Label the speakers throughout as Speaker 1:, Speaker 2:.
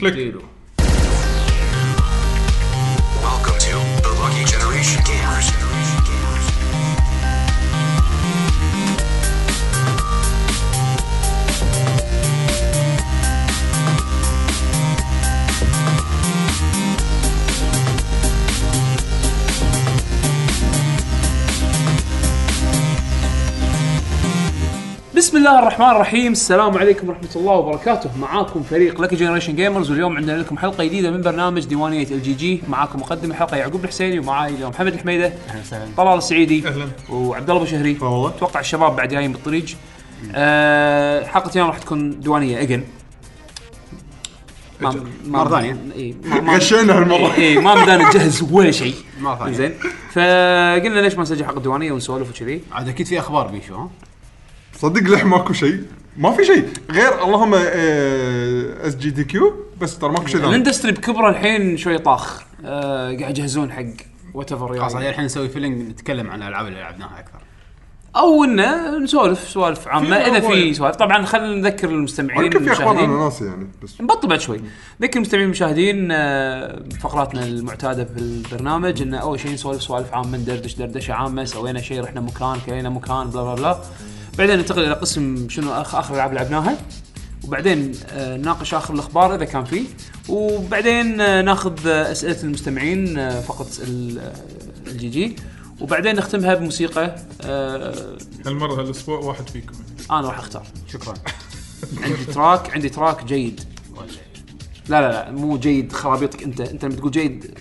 Speaker 1: كليك
Speaker 2: Welcome to the Lucky Generation Gamers.
Speaker 3: بسم الله الرحمن الرحيم السلام عليكم ورحمة الله وبركاته معاكم فريق لك جنريشن جيمرز واليوم عندنا لكم حلقة جديدة من برنامج ديوانية ال جي جي معاكم مقدم الحلقة يعقوب الحسيني ومعاي اليوم محمد الحميدة طلال السعيدي
Speaker 1: أهلاً.
Speaker 3: وعبد الله أبو شهري
Speaker 1: والله.
Speaker 3: اتوقع الشباب بعد جايين بالطريق آه حلقة اليوم راح تكون ديوانية اجن ما- ما-
Speaker 4: مرة ثانية.
Speaker 3: إي، ما- ما-
Speaker 1: غشينا هالمره
Speaker 3: اي ما بدنا نجهز ولا شيء
Speaker 4: مرة ثانية.
Speaker 3: زين فقلنا ليش ما نسجل حلقه ديوانيه ونسولف وكذي
Speaker 4: عاد اكيد في اخبار بيشو ها؟
Speaker 1: صدق لح ماكو شيء ما في شيء غير اللهم آه، اس جي دي كيو بس ترى ماكو شيء ثاني
Speaker 3: الاندستري بكبره الحين شوي طاخ آه قاعد يجهزون حق يعني. وات
Speaker 4: خلاص يعني
Speaker 3: ايفر
Speaker 4: عاد الحين نسوي فيلم نتكلم عن الالعاب اللي لعبناها اكثر
Speaker 3: او انه نسولف سوالف عامه
Speaker 1: في
Speaker 3: اذا في
Speaker 1: أبوين.
Speaker 3: سوالف طبعا خلينا نذكر المستمعين
Speaker 1: يمكن في اخبار انا
Speaker 3: والمشاهدين
Speaker 1: ناسي يعني بس
Speaker 3: نبطل بعد شوي نذكر المستمعين والمشاهدين آه، فقراتنا المعتاده في البرنامج انه اول شيء نسولف سوالف عامه ندردش دردشه عامه سوينا شيء رحنا مكان كلينا مكان بلا بلا بلا بعدين ننتقل الى قسم شنو آخ- اخر العاب لعبناها وبعدين آه، نناقش اخر الاخبار اذا كان فيه وبعدين آه، ناخذ آه، اسئله المستمعين آه، فقط آه، الجي جي وبعدين نختمها بموسيقى آه،
Speaker 5: هالمره هالاسبوع واحد فيكم
Speaker 3: انا راح اختار
Speaker 4: شكرا
Speaker 3: عندي تراك عندي تراك جيد لا لا لا مو جيد خرابيطك انت انت لما تقول جيد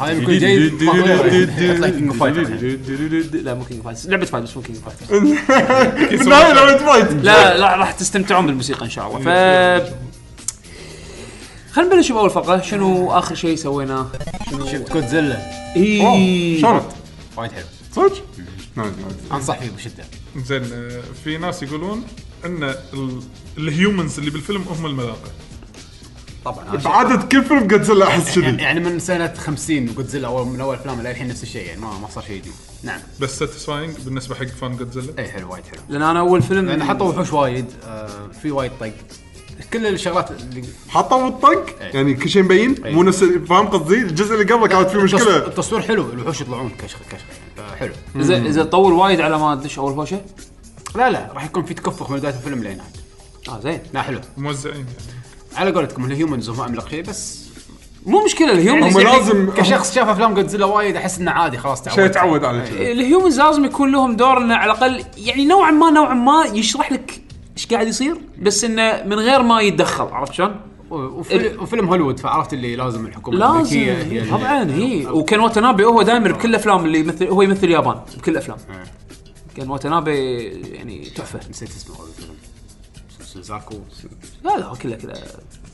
Speaker 4: هذا بيكون جيد
Speaker 3: يعني. لا مو كينج فايترز لعبه فايترز مو كينج فايترز
Speaker 1: بالنهايه لعبه فايت
Speaker 3: لا لا راح تستمتعون بالموسيقى ان شاء الله ف خلينا نبلش باول فقره شنو اخر شيء سويناه؟
Speaker 4: شفت كودزيلا
Speaker 3: اي
Speaker 1: شرط
Speaker 4: وايد حلو
Speaker 1: صدق نايس نايس
Speaker 4: انصح فيه بشده
Speaker 5: زين آه، في ناس يقولون ان ال- الهيومنز اللي بالفيلم هم الملاقه
Speaker 4: طبعا هذا شيء-
Speaker 1: بعدد كل فيلم جودزيلا احس كذي
Speaker 4: يعني من سنه 50 كودزيلا اول من اول افلام للحين نفس الشيء يعني ما ما صار شيء جديد نعم
Speaker 5: بس ساتيسفاينج بالنسبه حق فان جودزيلا
Speaker 4: اي حلو وايد حلو
Speaker 3: لان انا اول فيلم
Speaker 4: لان حطوا وحوش وايد آه، في وايد طق كل الشغلات اللي
Speaker 1: حطوا الطق يعني كل شيء مبين مو نفس فاهم قصدي الجزء اللي قبله كانت فيه
Speaker 4: التص-
Speaker 1: مشكله
Speaker 4: التصوير حلو الوحوش يطلعون كشخ كشخ يعني فحلو
Speaker 3: اذا اذا طول وايد على ما تدش اول هوشه
Speaker 4: لا لا راح يكون في تكفخ من بدايه الفيلم لين نهايته.
Speaker 3: اه زين
Speaker 4: لا حلو
Speaker 5: موزعين يعني
Speaker 4: على قولتكم الهيومنز هم املق شيء بس
Speaker 3: مو مشكله الهيومنز
Speaker 1: هم
Speaker 4: يعني
Speaker 1: لازم
Speaker 4: كشخص شاف افلام جودزيلا وايد احس انه عادي خلاص تعود
Speaker 1: شيء تعود عليه كذي.
Speaker 3: الهيومنز لازم يكون لهم دور انه على الاقل يعني نوعا ما نوعا ما يشرح لك ايش قاعد يصير بس انه من غير ما يتدخل عرفت شلون؟
Speaker 4: و- وفيل- وفيلم هوليوود فعرفت اللي لازم الحكومه
Speaker 3: إيه. لازم
Speaker 4: الامريكيه هي اللي- يعني
Speaker 3: طبعا هي وكان واتنابي هو دائما بكل الافلام اللي يمثل هو يمثل اليابان بكل الافلام
Speaker 4: آه.
Speaker 3: كان واتنابي يعني تحفه
Speaker 4: نسيت اسمه هذا الفيلم سوزاكو
Speaker 3: لا لا هو كله كله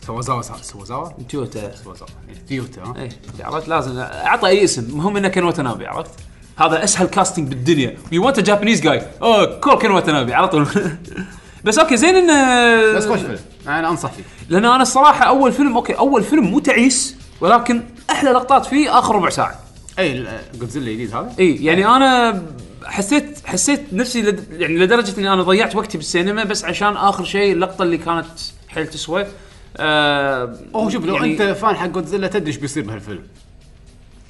Speaker 4: سوزاوا سوزاوا
Speaker 3: تويوتا
Speaker 4: سوزاوا تيوتا ها؟
Speaker 3: ايه عرفت لازم اعطى اي اسم المهم انه كان واتنابي عرفت هذا اسهل كاستنج بالدنيا يو وانت جابانيز جاي اوه كول Oh, كان واتنابي على طول بس اوكي زين انه
Speaker 4: بس خوش فيلم انا انصح فيه
Speaker 3: لان انا الصراحه اول فيلم اوكي اول فيلم مو تعيس ولكن احلى لقطات فيه اخر ربع ساعه
Speaker 4: اي إيه، ال- جودزيلا الجديد هذا
Speaker 3: اي يعني انا حسيت حسيت نفسي لد يعني لدرجه اني انا ضيعت وقتي بالسينما بس عشان اخر شيء اللقطه اللي كانت حيل تسوى آه
Speaker 4: اوه شوف لو
Speaker 3: يعني-
Speaker 4: انت فان حق جودزيلا تدري ايش بيصير بهالفيلم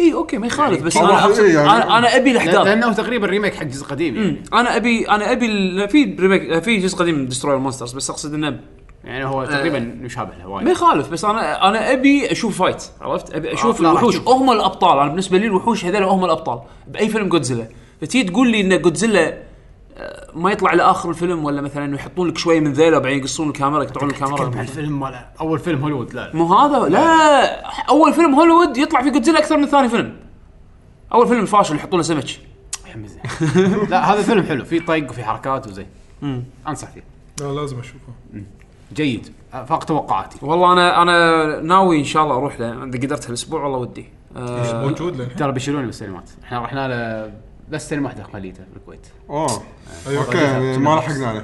Speaker 3: اي اوكي ما يخالف بس
Speaker 1: طبعاً
Speaker 3: انا أقصد-
Speaker 1: إيه يعني-
Speaker 3: انا انا ابي
Speaker 4: لأن-
Speaker 3: الاحداث
Speaker 4: لانه تقريبا ريميك حق جزء قديم يعني,
Speaker 3: انا ابي انا ابي ال- في ريميك في جزء قديم من دستروير مونسترز بس اقصد انه
Speaker 4: يعني هو
Speaker 3: آه.
Speaker 4: تقريبا يشابه له
Speaker 3: ما
Speaker 4: وايد
Speaker 3: يخالف بس انا انا ابي اشوف فايت عرفت ابي اشوف
Speaker 4: آه، لا، راح
Speaker 3: الوحوش
Speaker 4: تشوف.
Speaker 3: هم الابطال انا بالنسبه لي الوحوش هذول هم الابطال باي فيلم جودزيلا فتي تقول لي ان جودزيلا آه، ما يطلع لاخر الفيلم ولا مثلا يحطون لك شويه من ذيله وبعدين يقصون الكاميرا يقطعون
Speaker 4: تكلم عن
Speaker 3: الكاميرا
Speaker 4: الفيلم مال اول فيلم هوليوود لا لا
Speaker 3: مو هذا لا اول فيلم هوليوود يطلع في جودزيلا اكثر من ثاني فيلم اول فيلم فاشل يحطون له سمك
Speaker 4: يحمسني. لا هذا فيلم حلو في طق وفي حركات وزي انصح فيه
Speaker 5: لا لازم اشوفه
Speaker 4: جيد فاق توقعاتي
Speaker 3: والله انا انا ناوي ان شاء الله اروح له اذا قدرت هالاسبوع والله ودي آه،
Speaker 5: موجود للحين
Speaker 4: ترى بيشيلوني بالسينمات احنا رحنا له بس سينما واحده خليته بالكويت
Speaker 1: اه
Speaker 5: أيوة.
Speaker 1: اوكي يعني ما لحقنا عليه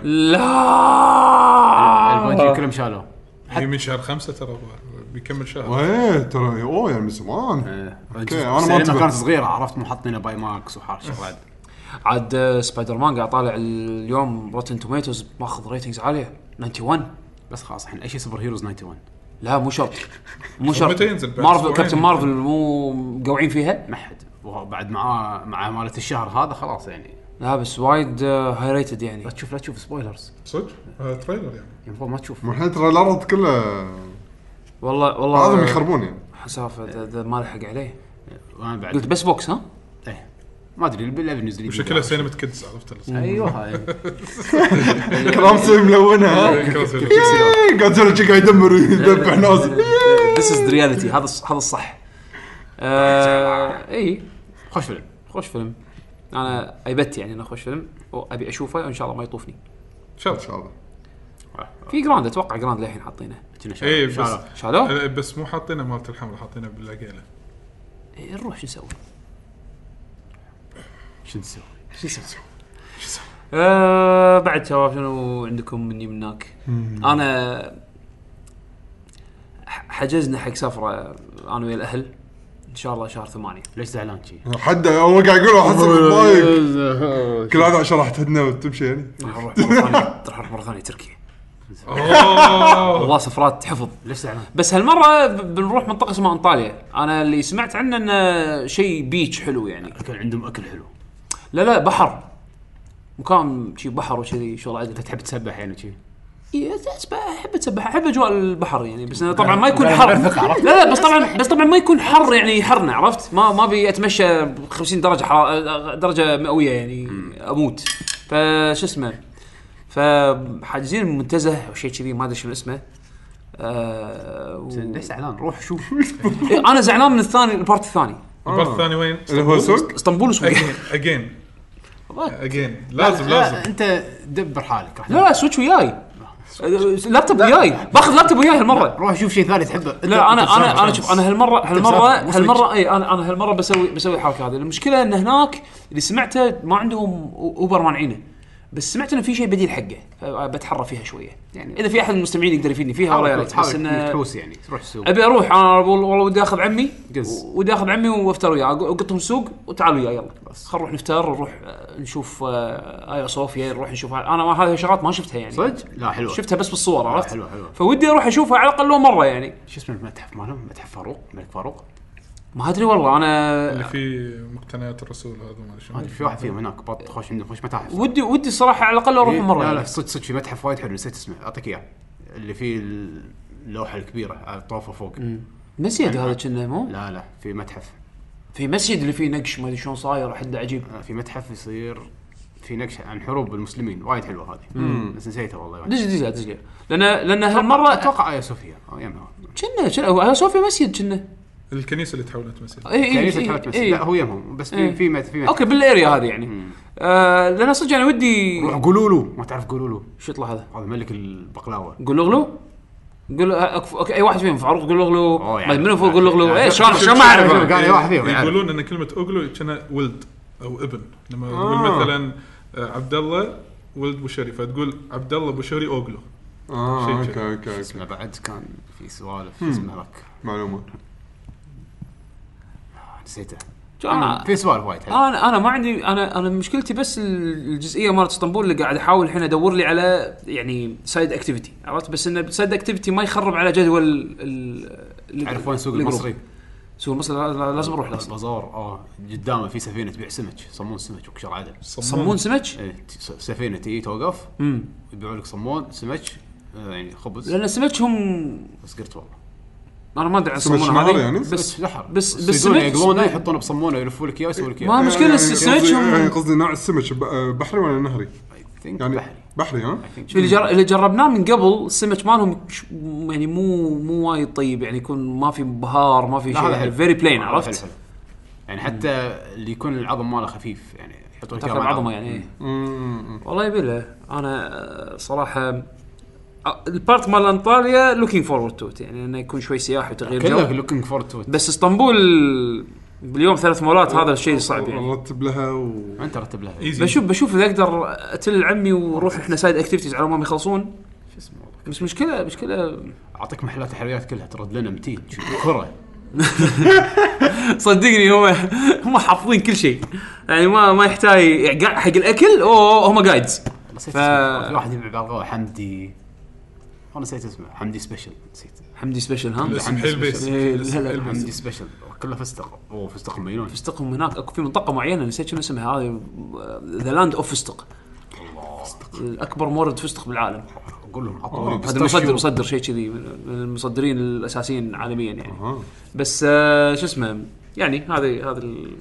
Speaker 4: الباجي
Speaker 3: لا
Speaker 4: كلهم شالوه
Speaker 5: هي من شهر خمسة ترى بيكمل شهر
Speaker 1: ايه ترى اوه يعني من زمان
Speaker 4: إيه.
Speaker 1: أوكي، أنا ما
Speaker 4: السينما
Speaker 1: انتبهت.
Speaker 4: كانت صغيره عرفت مو حاطين باي ماكس وحرش
Speaker 3: عاد آه، سبايدر مان قاعد طالع اليوم روتن توميتوز ماخذ ريتنجز عاليه 91
Speaker 4: بس خلاص الحين اي شيء سوبر هيروز 91
Speaker 3: لا مو شرط مو شرط
Speaker 5: متى ينزل؟ بعد
Speaker 3: مارفل
Speaker 5: أسبوعين.
Speaker 3: كابتن مارفل مو مقوعين فيها
Speaker 4: ما حد وبعد معاه مع مالت الشهر هذا خلاص يعني
Speaker 3: لا بس وايد آه، هاي ريتد يعني
Speaker 4: لا تشوف لا تشوف سبويلرز
Speaker 5: صدق هذا تريلر يعني
Speaker 4: المفروض ما تشوف
Speaker 1: مو الحين تريلرات كلها
Speaker 3: والله والله
Speaker 1: بعضهم يخربون يعني
Speaker 3: حسافه ده- ده ما لحق عليه
Speaker 4: وانا بعد
Speaker 3: قلت بس بوكس ها
Speaker 4: إيه. ما ادري الافنيوز اللي
Speaker 5: شكلها سينما كيدز عرفت ال-
Speaker 4: ايوه هاي
Speaker 1: كرامسي ملونه ها إيه، جودزيلا شي قاعد يدمر ويذبح ناس
Speaker 3: ذس از رياليتي هذا الص- هذا الصح آه، اي
Speaker 4: خوش فيلم
Speaker 3: خوش فيلم انا ايبت يعني انه خوش فيلم وابي اشوفه وان شاء الله ما يطوفني
Speaker 5: ان شاء
Speaker 1: ان
Speaker 5: الله
Speaker 1: إيه. شاء الله
Speaker 3: في جراند اتوقع جراند للحين حاطينه
Speaker 4: كنا شعر-
Speaker 5: اي
Speaker 4: شعر-
Speaker 5: إيه، بس
Speaker 3: شالوه؟
Speaker 5: آه، بس مو حاطينه مالت الحمله حاطينه بالعقيله
Speaker 3: إيه، نروح شو نسوي؟
Speaker 4: شو نسوي؟
Speaker 3: شو نسوي؟ آه بعد شباب شنو عندكم مني من هناك؟ انا ح- حجزنا حق سفره انا ويا الاهل ان شاء الله شهر ثمانية
Speaker 4: ليش زعلان شي؟
Speaker 1: حد هو قاعد يقول احس متضايق كل هذا عشان راح تهدنا وتمشي يعني
Speaker 3: راح نروح مره ثانيه راح نروح مره ثانيه تركيا والله سفرات حفظ
Speaker 4: ليش زعلان؟
Speaker 3: بس هالمره ب- بنروح منطقه اسمها انطاليا انا اللي سمعت عنه انه شيء بيتش حلو يعني
Speaker 4: كان عندهم اكل حلو
Speaker 3: لا لا بحر مكان شي بحر وكذي شغل عدل
Speaker 4: تحب تسبح يعني شي
Speaker 3: إيه، أسبح- احب اتسبح احب اجواء البحر يعني بس أنا طبعا ما يكون
Speaker 4: غير-
Speaker 3: حر
Speaker 4: غير ثقة،
Speaker 3: لا
Speaker 4: عرفت؟
Speaker 3: لا بس طبعا بس طبعا ما يكون حر يعني يحرنا عرفت ما ما ابي اتمشى ب 50 درجه حرارة درجه مئويه يعني اموت فشو اسمه فحاجزين منتزه او شيء كذي ما ادري شنو اسمه آه و...
Speaker 4: زين، ليش زعلان؟ روح شوف
Speaker 3: إيه، انا زعلان من الثاني البارت الثاني
Speaker 5: البارت الثاني وين؟
Speaker 1: اللي هو سوق
Speaker 3: اسطنبول سوق
Speaker 5: اجين اجين اجين لازم
Speaker 4: لا،
Speaker 5: لازم
Speaker 4: انت دبر حالك راح
Speaker 3: لا لا سويتش وياي آه، لابتوب وياي باخذ لابتوب وياي هالمره
Speaker 4: روح شوف شيء ثاني تحبه
Speaker 3: لا انا
Speaker 4: أنت
Speaker 3: انا انا
Speaker 4: بسرعة.
Speaker 3: شوف انا هالمره هالمره
Speaker 4: بسرعة.
Speaker 3: هالمره اي انا انا هالمره بسوي بسوي الحركه هذه المشكله ان هناك اللي سمعته ما عندهم أو- اوبر مانعينه بس سمعت انه في شيء بديل حقه فبتحرى فيها شويه يعني اذا في احد من المستمعين يقدر يفيدني فيها والله يا ريت بس
Speaker 4: حاول إنك
Speaker 3: انه
Speaker 4: تحوس يعني تروح السوق
Speaker 3: ابي اروح انا بقول- والله ودي اخذ عمي
Speaker 4: قز.
Speaker 3: و- ودي اخذ عمي وافتر وياه أق- اقطهم السوق وتعالوا وياي يلا خل نروح نفتر نروح آه، نشوف آه، ايا صوفيا نروح نشوف انا ما هذه شغلات ما شفتها يعني
Speaker 4: صدق؟ لا حلوه
Speaker 3: شفتها بس بالصور عرفت
Speaker 4: حلوة- حلوة.
Speaker 3: فودي اروح اشوفها على الاقل لو مره يعني
Speaker 4: شو اسمه المتحف مالهم؟ متحف فاروق الملك فاروق
Speaker 3: ما ادري والله انا
Speaker 5: اللي فيه مقتنيات الرسول هذا ما ادري
Speaker 4: ما
Speaker 5: شنو
Speaker 4: ادري في واحد فيهم هناك بط خوش عندهم خوش متاحف
Speaker 3: ودي ودي الصراحه على الاقل اروح مره
Speaker 4: إيه، لا لا
Speaker 3: يعني.
Speaker 4: صدق صدق في متحف وايد حلو نسيت اسمه اعطيك اياه اللي فيه اللوحه الكبيره على الطوفه فوق
Speaker 3: مسجد هذا كنا مو
Speaker 4: لا لا في متحف
Speaker 3: في مسجد اللي فيه نقش ما ادري شلون صاير حد عجيب
Speaker 4: آه، في متحف يصير في نقش عن حروب المسلمين وايد حلوه هذه بس نسيتها والله يعني.
Speaker 3: دز دز دز لي. لان لان هالمره
Speaker 4: اتوقع ايا صوفيا او آه، يمها
Speaker 3: كنا كنا هو- هو صوفيا مسجد كنا إيه،
Speaker 5: الكنيسه اللي تحولت مسجد
Speaker 3: اي
Speaker 4: يعني
Speaker 3: اي
Speaker 4: ليش تحاول تمثل؟
Speaker 3: إي.
Speaker 4: لا هو يمهم بس
Speaker 3: إيه.
Speaker 4: في في مت- في مت-
Speaker 3: اوكي بالاريا هذه يعني آه لان صدق انا ودي
Speaker 4: روح قولولو ما تعرف قولولو
Speaker 3: شو يطلع هذا؟
Speaker 4: هذا ملك البقلاوه
Speaker 3: قول اغلو قول آه، أكف- اوكي اي واحد فيهم فاروق قول اغلو
Speaker 4: أوه، يعني.
Speaker 3: ما أدري منو فوق قول اغلو
Speaker 4: يعني.
Speaker 3: اي شلون
Speaker 4: شوف-
Speaker 3: شلون ما
Speaker 4: شوف-
Speaker 3: اعرف
Speaker 4: شوف-
Speaker 3: أنا؟
Speaker 4: قال لي واحد فيهم يعرف.
Speaker 5: يعني يقولون ان كلمه اوغلو كان ولد او ابن لما تقول
Speaker 1: آه.
Speaker 5: مثلا آه، عبد الله ولد بوشري فتقول عبد الله بوشري اوغلو
Speaker 1: اه
Speaker 5: شيء
Speaker 1: اوكي
Speaker 5: كذا.
Speaker 1: اوكي
Speaker 4: اسمه
Speaker 1: اوكي
Speaker 4: بعد كان في سوالف اسمه هذاك
Speaker 1: معلومه
Speaker 4: آه، نسيته
Speaker 3: أنا-
Speaker 4: في سوالف وايد حلوه
Speaker 3: انا انا ما عندي انا انا مشكلتي بس ال- الجزئيه مالت اسطنبول اللي قاعد احاول الحين ادور لي على يعني سايد اكتيفيتي عرفت بس انه سايد اكتيفيتي ما يخرب على جدول ال- ال
Speaker 4: تعرف وين سوق
Speaker 3: الجروب.
Speaker 4: المصري؟
Speaker 3: سوق المصري لا- لا- لازم اروح لازم
Speaker 4: بازار اه قدامه في سفينه تبيع سمك يصمون سمك وكشر عدل
Speaker 3: صمون سمك
Speaker 4: إيه، ت- س- سفينه تجي توقف
Speaker 3: امم
Speaker 4: يبيعوا لك صمون سمك آه، يعني خبز
Speaker 3: لان سمك هم
Speaker 4: بس قرت والله
Speaker 3: انا ما ادري عن
Speaker 1: سمك
Speaker 3: الصمونه
Speaker 1: شمال
Speaker 3: هذه
Speaker 1: يعني؟
Speaker 3: بس
Speaker 4: زحر
Speaker 3: بس- بس
Speaker 4: يصيدون يعني
Speaker 3: سمك-
Speaker 4: يقلونه يحطونه بصمونه ويلفوا لك اياه ويسووا لك
Speaker 3: ما
Speaker 4: اياه
Speaker 3: المشكله
Speaker 1: يعني
Speaker 3: السمك
Speaker 1: قصدي- يعني
Speaker 3: هم
Speaker 1: قصدي نوع السمك ب- بحري ولا نهري؟
Speaker 4: I think
Speaker 1: يعني
Speaker 4: بحري
Speaker 1: بحري ها؟
Speaker 3: شوف اللي, جر... اللي جربناه من قبل السمك مالهم ش- يعني مو مو وايد طيب يعني يكون ما في بهار ما في
Speaker 4: لا، هذا
Speaker 3: شيء
Speaker 4: حلو.
Speaker 3: فيري بلين
Speaker 4: هذا
Speaker 3: عرفت؟
Speaker 4: حلو حلو. يعني حتى اللي يكون العظم ماله خفيف يعني يحطون لك إياه
Speaker 3: تاكل
Speaker 4: مع
Speaker 3: العظمه يعني إيه.
Speaker 1: امم
Speaker 3: والله يبي له انا آه، صراحه آه، البارت مال انطاليا لوكينج فورورد تو يعني انه يكون شوي سياحه وتغيير
Speaker 4: كله
Speaker 3: جو
Speaker 4: لوكينج فورد تو
Speaker 3: بس اسطنبول باليوم ثلاث مولات هذا الشيء صعب يعني
Speaker 1: رتب لها و
Speaker 4: انت رتب لها شو
Speaker 5: ايزي
Speaker 3: بشوف بشوف اذا اقدر اتل عمي ونروح احنا سايد اكتيفيتيز على ما هم يخلصون
Speaker 4: اسمه والله
Speaker 3: بس مشكله مشكله
Speaker 4: اعطيك محلات الحلويات كلها ترد لنا متين شو كره
Speaker 3: صدقني هم هم حافظين كل شيء يعني ما ما يحتاج يعني حق الاكل اوه هم جايدز
Speaker 4: نسيت
Speaker 3: ف-
Speaker 4: اسمه. في واحد يبيع بالغوه حمدي والله نسيت اسمه حمدي سبيشل نسيت
Speaker 3: حمدي سبيشل ها
Speaker 5: الاسم حيل بيس
Speaker 3: إيه، لا لا
Speaker 5: الاسم حيل
Speaker 4: حمدي
Speaker 5: بيس.
Speaker 4: سبيشل كله فستق اوه فستق المينون
Speaker 3: فستقهم هناك اكو في منطقه معينه نسيت شنو اسمها هذه آه، ذا لاند اوف فستق اكبر مورد فستق بالعالم
Speaker 4: اقول لهم عطوني
Speaker 3: هذا
Speaker 4: بيستاشيو.
Speaker 3: مصدر مصدر شيء كذي من من المصدرين الاساسيين عالميا يعني بس آه، شو اسمه يعني هذه هذا ال-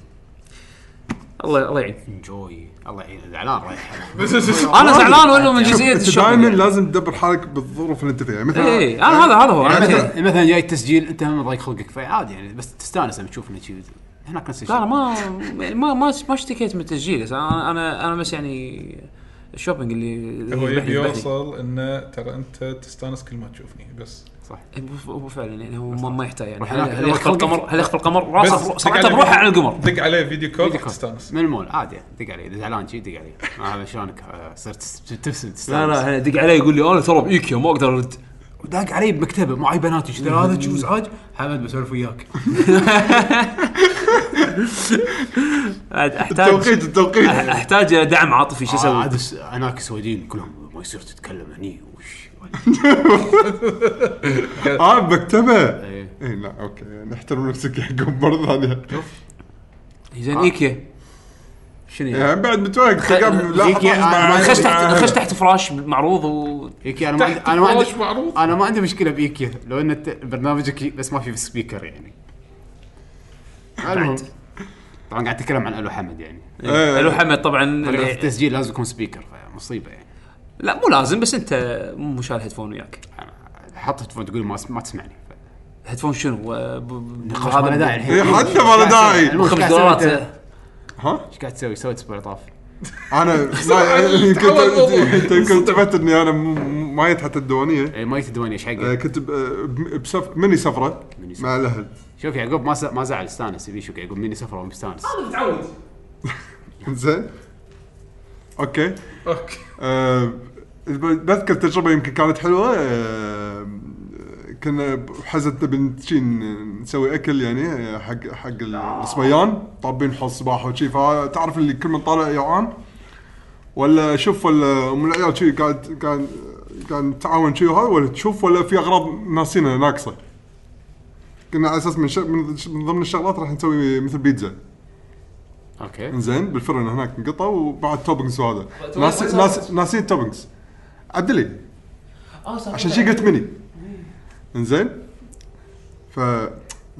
Speaker 3: الله الله يعين
Speaker 4: انجوي الله يعين زعلان رايح
Speaker 5: بس- بس- بس-
Speaker 3: انا زعلان ولا من
Speaker 1: شوف،
Speaker 3: جزئيه
Speaker 1: انت
Speaker 3: الشغل
Speaker 1: دائما
Speaker 3: يعني.
Speaker 1: لازم تدبر حالك بالظروف اللي انت فيها يعني مثلا
Speaker 3: اي انا إيه، هذا هذا هو أنا كذا.
Speaker 4: مثلا مثلا إيه، جاي التسجيل انت هم ضايق خلقك فعادي يعني بس تستانس لما تشوف انه شي- هناك نفس
Speaker 3: لا لا
Speaker 4: الشيء
Speaker 3: ما يعني ما ما ما اشتكيت من التسجيل بس انا انا انا بس يعني الشوبينج اللي
Speaker 5: هو يبي
Speaker 3: يذبحني- يذبحني.
Speaker 5: يوصل انه ترى انت تستانس كل ما تشوفني بس
Speaker 4: صح
Speaker 3: هو هو فعلا يعني هو ما, ما يحتاج يعني
Speaker 4: روح
Speaker 3: هل
Speaker 4: هناك.
Speaker 3: هل يخفى القمر هل يخفى القمر راسه
Speaker 5: دق
Speaker 3: صفعته
Speaker 5: عليه
Speaker 3: بروحه
Speaker 5: فيديو-
Speaker 3: عن القمر
Speaker 5: دق عليه فيديو كول راح تستانس
Speaker 4: من المول عادي يعني، دق علي اذا زعلان شي دق علي ما هذا شلونك آه، صرت تس- تبسم تستانس
Speaker 3: لا لا هنا دق علي يقول لي انا ترى بايك ما اقدر ارد
Speaker 4: داق علي بمكتبه معي بناتي ايش هذا شو ازعاج حمد بسولف وياك
Speaker 3: عاد احتاج
Speaker 1: التوقيت التوقيت
Speaker 3: احتاج الى دعم عاطفي شو اسوي؟
Speaker 4: آه، عاد الس- هناك السويديين كلهم ما يصير تتكلم هني وش
Speaker 1: اه مكتبه
Speaker 4: إيه.
Speaker 1: اي لا اوكي نحترم نفسك حقهم برضه هذه
Speaker 3: زين ايكيا شنو يعني؟
Speaker 1: يعني بعد متوقع قام لاحظ
Speaker 4: زيكي، أنا
Speaker 1: مع-
Speaker 3: آه، خش تحت
Speaker 1: مع-
Speaker 3: خش تحت فراش معروض و
Speaker 4: ايكيا انا يعني، ما عندي
Speaker 5: تحت
Speaker 4: انا ما
Speaker 5: فراش
Speaker 4: عندي
Speaker 5: معروض.
Speaker 4: انا ما عندي مشكله بايكيا لو ان الت- برنامجك بس ما في سبيكر يعني المهم طبعا قاعد اتكلم عن الو حمد يعني
Speaker 1: إيه.
Speaker 3: الو حمد طبعا
Speaker 4: طبعاً في التسجيل لازم يكون سبيكر فمصيبه يعني
Speaker 3: لا مو لازم بس انت مو شايل هيدفون وياك
Speaker 4: أنا حط هيدفون تقول ما, ما تسمعني
Speaker 3: هيدفون شنو؟ و- ب- ب-
Speaker 4: نقاش ما له داعي الحين
Speaker 1: إيه، حتى ما له داعي.
Speaker 4: المهم،
Speaker 3: خمس
Speaker 4: إيش قاعد
Speaker 3: دولارات
Speaker 4: تسوي أنت؟
Speaker 1: ها
Speaker 4: ايش قاعد تسوي؟ سويت سبير طاف
Speaker 1: انا ما- إيه، كنت
Speaker 5: تحول الموضوع.
Speaker 1: كنت- كنت تعبت اني انا م- مايت حتى الديوانيه
Speaker 4: إيه، ما يتدوني ايش
Speaker 1: آه،
Speaker 4: حقك
Speaker 1: كنت ب- ب- بسف ميني سفره
Speaker 4: ميني سفرة.
Speaker 1: مع الاهل
Speaker 4: شوف يعقوب ما س- ما زعل استانس يبي شوف يعقوب مني سفره ومستانس
Speaker 1: زين اوكي
Speaker 5: اوكي
Speaker 1: آه، بذكر تجربه يمكن كانت حلوه آه، كنا حزتنا بنتشين نسوي اكل يعني حق حق الصبيان طابين حوض صباح وشي فتعرف اللي كل من طالع جوعان ولا شوف ولا من العيال شي قاعد كان كان تعاون شي وهذا ولا تشوف ولا في اغراض ناسينا ناقصه كنا على اساس من, ش... من من ضمن الشغلات راح نسوي مثل بيتزا
Speaker 4: اوكي
Speaker 1: انزين بالفرن هناك نقطه وبعد توبنجز وهذا ناسي ناسي ناسي التوبنجز عدلي عشان شي قلت مني انزين ف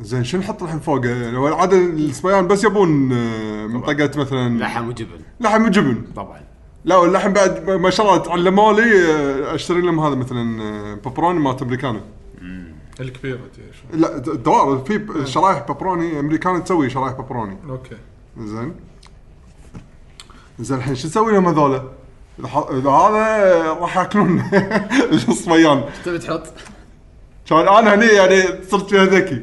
Speaker 1: زين شو نحط الحين فوقه؟ يعني هو العاده الصبيان بس يبون آه، منطقه مثلا
Speaker 4: لحم وجبن
Speaker 1: لحم وجبن
Speaker 4: طبعا
Speaker 1: لا واللحم بعد ما شاء الله تعلموا لي آه، اشتري لهم هذا مثلا آه، بابروني مالت امريكانو
Speaker 5: الكبيره تي شو.
Speaker 1: لا د- دوار في ب- شرايح بابروني امريكانو تسوي شرايح بابروني
Speaker 5: اوكي
Speaker 1: زين زين الحين شو نسوي لهم هذول؟ إذا ح- اذا هذا راح ياكلون الصبيان
Speaker 4: تبي تحط
Speaker 1: كان انا هني يعني صرت فيها ذكي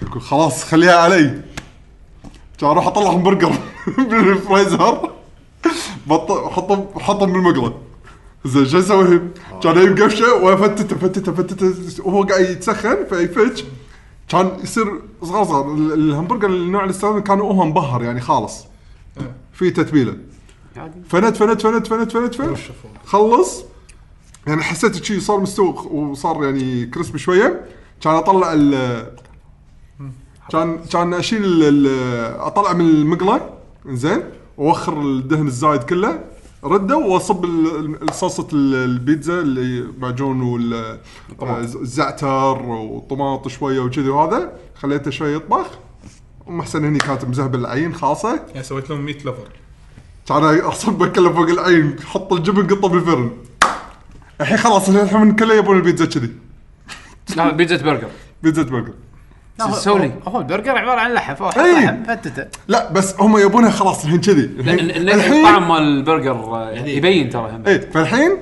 Speaker 1: كان اقول خلاص خليها علي كان اروح اطلع همبرجر من الفريزر بط- احطهم احطهم بالمقلب زين شو اسوي؟ كان يجيب قفشه وافتته فتته فتته وهو قاعد يتسخن فيفتش كان يصير صغار صغار ال- الهمبرجر النوع اللي استخدمه كان هو مبهر يعني خالص
Speaker 5: آه.
Speaker 1: في تتبيله
Speaker 4: عادي
Speaker 1: فنت فنت فنت فنت فنت فنت خلص يعني حسيت شيء صار مستوي وصار يعني كريسبي شويه كان اطلع ال كان كان اشيل ال- ال- اطلع من المقله زين واوخر الدهن الزايد كله رده واصب ال- ال- صلصه ال- البيتزا اللي معجون والزعتر آه، وطماط شويه وكذي وهذا خليته شويه يطبخ ام حسن هني كانت مزهبه العين خاصه
Speaker 5: يعني سويت لهم 100 لفر
Speaker 1: كان اصبه كله فوق العين حط الجبن قطه بالفرن الحين خلاص الحين من كله يبون البيتزا كذي
Speaker 3: لا بيتزا برجر
Speaker 1: بيتزا برجر
Speaker 3: سولي.
Speaker 4: هو البرجر عباره عن لحم فهو حط
Speaker 1: إيه.
Speaker 4: لحم فتته
Speaker 1: لا بس هم يبونها خلاص الحين كذي الحين إيه.
Speaker 3: الطعم مال البرجر آه،
Speaker 4: يعني-
Speaker 3: يبين ترى هم.
Speaker 1: اي فالحين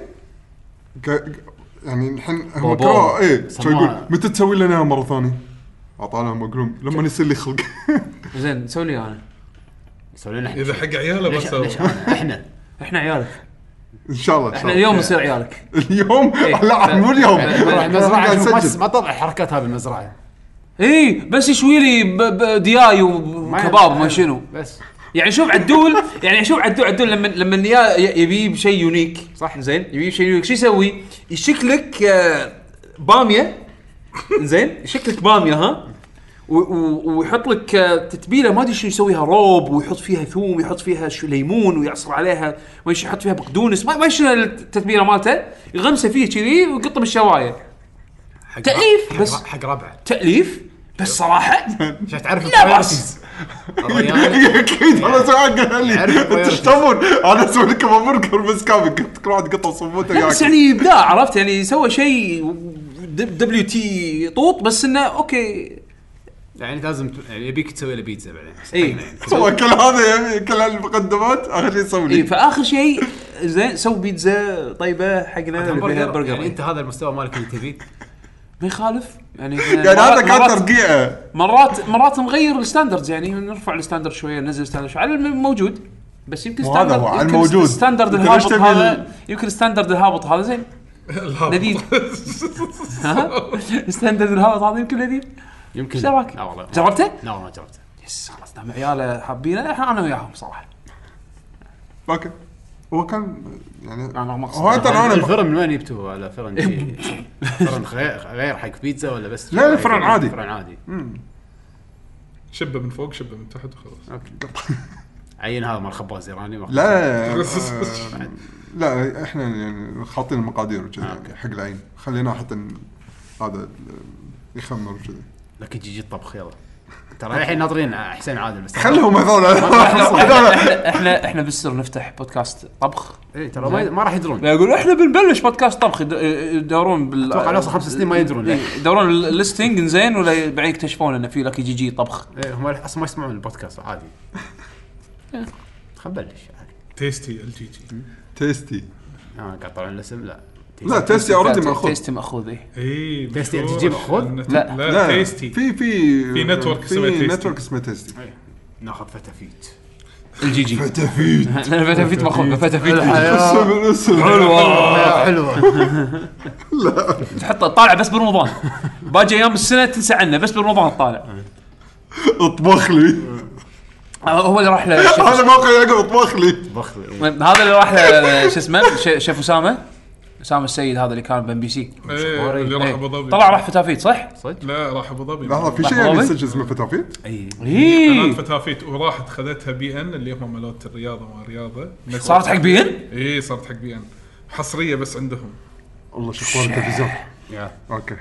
Speaker 1: ق- ق- يعني الحين هم
Speaker 4: بابا.
Speaker 1: كروه اي
Speaker 4: سموها.
Speaker 1: يقول متى تسوي لنا مره ثانيه؟ اعطانا مقلوم لما يصير لي خلق
Speaker 3: زين سوي لي انا
Speaker 4: سوي لنا
Speaker 5: اذا حق عياله
Speaker 4: ليش
Speaker 5: بس
Speaker 4: ليش أنا؟ احنا
Speaker 3: احنا عيالك
Speaker 1: ان شاء الله إن شاء
Speaker 3: احنا
Speaker 1: الله.
Speaker 3: اليوم نصير عيالك
Speaker 1: اليوم
Speaker 3: إيه.
Speaker 1: لا مو اليوم
Speaker 4: المزرعه
Speaker 1: قاعد
Speaker 4: شوف، ما تس-
Speaker 1: أسجل.
Speaker 4: ما تطلع الحركات هذه المزرعه
Speaker 3: إيه، اي بس يشوي لي ب- ب- دياي
Speaker 4: ما
Speaker 3: وكباب ما شنو
Speaker 4: بس
Speaker 3: يعني شوف عدول يعني شوف عدول عدول لما لما يا- ي- يبي بشيء يونيك صح زين يبي بشيء يونيك شو يسوي؟ يشكلك آه، باميه زين يشكلك باميه ها و- و- ويحط لك آه، تتبيله ما ادري شو يسويها روب ويحط فيها ثوم ويحط فيها شو ليمون ويعصر عليها ما أدري شو يحط فيها بقدونس ما ما أدري شنو التتبيله مالته يغمسه فيه كذي ويقطه بالشوايه
Speaker 6: حق
Speaker 3: تأليف
Speaker 6: حق-
Speaker 3: بس.
Speaker 6: حق ربعه
Speaker 3: تأليف بس صراحه
Speaker 6: عشان تعرف
Speaker 3: لا
Speaker 6: البرايورتيز. الريال
Speaker 3: يعني.
Speaker 1: اكيد انا سوي حق اهلي
Speaker 6: عرفت
Speaker 1: انتوا ايش تبون؟ انا اسوي لكم همبرجر بس كامل قلت كل واحد قطع صموته
Speaker 3: لا، بس
Speaker 1: ياكل.
Speaker 3: يعني ابداع عرفت يعني سوى شيء دبليو تي طوط بس انه اوكي
Speaker 6: يعني لازم ت- يعني يبيك تسوي له بيتزا بعدين
Speaker 3: اي
Speaker 1: سوى كل هذا يعني كل هالمقدمات اخر شيء يسوي
Speaker 3: اي
Speaker 1: لي
Speaker 3: فاخر إيه، شيء زين سوي بيتزا طيبه حقنا اللي فيها
Speaker 6: همبرجر
Speaker 3: برجر
Speaker 6: يعني انت هذا المستوى مالك اللي تبيه
Speaker 3: ما يخالف يعني
Speaker 1: يعني هذا كان
Speaker 3: مرات
Speaker 1: ترقيعه
Speaker 3: مرات, مرات نغير الستاندردز يعني نرفع الستاندرد شويه ننزل الستاندرد شويه على الموجود بس يمكن
Speaker 1: وهذا
Speaker 3: ستاندرد
Speaker 1: هو، على
Speaker 3: يمكن
Speaker 1: الموجود.
Speaker 3: ستاندرد
Speaker 1: أنت ليش
Speaker 3: الهابط
Speaker 1: تبي
Speaker 3: هذا يمكن ستاندرد الهابط هذا زين
Speaker 5: الهابط.
Speaker 3: لذيذ. ها ستاندرد الهابط هذا يمكن لذيذ
Speaker 6: يمكن
Speaker 3: ايش رايك؟
Speaker 6: لا والله
Speaker 3: جربته؟
Speaker 6: لا والله ما جربته
Speaker 3: يس خلاص دام عياله حابينه احنا انا وياهم صراحه
Speaker 1: اوكي هو كان يعني
Speaker 3: أنا ما أقصد.
Speaker 1: هو ترى انا
Speaker 6: الفرن من وين جبتوه ولا فرن شي- فرن غير غير حق بيتزا ولا بس
Speaker 1: لا، لا، فرن عادي.
Speaker 6: فرن عادي
Speaker 5: شبه من فوق شبه من تحت وخلاص
Speaker 6: عين هذا مال خباز ايراني ما
Speaker 1: لا آه، لا احنا يعني حاطين المقادير
Speaker 3: آه.
Speaker 1: وكذا يعني حق العين خليناه حتى ن- هذا آه، يخمر وكذا
Speaker 6: لك جيجي الطبخ يلا ترى الحين ناطرين حسين عادل بس
Speaker 1: خليهم هذول
Speaker 3: احنا احنا احنا بالسر نفتح بودكاست طبخ
Speaker 6: إيه، ترى ما- ما راح يدرون
Speaker 3: لا يقول احنا بنبلش بودكاست طبخ يد- يدورون بال
Speaker 6: اتوقع لو صار خمس سنين ما يدرون.
Speaker 3: إيه، يدورون الليستنج زين ولا بعدين يكتشفون انه في لك جي جي طبخ
Speaker 6: إيه، هم اصلا ما يسمعون البودكاست عادي خل بلش عادي.
Speaker 5: تيستي الجي جي
Speaker 1: تيستي
Speaker 6: انا قاعد طالع الاسم لا
Speaker 1: لا تيستي اوريدي ماخوذ
Speaker 3: تيستي ماخوذ إيه.
Speaker 5: اي
Speaker 6: تيستي
Speaker 5: مشهور.
Speaker 6: الجي جي مأخوذ؟
Speaker 5: إنه-
Speaker 3: لا.
Speaker 5: لا تيستي
Speaker 1: في في
Speaker 5: في network اسمه
Speaker 1: في
Speaker 5: تيستي.
Speaker 1: نتورك اسمه تيستي
Speaker 6: ناخذ فتافيت
Speaker 3: الجي جي
Speaker 1: تفيد
Speaker 3: فتافيت ماخوذ فتافيت
Speaker 1: اسم الاسم
Speaker 6: آه،
Speaker 1: آه،
Speaker 6: حلوه
Speaker 3: تحطه طالع بس برمضان باجي ايام السنه تنسى عنه بس برمضان طالع
Speaker 1: اطبخ لي
Speaker 3: آه، هو اللي راح له شيف-
Speaker 1: هذا موقع يعقوب اطبخ لي
Speaker 6: بخل
Speaker 3: هذا اللي راح له شو اسمه ش- شيف اسامه اسامه السيد هذا اللي كان بام بي سي
Speaker 5: إيه، اللي راح
Speaker 3: إيه.
Speaker 5: ابو ظبي
Speaker 3: طلع راح فتافيت صح؟
Speaker 5: لا راح ابو ظبي
Speaker 1: لحظه في شيء يعني يسجل اسمه فتافيت
Speaker 6: اي
Speaker 5: قناه
Speaker 3: اي
Speaker 5: فتافيت وراحت خذتها بي ان اللي هم مالوت الرياضه وما رياضه
Speaker 3: صارت حق بي ان؟
Speaker 5: اي صارت حق بي ان حصريه بس عندهم
Speaker 1: والله شو اخبار التلفزيون
Speaker 6: يا
Speaker 1: اوكي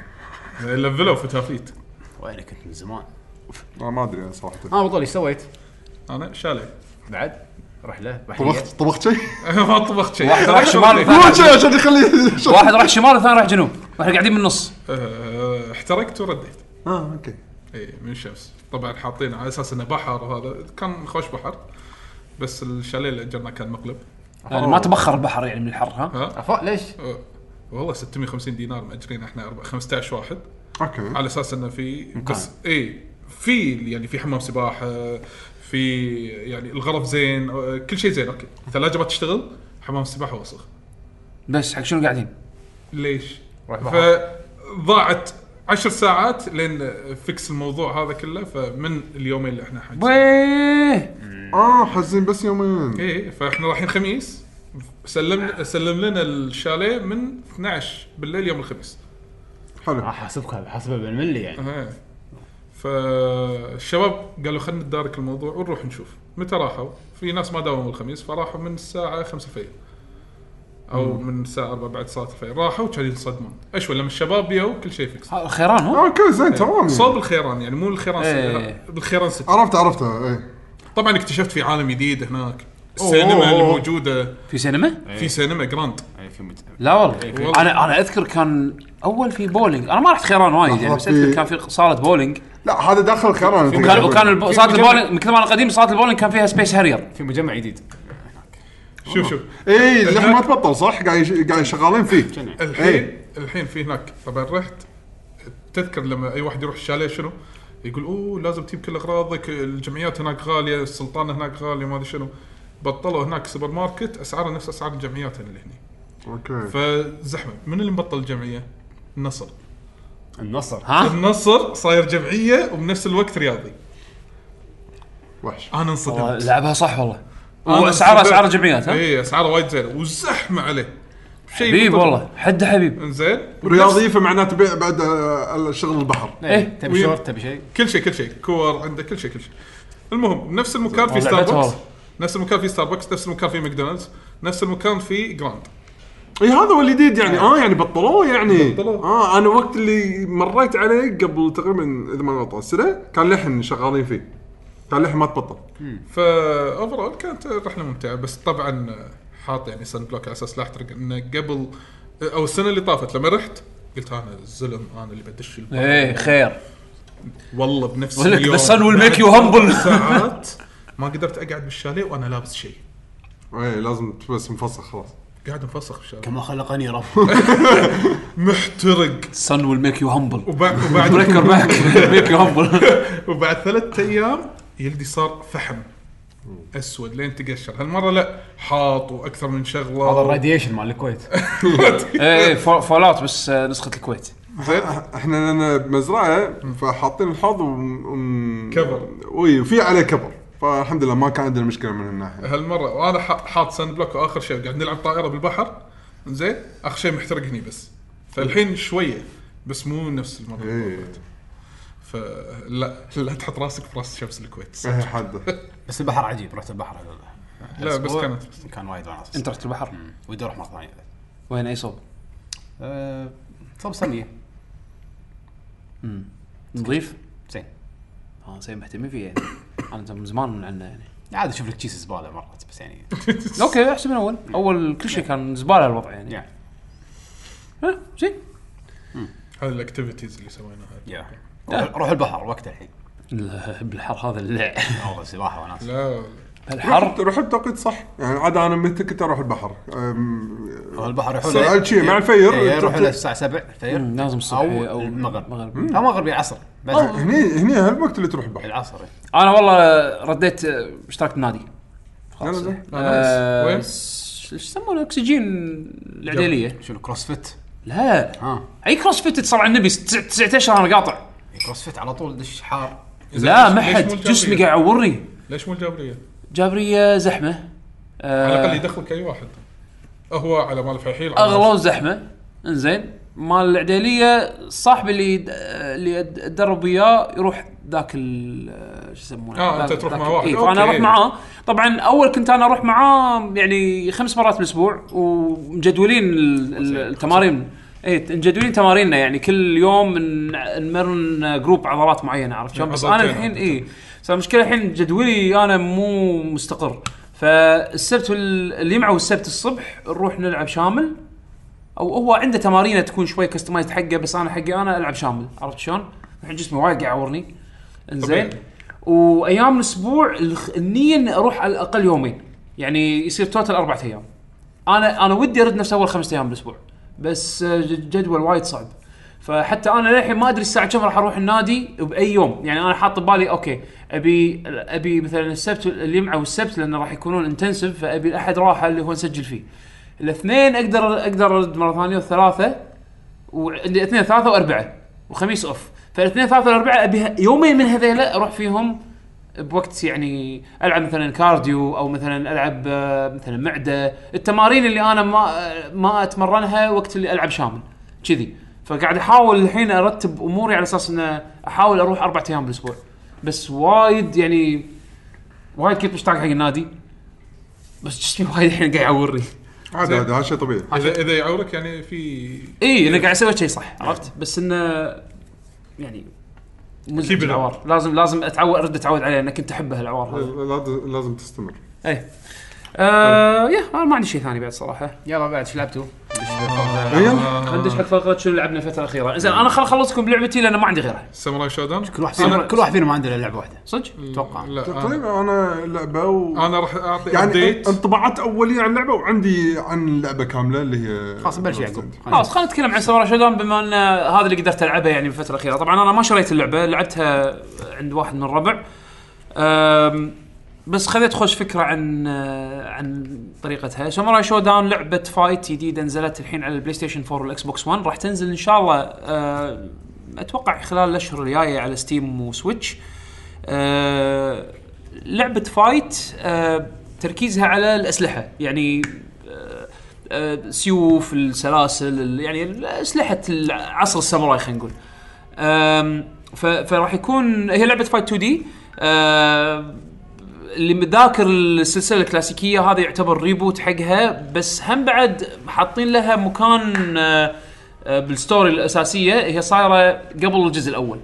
Speaker 5: لفلوا فتافيت
Speaker 6: وينك كنت من زمان
Speaker 1: أنا ما ادري أنا صراحه
Speaker 6: اه بطل ايش سويت؟
Speaker 5: انا شالع
Speaker 6: بعد رحله بحريه
Speaker 1: طبخت طبخت شيء؟
Speaker 5: ما طبخت شيء
Speaker 3: واحد راح شمال
Speaker 1: هو شيء عشان يخليه
Speaker 3: واحد راح شمال والثاني راح جنوب واحنا قاعدين بالنص
Speaker 5: آه، احترقت ورديت
Speaker 1: اه اوكي
Speaker 5: اي من الشمس طبعا حاطين على اساس انه بحر وهذا كان خوش بحر بس الشاليه اللي اجرناه كان مقلب
Speaker 3: يعني ما تبخر البحر يعني من الحر ها
Speaker 5: ها
Speaker 6: عفوا ليش؟
Speaker 5: آه، والله 650 دينار ماجرين احنا أربع- 15 واحد
Speaker 1: اوكي
Speaker 5: على اساس انه في بس اي في يعني في حمام سباحه في يعني الغرف زين آه، كل شيء زين اوكي الثلاجه ما تشتغل حمام السباحه وسخ
Speaker 3: بس حق شنو قاعدين؟
Speaker 5: ليش؟
Speaker 6: روح
Speaker 5: فضاعت عشر ساعات لين فكس الموضوع هذا كله فمن اليومين اللي احنا حاجزين
Speaker 3: ويه
Speaker 1: اه حزين بس يومين
Speaker 5: ايه فاحنا رايحين خميس سلم سلم لنا الشاليه من 12 بالليل يوم الخميس
Speaker 1: حلو
Speaker 6: احاسبك حاسبه آه، بالملي يعني
Speaker 5: اه. فالشباب قالوا خلينا ندارك الموضوع ونروح نشوف متى راحوا في ناس ما داوموا الخميس فراحوا من الساعه 5 الفجر او من الساعه 4 بعد صلاه الفجر راحوا وكانوا ينصدمون اشول لما الشباب يو كل شيء فيكس
Speaker 3: ها، خيران مو؟
Speaker 1: اوكي زين تمام
Speaker 5: صوب الخيران يعني مو الخيران
Speaker 3: إيه.
Speaker 5: س... بالخيران ست
Speaker 1: عرفت عرفته ايه
Speaker 5: طبعا اكتشفت في عالم جديد هناك السينما اللي موجوده
Speaker 3: في سينما؟
Speaker 5: في سينما جراند
Speaker 6: يعني في مت...
Speaker 3: لا والله انا انا اذكر كان اول في بولينج انا ما رحت خيران وايد يعني بس اذكر كان في صاله بولينج
Speaker 1: لا هذا داخل خيران أنت
Speaker 3: وكان
Speaker 1: قاعد
Speaker 3: وكان
Speaker 1: تقول.
Speaker 3: الب- صاله البولينج من كثر ما انا قديم صاله البولينج كان فيها سبيس هارير
Speaker 6: في مجمع جديد
Speaker 5: شوف شوف
Speaker 1: ايه الحين ما تبطل صح؟ قاعد يش- قاعد شغالين فيه
Speaker 5: الحين
Speaker 1: إيه.
Speaker 5: الحين في هناك طبعا رحت تذكر لما اي واحد يروح الشاليه شنو؟ يقول اوه لازم تجيب كل اغراضك الجمعيات هناك غاليه السلطانه هناك غاليه ما ادري شنو بطلوا هناك سوبر ماركت اسعاره نفس اسعار الجمعيات اللي هني
Speaker 1: اوكي
Speaker 5: فزحمه من اللي مبطل الجمعيه؟ النصر
Speaker 6: النصر
Speaker 3: ها؟
Speaker 5: النصر صاير جمعيه وبنفس الوقت رياضي
Speaker 1: وحش
Speaker 5: انا انصدمت
Speaker 3: لعبها صح والله
Speaker 5: أنا إيه.
Speaker 3: واسعار
Speaker 5: انصدمت.
Speaker 3: اسعار الجمعيات ها
Speaker 5: اي اسعاره وايد زينه وزحمه عليه شيء
Speaker 3: حبيب
Speaker 5: مطلع.
Speaker 3: والله حد حبيب
Speaker 5: انزين
Speaker 1: رياضي فمعناته بيع بعد آه، شغل البحر
Speaker 3: إيه.
Speaker 5: وي-
Speaker 6: تبي شورت تبي شيء
Speaker 5: كل شيء كل شيء كور عنده كل شيء كل شيء المهم بنفس المكان في
Speaker 3: والله لعبتها
Speaker 5: ستاربكس
Speaker 3: والله.
Speaker 5: نفس المكان في ستاربكس نفس المكان في ماكدونالدز نفس المكان في جراند
Speaker 1: اي هذا هو الجديد يعني اه يعني بطلوه يعني
Speaker 5: بطلوه.
Speaker 1: اه انا وقت اللي مريت عليه قبل تقريبا اذا ما أنا غلطان سنه كان لحن شغالين فيه كان لحن ما تبطل
Speaker 5: فا اوفرول كانت رحله ممتعه بس طبعا حاط يعني سن بلوك على اساس لا احترق انه قبل او السنه اللي طافت لما رحت قلت انا الزلم انا اللي بدش البحر.
Speaker 3: ايه خير
Speaker 5: والله بنفس
Speaker 3: أقول لك
Speaker 5: اليوم
Speaker 3: the sun will
Speaker 5: بعد
Speaker 3: make you humble.
Speaker 5: ثلاث ساعات ما قدرت اقعد بالشاليه وانا لابس شيء
Speaker 1: اي إيه، لازم بس مفسخ خلاص
Speaker 5: قاعد مفسخ بالشاليه
Speaker 6: كما خلقني رب
Speaker 5: محترق
Speaker 3: sun will make you humble
Speaker 5: وبعد وبعد
Speaker 3: بريكر معك make you humble
Speaker 5: وبعد ثلاثة ايام يلدي صار فحم اسود لين تقشر هالمره لا حاط واكثر من شغله
Speaker 6: هذا الراديشن مال الكويت
Speaker 3: ايه إيه، فول فول اوت بس آه، نسخه الكويت
Speaker 1: احنا لنا بمزرعه فحاطين الحوض و...
Speaker 5: كفر.
Speaker 1: وي وفي عليه كفر فالحمد لله ما كان عندنا مشكله من الناحيه
Speaker 5: هالمره وانا ح- حاط ساند بلوك واخر شيء قاعد نلعب طائره بالبحر زين اخر شيء محترق هني بس فالحين شويه بس مو نفس المره اللي
Speaker 1: إيه.
Speaker 5: طافت. فلا لا تحط راسك في راس شمس الكويت
Speaker 1: اي إيه، حد
Speaker 6: بس البحر عجيب رحت البحر هذا
Speaker 5: لا بس
Speaker 6: أسبوع،
Speaker 5: كانت
Speaker 6: كان وايد وناس
Speaker 3: انت رحت البحر
Speaker 6: مم. ودي اروح مره ثانيه
Speaker 3: وين اي صوب
Speaker 6: أه، صوب سميه
Speaker 3: نظيف
Speaker 6: زين
Speaker 3: اه زين مهتمين فيه يعني انا من زمان عندنا يعني
Speaker 6: عاد اشوف لك كيس زباله مرات بس يعني
Speaker 3: اوكي احسن من اول اول كل شيء كان زباله الوضع يعني
Speaker 6: يا
Speaker 3: ها، زين
Speaker 5: هذه الاكتيفيتيز اللي سويناها
Speaker 6: يا روح روح البحر وقت الحين
Speaker 3: لا، بالحر هذا اللع
Speaker 6: والله سباحه وناس
Speaker 5: لا
Speaker 3: الحر
Speaker 1: رحت رحت توقيت صح يعني عاد انا متى كنت اروح البحر أم،
Speaker 6: روح البحر يحول
Speaker 1: سؤال شي، مع الفير.
Speaker 6: إيه، يروح له الساعه 7 الفير
Speaker 3: مم، لازم الصبح
Speaker 6: او
Speaker 3: أو
Speaker 6: المغرب
Speaker 3: المغرب.
Speaker 6: المغرب او مغرب يا عصر بس
Speaker 1: آه، هني هني هالوقت اللي تروح البحر
Speaker 6: العصر إيه.
Speaker 3: انا والله رديت آه، اشتركت بنادي خلاص
Speaker 1: يلا زين.
Speaker 5: آه، نايس. وين؟
Speaker 3: آه، س- ايش يسمونه اكسجين العديليه
Speaker 6: شنو كروس فيت
Speaker 3: لا
Speaker 6: ها
Speaker 3: اي كروس فيت تصير على النبي ست- تسعة اشهر انا قاطع
Speaker 6: كروس فيت على طول دش حار
Speaker 5: زين،
Speaker 3: لا
Speaker 5: ليش-
Speaker 3: ما حد
Speaker 5: ليش مو الجابرية؟
Speaker 3: جسمي قاعد يعورني
Speaker 5: ليش مو الجابريه؟
Speaker 3: جابريه زحمه آه،
Speaker 5: على الاقل يدخلك اي واحد هو على مال الفحيل
Speaker 3: اغلى زحمه انزين مال العديليه صاحبي اللي يد- اللي يد- اتدرب وياه يروح ذاك ال شو يسمونه
Speaker 5: آه،
Speaker 3: ذاك-
Speaker 5: أنت تروح
Speaker 3: ذاك-
Speaker 5: مع واحد.
Speaker 3: إيه فانا
Speaker 5: أوكي.
Speaker 3: اروح معاه طبعا اول كنت انا اروح معاه يعني خمس مرات بالاسبوع ومجدولين ال- ال- التمارين اي مجدولين تماريننا يعني كل يوم ن- نمرن جروب عضلات معينه عرفت شلون بس انا
Speaker 5: عضلتين
Speaker 3: الحين
Speaker 5: عضلتين.
Speaker 3: اي بس المشكله الحين جدولي انا مو مستقر فالسبت وال- الجمعه والسبت الصبح نروح نلعب شامل او هو عنده تمارينه تكون شوي كستمايزد حقه بس انا حقي انا العب شامل عرفت شلون؟ الحين جسمي وايد قاعد يعورني انزين
Speaker 5: طبيعي.
Speaker 3: وايام الاسبوع الخ- النيه اني اروح على الاقل يومين يعني يصير توتال اربع ايام انا انا ودي ارد نفس اول خمسة ايام بالاسبوع بس آه، ج- جدول وايد صعب فحتى انا للحين ما ادري الساعه كم راح اروح النادي باي يوم يعني انا حاط ببالي اوكي ابي ابي مثلا السبت الجمعه والسبت لان راح يكونون انتنسف فابي الاحد راحه اللي هو نسجل فيه الاثنين اقدر اقدر ارد مره ثانيه والثلاثه وعندي اثنين ثلاثه واربعه وخميس اوف فالاثنين ثلاثه والاربعه ابي يومين من هذيلا اروح فيهم بوقت يعني العب مثلا كارديو او مثلا العب آه، مثلا معده التمارين اللي انا ما آه، ما اتمرنها وقت اللي العب شامل كذي فقاعد احاول الحين ارتب اموري على اساس انه احاول اروح اربع ايام بالاسبوع بس وايد يعني وايد كنت مشتاق حق النادي بس جسمي وايد الحين قاعد يعورني
Speaker 1: عادي عادي هذا شيء طبيعي
Speaker 5: اذا اذا يعورك يعني في
Speaker 3: اي انا إيه، قاعد اسوي شيء صح عرفت بس انه يعني مزعج
Speaker 5: كبيرة.
Speaker 3: العوار لازم لازم اتعود ارد اتعود عليه انا كنت احبه العوار هذا
Speaker 1: لا- لازم تستمر
Speaker 3: اي آه يا أنا ما عندي شيء ثاني بعد صراحه
Speaker 6: يلا بعد ايش لعبتوا؟
Speaker 1: آه.
Speaker 6: دش
Speaker 1: يلا
Speaker 5: آه،
Speaker 3: خلينا ندش حق فقره شنو لعبنا الفتره الاخيره زين انا خل اخلصكم بلعبتي لان ما عندي غيرها
Speaker 5: ساموراي شودان
Speaker 6: كل واحد فينا كل واحد فينا ما عنده الا لعبه واحده
Speaker 3: صدق
Speaker 6: اتوقع
Speaker 5: لا أنا-
Speaker 1: طيب انا لعبه و...
Speaker 5: انا راح اعطي
Speaker 1: يعني
Speaker 5: ابديت
Speaker 1: انطباعات اوليه عن اللعبه وعندي عن اللعبه كامله اللي هي
Speaker 6: خلاص بلش يعقوب
Speaker 3: خلاص خلينا نتكلم عن سامورا شودون بما ان هذا اللي قدرت العبه يعني بالفتره الاخيره طبعا انا ما شريت اللعبه لعبتها عند واحد من الربع أم، بس خذيت خوش فكره عن آه، عن طريقتها ساموراي شوداون لعبه فايت جديده نزلت الحين على البلاي ستيشن 4 والاكس بوكس 1 راح تنزل ان شاء الله آه، اتوقع خلال الاشهر الجايه على ستيم وسويتش آه، لعبه فايت آه، تركيزها على الاسلحه يعني آه، آه، سيوف السلاسل ال- يعني اسلحه الع- عصر الساموراي خلينا نقول آم، ف- فراح يكون هي لعبه فايت 2 دي اللي مذاكر السلسله الكلاسيكيه هذا يعتبر ريبوت حقها بس هم بعد حاطين لها مكان آه، آه، بالستوري الاساسيه هي صايره قبل الجزء الاول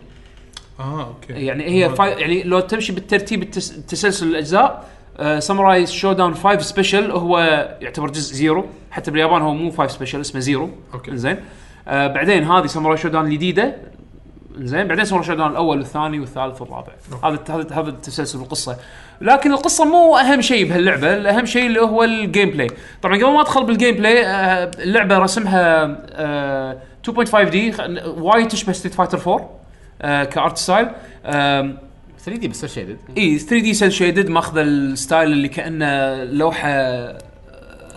Speaker 5: اه اوكي
Speaker 3: يعني هي فا... يعني لو تمشي بالترتيب التس... آه، تسلسل الاجزاء ساموراي شو داون 5 سبيشل هو يعتبر جزء زيرو حتى باليابان هو مو 5 سبيشل اسمه زيرو
Speaker 5: أوكي.
Speaker 3: زين آه بعدين هذه ساموراي شو داون الجديده زين بعدين ساموراي شو داون الاول والثاني والثالث والرابع هذا الت- هذا هذا التسلسل القصه لكن القصه مو اهم شيء بهاللعبه الاهم شيء اللي هو الجيم بلاي طبعا قبل ما ادخل بالجيم بلاي آه اللعبه رسمها آه 2.5 دي وايد تشبه ستريت فايتر 4 آه كارت ستايل آم، إيه،
Speaker 6: 3 دي بس شيدد
Speaker 3: اي 3 دي سيل شيدد ماخذ الستايل اللي كانه لوحه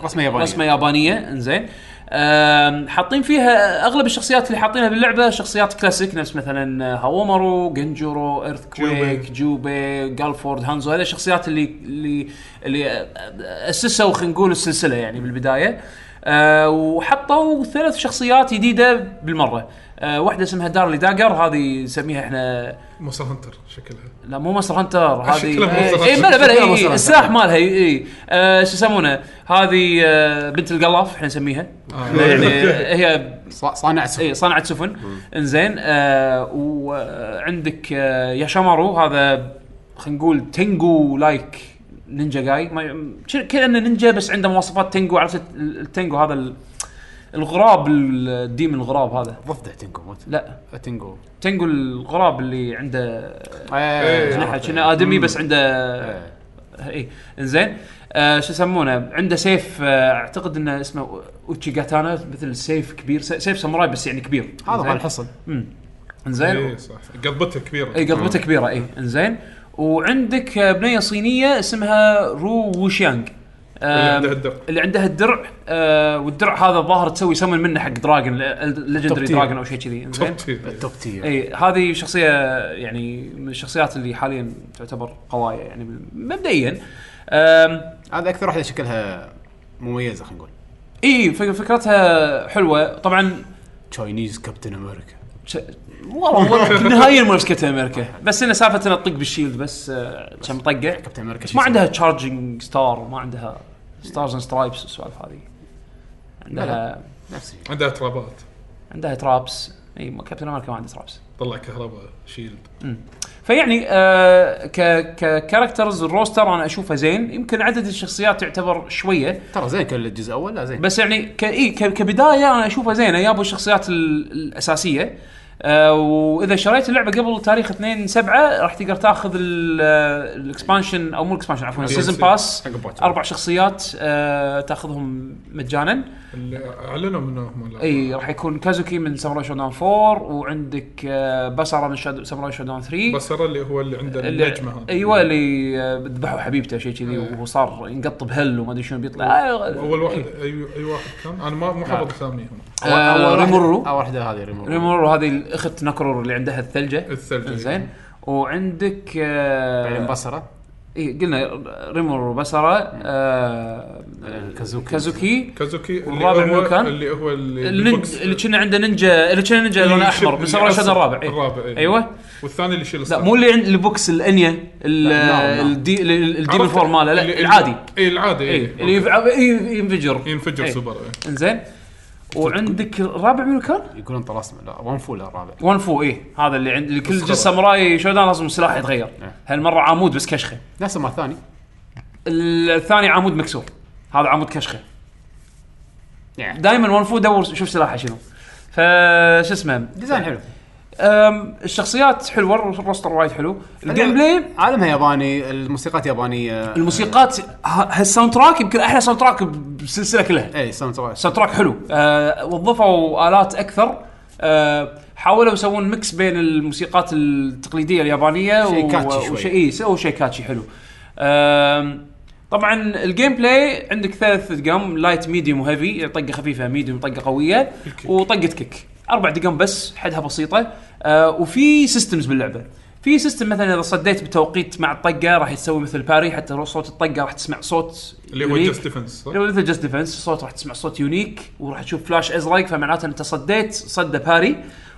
Speaker 6: رسمه يابانيه
Speaker 3: رسمه يابانيه انزين آم، حاطين فيها اغلب الشخصيات اللي حاطينها باللعبه شخصيات كلاسيك نفس مثلا هاومرو جنجورو ايرث كويك جوبي جالفورد هانزو هذه الشخصيات اللي اللي اللي اسسوا خلينا نقول السلسله يعني بالبدايه آه، وحطوا ثلاث شخصيات جديده بالمره آه، واحده اسمها دارلي داجر هذه نسميها احنا
Speaker 5: موسى هنتر شكلها
Speaker 3: لا مو مصر هنتر هذه
Speaker 5: شكلها مونستر هانتر.
Speaker 3: اي بلا بلا
Speaker 6: شكلها
Speaker 3: إي-
Speaker 6: مونستر
Speaker 3: اي
Speaker 6: هانتر.
Speaker 3: السلاح مالها اي اي آه، شو يسمونه هذه آه، بنت القلاف احنا نسميها
Speaker 5: آه.
Speaker 3: يعني هي
Speaker 6: صا- صانع سفن
Speaker 3: اي صنعت سفن انزين آه وعندك آه ياشامارو هذا خلينا نقول تنجو لايك نينجا جاي ما- ش- كانه نينجا بس عنده مواصفات تنجو عرفت ال- التنجو هذا ال- الغراب ال- الديم الغراب هذا
Speaker 6: ضفدع تنكو موت
Speaker 3: لا
Speaker 6: تنكو
Speaker 3: تنجو الغراب اللي عنده
Speaker 6: إيه،
Speaker 3: جناح
Speaker 6: عرفت.
Speaker 3: كنا ادمي بس عنده
Speaker 6: إيه.
Speaker 3: اي انزين آه شو يسمونه عنده سيف آه اعتقد انه اسمه اوتشيغاتانا مثل سيف كبير س- سيف ساموراي بس يعني كبير
Speaker 6: هذا
Speaker 3: إنزين؟
Speaker 6: مال الحصن
Speaker 3: انزين
Speaker 5: اي إيه، صح قضبته كبيره
Speaker 3: اي قضبته كبيره اي انزين إيه. وعندك آه، بنيه صينيه اسمها رو ووشيانغ آه،
Speaker 5: عندها الدرع.
Speaker 3: اللي عندها الدرع آه والدرع هذا الظاهر تسوي سمن منه حق دراجون ليجندري
Speaker 6: Top tier.
Speaker 3: دراجون او شيء كذي انزين
Speaker 5: توب تير
Speaker 6: توب تير
Speaker 3: اي إيه، هذه شخصيه يعني من الشخصيات اللي حاليا تعتبر قوايا يعني مبدئيا أم،
Speaker 6: هذا اكثر واحده شكلها مميزه خلينا نقول
Speaker 3: اي فك- فكرتها حلوه طبعا
Speaker 6: تشاينيز كابتن امريكا
Speaker 3: ش- والله والله نهائيا مو نفس كابتن امريكا بس انه سالفه انها تطق بالشيلد بس آه، كم طقه
Speaker 6: كابتن امريكا
Speaker 3: بس ما عندها تشارجنج ستار وما عندها ستارز اند سترايبس والسوالف هذه عندها
Speaker 6: نفس الشيء
Speaker 5: عندها ترابات
Speaker 3: عندها ترابس اي ما- كابتن امريكا ما عندها ترابس
Speaker 5: طلع كهرباء شيلد
Speaker 3: فيعني آه ك ككاركترز الروستر انا اشوفه زين يمكن عدد الشخصيات يعتبر شويه
Speaker 6: ترى زين كان الجزء الاول لا زين
Speaker 3: بس يعني ك إي ك- كبدايه انا اشوفها زينه يابوا الشخصيات ال- الاساسيه آه واذا شريت اللعبه قبل تاريخ 2 7 راح تقدر تاخذ ال- آه، الاكسبانشن او مو الاكسبانشن عفوا السيزون
Speaker 5: DLC.
Speaker 3: باس
Speaker 6: حق باتمان.
Speaker 3: اربع شخصيات آه تاخذهم مجانا
Speaker 5: اللي اعلنوا منه هم
Speaker 3: اي راح يكون كازوكي من ساموراي شودان 4 وعندك آه بسرة من شاد- ساموراي شودان 3
Speaker 5: بسر اللي هو اللي عنده
Speaker 3: اللي-
Speaker 5: النجمه هذه
Speaker 3: ايوه اللي آه، ذبحوا حبيبته شيء كذي
Speaker 5: إيه.
Speaker 3: وهو صار ينقط بهل وما ادري شنو بيطلع آه،
Speaker 5: اول واحد اي اي واحد كان انا ما مو حافظ اساميهم
Speaker 6: أول- أول
Speaker 3: آه،
Speaker 6: واحدة-
Speaker 3: ريمورو.
Speaker 6: اول واحده هذه ريمورو
Speaker 3: ريمور هذه الاخت نكرور اللي عندها الثلجه
Speaker 5: الثلجة.
Speaker 3: زين وعندك
Speaker 6: بعدين
Speaker 3: آه
Speaker 6: بصره
Speaker 3: إيه قلنا ريمور وبصره آه
Speaker 6: كازوكي.
Speaker 3: كازوكي
Speaker 5: كازوكي اللي
Speaker 3: والرابع منو
Speaker 5: هو
Speaker 3: كان؟
Speaker 5: اللي هو اللي
Speaker 3: النينج- اللي كنا عنده نينجا اللي كنا
Speaker 5: إيه،
Speaker 3: نينجا لونه احمر من ساموراي شادو الرابع إيه.
Speaker 5: الرابع إيه.
Speaker 3: ايوه
Speaker 5: والثاني اللي يشيل
Speaker 3: لا
Speaker 5: السلاح.
Speaker 3: مو اللي عند البوكس الانيا ال-
Speaker 6: لا، لا.
Speaker 3: الدي ال- الديمون
Speaker 5: عرفت؟
Speaker 3: فور ماله
Speaker 5: اللي- إيه،
Speaker 3: لا العادي
Speaker 5: اي العادي
Speaker 3: اي
Speaker 5: اي
Speaker 3: اللي يفع- ي- ينفجر
Speaker 5: ينفجر
Speaker 3: إيه.
Speaker 5: سوبر إيه.
Speaker 3: انزين وعندك الرابع منو كان؟
Speaker 6: يقولون طلاسم لا ونفو لا الرابع
Speaker 3: وان فو اي هذا اللي عند اللي كل
Speaker 5: مسخرة.
Speaker 3: جزء ساموراي شودان لازم سلاح يتغير
Speaker 6: إيه.
Speaker 3: هالمره عمود بس كشخه
Speaker 6: نفس ما الثاني
Speaker 3: الثاني عمود مكسور هذا عمود كشخه
Speaker 6: يعني.
Speaker 3: دائما وان فو دور شوف سلاحه شنو ف شو اسمه
Speaker 6: ديزاين حلو
Speaker 3: أم، الشخصيات حلوه الروستر وايد حلو الجيم بلاي
Speaker 6: عالمها ياباني الموسيقات يابانيه
Speaker 3: الموسيقات ه- هالساوند تراك يمكن احلى ساوند تراك بالسلسله كلها
Speaker 6: اي ساوند تراك
Speaker 3: ساوند تراك حلو أه وظفوا الات اكثر أه حاولوا يسوون ميكس بين الموسيقات التقليديه اليابانيه
Speaker 6: شيء كاتشي شوي.
Speaker 3: وشيء اي إيه، سووا شيء كاتشي حلو أم، طبعا الجيم بلاي عندك ثلاث دقم لايت ميديوم وهيفي طقه خفيفه ميديوم طقه قويه آه، وطقه كيك اربع دقم بس حدها بسيطه أه وفي سيستمز باللعبه في سيستم مثلا اذا صديت بتوقيت مع الطقه راح تسوي مثل باري حتى لو صوت الطقه راح تسمع صوت
Speaker 5: اللي هو
Speaker 3: unique.
Speaker 5: جاست ديفنس
Speaker 3: لو مثل جاست ديفنس الصوت راح تسمع صوت يونيك وراح تشوف فلاش ازرق فمعناته انت صديت صده باري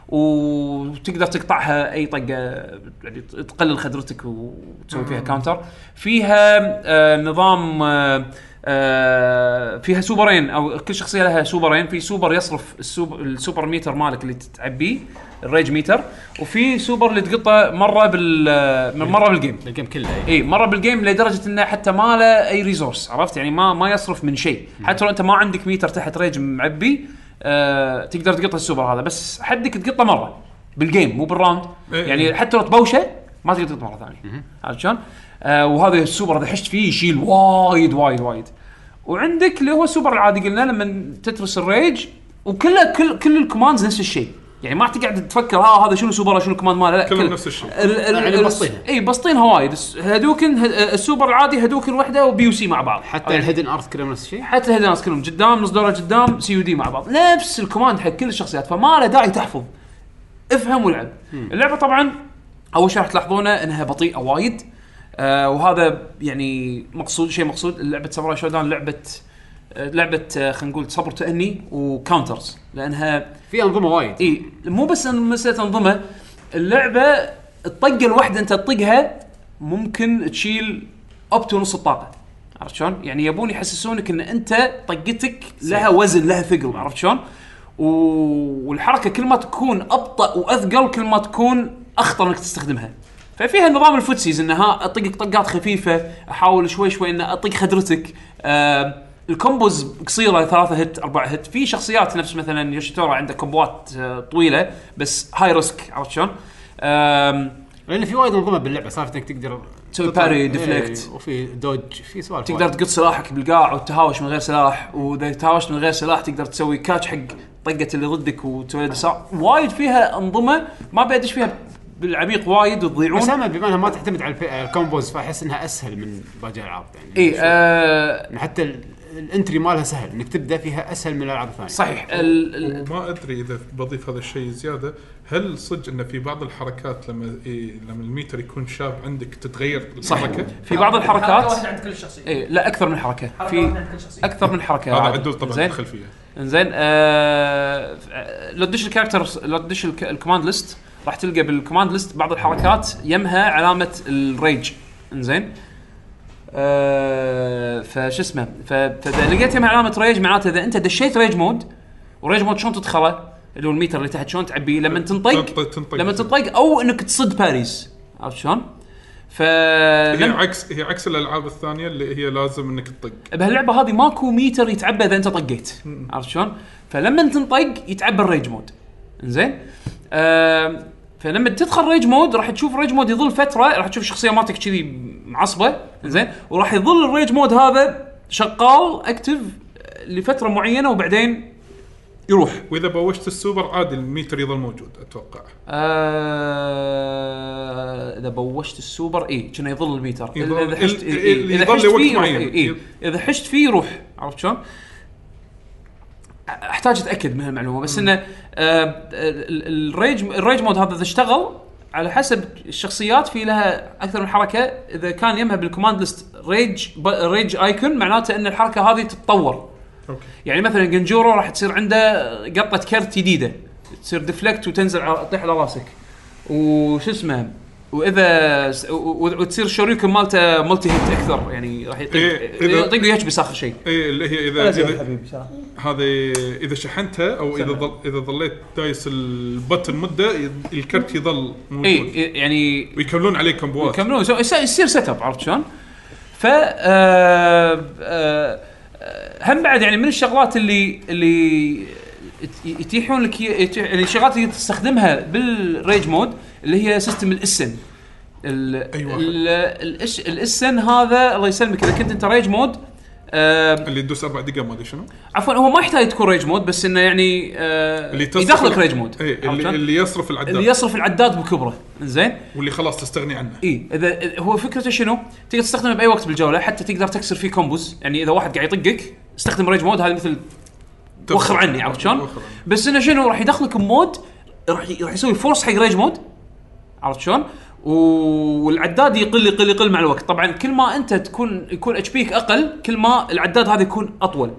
Speaker 3: وتقدر تقطعها اي طقه يعني تقلل خدرتك وتسوي فيها كاونتر فيها آه نظام آه آه فيها سوبرين او كل شخصيه لها سوبرين في سوبر يصرف السوبر, السوبر ميتر مالك اللي تعبيه الريج ميتر وفي سوبر اللي تقطه مره بال مره بالجيم
Speaker 6: الجيم كله
Speaker 3: اي مره بالجيم لدرجه انه حتى ما له اي ريسورس عرفت يعني ما ما يصرف من شيء حتى لو انت ما عندك ميتر تحت ريج معبي آه تقدر تقط السوبر هذا بس حدك تقطه مره بالجيم مو بالراوند
Speaker 5: إيه.
Speaker 3: يعني حتى لو تبوشه ما تقدر تقط مره ثانيه عرفت شلون؟ آه وهذا السوبر اذا حشت فيه يشيل وايد وايد وايد وعندك اللي هو السوبر العادي قلنا لما تترس الريج وكله كل كل الكوماندز نفس الشيء يعني ما تقعد تفكر ها هذا شنو سوبره شنو الكوماند ماله لا
Speaker 5: كلهم
Speaker 3: كل-
Speaker 5: نفس الشيء.
Speaker 3: ال- ال-
Speaker 6: يعني
Speaker 3: ال-
Speaker 6: بسطينها.
Speaker 3: اي بسطينها وايد إيه، الس- هدوكن هد- السوبر العادي هدوكن وحده وبي سي مع بعض يعني
Speaker 6: حتى الهيدن ارث كلهم نفس الشيء
Speaker 3: حتى الهيدنس كلهم قدام نص دوره قدام سي يو دي مع بعض نفس الكوماند حق كل الشخصيات فما له داعي تحفظ افهم والعب اللعبه طبعا اول شيء راح تلاحظونه انها بطيئه وايد آه وهذا يعني مقصود شيء مقصود لعبه ساموراي شودان لعبه آه، لعبه آه، خلينا نقول صبر تاني وكاونترز لانها
Speaker 6: في انظمه وايد
Speaker 3: اي إيه، مو بس ان مساله انظمه اللعبه الطقه الواحده انت تطقها ممكن تشيل اب تو نص الطاقه عرفت شلون؟ يعني يبون يحسسونك ان انت طقتك لها وزن لها ثقل عرفت شلون؟ و... والحركه كل ما تكون ابطا واثقل كل ما تكون اخطر انك تستخدمها. ففيها نظام الفوتسيز انها اطقك طقات خفيفه احاول شوي شوي ان اطق خدرتك آه الكومبوز قصيره ثلاثة هت أربعة هت في شخصيات نفس مثلا يوشيتورا عنده كومبوات آه، طويله بس هاي ريسك عرفت شلون؟ آم،
Speaker 6: لان في وايد انظمه باللعبه سالفه انك تقدر
Speaker 3: تسوي
Speaker 6: تطلع-
Speaker 3: parry،
Speaker 6: إيه،
Speaker 3: deflect.
Speaker 6: وفي دوج في سوالف
Speaker 3: تقدر تقط سلاحك بالقاع وتتهاوش من غير سلاح واذا تهاوشت من غير سلاح تقدر تسوي كاتش حق طقه اللي ضدك وتسوي له دسا- وايد فيها انظمه ما بدش فيها بالعميق وايد وتضيعون
Speaker 6: بس انا بما انها ما تعتمد على الف- على الكومبوز فاحس انها اسهل من باقي الالعاب يعني
Speaker 3: اي
Speaker 6: شوي.
Speaker 3: آه
Speaker 6: إن حتى ال- الانتري مالها سهل انك تبدا فيها اسهل من الالعاب الثانيه
Speaker 3: صحيح ال- ال-
Speaker 5: وما ادري اذا بضيف هذا الشيء زياده هل صدق ان في بعض الحركات لما إيه لما الميتر يكون شاب عندك تتغير الحركه
Speaker 3: في بعض
Speaker 7: حركه
Speaker 3: الحركات
Speaker 7: واحده عند كل شخصيه
Speaker 3: اي لا اكثر من حركه
Speaker 7: حركة
Speaker 3: في
Speaker 7: واحدة عند كل شخصية.
Speaker 3: اكثر من حركه
Speaker 5: هذا
Speaker 3: عادي.
Speaker 5: آه، عدول طبعا
Speaker 3: زين
Speaker 5: الخلفيه
Speaker 3: انزين آه لو تدش الكاركتر لو تدش الك- الكوماند ليست راح تلقى بالكوماند ليست بعض الحركات يمها علامه الريج انزين آه فشو اسمه ف- فاذا لقيت يمها علامه ريج معناته اذا انت دشيت ريج مود وريج مود شلون تدخله اللي هو الميتر اللي تحت شلون تعبيه لما تنطق
Speaker 5: تنطق- طيب، تنطق.
Speaker 3: طيب. لما تنطق او انك تصد باريس عرفت شلون؟ ف
Speaker 5: هي
Speaker 3: لما-
Speaker 5: عكس هي عكس الالعاب الثانيه اللي هي لازم انك تطق
Speaker 3: بهاللعبه هذه ماكو ميتر يتعبى اذا انت طقيت عرفت شلون؟ فلما تنطق يتعبى الريج مود زين فلما تدخل ريج مود راح تشوف ريج مود يظل فتره راح تشوف الشخصيه مالتك كذي معصبه زين وراح يظل الريج مود هذا شغال اكتف لفتره معينه وبعدين يروح
Speaker 5: واذا بوشت السوبر عادي الميتر يظل موجود اتوقع
Speaker 3: آه، اذا بوشت السوبر اي كنا يظل الميتر
Speaker 5: يظل-
Speaker 3: اذا حشت
Speaker 5: ال-
Speaker 3: إي،
Speaker 5: ال-
Speaker 3: اذا
Speaker 5: يظل
Speaker 3: حشت
Speaker 5: لوقت
Speaker 3: فيه يروح
Speaker 5: معين.
Speaker 3: إي، إي.
Speaker 5: يب.
Speaker 3: اذا حشت فيه يروح عرفت شلون؟ احتاج اتاكد من هالمعلومه بس انه آه، ال- ال- الريج الريج مود هذا اذا اشتغل على حسب الشخصيات في لها اكثر من حركه اذا كان يمها بالكوماند ليست ريج ب- ريج ايكون معناته ان الحركه هذه تتطور
Speaker 5: اوكي
Speaker 3: يعني مثلا جنجورو راح تصير عنده قطه كرت جديده تصير ديفلكت وتنزل على تطيح على راسك وش اسمه واذا س- و- و- وتصير الشوريكن مالته ملتي هيت اكثر يعني راح يطق
Speaker 5: إيه، إذا-
Speaker 3: يطق ويكبس اخر شيء
Speaker 5: اي إيه، اللي هي
Speaker 7: لا
Speaker 5: اذا
Speaker 7: زين
Speaker 5: إذا-
Speaker 7: حبيبي شلون؟
Speaker 5: هذه اذا شحنتها او اذا ظل اذا ظليت دايس البتن مده يض- الكرت يظل
Speaker 3: اي
Speaker 5: موجود
Speaker 3: يعني
Speaker 5: ويكملون عليه كومبوات
Speaker 3: يكملون يسوون- يصير- يصير سيت اب عرفت شلون؟ ف آه، آه، آه، هم بعد يعني من الشغلات اللي اللي يت- يتيحون لك ي- يتيح- يعني الشغلات اللي تستخدمها بالريج مود اللي هي سيستم الاسن ال-
Speaker 5: أي واحد.
Speaker 3: ال- الإس- الاسن هذا الله يسلمك اذا كنت انت ريج مود آه،
Speaker 5: اللي يدوس اربع دقائق ما ادري شنو
Speaker 3: عفوا هو ما يحتاج تكون ريج مود بس انه يعني آه،
Speaker 5: اللي تصرف-
Speaker 3: يدخلك ريج مود
Speaker 5: اي
Speaker 3: عرفت
Speaker 5: اللي,
Speaker 3: شلون؟
Speaker 5: اللي يصرف العداد
Speaker 3: اللي يصرف إيه، العداد بكبره زين
Speaker 5: واللي خلاص تستغني عنه
Speaker 3: اي اذا إذا- هو فكرته شنو؟ تقدر تستخدمه باي وقت بالجوله حتى تقدر تكسر فيه كومبوز يعني اذا واحد قاعد يطقك استخدم ريج مود هذا مثل وخر عني عرفت شلون؟
Speaker 5: وخر عني.
Speaker 3: بس انه شنو راح يدخلك بمود راح ي- راح يسوي فورس حق ريج مود عرفت شلون؟ و- والعداد يقل يقل يقل مع الوقت طبعا كل ما انت تكون يكون اتش بيك اقل كل ما العداد هذا يكون اطول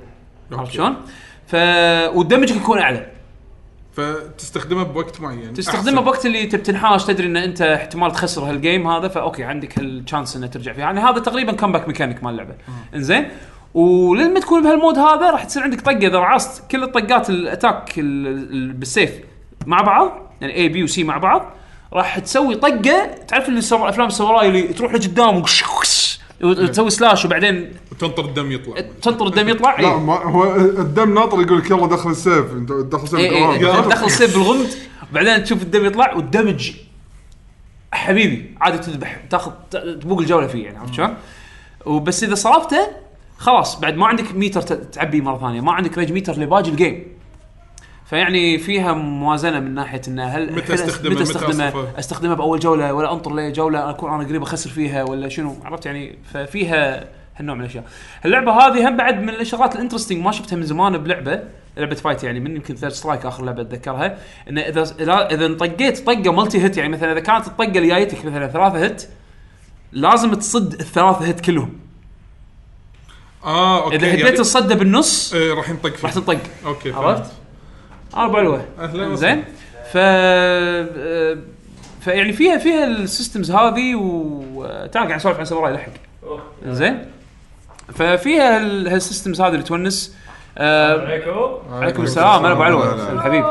Speaker 3: عرفت
Speaker 5: أوكي.
Speaker 3: شلون؟ ف ودمجك يكون اعلى
Speaker 5: فتستخدمه بوقت معين
Speaker 3: تستخدمه بوقت اللي تبي تنحاش تدري ان انت احتمال تخسر هالجيم هذا فاوكي عندك هالشانس انه ترجع فيه يعني هذا تقريبا كمباك ميكانيك مال اللعبه انزين ولما تكون بهالمود هذا راح تصير عندك طقه اذا رعصت كل الطقات الاتاك ال- ال- بالسيف مع بعض يعني اي بي وسي مع بعض راح تسوي طقه تعرف اللي سر- افلام الساموراي اللي تروح لقدام وكش- كش- وتسوي سلاش وبعدين
Speaker 5: وتنطر الدم يطلع
Speaker 3: تنطر الدم يطلع إيه.
Speaker 1: لا
Speaker 3: إي.
Speaker 1: ما هو الدم ناطر يقول لك يلا دخل السيف انت دخل السيف
Speaker 3: اي اي
Speaker 1: بالغلط.
Speaker 3: تدخل سيف بالغمد بعدين تشوف الدم يطلع والدمج حبيبي عادي تذبح تاخذ ت- تبوق الجوله فيه يعني عرفت شلون؟ وبس اذا صرفته خلاص بعد ما عندك ميتر ت- تعبيه مره ثانيه ما عندك ريج ميتر لباقي الجيم فيعني فيها موازنه من ناحيه انه هل
Speaker 5: متى
Speaker 3: الحين أس-
Speaker 5: استخدمه؟
Speaker 3: متى
Speaker 5: متى
Speaker 3: استخدمه
Speaker 5: أصرفه؟
Speaker 3: استخدمه باول جوله ولا انطر لي جوله اكون انا قريب اخسر فيها ولا شنو عرفت يعني ففيها هالنوع من الاشياء اللعبه هذه هم بعد من الشغلات الانترستنج ما شفتها من زمان بلعبه لعبه فايت يعني من يمكن ثيرد سترايك اخر لعبه اتذكرها انه اذا إذا- اذا انطقيت طقه ملتي هيت يعني مثلا اذا كانت الطقه اللي جايتك مثلا ثلاثه هيت لازم تصد الثلاثه هيت كلهم
Speaker 5: اه اوكي
Speaker 3: اذا
Speaker 5: يعني-
Speaker 3: هديت الصده بالنص
Speaker 5: إيه، راح ينطق
Speaker 3: راح آه،
Speaker 5: فيه
Speaker 3: تنطق
Speaker 5: اوكي
Speaker 3: عرفت؟
Speaker 5: عرفت
Speaker 3: اربع لوه
Speaker 5: أهلاً وسهلاً.
Speaker 3: زين ف آه، فيعني فيها فيها السيستمز هذه وتعال قاعد نسولف عن ساموراي لحق زين ففيها ال- هالسيستمز هذه اللي تونس آه،
Speaker 7: عليكم
Speaker 3: عليكم السلام انا ابو علوه الحبيب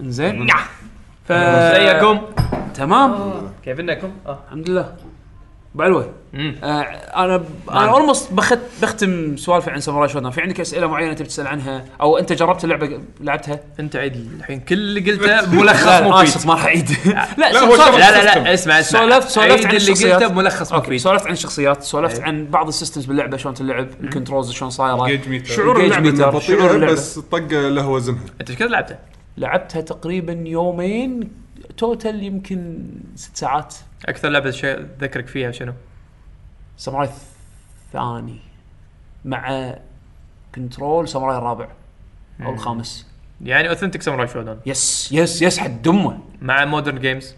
Speaker 3: زين ف
Speaker 6: آه.
Speaker 7: ازيكم
Speaker 3: تمام
Speaker 7: كيفنكم؟ اه
Speaker 3: الحمد لله ابو علوه
Speaker 7: مم.
Speaker 3: آه، انا ب- انا اولموست بخت بختم سوالفي عن ساموراي شودنا في عندك اسئله معينه تبي تسال عنها او انت جربت اللعبه لعبتها؟
Speaker 7: انت عيد الحين كل اللي قلته
Speaker 3: لا،
Speaker 7: ملخص
Speaker 3: لا،
Speaker 7: مفيد
Speaker 3: اسف ما راح اعيد لا
Speaker 5: لا، هو
Speaker 3: سولفت-
Speaker 5: شرح
Speaker 7: لا لا لا اسمع اسمع
Speaker 3: سولفت- سولفت
Speaker 7: عيد
Speaker 3: عن
Speaker 7: اللي
Speaker 3: الشخصيات.
Speaker 7: قلته بملخص
Speaker 3: اوكي
Speaker 7: مفيد
Speaker 3: سولفت عن الشخصيات سولفت
Speaker 7: أي.
Speaker 3: عن بعض السيستمز باللعبه شلون تلعب الكنترولز شلون صايره
Speaker 5: Engage meter.
Speaker 3: شعور
Speaker 1: Engage
Speaker 3: اللعبه
Speaker 1: meter
Speaker 3: ترى، شعور
Speaker 1: بطيئه
Speaker 3: اللعبه
Speaker 1: بس الطقه له وزنها
Speaker 7: انت ايش كثر لعبته؟
Speaker 3: لعبتها تقريبا يومين توتال يمكن ست ساعات
Speaker 7: اكثر لعبه شيء تذكرك فيها شنو؟
Speaker 3: ساموراي الثاني مع كنترول ساموراي الرابع او الخامس
Speaker 7: يعني اوثنتيك ساموراي شودون
Speaker 3: يس يس يس حد دمه
Speaker 7: مع مودرن جيمز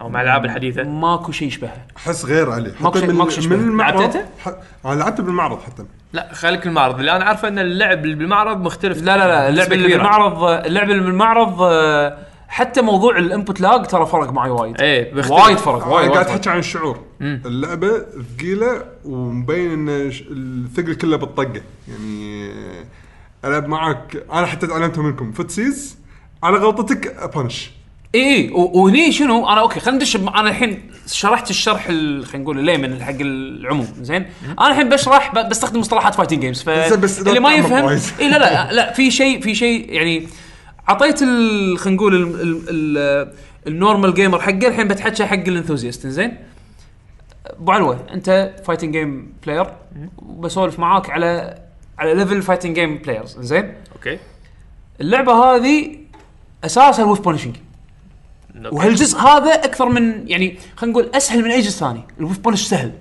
Speaker 7: او مع الالعاب الحديثه
Speaker 3: ماكو شيء يشبهها
Speaker 1: احس غير عليه
Speaker 3: ماكو شيء-
Speaker 1: من,
Speaker 3: ماكو شيء
Speaker 1: من
Speaker 3: يشبه.
Speaker 1: المعرض
Speaker 3: لعبته
Speaker 1: ح... انا لعبته بالمعرض حتى
Speaker 7: لا خليك المعرض اللي انا عارفه ان اللعب اللي بالمعرض مختلف
Speaker 3: لا لا لا اللعبه
Speaker 7: بنسبة
Speaker 3: اللي
Speaker 7: كبيرة.
Speaker 3: بالمعرض اللعبه اللي بالمعرض آه، حتى موضوع الانبوت لاج ترى فرق معي وايد
Speaker 7: ايه بيختلف.
Speaker 3: وايد فرق
Speaker 1: انا
Speaker 3: وايد
Speaker 1: قاعد
Speaker 3: وايد
Speaker 1: احكي عن الشعور اللعبه ثقيله ومبين ان ش- الثقل كله بالطقه يعني العب معك انا حتى تعلمتها منكم فوتسيز على غلطتك بانش
Speaker 3: اي إيه، وهني شنو انا اوكي خلينا ندش بم- انا الحين شرحت الشرح ال- خلينا نقول الليمن حق العموم زين انا الحين بشرح ب- بستخدم مصطلحات فايتنج جيمز ف
Speaker 1: زين، بس لا
Speaker 3: اللي ما
Speaker 1: تعمق
Speaker 3: يفهم
Speaker 1: وايد.
Speaker 3: اي لا لا لا في شيء في شيء يعني عطيت ال- خلينا نقول ال- ال- ال- النورمال جيمر حقه الحين بتحكى حق الانثوزيست زين ابو علوه انت فايتنج جيم بلاير وبسولف معاك على على ليفل فايتنج جيم بلايرز زين
Speaker 7: اوكي
Speaker 3: اللعبه هذه اساسها الويف بونشنج
Speaker 7: نوب.
Speaker 3: وهالجزء هذا اكثر من يعني خلينا نقول اسهل من اي جزء ثاني الويف بولش سهل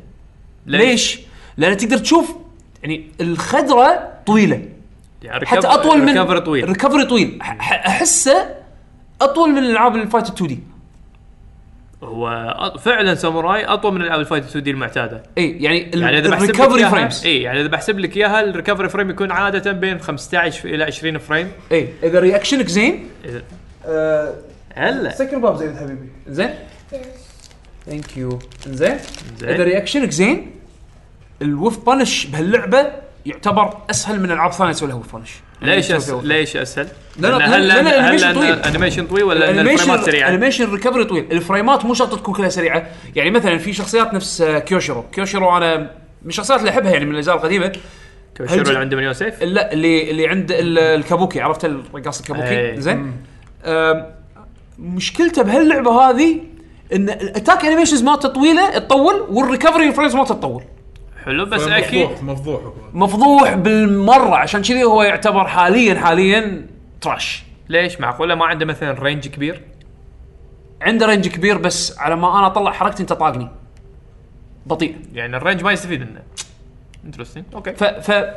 Speaker 3: ليش؟, لان تقدر تشوف يعني الخدره طويله
Speaker 7: يعني
Speaker 3: حتى
Speaker 7: ريكفر-
Speaker 3: اطول من
Speaker 7: ريكفر طويل
Speaker 3: ريكفري طويل أح- أح- احسه اطول من العاب الفايت 2 دي
Speaker 7: هو أط- فعلا ساموراي اطول من العاب الفايت 2 دي المعتاده
Speaker 3: اي يعني, ال-
Speaker 7: يعني اذا بحسب لك
Speaker 3: الريكفري
Speaker 7: إياها-
Speaker 3: فريمز
Speaker 7: اي يعني اذا بحسب لك اياها الريكفري فريم يكون عاده بين 15 الى 20 فريم
Speaker 3: اي اذا رياكشنك زين
Speaker 7: إذا-
Speaker 3: آه،
Speaker 7: هلا
Speaker 3: سكر باب زين حبيبي زين ثانك يو زين
Speaker 7: زين.
Speaker 3: اذا رياكشنك زين الوف بانش بهاللعبه يعتبر اسهل من العاب ثانيه تسوي لها يعني وف بانش
Speaker 7: ليش أسهل؟ ليش اسهل؟
Speaker 3: لا، لا،
Speaker 7: لأن-
Speaker 3: لا، لا،
Speaker 7: هل
Speaker 3: لا، الأنيميشن
Speaker 7: هل
Speaker 3: طويل.
Speaker 7: أن- انيميشن طويل ولا ان الفريمات
Speaker 3: الانيميشن
Speaker 7: سريعه؟
Speaker 3: الانيميشن ريكفري طويل الفريمات مو شرط تكون كلها سريعه يعني مثلا في شخصيات نفس آه، كيوشيرو كيوشيرو انا من الشخصيات اللي احبها يعني من الاجزاء القديمه
Speaker 7: كوشيرو
Speaker 3: هل-
Speaker 7: اللي عنده مليون سيف
Speaker 3: لا اللي اللي عند ال- الكابوكي عرفت الرقاص الكابوكي
Speaker 7: أي.
Speaker 3: زين آم، مشكلته بهاللعبه هذه ان الاتاك انيميشنز مالته طويله تطول والريكفري فريمز مالته تطول
Speaker 7: حلو بس
Speaker 5: مفضوح-
Speaker 7: اكيد
Speaker 5: مفضوح هو
Speaker 3: مفضوح بالمره عشان كذي هو يعتبر حاليا حاليا تراش
Speaker 7: ليش معقوله ما عنده مثلا رينج كبير؟
Speaker 3: عنده رينج كبير بس على ما انا اطلع حركتي انت طاقني بطيء
Speaker 7: يعني الرينج ما يستفيد منه انترستنج اوكي
Speaker 3: ف ف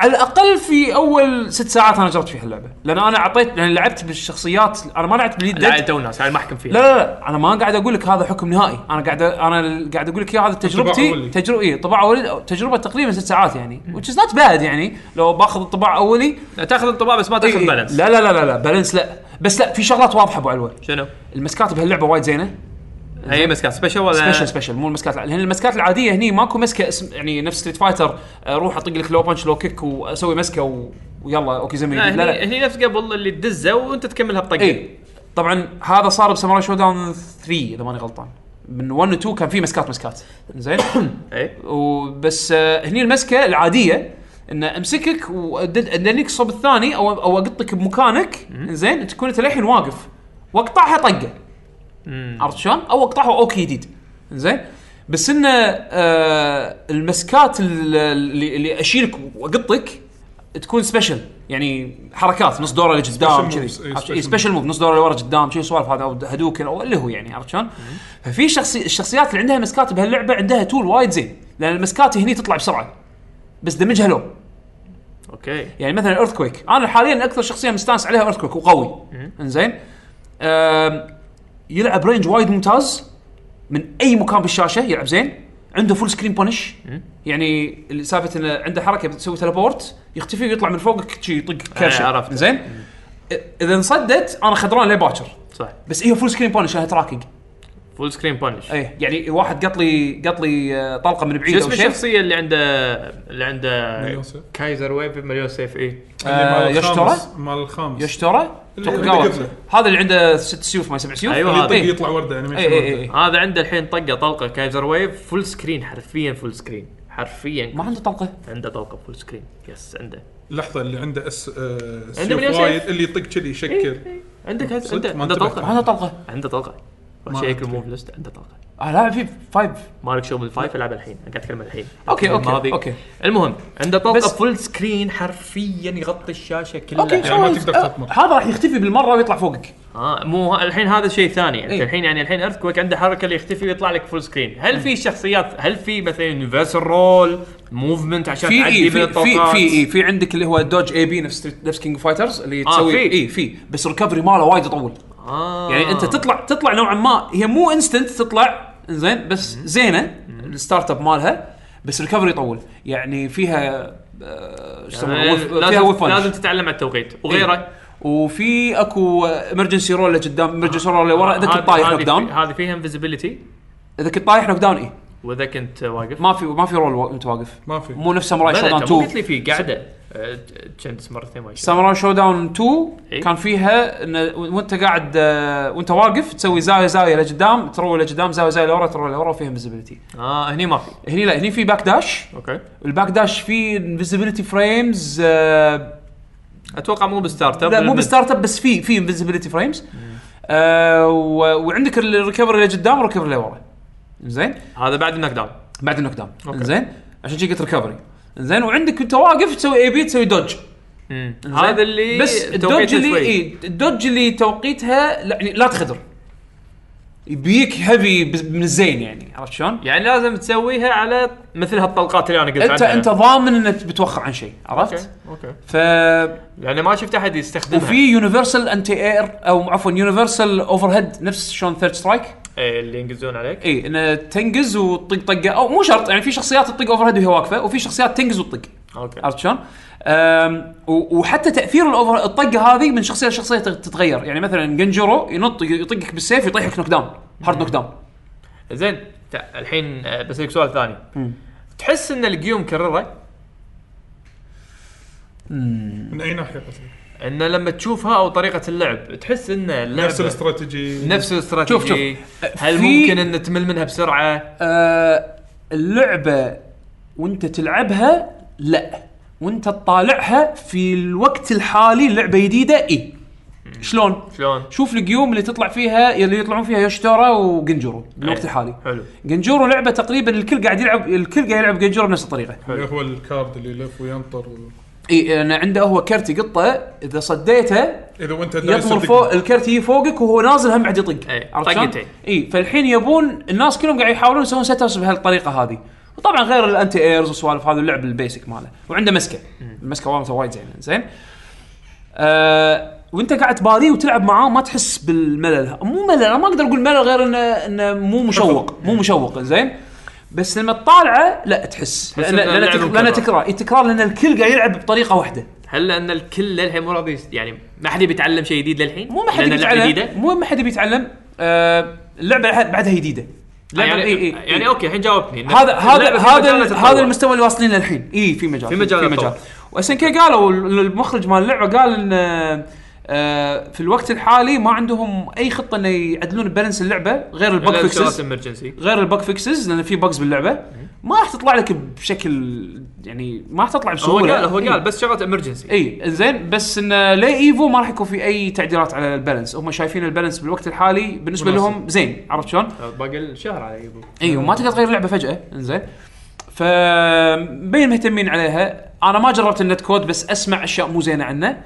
Speaker 3: على الاقل في اول ست ساعات انا جربت فيها اللعبه لان انا اعطيت يعني لعبت بالشخصيات انا ما لعبت باليد
Speaker 7: لا
Speaker 3: لا
Speaker 7: تو ناس هاي ما احكم فيها
Speaker 3: لا لا انا ما قاعد اقول لك هذا حكم نهائي انا قاعد انا قاعد اقول لك يا هذا تجربتي
Speaker 5: أولي.
Speaker 3: تجربه اي طباع اولي تجربه تقريبا ست ساعات يعني which is not bad يعني لو باخذ انطباع اولي
Speaker 7: لا تاخذ انطباع بس ما
Speaker 3: إي إي.
Speaker 7: تاخذ بالانس
Speaker 3: إيه، لا لا لا لا لا بالانس لا بس لا في شغلات واضحه ابو علوه
Speaker 7: شنو؟
Speaker 3: المسكات بهاللعبه وايد زينه
Speaker 7: اي مسكات سبيشل ولا
Speaker 3: سبيشل سبيشل مو المسكات الع- لان المسكات العاديه هني ماكو مسكه اسم يعني نفس ستريت فايتر آه، روح اطق لك لو بانش لو كيك واسوي مسكه و... ويلا اوكي زميل
Speaker 7: لا
Speaker 3: لا
Speaker 7: هني,
Speaker 3: لا إيه.
Speaker 7: هني نفس قبل اللي تدزه وانت تكملها بطقه
Speaker 3: اي طبعا هذا صار بساموراي شو داون 3 اذا ماني غلطان من 1 و 2 كان في مسكات مسكات زين
Speaker 7: اي
Speaker 3: وبس آه، هني المسكه العاديه انه امسكك وادنيك الصوب الثاني او او اقطك بمكانك زين تكون انت للحين واقف واقطعها طقه عرفت شلون؟ او اقطعها اوكي جديد زين بس انه آه المسكات ال- اللي, اللي اشيلك واقطك تكون سبيشل يعني حركات نص دوره لقدام
Speaker 5: Special moves،
Speaker 3: كذي
Speaker 5: إي،
Speaker 3: عرفت؟
Speaker 5: special
Speaker 3: إي، special مove نص دوره لورا قدام شي سوالف هذا او هدوكن او اللي هو يعني عرفت شلون؟ ففي شخصي الشخصيات اللي عندها مسكات بهاللعبه عندها تول وايد زين لان المسكات هني تطلع بسرعه بس دمجها لو
Speaker 7: اوكي
Speaker 3: يعني مثلا ايرثكويك انا حاليا اكثر شخصيه مستانس عليها ايرثكويك وقوي انزين آم، يلعب رينج وايد ممتاز من اي مكان بالشاشه يلعب زين عنده فول سكرين بونش يعني اللي سالفه انه عنده حركه بتسوي تليبورت يختفي ويطلع من فوقك شي يطق كرشه
Speaker 7: آه، عرفت.
Speaker 3: زين اذا انصدت انا خضران ليه باكر
Speaker 7: صح
Speaker 3: بس هي فول سكرين بونش لها تراكنج
Speaker 7: فول سكرين بانش
Speaker 3: اي يعني واحد قط لي قط لي آه، طلقه من
Speaker 7: شو
Speaker 3: بعيد او
Speaker 7: اسم
Speaker 3: شيء
Speaker 7: الشخصيه اللي عنده اللي عنده
Speaker 5: مليون سيف.
Speaker 7: كايزر ويف مليون إيه. سيف اي
Speaker 3: آه،
Speaker 5: اللي مال
Speaker 3: يشترى؟
Speaker 5: الخامس- مال الخامس
Speaker 3: يشترى
Speaker 5: اللي- اللي
Speaker 3: توكوغاوا
Speaker 5: قبله.
Speaker 3: هذا اللي عنده ست سيوف ما سبع سيوف
Speaker 7: أيوة،
Speaker 5: اللي
Speaker 7: هذا.
Speaker 5: يطق
Speaker 3: إيه.
Speaker 5: يطلع ورده يعني
Speaker 3: اي اي اي
Speaker 7: هذا عنده الحين طقه طلقه كايزر ويف فول سكرين حرفيا فول سكرين حرفيا
Speaker 3: ما عنده طلقه
Speaker 7: عنده طلقه فول سكرين يس عنده
Speaker 5: لحظه اللي عنده اس آه، سيوف
Speaker 7: مليون سيف.
Speaker 5: وايد اللي يطق كذي يشكل
Speaker 7: عندك هس-
Speaker 5: صدق
Speaker 7: عنده
Speaker 5: ما
Speaker 7: عنده
Speaker 3: ما
Speaker 5: انتبهت.
Speaker 7: طلقه
Speaker 3: عنده طلقه
Speaker 7: عنده طلقه
Speaker 5: ما
Speaker 7: شيك
Speaker 5: أدري.
Speaker 7: الموف ليست عنده طلقه
Speaker 3: اه لاعب في فايف
Speaker 7: مالك شغل بالفايف العب الحين انا قاعد اتكلم الحين
Speaker 3: أوكي، أوكي،
Speaker 7: الماضي.
Speaker 3: أوكي.
Speaker 7: المهم عنده طلقه
Speaker 3: بس-
Speaker 7: فول سكرين حرفيا يغطي الشاشه كلها
Speaker 3: اوكي
Speaker 5: يعني ما
Speaker 3: خلاص.
Speaker 5: تقدر
Speaker 3: آه،
Speaker 5: تطمر.
Speaker 3: هذا راح يختفي بالمره ويطلع فوقك
Speaker 7: اه مو ه- الحين هذا شيء ثاني انت
Speaker 3: إيه.
Speaker 7: الحين يعني الحين ايرث كويك عنده حركه اللي يختفي ويطلع لك فول سكرين هل في شخصيات هل في مثلا يونيفرسال رول موفمنت عشان
Speaker 3: في
Speaker 7: تعدي
Speaker 3: اي في
Speaker 7: من
Speaker 3: في
Speaker 7: الطلقات
Speaker 3: في إيه. اي في عندك اللي هو دوج اي بي نفس نفس كينج فايترز اللي
Speaker 7: آه،
Speaker 3: تسوي
Speaker 7: في.
Speaker 3: اي في بس ريكفري ماله وايد يطول
Speaker 7: آه.
Speaker 3: يعني انت تطلع تطلع نوعا ما هي مو انستنت تطلع زين بس زينه الستارت اب مالها بس ريكفري يطول يعني فيها آه، شو يسمونه
Speaker 7: يعني
Speaker 3: ويف- فيها ويف
Speaker 7: لازم,
Speaker 3: بانش.
Speaker 7: لازم تتعلم على التوقيت
Speaker 3: إيه.
Speaker 7: وغيره
Speaker 3: وفي اكو امرجنسي رول لقدام امرجنسي رول لورا اذا
Speaker 7: هذه-
Speaker 3: كنت طايح
Speaker 7: هذه
Speaker 3: نوك داون
Speaker 7: في- هذه فيها انفيزيبيلتي
Speaker 3: اذا كنت طايح نوك داون اي
Speaker 7: واذا كنت واقف
Speaker 3: ما في ما في رول وا- انت واقف
Speaker 5: ما في
Speaker 3: مو نفس ساموراي
Speaker 7: لا،
Speaker 3: شو
Speaker 7: لا،
Speaker 3: داون
Speaker 7: انت مو طيب، قلت
Speaker 3: 2
Speaker 7: لي في قاعده آه، جنس مرتين ما يشوف.
Speaker 3: ساموراي شو داون 2
Speaker 7: إي.
Speaker 3: كان فيها ان و- وانت قاعد آه، وانت واقف تسوي زاويه زاويه لقدام تروي لقدام زاويه زاويه لورا تروي لورا وفيها انفيزيبيلتي
Speaker 7: اه هني ما في
Speaker 3: هني لا هني في باك داش
Speaker 7: اوكي
Speaker 3: الباك داش فيه انفيزيبيلتي فريمز
Speaker 7: اتوقع مو بستارت اب
Speaker 3: آه، لا مو
Speaker 7: بالمد.
Speaker 3: بستارت اب بس في في انفيزيبيلتي فريمز آه و- وعندك الريكفري لقدام والريكفري لورا زين
Speaker 7: هذا بعد النوك داون
Speaker 3: بعد النوك داون زين عشان شي قلت ريكفري زين وعندك انت واقف تسوي اي بي تسوي دوج إنزين؟
Speaker 7: هذا اللي
Speaker 3: بس الدوج
Speaker 7: توقيته
Speaker 3: اللي
Speaker 7: إيه، شوي.
Speaker 3: اي الدوج اللي توقيتها لا يعني لا تخدر يبيك هيفي من الزين يعني عرفت شلون؟
Speaker 7: يعني لازم تسويها على مثل هالطلقات اللي انا قلت
Speaker 3: انت
Speaker 7: عنها
Speaker 3: انت ضامن انك بتوخر عن شيء عرفت؟
Speaker 7: اوكي اوكي
Speaker 3: ف
Speaker 7: يعني ما شفت احد يستخدمها
Speaker 3: وفي يونيفرسال انتي اير او عفوا يونيفرسال اوفر هيد نفس شلون ثيرد سترايك
Speaker 7: إيه، اللي ينقزون عليك
Speaker 3: اي انه تنقز وتطق طقه او مو شرط يعني في شخصيات تطق اوفر هيد وهي واقفه وفي شخصيات تنقز وتطق
Speaker 7: اوكي
Speaker 3: عرفت شلون؟ أم، و- وحتى تاثير الاوفر الطقه هذه من شخصيه لشخصيه تت- تتغير يعني مثلا جنجرو ينط يطقك بالسيف يطيحك نوك داون هارد
Speaker 7: نعم.
Speaker 3: نوك داون
Speaker 7: زين تع- الحين آه، بسالك سؤال ثاني تحس ان القيوم مكرره
Speaker 5: من اي ناحيه قصدك؟
Speaker 7: انه لما تشوفها او طريقه اللعب تحس ان اللعبة
Speaker 5: نفس الاستراتيجي
Speaker 7: نفس الاستراتيجي
Speaker 3: شوف،
Speaker 7: هل
Speaker 3: في-
Speaker 7: ممكن ان تمل منها بسرعه؟
Speaker 3: أه اللعبه وانت تلعبها لا وانت تطالعها في الوقت الحالي لعبه جديده اي شلون؟
Speaker 7: شلون؟
Speaker 3: شوف القيوم اللي تطلع فيها اللي يطلعون فيها يوشتورا وجنجرو بالوقت
Speaker 7: أي.
Speaker 3: الحالي
Speaker 7: حلو
Speaker 3: جنجورو لعبه تقريبا الكل قاعد يلعب الكل قاعد يلعب جنجورو بنفس الطريقه
Speaker 5: اللي هو الكارد اللي يلف وينطر و...
Speaker 3: اي انا إيه، عنده هو كرت يقطه اذا صديته
Speaker 5: اذا وانت
Speaker 3: يطمر فوق الكرت يجي فوقك وهو نازل هم بعد يطق
Speaker 7: إي،
Speaker 3: عرفت شلون؟ إيه،
Speaker 7: طقتين.
Speaker 3: اي فالحين يبون الناس كلهم قاعد يحاولون يسوون سيت ابس بهالطريقه هذه وطبعا غير الانتي ايرز والسوالف هذا اللعب البيسك ماله وعنده مسكه المسكه مالته وايد زينه زين آه وانت قاعد تباريه وتلعب معاه ما تحس بالملل مو ملل انا ما اقدر اقول ملل غير انه انه مو مشوق مو مشوق زين بس لما تطالعه لا تحس لان
Speaker 7: إن
Speaker 3: لان
Speaker 7: اللعب
Speaker 3: تك-
Speaker 7: مكرر.
Speaker 3: لأن تكرار إي تكرار لان الكل قاعد يلعب بطريقه واحده
Speaker 7: هل لان الكل للحين مو راضي يس- يعني ما حد يبي يتعلم شيء جديد للحين
Speaker 3: مو ما حد
Speaker 7: لأن
Speaker 3: يبي
Speaker 7: اللعبة
Speaker 3: يتعلم
Speaker 7: جديده
Speaker 3: مو ما حد يبي يتعلم آه اللعبه لح- بعدها جديده
Speaker 7: لا يعني
Speaker 3: إي- إي- إي.
Speaker 7: يعني اوكي الحين جاوبتني إن
Speaker 3: إيه، هذا هذا
Speaker 7: اللعبة في مجال
Speaker 3: هذا
Speaker 7: تتطور.
Speaker 3: هذا المستوى اللي واصلين للحين اي في مجال
Speaker 7: في مجال
Speaker 3: في
Speaker 7: للتطور.
Speaker 3: مجال واسن كي قالوا ال- المخرج مال اللعبه قال ان آه، في الوقت الحالي ما عندهم اي خطه انه يعدلون بالانس اللعبه غير الباك
Speaker 7: إلا الشغلات
Speaker 3: فيكسز
Speaker 7: emergency.
Speaker 3: غير الباك فيكسز لان في بجز باللعبه ما راح تطلع لك بشكل يعني ما راح تطلع
Speaker 7: هو
Speaker 3: بسهوله
Speaker 7: قال هو
Speaker 3: إي.
Speaker 7: قال بس شغلات امرجنسي
Speaker 3: اي إيه، زين بس انه لي ايفو ما راح يكون في اي تعديلات على البالانس هم شايفين البالانس بالوقت الحالي بالنسبه
Speaker 5: مناسب.
Speaker 3: لهم زين عرفت شلون؟
Speaker 7: طيب، باقي الشهر على يبو
Speaker 3: اي وما تقدر تغير اللعبه فجاه انزين فمبين مهتمين عليها انا ما جربت النت كود بس اسمع اشياء مو زينه عنه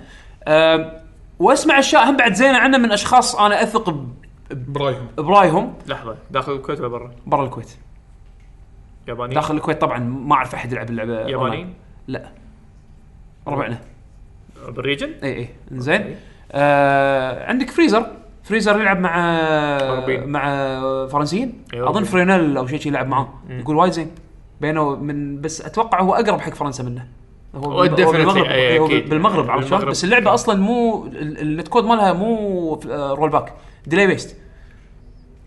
Speaker 3: أم، واسمع اشياء هم بعد زينه عنه من اشخاص انا اثق ب-
Speaker 5: برايهم
Speaker 3: برايهم
Speaker 7: لحظه داخل الكويت ولا برا؟
Speaker 3: برا الكويت
Speaker 7: يابانيين
Speaker 3: داخل الكويت طبعا ما اعرف احد يلعب اللعبه أونلاين.
Speaker 7: يابانيين
Speaker 3: لا ربعنا
Speaker 7: بالريجن
Speaker 3: اي اي انزين إيه، آه عندك فريزر فريزر يلعب مع
Speaker 7: غربيين.
Speaker 3: مع فرنسيين
Speaker 7: أيوة.
Speaker 3: اظن فرينل او شيء شي يلعب معاه يقول وايد زين بينه من بس اتوقع هو اقرب حق فرنسا منه هو
Speaker 7: Oh,
Speaker 3: بالم- هو
Speaker 7: definitely.
Speaker 3: بالمغرب
Speaker 7: أي،
Speaker 3: هو
Speaker 7: أكيد.
Speaker 3: بالمغرب عرفت شلون
Speaker 7: بالمغرب.
Speaker 3: بس اللعبه اصلا مو ال- ال- النت كود مالها مو آه، رول باك ديلي بيست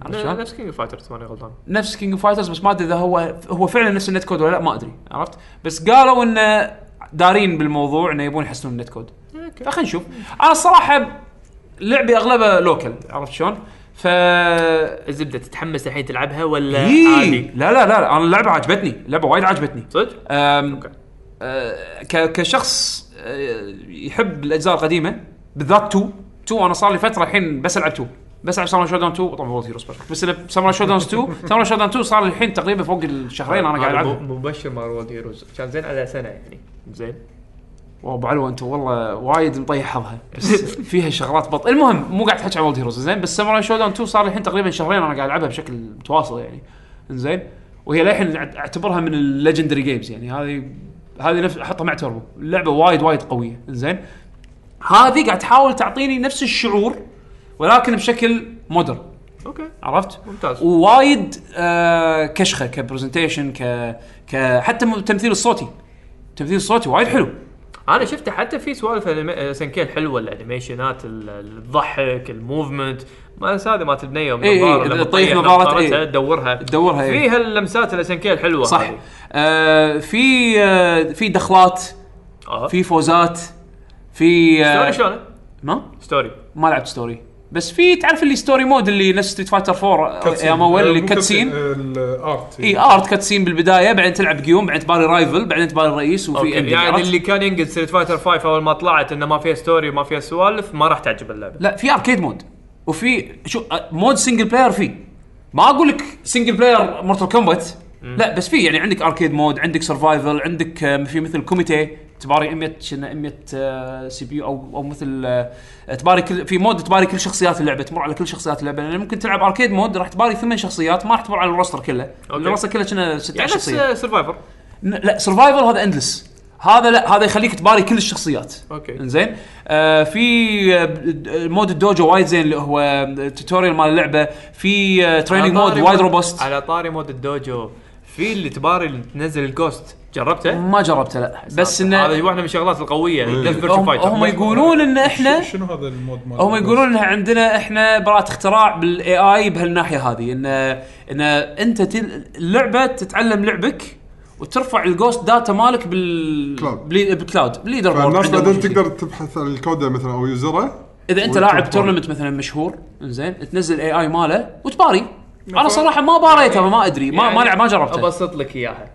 Speaker 3: عرفت شلون؟
Speaker 7: نفس كينج فايترز ماني غلطان
Speaker 3: نفس كينج اوف فايترز بس ما ادري اذا هو هو فعلا نفس النت كود ولا لا ما ادري عرفت بس قالوا انه دارين بالموضوع انه يبون يحسنون النت كود فخلينا نشوف انا الصراحه لعبي اغلبها لوكل عرفت شلون؟ ف
Speaker 7: الزبده تتحمس الحين تلعبها ولا
Speaker 3: يي.
Speaker 7: عادي؟
Speaker 3: إيه، لا لا لا انا اللعبه عجبتني اللعبه وايد عجبتني
Speaker 7: صدق؟
Speaker 3: أم...
Speaker 7: أوكي.
Speaker 3: أه، ك... كشخص أه، يحب الاجزاء القديمه بالذات 2 2 انا صار لي فتره الحين بس العب 2 بس العب ساموراي شوداون 2 طبعا وورد هيروز بيرفكت بس أنا ساموراي شوداون 2 ساموراي شوداون 2 صار لي الحين تقريبا فوق الشهرين انا قاعد
Speaker 7: هذا
Speaker 3: العبها
Speaker 7: مو- مبشر مال وولد هيروز كان زين على سنه يعني زين
Speaker 3: والله ابو علو انت والله وايد مطيح حظها بس فيها شغلات بط المهم مو قاعد احكي عن وولد هيروز زين بس ساموراي شوداون 2 صار لي الحين تقريبا شهرين انا قاعد العبها بشكل متواصل يعني زين وهي للحين أع- اعتبرها من الليجندري جيمز يعني هذه هذه نفس احطها مع توربو اللعبه وايد وايد قويه زين هذه قاعد تحاول تعطيني نفس الشعور ولكن بشكل مودرن
Speaker 7: اوكي
Speaker 3: عرفت؟
Speaker 7: ممتاز.
Speaker 3: ووايد آه كشخه كبرزنتيشن ك ك حتى م- التمثيل الصوتي التمثيل الصوتي وايد حلو
Speaker 7: انا شفت حتى في سوالف أنيمي- آه، سنكيل حلوه الانيميشنات ال- ال- الضحك الموفمنت ما أنسى هذه مالت البنيه
Speaker 3: إي إي،
Speaker 7: والنظارة لما
Speaker 3: إيه، تطيح
Speaker 7: تطيح
Speaker 3: نظارة،
Speaker 7: نظارتها
Speaker 3: إي.
Speaker 7: تدورها
Speaker 3: تدورها، إي.
Speaker 7: فيها اللمسات السنكيل حلوه
Speaker 3: صح
Speaker 7: هذه.
Speaker 3: آه في آه في دخلات
Speaker 7: آه.
Speaker 3: في فوزات في
Speaker 7: ستوري
Speaker 3: آه
Speaker 7: شلونه؟
Speaker 3: ما
Speaker 7: ستوري
Speaker 3: ما لعبت ستوري بس في تعرف اللي ستوري مود اللي نفس ستريت فايتر 4
Speaker 5: كاتسين.
Speaker 3: ايام اول
Speaker 5: آه،
Speaker 3: اللي إيه،
Speaker 5: مو
Speaker 3: كاتسين
Speaker 5: آه، الارت
Speaker 3: اي ارت كاتسين بالبدايه بعدين تلعب قيوم بعدين تباري رايفل بعدين تباري الرئيس وفي
Speaker 7: اوكي
Speaker 3: ending،
Speaker 7: يعني
Speaker 3: عرفت؟
Speaker 7: اللي كان ينقد ستريت فايتر 5 اول ما طلعت انه ما فيها ستوري ما فيها سوالف ما راح تعجب اللعبه
Speaker 3: لا في اركيد مود وفي شو آه، أ- مود سنجل بلاير في ما اقول لك سنجل بلاير مورتال كومبات لا بس في يعني عندك اركيد مود عندك سرفايفل عندك آم، في مثل كوميتي تباري 100 شنو 100 سي بي يو او او مثل آه، تباري كل في مود تباري كل شخصيات اللعبه تمر على كل شخصيات اللعبه لان ممكن تلعب اركيد مود راح تباري ثمان شخصيات ما راح تمر على الروستر كله
Speaker 7: أوكي.
Speaker 3: الروستر كله كنا 16
Speaker 7: يعني آه، نفس
Speaker 3: شخصيه
Speaker 7: سرفايفر
Speaker 3: ن- لا سرفايفل هذا اندلس هذا لا هذا يخليك تباري كل الشخصيات
Speaker 7: أوكي.
Speaker 3: زين آه في آه، د- د- مود الدوجو وايد زين اللي هو التوتوريال مال اللعبه في آه تريننج مود وايد روبوست
Speaker 7: على طاري مود الدوجو في اللي تباري اللي تنزل الجوست جربته؟
Speaker 3: ما جربته لا بس
Speaker 7: هذه
Speaker 3: انه
Speaker 7: واحده من الشغلات القويه Death Virtue
Speaker 3: هم,
Speaker 7: Fighter.
Speaker 3: هم يقولون ان احنا
Speaker 5: شنو هذا المود مال
Speaker 3: هم يقولون ان عندنا احنا براءة اختراع بالاي اي بهالناحيه هذه ان ان انت تل... اللعبه تتعلم لعبك وترفع الجوست داتا مالك بال
Speaker 1: كلاود.
Speaker 3: بلي- بالكلاود بالليدر بورد
Speaker 1: فالناس
Speaker 3: عندهم
Speaker 1: بعدين
Speaker 3: شيء.
Speaker 1: تقدر تبحث عن الكود مثلا او يوزره
Speaker 3: اذا انت
Speaker 1: وتروح
Speaker 3: لاعب
Speaker 1: تباري.
Speaker 3: تورنمنت مثلا مشهور زين تنزل اي اي ماله وتباري انا صراحه ما باريته فما ادري ما ما لعب ما جربته
Speaker 7: ابسط يعني لك اياها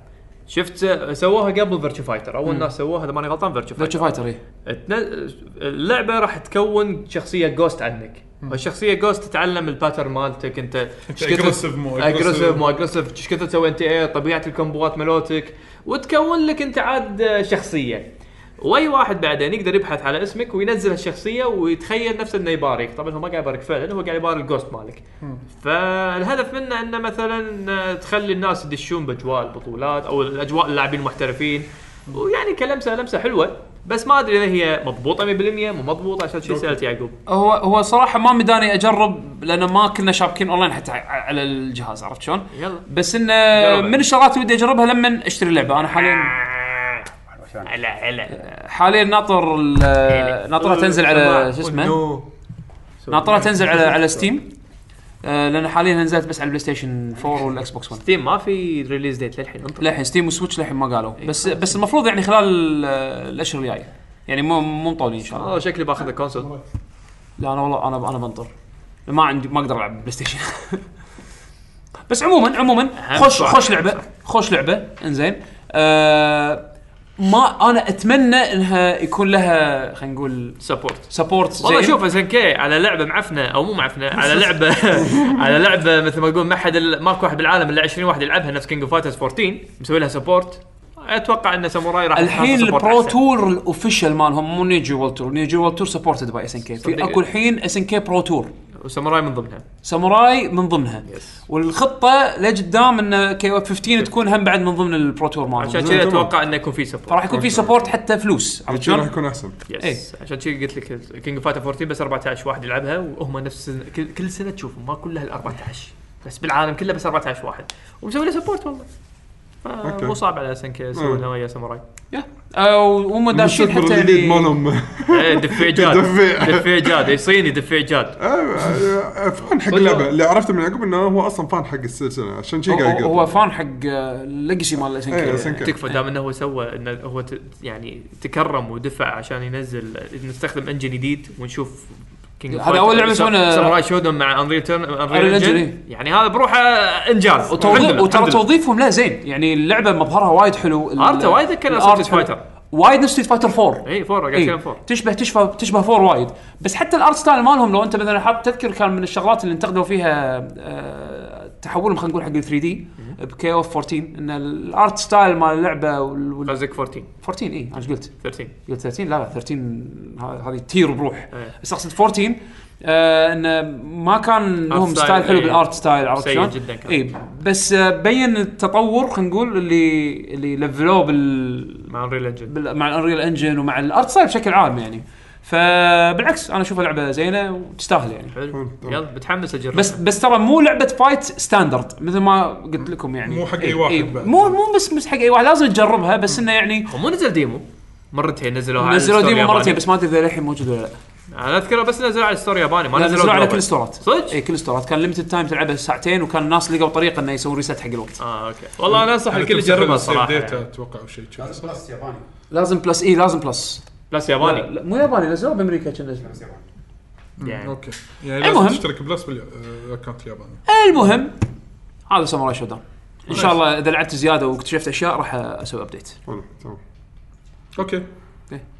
Speaker 7: شفت آه، سووها قبل فيرتشو فايتر
Speaker 3: إيه.
Speaker 7: اول ناس سووها اذا ماني غلطان فيرتشو
Speaker 3: فيرتشو
Speaker 7: فايتر
Speaker 3: فايتر اي
Speaker 7: تن- اللعبه راح تكون شخصيه جوست عنك والشخصيه جوست تتعلم الباتر مالتك انت إيش كثر-
Speaker 5: aggressive مو aggressive.
Speaker 7: aggressive مو اجريسيف ايش كثر إيه، تسوي انت ايه طبيعه الكومبوات مالتك وتكون لك انت عاد آه، شخصيه واي واحد بعدين يقدر يبحث على اسمك وينزل هالشخصيه ويتخيل نفسه انه يباريك، طبعا هو ما قاعد يبارك فعلا هو قاعد يباري الجوست مالك. فالهدف منه انه مثلا تخلي الناس يدشون باجواء البطولات او الاجواء اللاعبين المحترفين ويعني كلمسه لمسه حلوه بس ما ادري اذا هي مضبوطه 100% مو مضبوطه عشان شي سالت يعقوب.
Speaker 3: هو هو صراحه ما مداني اجرب لان ما كنا شابكين اونلاين حتى ع- على الجهاز عرفت شلون؟
Speaker 7: يلا
Speaker 3: بس انه
Speaker 7: جربها.
Speaker 3: من الشغلات اللي ودي اجربها لما اشتري اللعبه انا حاليا
Speaker 7: هلا هلا
Speaker 3: حاليا ناطر ال- ناطرها تنزل على شو اسمه ناطرها تنزل على على ستيم آه، لان حاليا نزلت بس على البلاي ستيشن 4 والاكس بوكس 1
Speaker 7: ستيم ما في ريليز ديت للحين انطر
Speaker 3: للحين ستيم وسويتش للحين ما قالوا
Speaker 7: إيه.
Speaker 3: بس بس المفروض يعني خلال آه، الاشهر الجايه يعني مو مو مطولين ان شاء الله
Speaker 7: اه شكلي باخذ الكونسول
Speaker 3: لا انا والله انا انا بنطر ما عندي ما اقدر العب بلاي ستيشن بس عموما عموما خوش خوش لعبه خوش لعبه انزين آه ما انا اتمنى انها يكون لها خلينا نقول
Speaker 7: سبورت
Speaker 3: سبورت زين
Speaker 7: والله شوف اس ان كي على لعبه معفنه او مو معفنه على لعبه على لعبه مثل ما يقول ما حد ماكو واحد بالعالم الا 20 واحد يلعبها نفس كينج اوف فايترز 14 مسوي لها سبورت اتوقع ان ساموراي راح
Speaker 3: الحين
Speaker 7: تحصل سبورت
Speaker 3: البرو
Speaker 7: أحسن.
Speaker 3: تور الاوفيشال مالهم مو نيجي وول تور نيجي وول تور سبورتد باي اس ان كي في
Speaker 7: صدق.
Speaker 3: اكو الحين اس ان كي برو تور
Speaker 7: وساموراي من ضمنها
Speaker 3: ساموراي من ضمنها والخطه لقدام ان كي 15 تكون هم بعد من ضمن البرو تور مالهم
Speaker 7: عشان
Speaker 1: زين،
Speaker 7: كذا
Speaker 1: تمام.
Speaker 7: اتوقع انه يكون في سبورت
Speaker 3: فراح يكون في سبورت حتى فلوس عرفت
Speaker 1: راح
Speaker 3: شلون؟
Speaker 1: يكون إيه. احسن
Speaker 7: يس عشان كذا قلت لك كينج اوف فايتر 14 بس 14 واحد يلعبها وهم نفس كل- كل سنه تشوفهم ما كلها ال 14 بس بالعالم كله بس 14 واحد ومسوي له سبورت والله آه،
Speaker 1: أوكي.
Speaker 7: مو صعب على سنكي يسوي
Speaker 1: مم.
Speaker 7: لنا ويا ساموراي
Speaker 3: يا. آه، وهم داشين
Speaker 1: المستثمر
Speaker 3: حتى
Speaker 1: الجديد
Speaker 3: يعني
Speaker 1: مالهم
Speaker 7: إيه، دفيع جاد
Speaker 1: دفيع.
Speaker 7: دفيع جاد إيه، صيني دفيع جاد
Speaker 1: آه، آه، فان حق اللعبه اللي عرفته من عقب انه هو اصلا فان حق السلسله عشان شي
Speaker 3: هو-
Speaker 1: قاعد
Speaker 3: هو
Speaker 1: يقول
Speaker 3: فان حق الليجسي مال اس ان
Speaker 1: إيه،
Speaker 3: كي
Speaker 1: SNK.
Speaker 7: تكفى دام انه هو سوى انه هو ت- يعني تكرم ودفع عشان ينزل نستخدم انجن جديد ونشوف كينج
Speaker 3: هذا أول لعبة يسوونها-
Speaker 7: ساموراي شودن مع انريل ترن انريل
Speaker 3: Engine،
Speaker 7: انجن
Speaker 3: إيه.
Speaker 7: يعني هذا بروحه انجاز الحمد
Speaker 3: وتوظيف
Speaker 7: لله، الحمد
Speaker 3: وترى
Speaker 7: لله.
Speaker 3: توظيفهم لا زين يعني اللعبه مظهرها وايد حلو ال-
Speaker 7: ارته وايد ذكرنا
Speaker 3: الآرت حلو.
Speaker 7: ستريت فايتر.
Speaker 3: وايد نفس ستريت فايتر 4
Speaker 7: اي فور قاعد
Speaker 3: إيه.
Speaker 7: اتكلم فور
Speaker 3: تشبه تشبه تشبه فور وايد بس حتى الارت ستايل مالهم لو انت مثلا حاب تذكر كان من الشغلات اللي انتقدوا فيها آه، تحولهم خلينا نقول حق ال 3 دي بكي اوف 14 ان الارت ستايل مال اللعبه وال وال-
Speaker 7: قصدك 14
Speaker 3: 14 اي انا ايش قلت؟
Speaker 7: 13
Speaker 3: قلت 30 لا لا 13 ه- هذه تير بروح
Speaker 7: إيه.
Speaker 3: بس اقصد 14 آه انه ما كان لهم
Speaker 7: ستايل،
Speaker 3: ستايل حلو
Speaker 7: إيه.
Speaker 3: بالارت ستايل عرفت
Speaker 7: سيء
Speaker 3: شلون؟
Speaker 7: جداً كان.
Speaker 3: اي بس آه بين التطور خلينا نقول اللي اللي لفلوه بال
Speaker 7: مع انريل انجن
Speaker 3: بال- مع الانريل انجن ومع الارت ستايل بشكل عام يعني فبالعكس انا اشوفها لعبه زينه وتستاهل يعني
Speaker 7: حلو
Speaker 1: تمام.
Speaker 7: يلا متحمس اجرب
Speaker 3: بس بس ترى مو لعبه فايت ستاندرد مثل ما قلت لكم يعني
Speaker 5: مو حق أي
Speaker 3: إيه،
Speaker 5: واحد
Speaker 3: إيه.
Speaker 5: بعد.
Speaker 3: مو مو بس مش حق اي واحد لازم تجربها بس انه يعني
Speaker 7: مو نزل ديمو مرتين نزلوها على
Speaker 3: نزلوا
Speaker 7: الستور
Speaker 3: ديمو مرتين
Speaker 7: الياباني.
Speaker 3: بس ما ادري اذا للحين موجود ولا لا
Speaker 7: انا اذكره بس نزلوا على الستور الياباني ما
Speaker 3: لا،
Speaker 7: نزلوا
Speaker 3: نزلوه على
Speaker 7: global.
Speaker 3: كل إيه. ستورات
Speaker 7: صدق؟
Speaker 3: اي كل ستورات كان ليمتد تايم تلعبها ساعتين وكان الناس لقوا طريقه انه يسوون ريست حق الوقت
Speaker 7: اه اوكي والله انا انصح الكل يجربها صراحه يعني.
Speaker 5: اتوقع او شيء كذا.
Speaker 2: بس ياباني
Speaker 3: لازم بلس اي لازم بلس
Speaker 7: بلس
Speaker 3: لا,
Speaker 7: ياباني
Speaker 3: لا مو ياباني نزلوه بامريكا كان
Speaker 2: بس ياباني
Speaker 7: يعني.
Speaker 5: اوكي يعني لازم
Speaker 3: المهم.
Speaker 5: تشترك بلس بالاكونت الياباني
Speaker 3: المهم هذا ساموراي شودان ان شاء الله اذا لعبت زياده واكتشفت اشياء راح اسوي ابديت
Speaker 1: حلو، تمام
Speaker 5: اوكي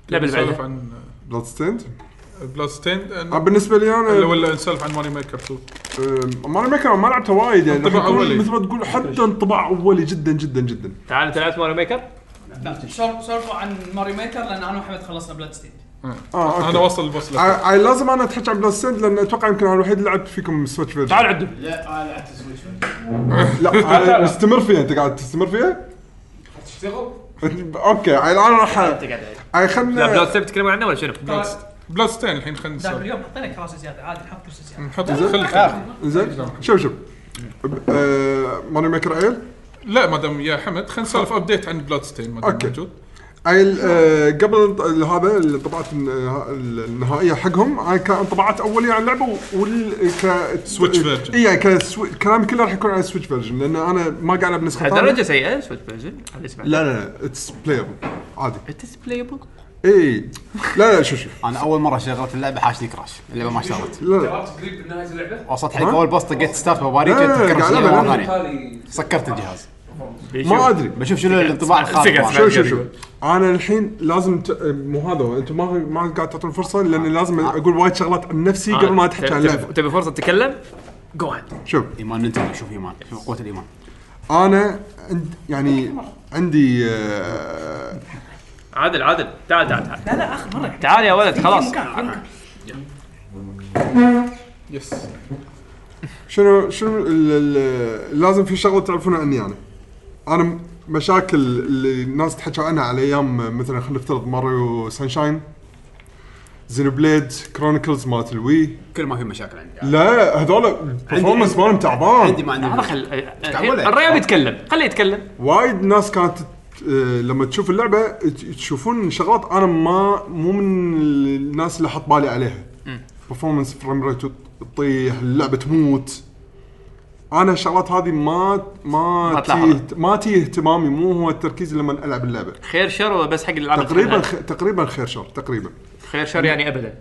Speaker 3: اللعبه اللي
Speaker 5: نسولف
Speaker 3: بعدها
Speaker 5: عن آه،
Speaker 1: بلاد ستيند
Speaker 5: بلاد ستيند
Speaker 1: آه، بالنسبه لي
Speaker 5: ولا
Speaker 1: انا
Speaker 5: ولا نسولف عن ماني ميكر 2
Speaker 1: آه، ما انا ما كان- ما لعبتها وايد يعني
Speaker 5: انطباع
Speaker 1: راح يكون
Speaker 5: أولي.
Speaker 1: مثل ما تقول حتى انطباع اولي جدا جدا جدا
Speaker 7: تعال انت لعبت ماريو ميكر
Speaker 8: سولفوا عن ماري ميكر لان انا وحمد خلصنا بلاد ستيد
Speaker 1: اه
Speaker 5: انا
Speaker 1: اوكي
Speaker 5: واصل البوس لك
Speaker 1: آه، آه، لازم انا اتحكى عن بلاد ستيند لان اتوقع يمكن انا الوحيد اللي لعبت فيكم سويتش فيرجن
Speaker 3: تعال عدو
Speaker 2: لا انا لعبت سويتش
Speaker 1: لا أنا مستمر فيها انت قاعد تستمر فيها؟
Speaker 2: تشتغل
Speaker 1: أنت- اوكي الان راح آه،
Speaker 7: لا بلاد
Speaker 1: خلنا
Speaker 7: ستيب تتكلم عنه ولا شنو؟
Speaker 5: بلاد ستيند الحين خلينا
Speaker 8: ذاك
Speaker 5: نسولف
Speaker 8: اليوم حطينا كراسي زياده عادي نحط كرسي زياده
Speaker 5: نحط خليك
Speaker 1: زين شوف شوف آه، ماني ميكر عيل
Speaker 5: لا ما دام يا حمد خلينا نسولف ابديت عن بلاد ستين ما دام
Speaker 1: أوكي.
Speaker 5: موجود
Speaker 1: عيل آه، قبل ال- هذا اللي طبعت الن- ال- النهائيه حقهم هاي كان انطباعات اوليه عن اللعبه يعني وال ك
Speaker 5: سويتش فيرجن.
Speaker 1: اي يعني كسو... كلام كله راح يكون على سويتش فيرجن لان انا ما قاعد العب نسخه ثانية.
Speaker 7: درجه سيئه سويت فيرجن اللي سمعت
Speaker 1: لا لا لا اتس بلايبل عادي
Speaker 7: اتس بلايبل
Speaker 1: اي لا لا شوف شوف
Speaker 6: انا اول مره شغلت اللعبه حاشني كراش اللعبه ما اشتغلت
Speaker 1: لا لا
Speaker 6: وصلت حق اول بوس طقيت ستارت بباريك
Speaker 1: لا، لا، لا،
Speaker 6: تذكر
Speaker 1: قاعد
Speaker 6: شيء
Speaker 1: ألعب،
Speaker 6: مرة ثانية. سكرت الجهاز
Speaker 1: ما ادري
Speaker 6: بشوف شنو الانطباع
Speaker 7: سكت،
Speaker 6: الخاطئ
Speaker 7: سكت.
Speaker 1: شوف شوف شوف انا الحين لازم ت... آه، مو هذا هو، انتم ما ما قاعد تعطون فرصه لان لازم اقول وايد شغلات عن
Speaker 7: آه،
Speaker 1: نفسي قبل ما اتحكي عن اللعبه
Speaker 7: تبي فرصه تتكلم؟ جو
Speaker 1: شوف
Speaker 6: ايمان نتندو شوف ايمان شوف قوه الايمان
Speaker 1: انا عند يعني عندي آه،
Speaker 7: عادل عادل تعال تعال تعال
Speaker 8: لا لا اخر مره
Speaker 7: تعال يا ولد خلاص
Speaker 8: مكان في مكان.
Speaker 5: يس
Speaker 1: شنو شنو ال- ال- لازم في شغله تعرفونها عني انا انا م- مشاكل اللي الناس تحكى عنها على ايام مثلا خلينا نفترض ماريو سانشاين زينو بليد كرونيكلز مالت الوي
Speaker 4: كل ما في مشاكل عندي
Speaker 1: لا هذول البرفورمانس مالهم
Speaker 4: عندي
Speaker 1: تعبان
Speaker 4: ما
Speaker 7: هذا
Speaker 4: عندي
Speaker 7: خل الرياض يتكلم خليه يتكلم
Speaker 1: وايد ناس كانت تت- آه، لما تشوف اللعبه ت- تشوفون شغلات انا ما مو من الناس اللي حط بالي عليها برفورمانس فريم ريت تطيح اللعبه تموت انا الشغلات هذه ما ما
Speaker 7: ما
Speaker 1: تي
Speaker 7: تلاحظها.
Speaker 1: ما تي اهتمامي مو هو التركيز لما العب اللعبه
Speaker 7: خير شر ولا بس حق الالعاب
Speaker 1: تقريبا
Speaker 7: الخيانات؟
Speaker 1: خ... تقريبا خير شر تقريبا
Speaker 7: خير شر يعني ابدا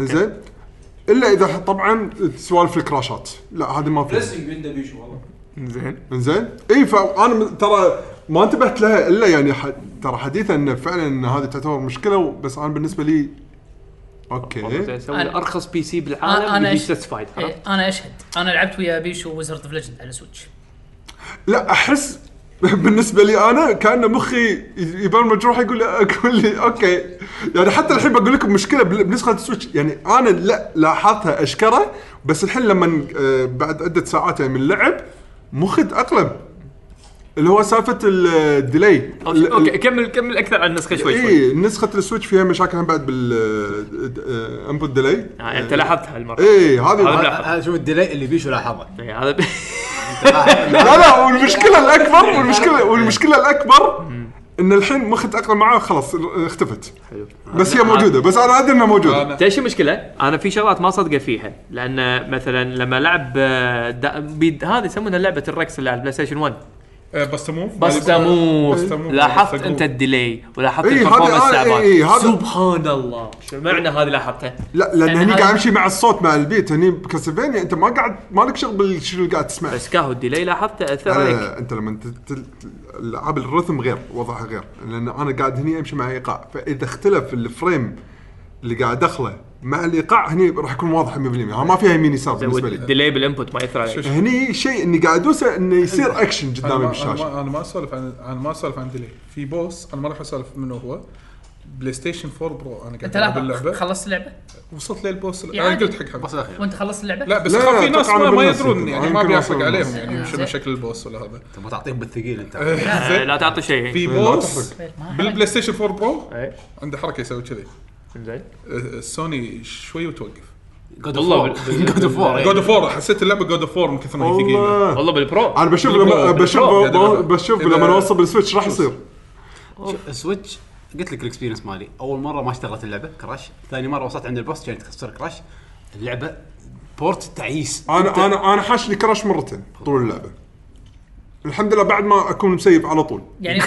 Speaker 1: زين الا اذا ح- طبعا سوالف الكراشات لا هذه ما في
Speaker 2: ريسنج عنده بيشو والله
Speaker 6: زين
Speaker 1: زين اي فانا م- ترى ما انتبهت لها الا يعني ح... ترى حديثا ان فعلا ان هذه تعتبر مشكله و- بس انا بالنسبه لي اوكي
Speaker 7: سوي
Speaker 8: أنا-
Speaker 7: ارخص بي سي بالعالم
Speaker 8: أنا- أنا
Speaker 7: انا
Speaker 8: إيش-
Speaker 7: ساتسفايد
Speaker 8: إيه، انا اشهد انا لعبت ويا بيشو ويزرد اوف ليجند على سويتش
Speaker 1: لا احس بالنسبه لي انا كان مخي ي- يبرمج روحي يقول لي يقول لي اوكي يعني حتى الحين بقول لكم مشكله بال- بنسخه السويتش يعني انا لا لاحظتها اشكره بس الحين لما آه، بعد عده ساعات يعني من اللعب مخي تاقلم اللي هو سالفه الديلي
Speaker 7: اوكي كمل كمل اكثر عن النسخه شوي شوي
Speaker 1: اي نسخه السويتش فيها مشاكل هم بعد بالانبوت ديلي
Speaker 7: آه، انت لاحظتها هالمره
Speaker 1: اي
Speaker 7: هذا
Speaker 1: إيه، هذه
Speaker 7: لا.
Speaker 4: هذا شوف الديلي اللي بيشو لاحظه
Speaker 7: إيه، هذا ب-
Speaker 1: لا لا والمشكله الاكبر والمشكله والمشكله الاكبر ان الحين مخي تاقلم معاه خلاص اختفت بس هي موجوده بس انا ادري انها موجوده
Speaker 5: انا
Speaker 7: تدري شو المشكله؟ انا في شغلات ما صدقه فيها لان مثلا لما لعب آه، دا- بيد- هذه يسمونها لعبه الركس اللي على البلاي ستيشن 1
Speaker 5: آه، بس موف
Speaker 7: بس تموت
Speaker 5: تموت.
Speaker 7: لاحظت
Speaker 5: بس
Speaker 7: انت
Speaker 5: أقول.
Speaker 7: الديلي ولاحظت
Speaker 1: إيه، هذه-
Speaker 7: البرفورمانس
Speaker 1: آه،
Speaker 7: تعبان
Speaker 1: إيه، هذا-
Speaker 7: سبحان الله شو معنى هذه لاحظته؟
Speaker 1: لا لان
Speaker 7: يعني
Speaker 8: أنا
Speaker 1: هني
Speaker 8: هذا-
Speaker 1: قاعد امشي مع الصوت مع البيت هني بكاسلفينيا انت ما قاعد مالك شغل بالشيء اللي قاعد تسمعه
Speaker 7: بس كاهو الديلي لاحظته اثر عليك
Speaker 1: أنا انت لما انت تل- العاب الرثم غير وضعها غير لان انا قاعد هني امشي مع ايقاع فاذا اختلف الفريم اللي قاعد ادخله مع الايقاع هني راح يكون واضح 100% ها ما فيها يمين يسار بالنسبه لي
Speaker 7: الديلي بالانبوت ما ياثر عليك
Speaker 1: هني شيء اني قاعد ادوسه انه يصير اكشن
Speaker 5: انا
Speaker 1: قدامي
Speaker 5: ما
Speaker 1: بالشاشه
Speaker 5: أنا ما- انا ما اسولف عن انا ما اسولف عن ديلي في بوس انا ما راح اسولف منه هو بلاي ستيشن 4 برو انا قاعد
Speaker 8: انت
Speaker 5: العب
Speaker 8: لا
Speaker 5: اللعبه
Speaker 8: خلصت اللعبه
Speaker 5: وصلت للبوس
Speaker 8: يا
Speaker 5: انا
Speaker 8: عادي.
Speaker 5: قلت حق حبيبي
Speaker 8: وانت خلصت اللعبه
Speaker 5: لا بس
Speaker 1: لا،
Speaker 5: خلاص في
Speaker 1: أتوقع
Speaker 5: ناس
Speaker 1: أنا
Speaker 5: ما, ما
Speaker 1: بالناس
Speaker 5: يدرون
Speaker 1: يمكن.
Speaker 5: يعني
Speaker 1: أنا
Speaker 5: ما
Speaker 1: يمكن
Speaker 5: بيحرق
Speaker 1: أوصل
Speaker 5: عليهم
Speaker 1: بالناس.
Speaker 5: يعني شنو
Speaker 8: زين.
Speaker 5: شكل البوس ولا هذا
Speaker 4: انت ما تعطيهم بالثقيل انت
Speaker 7: آه، لا تعطي شيء
Speaker 5: في
Speaker 1: ما
Speaker 5: بوس
Speaker 8: طيب،
Speaker 1: تحرق.
Speaker 5: بالبلاي ستيشن 4 برو
Speaker 7: إيه.
Speaker 5: عنده حركه يسوي كذي
Speaker 7: زين
Speaker 5: آه، سوني شوي وتوقف
Speaker 4: جود اوف
Speaker 7: والله
Speaker 4: وور
Speaker 7: بال-
Speaker 4: جود اوف
Speaker 5: جود
Speaker 4: وور
Speaker 5: اوف وور حسيت اللعبه جود اوف وور من كثر ما هي ثقيله
Speaker 1: والله
Speaker 7: والله بالبرو
Speaker 1: انا بشوف
Speaker 5: بالبرو-
Speaker 1: لما بشوف
Speaker 5: بالبرو.
Speaker 1: ب- بشوف
Speaker 5: إذا-
Speaker 1: لما اوصل بالسويتش راح يصير
Speaker 4: سويتش قلت لك الاكسبيرينس مالي اول مره ما اشتغلت اللعبه كراش ثاني مره وصلت عند البوس كانت تخسر كراش اللعبه بورت تعيس
Speaker 1: انا انا انا حاشني كراش مرتين طول اللعبه الحمد لله بعد ما اكون مسيب على طول
Speaker 8: يعني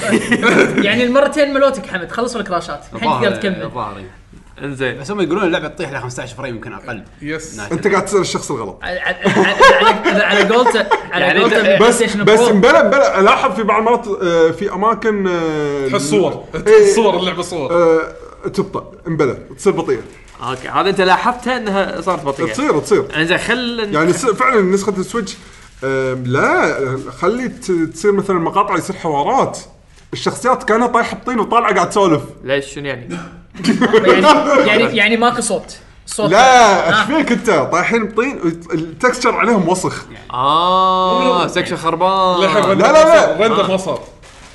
Speaker 8: يعني المرتين ملوتك حمد خلصوا الكراشات الحين تقدر تكمل
Speaker 4: الظاهر إيه.
Speaker 7: انزين
Speaker 4: بس هم يقولون اللعبه تطيح ل 15 فريم يمكن اقل
Speaker 5: يس
Speaker 4: نايس.
Speaker 1: انت قاعد تسال الشخص الغلط
Speaker 8: على- على- على- على قولته على
Speaker 7: يعني
Speaker 8: قولته
Speaker 7: أنت-
Speaker 8: بالبلاي
Speaker 1: بس
Speaker 8: ستيشن
Speaker 1: بس
Speaker 8: برو.
Speaker 1: مبلا مبلا الاحظ في بعض المرات آه، في اماكن آه،
Speaker 5: تحس صور
Speaker 1: إيه،
Speaker 5: تحس صور اللعبه صور
Speaker 1: آه، تبطا مبلا تصير بطيئه
Speaker 7: اوكي هذا انت لاحظتها انها صارت بطيئه
Speaker 1: تصير تصير
Speaker 7: انزين خل
Speaker 1: يعني س- فعلا نسخه السويتش آم، لا خلي ت- تصير مثلا مقاطع يصير حوارات الشخصيات كانها طايحه بطين وطالعه قاعد تسولف
Speaker 7: ليش شنو يعني؟
Speaker 8: يعني- يعني يعني ماكو صوت صوت
Speaker 1: لا
Speaker 8: آه.
Speaker 1: ايش فيك انت طايحين بطين وت- التكستشر عليهم وسخ
Speaker 7: اه سكشن خربان
Speaker 1: لا، لا، آه. لا.
Speaker 5: رندر ما صار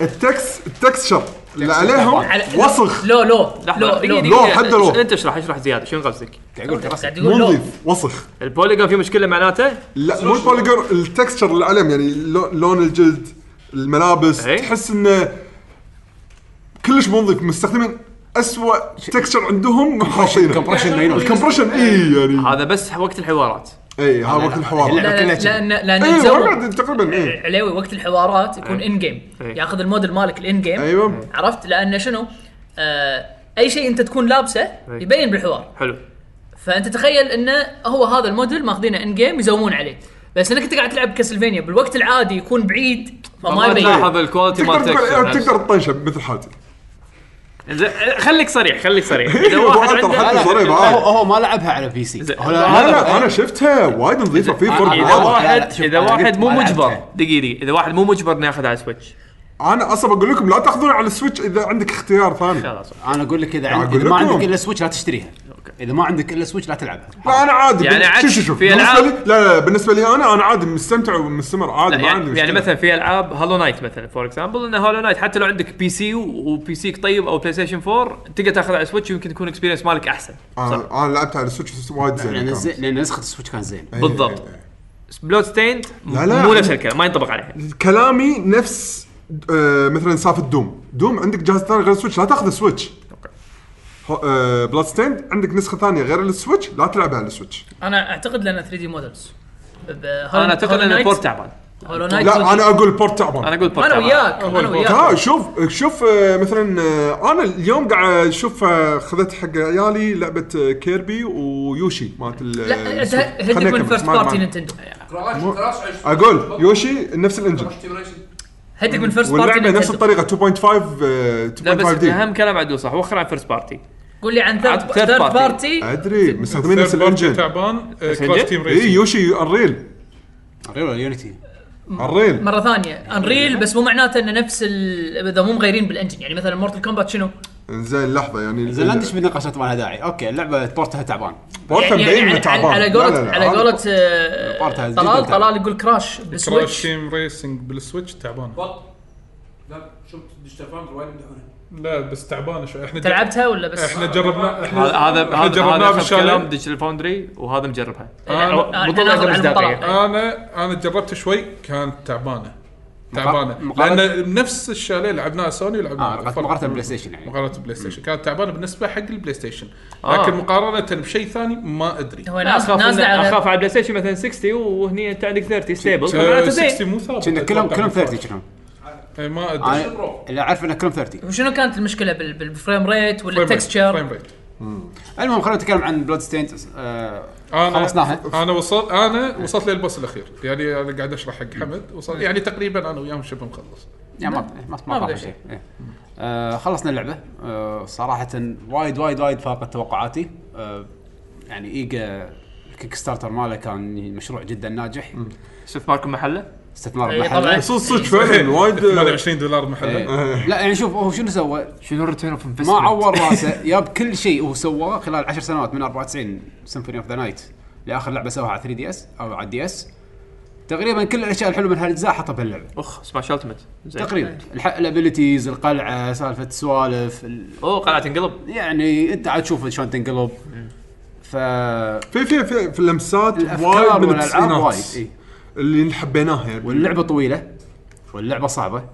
Speaker 1: التكس التكستشر اللي عليهم
Speaker 8: على- لا.
Speaker 1: وسخ
Speaker 8: لو لو
Speaker 7: لحظه
Speaker 8: لو
Speaker 1: لا،
Speaker 7: دقيقه
Speaker 8: لو
Speaker 7: دقيقه
Speaker 1: حد لو.
Speaker 7: انت اشرح اشرح زياده شنو قصدك؟
Speaker 8: قاعد
Speaker 1: مو
Speaker 8: يقول لو
Speaker 1: نظيف وسخ
Speaker 7: البوليجون في مشكله معناته؟
Speaker 1: لا مو البوليجون التكستشر اللي عليهم يعني لو- لون الجلد الملابس
Speaker 7: إيه.
Speaker 1: تحس انه كلش مو نظيف مستخدمين اسوء تكستشر عندهم حاطينه
Speaker 4: كومبريشن ماينوس
Speaker 1: الكمبرشن اي يعني
Speaker 7: يعني هذا يعني بس وقت الحوارات
Speaker 1: اي هذا وقت
Speaker 8: لا
Speaker 1: الحوار إيه،
Speaker 8: لا لان لان
Speaker 1: اي
Speaker 8: يتزوج.
Speaker 1: وقعد تقريبا
Speaker 7: إيه.
Speaker 1: اي
Speaker 8: عليوي وقت الحوارات يكون
Speaker 7: أي.
Speaker 8: ان جيم
Speaker 7: أي.
Speaker 8: ياخذ الموديل مالك الان جيم
Speaker 1: ايوه
Speaker 8: عرفت لان شنو آه، اي شيء انت تكون لابسه
Speaker 7: أي.
Speaker 8: يبين بالحوار
Speaker 7: إيه. حلو
Speaker 8: فانت تخيل انه هو هذا الموديل ماخذينه ان جيم يزومون عليه بس انك انت قاعد تلعب كاسلفينيا بالوقت العادي يكون بعيد فما
Speaker 7: ما
Speaker 8: يبين
Speaker 7: تلاحظ الكواليتي
Speaker 1: تقدر تقول- آه،
Speaker 7: مالتك
Speaker 1: تقدر تطنشه مثل حالتي
Speaker 7: إنزين، خليك صريح خليك صريح اذا واحد
Speaker 1: وأنت
Speaker 7: عنده
Speaker 1: حتى صريح
Speaker 4: هو
Speaker 1: معاه.
Speaker 4: هو ما لعبها على بي سي
Speaker 7: زين.
Speaker 4: هو
Speaker 1: لا
Speaker 4: لا-
Speaker 1: لا انا شفتها وايد نظيفه في فرق
Speaker 4: أنا-
Speaker 7: اذا
Speaker 4: أنا-
Speaker 1: واضح
Speaker 4: لا، لا،
Speaker 7: واحد
Speaker 4: شوف،
Speaker 7: اذا
Speaker 4: أنا
Speaker 7: واحد
Speaker 4: قلت
Speaker 7: مو
Speaker 4: ما
Speaker 7: مجبر
Speaker 4: لعبتها.
Speaker 7: دقيقه دقيقة، اذا واحد مو مجبر انه ياخذ على سويتش
Speaker 1: انا اصلا بقول لكم لا تاخذون على السويتش اذا عندك اختيار ثاني
Speaker 7: خلاص
Speaker 4: انا اقول لك اذا, عندك
Speaker 1: أقول
Speaker 4: إذا ما
Speaker 1: لكم.
Speaker 4: عندك الا سويتش لا تشتريها اذا ما عندك الا سويتش لا تلعبها
Speaker 1: لا انا عادي
Speaker 7: يعني
Speaker 1: بال-
Speaker 7: عكس
Speaker 1: شوف شوف شوف
Speaker 7: في
Speaker 1: بالنسبه
Speaker 7: ألعاب-
Speaker 1: لي لا, لا, لا بالنسبه لي انا انا عادي مستمتع ومستمر عادي
Speaker 7: لا
Speaker 1: ما عندي
Speaker 7: يعني, يعني
Speaker 1: مشكلة.
Speaker 7: مثلا في العاب هالو نايت مثلا فور اكزامبل ان هالو نايت حتى لو عندك بي سي وبي سيك طيب او بلاي ستيشن 4 تقدر تاخذ على سويتش ويمكن تكون اكسبيرينس مالك احسن صح.
Speaker 1: انا, أنا آه، لعبت على السويتش وايد زين
Speaker 4: لان
Speaker 1: كان.
Speaker 4: يعني زي- لان نسخه السويتش كانت زين
Speaker 1: إي-
Speaker 7: بالضبط.
Speaker 1: إي- إي.
Speaker 7: بلود ستيند
Speaker 1: إيه، لا، لا.
Speaker 7: مو نفس الكلام ما ينطبق عليها
Speaker 1: إيه، كلامي نفس آه مثلا سالفه دوم دوم عندك جهاز ثاني غير السويتش لا تاخذ السويتش ه- آه بلاد ستيند عندك نسخه ثانيه غير السويتش لا تلعبها على السويتش
Speaker 8: انا اعتقد لان 3 دي مودلز
Speaker 7: انا اعتقد ان البورت تعبان
Speaker 1: لا انا اقول بورت
Speaker 7: انا
Speaker 1: تعبان
Speaker 7: اقول بورت
Speaker 8: انا
Speaker 7: تعبان.
Speaker 8: وياك انا وياك
Speaker 1: لا شوف شوف آه، مثلا آه، انا اليوم قاعد اشوف آه، خذت حق عيالي لعبه آه، كيربي ويوشي مالت ال-
Speaker 8: لا انت
Speaker 1: السويتش.
Speaker 8: هدي
Speaker 1: خليني
Speaker 8: من
Speaker 1: أكمل،
Speaker 8: فيرست
Speaker 1: ما- ما-
Speaker 8: بارتي نينتندو
Speaker 2: كراش
Speaker 1: مو-
Speaker 2: كراش عشت.
Speaker 1: اقول يوشي نفس الانجن
Speaker 2: كراش تيميوليشن.
Speaker 8: هدي من فيرست بارتي
Speaker 1: واللعبه نفس
Speaker 8: نينتندو
Speaker 1: الطريقه 2.5 آه، 2.5
Speaker 7: لا بس
Speaker 1: دي
Speaker 7: اهم كلام عدو صح وخر عن فيرست بارتي
Speaker 8: قول لي عن
Speaker 7: عاد
Speaker 8: ثيرد
Speaker 7: third party.
Speaker 8: بارتي
Speaker 1: ادري مستخدمين نفس إيه،
Speaker 5: ثيرد بارتي
Speaker 1: الانجن
Speaker 5: تعبان آه،
Speaker 7: نفس
Speaker 5: كراش
Speaker 7: الإنجن؟
Speaker 5: تيم
Speaker 1: اي
Speaker 5: ريسنج
Speaker 1: يوشي انريل أيوة،
Speaker 4: ريو يونيتي
Speaker 1: انريل
Speaker 8: مره ثانيه انريل بس مو معناته انه نفس ال- اذا مو مغيرين بالانجن يعني مثلا مورتل كومبات شنو؟
Speaker 1: زين لحظه يعني
Speaker 4: زين لا ندش بالنقاشات ما لها داعي اوكي اللعبه بورتها تعبان
Speaker 1: بورتا
Speaker 8: يعني-
Speaker 1: مبين
Speaker 8: يعني
Speaker 1: انه
Speaker 8: على-
Speaker 1: تعبان
Speaker 8: على
Speaker 1: لا، لا،
Speaker 8: قولة
Speaker 1: لا،
Speaker 8: على
Speaker 1: أنا-
Speaker 8: قولة
Speaker 4: بارتها
Speaker 8: آه،
Speaker 4: جداً
Speaker 8: طلال
Speaker 4: تعبان.
Speaker 8: طلال يقول كراش
Speaker 5: كراش
Speaker 8: بالسويتش
Speaker 5: تيم ريسنج بالسويتش تعبان
Speaker 2: بط لا شفت ديجيتال فاوندر وايد يمدحونه
Speaker 5: لا بس تعبانه شوي احنا
Speaker 8: انت لعبتها ولا بس؟ آه،
Speaker 5: احنا جربنا احنا
Speaker 7: هذا هذا
Speaker 5: احنا
Speaker 7: هذا
Speaker 5: جربناه
Speaker 7: هذا كلام
Speaker 5: بالشاله
Speaker 7: ديجيتال فاوندري وهذا مجربها
Speaker 8: لا، لا،
Speaker 7: بطولة
Speaker 8: إحنا ناخذ على
Speaker 7: مصداقية.
Speaker 8: البطاقة.
Speaker 5: آه، انا انا جربته شوي كانت تعبانه تعبانه
Speaker 4: مقارنة-
Speaker 5: لان نفس الشاليه لعبناها سوني
Speaker 1: آه،
Speaker 4: اه
Speaker 5: ولعبناها
Speaker 4: مقارنه
Speaker 5: فرق.
Speaker 4: مقارنة بالبلاي ستيشن يعني
Speaker 5: مقارنه بلاي ستيشن كانت تعبانه بالنسبه حق البلاي ستيشن
Speaker 7: آه.
Speaker 5: لكن مقارنه بشيء ثاني ما ادري
Speaker 8: هو
Speaker 7: انا
Speaker 8: نازل
Speaker 7: اخاف
Speaker 8: نازل
Speaker 7: إن-
Speaker 8: على
Speaker 7: اخاف على البلاي ستيشن مثلا 60 وهني انت عندك 30 ستيبل
Speaker 5: آه،
Speaker 7: معناته
Speaker 5: 60
Speaker 7: زين
Speaker 5: مو ثابت
Speaker 4: كنا كلهم
Speaker 5: أتوقع.
Speaker 4: كلهم 30 كلهم
Speaker 5: إي، ما ادري
Speaker 4: انا اللي اعرف انه كلهم 30
Speaker 8: وشنو كانت المشكله بال- بالفريم ريت ولا
Speaker 5: فريم ريت، فريم
Speaker 8: التكستشر؟
Speaker 5: ريت
Speaker 4: المهم خلينا نتكلم عن آه، بلود ستيند
Speaker 5: انا
Speaker 4: خلصناها
Speaker 5: انا وصلت انا وصلت للبوس الاخير يعني انا قاعد اشرح حق حمد وصل يعني تقريبا انا وياهم شبه مخلص
Speaker 4: يعني ما ما- ما ما طاف شيء إيه. آه، خلصنا اللعبه آه، صراحه وايد وايد وايد فاقت توقعاتي آه، يعني ايجا الكيك ستارتر ماله كان مشروع جدا ناجح
Speaker 7: شوف ماركم محله
Speaker 4: استثمار
Speaker 8: إيه،
Speaker 4: المحل
Speaker 8: طبعاً.
Speaker 1: صدق صدق فعلا وايد آه،
Speaker 5: 28 دولار محلا
Speaker 4: إيه. لا يعني شوف هو شنو سوى؟
Speaker 7: شنو الريتيرن اوف انفستمنت
Speaker 4: ما عور راسه جاب كل شيء هو سواه خلال 10 سنوات من 94 سيمفوني اوف ذا نايت لاخر لعبه سواها على 3 دي اس او على الدي اس تقريبا كل الاشياء الحلوه من هالاجزاء حطها بهاللعبه
Speaker 7: اخ سماش التمت زين
Speaker 4: تقريبا الابيلتيز القلعه سالفه السوالف ال-
Speaker 7: اوه قلعه آه، تنقلب
Speaker 4: يعني انت عاد تشوف شلون تنقلب ف
Speaker 1: في في في, في لمسات وايد
Speaker 4: الافكار
Speaker 1: من
Speaker 4: والالعاب وايد
Speaker 1: التسعينات
Speaker 4: إيه.
Speaker 1: اللي حبيناها يعني
Speaker 4: واللعبه طويله واللعبه صعبه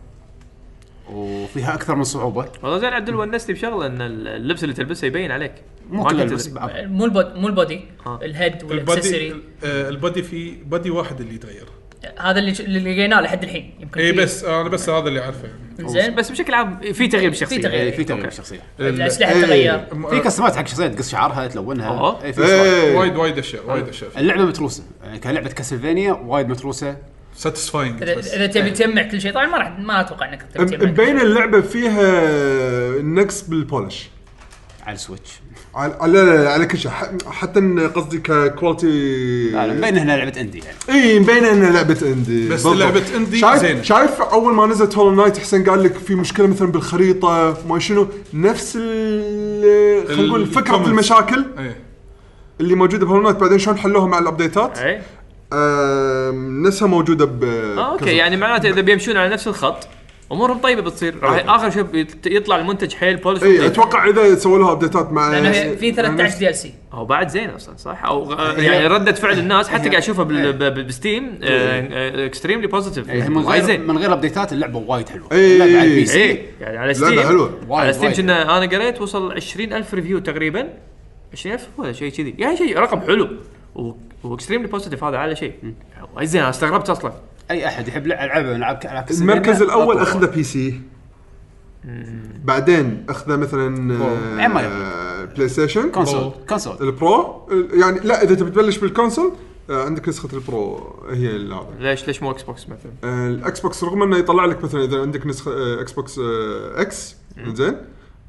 Speaker 4: وفيها اكثر من صعوبه
Speaker 7: والله زين عدل ونستي بشغله ان اللبس اللي تلبسه يبين عليك
Speaker 4: مو
Speaker 7: ما
Speaker 4: كل
Speaker 7: كنت
Speaker 4: اللبس
Speaker 7: تدري.
Speaker 4: بعض.
Speaker 8: آه، مو البودي مو البودي
Speaker 7: آه.
Speaker 8: الهيد
Speaker 5: البادي
Speaker 8: والاكسسوري
Speaker 5: آه، البادي في بادي واحد اللي يتغير
Speaker 8: هذا اللي اللي لقيناه لحد الحين يمكن
Speaker 5: اي
Speaker 8: في-
Speaker 5: إيه، بس انا بس هذا اللي اعرفه يعني
Speaker 8: زين بس
Speaker 7: بس بشكل عام في تغيير
Speaker 8: في
Speaker 7: بالشخصيه
Speaker 8: تغيير
Speaker 4: إيه، في تغيير الشخصيه
Speaker 8: الاسلحه
Speaker 1: إيه.
Speaker 8: تغير
Speaker 5: م-
Speaker 4: في كستمات حق شخصيه تقص شعرها
Speaker 7: أوه.
Speaker 4: تلونها إيه، في سوالف.
Speaker 1: إيه.
Speaker 5: وايد وايد اشياء وايد اشياء
Speaker 4: اللعبه متروسه يعني كلعبه كاسلفينيا وايد متروسه
Speaker 5: ساتيسفاينج
Speaker 8: اذا إذا
Speaker 1: إيه.
Speaker 8: تبي تجمع كل شيء طبعا ما راح ما اتوقع انك تبي تجمع كل شيء.
Speaker 1: مبين اللعبه فيها نقص بالبولش
Speaker 4: على السويتش
Speaker 1: على على- لا لا لا على كل شيء ح- حتى إن قصدي ككواليتي
Speaker 4: يعني مبين انها لعبه اندي يعني
Speaker 1: اي مبينه انها لعبه اندي
Speaker 5: بس
Speaker 1: بالضبط.
Speaker 5: لعبة اندي
Speaker 1: شايف
Speaker 5: زينة.
Speaker 1: شايف اول ما نزلت هولو نايت حسين قال لك في مشكله مثلا بالخريطه ما شنو نفس ال خلينا نقول
Speaker 5: ال-
Speaker 1: فكره
Speaker 5: comments.
Speaker 1: المشاكل
Speaker 5: ايه
Speaker 1: اللي موجوده بهولو نايت بعدين شلون حلوها مع الابديتات
Speaker 7: اي
Speaker 1: آم، نفسها موجوده ب
Speaker 7: اه
Speaker 1: كذا.
Speaker 7: اوكي يعني معناته اذا بيمشون على نفس الخط امورهم طيبه بتصير راح اخر شيء بيت- يطلع المنتج حيل بولش
Speaker 1: اي اتوقع اذا إيه، سووا لها ابديتات مع
Speaker 8: لانه في 13 دي ال سي
Speaker 7: هو بعد زين اصلا صح او غ- يعني رده فعل الناس حتى قاعد اشوفها بال- ب- بستيم آه، اكستريملي بوزيتيف
Speaker 4: يعني من
Speaker 7: إيه، وايد
Speaker 4: غير
Speaker 7: زين
Speaker 4: من غير ابديتات اللعبه وايد حلوه
Speaker 1: إيه.
Speaker 4: اللعبه على البي سي
Speaker 7: اي يعني على
Speaker 1: لعبه
Speaker 7: ستيم
Speaker 1: حلوه
Speaker 4: وايد-
Speaker 7: على ستيم
Speaker 4: وايد.
Speaker 7: كنا انا قريت وصل 20000 ريفيو تقريبا 20000 ولا شيء كذي يعني شيء رقم حلو واكستريملي بوزيتيف هذا على شيء وايد زين انا استغربت اصلا
Speaker 4: اي احد يحب لعبه العبها العاب ك- على كاسلفينيا
Speaker 1: المركز الاول
Speaker 4: أطلع.
Speaker 1: اخذه بي سي بعدين اخذه مثلا آه،
Speaker 4: يعني ما
Speaker 1: بلاي ستيشن
Speaker 4: كونسول كونسول
Speaker 1: البرو يعني لا اذا تبي تبلش بالكونسول آه، عندك نسخه البرو آه، هي ال- هذا
Speaker 7: ليش ليش مو اكس بوكس مثلا
Speaker 1: آه، الاكس بوكس رغم انه يطلع لك مثلا اذا عندك نسخه آه، اكس بوكس آه، اكس زين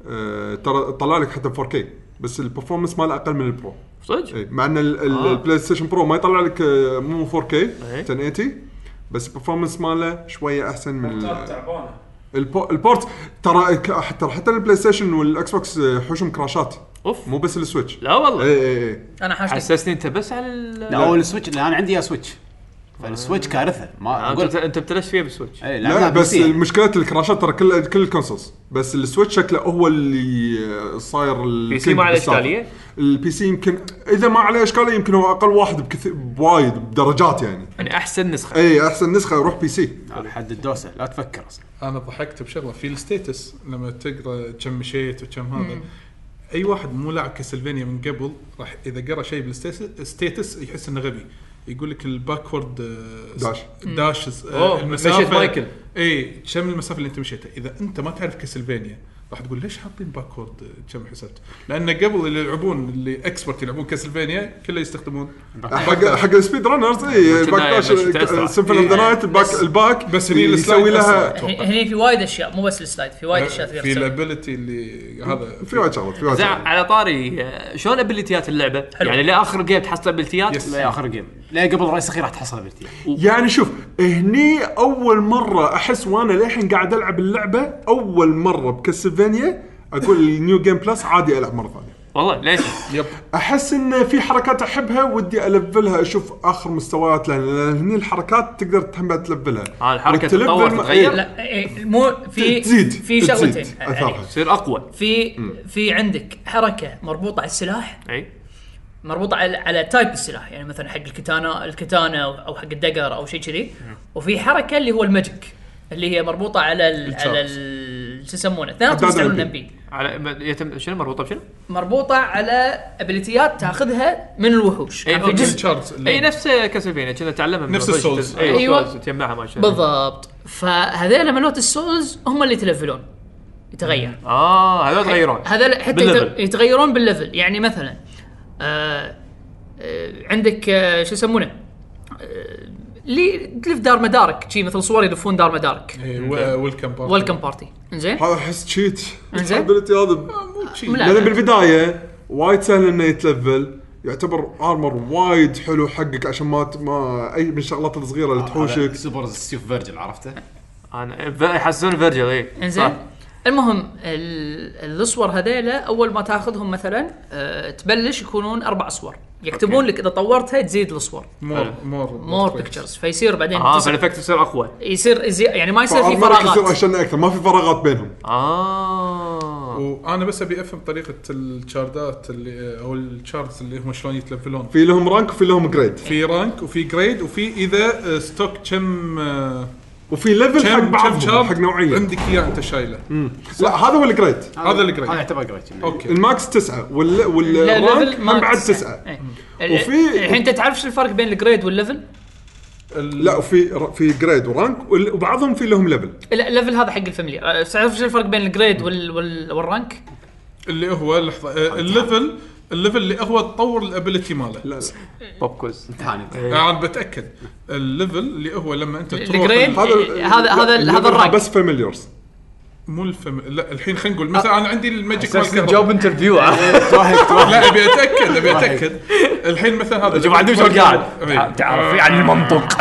Speaker 1: آه، ترى طلع لك حتى 4K بس البرفورمانس ماله اقل من البرو
Speaker 4: إيه.
Speaker 7: صدق؟
Speaker 1: اي مع ان ال- ال-
Speaker 7: آه.
Speaker 1: البلاي ستيشن برو ما يطلع لك آه، مو 4K
Speaker 7: إي.
Speaker 1: 1080 بس البرفورمانس ماله شويه احسن من ال-
Speaker 2: تعبانه
Speaker 1: البو- البورت ترى ك- حتى حتى البلاي ستيشن والاكس بوكس آه، حوشهم كراشات
Speaker 7: اوف
Speaker 1: مو بس السويتش
Speaker 7: لا والله
Speaker 1: اي اي اي
Speaker 8: انا حاشتك
Speaker 7: حسسني انت بس على ال
Speaker 4: إيه. لا هو السويتش لان انا عندي يا سويتش فالسويتش كارثه ما
Speaker 7: آه،
Speaker 4: اقول
Speaker 7: انت
Speaker 4: لك
Speaker 7: انت بتلش فيها بالسويتش
Speaker 4: إيه،
Speaker 1: لا
Speaker 4: لعبناها
Speaker 1: بس
Speaker 4: بي سي.
Speaker 1: مشكله الكراشات ترى كل كل الكونسولز بس السويتش شكله هو اللي آه، صاير
Speaker 7: بي سي ما عليه اشكاليه
Speaker 1: البي سي يمكن اذا ما عليه اشكاليه يمكن هو اقل واحد بكثير بوايد بدرجات يعني
Speaker 7: يعني احسن نسخه
Speaker 1: اي احسن نسخه روح بي سي
Speaker 4: على حد الدوسه لا تفكر اصلا
Speaker 5: انا ضحكت بشغله في الستيتس لما تقرا كم مشيت وكم هذا اي واحد مو لاعب كاسلفينيا من قبل راح اذا قرا شيء بالستيتس يحس انه غبي يقول لك الباكورد آه،
Speaker 1: داش.
Speaker 5: داش
Speaker 7: أوه، مشيت مايكل.
Speaker 5: اي آه، إيه، كم المسافه اللي انت مشيتها اذا انت ما تعرف كاسلفينيا راح تقول ليش حاطين باكورد آه، كم حسبت؟ لان قبل اللي يلعبون اللي اكسبرت يلعبون كاسلفينيا كله يستخدمون
Speaker 1: حق حق السبيد رانرز اي
Speaker 7: قلت
Speaker 1: باك
Speaker 7: لنا
Speaker 1: داش
Speaker 7: مشيت أسرع.
Speaker 1: سيمفوني اوف ذا نايت الباك الباك
Speaker 5: بس هني السلايد
Speaker 1: يسوي لها
Speaker 5: أسرع.
Speaker 8: هني في وايد اشياء مو بس السلايد في
Speaker 7: طيب،
Speaker 8: وايد اشياء
Speaker 5: آه، في
Speaker 8: تقدر تسوي.
Speaker 5: الابيلتي اللي هذا
Speaker 1: في وايد شغلات في وايد
Speaker 7: زع
Speaker 1: شغلات
Speaker 7: على طاري آه، شلون ابيليتيات اللعبه؟
Speaker 8: حلو.
Speaker 7: يعني لاخر جيم تحصل ابيليتيات؟
Speaker 5: يس.
Speaker 4: لا اخر جيم لا قبل رايس اخير راح تحصل بارتيا
Speaker 1: يعني شوف هني اول مره احس وانا للحين قاعد العب اللعبه اول مره بكاسلفينيا اقول النيو جيم بلس عادي العب مره ثانيه
Speaker 7: والله ليش؟
Speaker 5: يب
Speaker 1: احس ان في حركات احبها ودي الفلها اشوف اخر مستويات لها لان هني الحركات تقدر تهم بعد تلفلها
Speaker 7: آه، الحركة
Speaker 1: وتلفل
Speaker 7: تتطور،
Speaker 1: ما-
Speaker 7: تتغير.
Speaker 1: إيه،
Speaker 8: لا إيه، مو في
Speaker 1: تزيد
Speaker 8: في
Speaker 1: تزيد
Speaker 8: شغلتين آه، يعني.
Speaker 1: اثرها
Speaker 7: تصير اقوى
Speaker 8: في في عندك حركه مربوطه على السلاح
Speaker 7: اي
Speaker 8: مربوطه على على تايب السلاح يعني مثلا حق الكتانه الكتانه او حق الدقر او شيء كذي وفي حركه اللي هو الماجيك اللي هي مربوطه على ال على ال شو يسمونه
Speaker 1: عداد
Speaker 8: اثنيناتهم يستعملون
Speaker 1: MP.
Speaker 8: بي
Speaker 7: على ما- يتم شنو مربوطه بشنو؟
Speaker 8: مربوطه على ابيليتيات تاخذها من الوحوش إيه،
Speaker 7: إيه،
Speaker 8: كان في
Speaker 7: أوكي.
Speaker 8: جزء
Speaker 5: الشارز
Speaker 7: اي نفس كاسلفينيا كنا تعلمها من
Speaker 5: نفس
Speaker 7: الرجل.
Speaker 5: السولز.
Speaker 7: اي
Speaker 8: أيوة.
Speaker 7: السولز تجمعها ما شاء الله.
Speaker 8: بالضبط فهذيلا ملوت السولز هم اللي يتلفلون يتغير
Speaker 7: اه هذول تغيرون
Speaker 8: هذا حتى
Speaker 7: بالليفل.
Speaker 8: يت- يتغيرون بالليفل يعني مثلا آه آه عندك آه شو يسمونه آه، اللي تلف دار مدارك شي مثل صور يلفون دار
Speaker 7: إيه.
Speaker 8: مدارك
Speaker 5: آه، ويلكم بارتي
Speaker 8: ويلكم بارتي انزين
Speaker 1: هذا احس تشيت
Speaker 8: إنزين.
Speaker 1: الابيلتي هذا
Speaker 8: لا،
Speaker 1: لان
Speaker 8: لا.
Speaker 1: بالبدايه وايد سهل انه يتلفل يعتبر ارمر وايد حلو حقك عشان ما ت- ما اي من الشغلات الصغيره
Speaker 8: آه،
Speaker 1: اللي تحوشك
Speaker 4: سوبر ستيف فيرجن عرفته
Speaker 7: انا ف- يحسون فيرجل إيه. آه. اي
Speaker 8: انزين المهم ال- الصور هذيلا اول ما تاخذهم مثلا آه تبلش يكونون اربع صور يكتبون لك اذا طورتها تزيد الصور
Speaker 5: مور مور
Speaker 8: مور بيكتشرز فيصير بعدين
Speaker 7: اه
Speaker 8: تسع-
Speaker 7: فالافكت يصير اقوى
Speaker 8: يصير يزي- يعني ما يصير في
Speaker 1: فأرمرك يصير
Speaker 8: فراغات
Speaker 1: عشان اكثر ما في فراغات بينهم
Speaker 7: اه
Speaker 5: وانا بس ابي افهم طريقه الشاردات اللي او الشاردز اللي هم شلون يتلفلون
Speaker 1: في لهم رانك وفي لهم جريد
Speaker 5: في رانك وفي جريد وفي اذا آه، ستوك كم آه،
Speaker 1: وفي ليفل حق
Speaker 5: كم كم
Speaker 1: بعضهم
Speaker 5: شارد
Speaker 1: حق نوعيه
Speaker 5: عندك اياه انت شايله
Speaker 1: لا هذا هو الجريد
Speaker 5: هذا
Speaker 4: هذا
Speaker 5: الجريد
Speaker 4: يعتبر جريت
Speaker 5: اوكي
Speaker 1: الماكس تسعه وال
Speaker 8: لا،
Speaker 1: والرانك
Speaker 8: ليفل
Speaker 1: هم بعد
Speaker 8: ماكس.
Speaker 1: تسعه
Speaker 8: إيه.
Speaker 1: وفي-
Speaker 8: الحين انت تعرف شو الفرق بين الجريد والليفل؟
Speaker 5: ال-
Speaker 1: لا وفي في جريد ورانك وال- وبعضهم في لهم ليفل
Speaker 8: لا الليفل هذا حق الفاميلي أه، تعرف شو الفرق بين الجريد وال... وال... والرانك؟
Speaker 5: اللي هو لحظه آه، الليفل الليفل اللي هو تطور الابيلتي ماله
Speaker 1: لا لا
Speaker 7: بوب كوز
Speaker 4: امتحان
Speaker 5: آه، انا بتاكد الليفل اللي هو لما انت تروح
Speaker 8: الجريد؟
Speaker 5: ال-
Speaker 8: إيه، هذا- هذا-
Speaker 1: لا،
Speaker 8: هذا الرانك.
Speaker 1: بس فاميليورز
Speaker 5: مو الفم لا الحين خلينا نقول
Speaker 1: آه.
Speaker 5: مثلا انا عندي الماجيك مال الكهرباء.
Speaker 7: جوب انترفيو
Speaker 5: لا ابي اتاكد ابي اتاكد الحين مثلا هذا
Speaker 7: شوف عندي شلون
Speaker 1: آه.
Speaker 5: أبي.
Speaker 7: قاعد تعرف يعني المنطق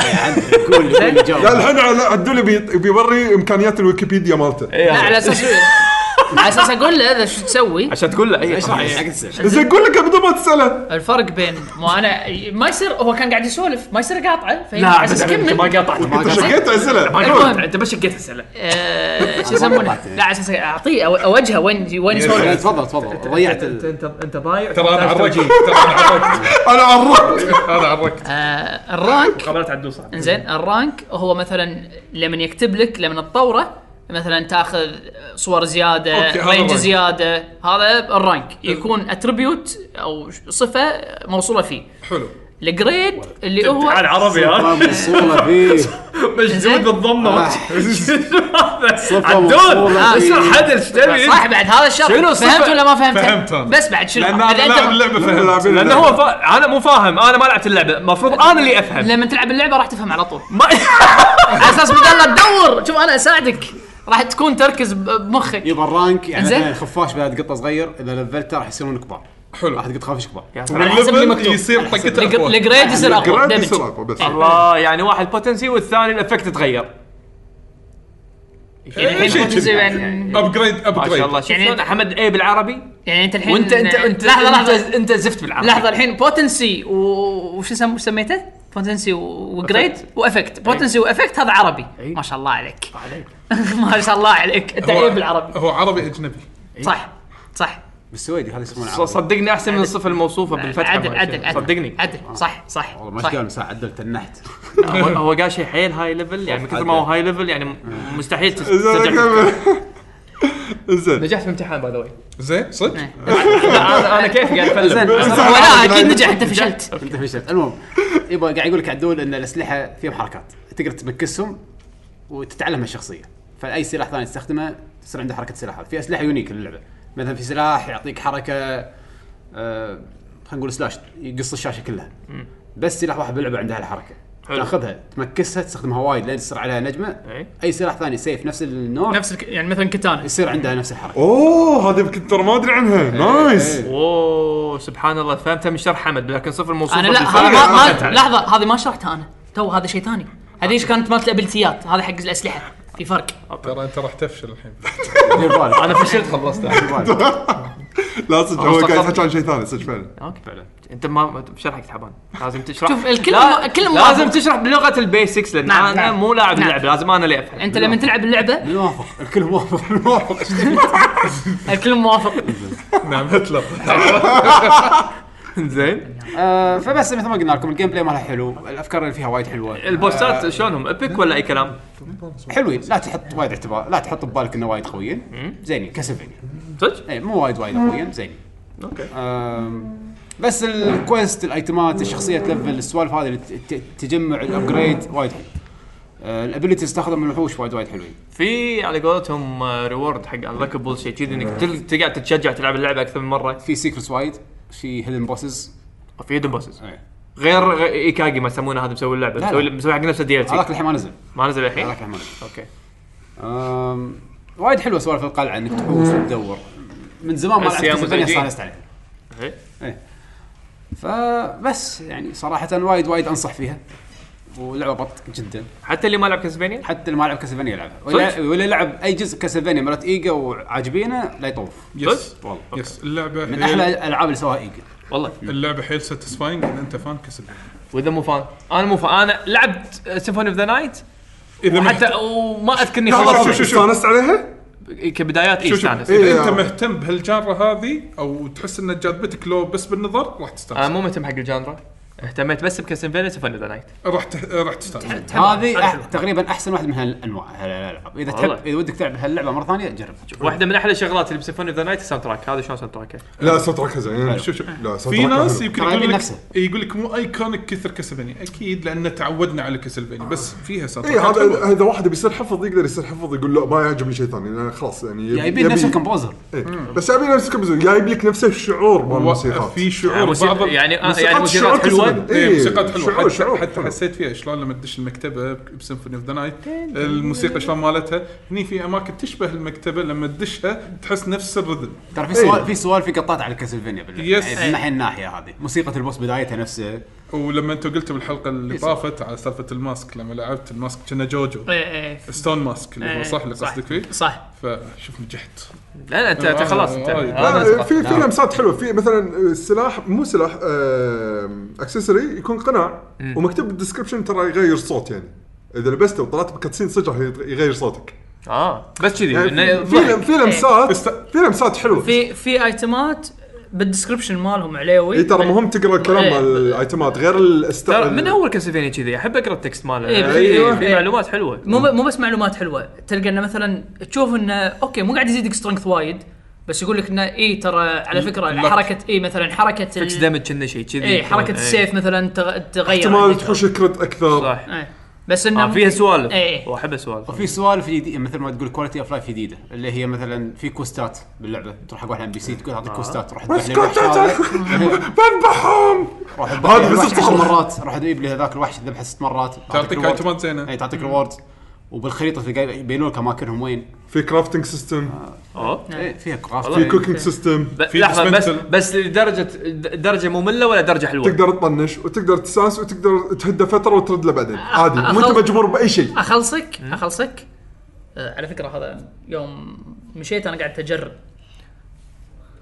Speaker 4: قول لي
Speaker 1: لا
Speaker 4: جاوب
Speaker 1: الحين على- عدولي بي- بيوري امكانيات الويكيبيديا مالته
Speaker 7: إيه.
Speaker 5: إيه.
Speaker 8: لا على اساس على اساس اقول له اذا شو تسوي
Speaker 7: عشان تقول له اي
Speaker 4: ايش راح حق تسال
Speaker 1: زين اقول لك بدون ما تساله
Speaker 8: الفرق بين ما انا ما يصير هو كان قاعد يسولف ما يصير قاطعه فهي
Speaker 7: لا
Speaker 8: على
Speaker 7: بس
Speaker 8: اساس
Speaker 7: انت ما
Speaker 8: كمل
Speaker 7: قاطعت ما
Speaker 1: انت
Speaker 7: قاطعت
Speaker 1: شقيت اسئله
Speaker 8: المهم.
Speaker 7: المهم انت ما شقيت اسئله
Speaker 8: آه، شو يسمونه؟
Speaker 4: قاطعت.
Speaker 8: لا على اساس اعطيه أو- اوجهه وين وين يسولف
Speaker 4: تفضل تفضل ضيعت ال-
Speaker 7: انت انت ضايع
Speaker 5: ترى انا عرقت ترى انا عرقت
Speaker 1: انا عرفت
Speaker 5: انا عرقت
Speaker 8: آه، الرانك
Speaker 7: قررت عدو صح
Speaker 8: انزين الرانك هو مثلا لما يكتب لك لما تطوره مثلا تاخذ صور زياده
Speaker 5: أوكي، هذا
Speaker 8: رينج
Speaker 5: الرانك.
Speaker 8: زياده هذا الرانك يكون اتربيوت او صفه موصوله فيه
Speaker 5: حلو
Speaker 8: الجريد اللي هو
Speaker 7: طيب، تعال عربي آه. ها
Speaker 4: صفة موصولة فيه
Speaker 7: مشدود بالضمه
Speaker 4: آه. صفة
Speaker 7: عدول آه،
Speaker 4: موصولة
Speaker 7: ايش
Speaker 4: فيه.
Speaker 7: حدل ايش
Speaker 8: صح
Speaker 7: تبي؟
Speaker 8: بعد هذا الشرط
Speaker 7: شنو
Speaker 8: فهمت
Speaker 7: صفة؟
Speaker 8: ولا ما فهمت؟
Speaker 5: فهمت أنا.
Speaker 8: بس بعد شنو؟
Speaker 5: لان
Speaker 8: إذا
Speaker 5: انا
Speaker 8: أنت-
Speaker 5: لاعب اللعبه فهمت
Speaker 7: لانه هو فا... انا مو فاهم انا ما لعبت اللعبه المفروض انا اللي افهم
Speaker 8: لما تلعب اللعبه راح تفهم على طول
Speaker 7: ما...
Speaker 8: على اساس بدل لا تدور شوف انا اساعدك راح تكون تركز ب- بمخك
Speaker 4: يبا الرانك يعني
Speaker 8: إنزين.
Speaker 4: مثلا خفاش بعد قطه صغير اذا لفلته راح يصيرون كبار
Speaker 5: حلو
Speaker 4: راح تقط خفاش كبار
Speaker 8: على حسب اللي
Speaker 5: والليفل
Speaker 8: مكتوب.
Speaker 5: يصير طقته
Speaker 8: الجر-
Speaker 5: اقوى
Speaker 8: الجريد يصير اقوى
Speaker 1: جريد
Speaker 8: دمج
Speaker 1: يصير اقوى بس
Speaker 7: الله يعني واحد بوتنسي والثاني الافكت تغير
Speaker 8: يعني الحين
Speaker 5: شيء
Speaker 8: Fantasy
Speaker 5: كذي.
Speaker 8: يعني-
Speaker 5: ابجريد
Speaker 7: ما شاء الله
Speaker 5: ابجريد
Speaker 7: شوف
Speaker 8: يعني-
Speaker 7: شلون احمد اي بالعربي
Speaker 8: يعني انت الحين
Speaker 4: وانت انت انت
Speaker 8: لحظه لحظه
Speaker 4: انت, انت زفت بالعربي
Speaker 8: لحظه الحين بوتنسي و... وش سم... وش سميته؟ بوتنسي و- وجريد وافكت بوتنسي وافكت هذا عربي ما شاء إيه. الله عليك ما شاء الله عليك انت عيب بالعربي
Speaker 5: هو عربي اجنبي
Speaker 8: صح صح
Speaker 4: بالسويدي هذا يسمونه
Speaker 7: ص-
Speaker 4: عربي
Speaker 7: صدقني احسن من الصفه الموصوفه بالفتحه
Speaker 8: عدل
Speaker 7: وهالشيء.
Speaker 8: عدل عدل
Speaker 7: صدقني
Speaker 8: عدل صح صح
Speaker 4: والله ما
Speaker 8: صح.
Speaker 4: ايش قال مساعد عدل تنحت
Speaker 7: هو هو قال شيء حيل هاي ليفل يعني من كثر ما هو هاي ليفل يعني م- مستحيل تس- تستجعب.
Speaker 1: زين
Speaker 7: نجحت في امتحان باي ذا واي
Speaker 5: زين صدق؟
Speaker 7: انا أنا كيف قاعد افلم
Speaker 8: ولا اكيد نجح انت فشلت
Speaker 4: انت فشلت المهم يبا قاعد يقول لك عدول ان الاسلحه فيهم حركات تقدر تمكسهم وتتعلمها الشخصيه فاي سلاح ثاني تستخدمه تصير عنده حركه سلاح هذا في اسلحه يونيك للعبه مثلا في سلاح يعطيك حركه آه خلينا نقول سلاش يقص الشاشه كلها بس سلاح واحد باللعبه عنده هالحركه
Speaker 7: حلو.
Speaker 4: تاخذها تمكسها تستخدمها وايد لين تصير عليها نجمه
Speaker 7: أي.
Speaker 4: اي سلاح ثاني سيف نفس النوع
Speaker 8: نفس الك... يعني مثلا كتانا
Speaker 4: يصير عندها نفس الحركه
Speaker 1: اوه هذه يمكن ترى ما ادري
Speaker 5: إيه،
Speaker 1: عنها نايس
Speaker 7: اوه سبحان الله فهمتها من شرح حمد لكن صفر الموصوفه
Speaker 8: انا لا
Speaker 7: بالفعل
Speaker 8: هذا ما-
Speaker 7: ما
Speaker 8: ما
Speaker 7: فهمتها.
Speaker 8: لحظه هذه ما شرحتها انا تو هذا شيء ثاني هذه ايش كانت مالت الابلتيات هذا حق الاسلحه في فرق
Speaker 5: ترى انت راح تفشل الحين
Speaker 4: دير بالك
Speaker 7: انا فشلت خلصت
Speaker 4: دير بالك.
Speaker 1: لا صدق هو قاعد
Speaker 7: مستقر.
Speaker 1: يحكي عن شيء ثاني صدق فعلا
Speaker 7: اوكي فعلا انت ما شرحك تعبان لازم تشرح
Speaker 8: شوف، الكل-
Speaker 7: لا-
Speaker 8: الكل موافق.
Speaker 7: لازم تشرح بلغه البيسكس لان
Speaker 8: نعم،
Speaker 7: انا
Speaker 8: نعم.
Speaker 7: مو لاعب
Speaker 8: نعم.
Speaker 7: اللعبه لازم انا اللي افهم
Speaker 8: انت لما تلعب اللعبه
Speaker 4: الكل موافق الكل موافق
Speaker 8: الكل موافق
Speaker 5: نعم هتلر
Speaker 7: زين
Speaker 4: آه، فبس مثل ما قلنا لكم الجيم بلاي مالها حلو الافكار اللي فيها وايد حلوه
Speaker 7: البوسات شلونهم ابيك ولا اي كلام؟
Speaker 4: حلوين لا تحط وايد اعتبار لا تحط ببالك انه وايد قويين زينين كسفينيا
Speaker 7: صدق؟
Speaker 4: اي إيه، مو وايد وايد قويين زينين
Speaker 7: اوكي
Speaker 4: آم، بس الكويست الايتمات الشخصيه تلفل السوالف هذه اللي ت- ت- تجمع الابجريد وايد حلو الابيلتيز تاخذها من الوحوش وايد وايد حلوين
Speaker 7: في على قولتهم ريورد حق انلوكبل شيء كذي انك تل- تقعد تتشجع تلعب اللعبه اكثر من مره
Speaker 4: في سيكرتس وايد في إيه. هيدن بوسز
Speaker 7: في هيدن بوسز غير غ- ايكاجي ما يسمونه هذا مسوي اللعبه
Speaker 4: لا.
Speaker 7: مسوي مسوي حق نفسه دي ال
Speaker 4: هذاك
Speaker 7: سي
Speaker 4: الحين ما نزل
Speaker 7: ما نزل الحين
Speaker 4: هذاك الحين ما نزل
Speaker 7: اوكي
Speaker 4: أم، وايد حلوه سوالف القلعه انك تحوس وتدور من زمان ما
Speaker 7: بس يا
Speaker 4: لعبت كاسلفينيا
Speaker 7: مزعجين.
Speaker 4: استانست عليها
Speaker 7: إيه.
Speaker 4: ايه فبس يعني صراحه وايد وايد انصح فيها ولعبه بط جدا
Speaker 7: حتى اللي ما لعب كاسلفينيا
Speaker 4: حتى اللي ما لعب كاسلفينيا يلعبها ولا,
Speaker 7: صدق؟
Speaker 4: ولا لعب اي جزء كاسلفينيا مرات ايجا وعاجبينه لا يطوف
Speaker 5: يس
Speaker 4: والله
Speaker 7: طيب.
Speaker 5: يس اللعبه
Speaker 4: من
Speaker 5: حيل-
Speaker 7: إيه.
Speaker 4: احلى الالعاب اللي سواها ايجا
Speaker 7: والله
Speaker 5: اللعبه حيل ساتيسفاينج اذا انت فان كسب
Speaker 7: واذا مو فان انا مو فان انا لعبت سيمفوني اوف ذا نايت
Speaker 5: اذا
Speaker 7: حتى وما اذكرني
Speaker 1: لحظه شوف
Speaker 7: خلصت
Speaker 1: شوف شوف استانست عليها؟
Speaker 7: كبدايات اي
Speaker 5: شوف شوف
Speaker 7: استانس
Speaker 5: اذا
Speaker 1: إيه.
Speaker 5: انت مهتم بهالجانرا هذه او تحس ان جاذبتك لو بس بالنظر راح
Speaker 7: انا
Speaker 5: تستانس
Speaker 7: مو مهتم حق الجانرا اهتميت بس بكاسلفينيا سيمفوني اوف ذا نايت
Speaker 5: راح تح- راح تستانس
Speaker 4: هذه أح- تقريبا احسن واحده من هالانواع هالالعاب اذا تحب
Speaker 7: والله.
Speaker 4: اذا ودك تلعب هاللعبه مره ثانيه جرب
Speaker 7: واحده من احلى الشغلات اللي بسيمفوني اوف ذا نايت الساوند تراك هذا شلون ساوند تراكه
Speaker 1: لا صوتك زين
Speaker 5: شوف شوف
Speaker 1: لا صوت
Speaker 5: في
Speaker 1: ركعة
Speaker 5: ناس
Speaker 1: حلو.
Speaker 5: يمكن
Speaker 4: ترى
Speaker 5: يقول لك
Speaker 4: نفسه.
Speaker 5: يقول لك مو ايكونيك كثر كاسلفينيا اكيد لان تعودنا على كاسلفينيا بس فيها
Speaker 1: اي
Speaker 5: ساتراكات
Speaker 1: إيه، هذا
Speaker 5: حلوة.
Speaker 1: هذا واحد بيصير حفظ يقدر يصير حفظ يقول لا ما يعجبني شيء ثاني أنا خلاص يعني يب-
Speaker 4: جايبين نفس الكمبوزر
Speaker 1: إيه. بس يبي نفس الكمبوزر جايب لك نفس الشعور مال
Speaker 5: و-
Speaker 1: الموسيقات
Speaker 5: في
Speaker 7: يعني
Speaker 5: شعور بعض
Speaker 7: موسيقى-
Speaker 5: ال-
Speaker 7: يعني آه،
Speaker 1: موسيقات
Speaker 7: يعني موسيقات
Speaker 1: شعور
Speaker 7: حلوه
Speaker 1: كاسلفينيا.
Speaker 5: ايه
Speaker 1: إيه،
Speaker 5: موسيقات حلوه
Speaker 1: شعور-
Speaker 5: حتى,
Speaker 1: شعور
Speaker 5: حتى
Speaker 1: حلو.
Speaker 5: حسيت فيها شلون لما تدش المكتبه بسيمفوني اوف ذا نايت الموسيقى شلون مالتها هني في اماكن تشبه المكتبه لما تدشها تحس نفس الرذم
Speaker 4: ترى في سوالف في سوالف في قطات على كاسلفينيا باللعبه
Speaker 5: إيه. يس.
Speaker 4: يعني من ناحيه الناحيه هذه موسيقى البوس بدايتها نفسه
Speaker 5: ولما انتم قلتوا بالحلقه اللي طافت على سالفه الماسك لما لعبت الماسك كنا جوجو
Speaker 8: إيه، إيه،
Speaker 5: ستون ماسك اللي هو صح اللي
Speaker 8: صح.
Speaker 5: قصدك فيه
Speaker 8: صح
Speaker 5: فشوف نجحت
Speaker 7: لا لا انت أنت خلاص انت
Speaker 5: آه،
Speaker 1: لا،
Speaker 7: هذا
Speaker 1: لا،
Speaker 7: أنت-
Speaker 1: في في لمسات حلوه في مثلا السلاح مو سلاح آم، اكسسوري يكون قناع ومكتوب بالدسكربشن ترى يغير صوت يعني اذا لبسته وطلعت بكاتسين صدق راح يغير صوتك
Speaker 7: اه بس كذي
Speaker 1: يعني
Speaker 7: إنه-
Speaker 1: في لم- في لمسات
Speaker 5: إيه.
Speaker 1: في لمسات حلوه
Speaker 8: في في ايتمات بالدسكربشن مالهم عليوي
Speaker 1: اي إيه، ترى مهم تقرا الكلام
Speaker 8: إيه.
Speaker 1: مال الايتمات غير الاست
Speaker 7: ترى من اول كاسلفينيا كذي احب اقرا التكست ماله آه،
Speaker 8: إيه،
Speaker 7: في-
Speaker 1: أيوة.
Speaker 7: في معلومات حلوه
Speaker 8: مو ب- مو بس معلومات حلوه تلقى انه مثلا تشوف انه اوكي مو قاعد يزيدك سترينث وايد بس يقول لك انه اي ترى على إيه، فكره
Speaker 5: اللك.
Speaker 8: حركه اي مثلا حركه
Speaker 7: فيكس دامج كنا شيء كذي
Speaker 8: اي حركه
Speaker 7: إيه.
Speaker 8: السيف مثلا تغ- تغير
Speaker 1: احتمال
Speaker 8: عندك.
Speaker 1: تحوش كرت اكثر
Speaker 7: يعني. صح
Speaker 8: إيه. بس انه
Speaker 7: آه فيها سوالف
Speaker 8: إيه.
Speaker 7: واحب السوالف
Speaker 4: وفي سوالف جديده مثل ما تقول كواليتي اوف لايف جديده اللي هي مثلا في كوستات باللعبه تروح حق واحد ام بي سي تقول
Speaker 5: آه.
Speaker 4: اعطيك كوستات روح
Speaker 1: بس
Speaker 4: تذبح لي
Speaker 1: كنت
Speaker 4: الوحش هذا.
Speaker 1: بذبحهم
Speaker 4: روح تذبح
Speaker 1: هذا
Speaker 4: لي الوحش
Speaker 1: بيصير
Speaker 4: عشر
Speaker 1: صخرة.
Speaker 4: مرات روح اجيب لي هذاك الوحش ذبحه ست مرات
Speaker 5: تعطيك
Speaker 4: reward.
Speaker 5: ايتمات زينه
Speaker 4: اي تعطيك ريورد وبالخريطه تلقى يبينوا لك اماكنهم وين
Speaker 1: في كرافتنج سيستم
Speaker 7: أوه.
Speaker 4: اي فيها
Speaker 7: والله.
Speaker 4: كرافت
Speaker 1: في كوكينج سيستم
Speaker 7: آه، طيب، ب-
Speaker 5: في
Speaker 7: لحظه بس
Speaker 5: dismantle.
Speaker 7: بس لدرجه د- درجه ممله ولا درجه حلوه
Speaker 1: تقدر تطنش وتقدر تسانس
Speaker 7: آه،
Speaker 1: وتقدر تهده فتره وترد له بعدين عادي مو انت
Speaker 8: أخلص.
Speaker 1: مجبور باي شيء
Speaker 8: اخلصك اخلصك آه، على فكره هذا يوم مشيت انا قاعد اجرب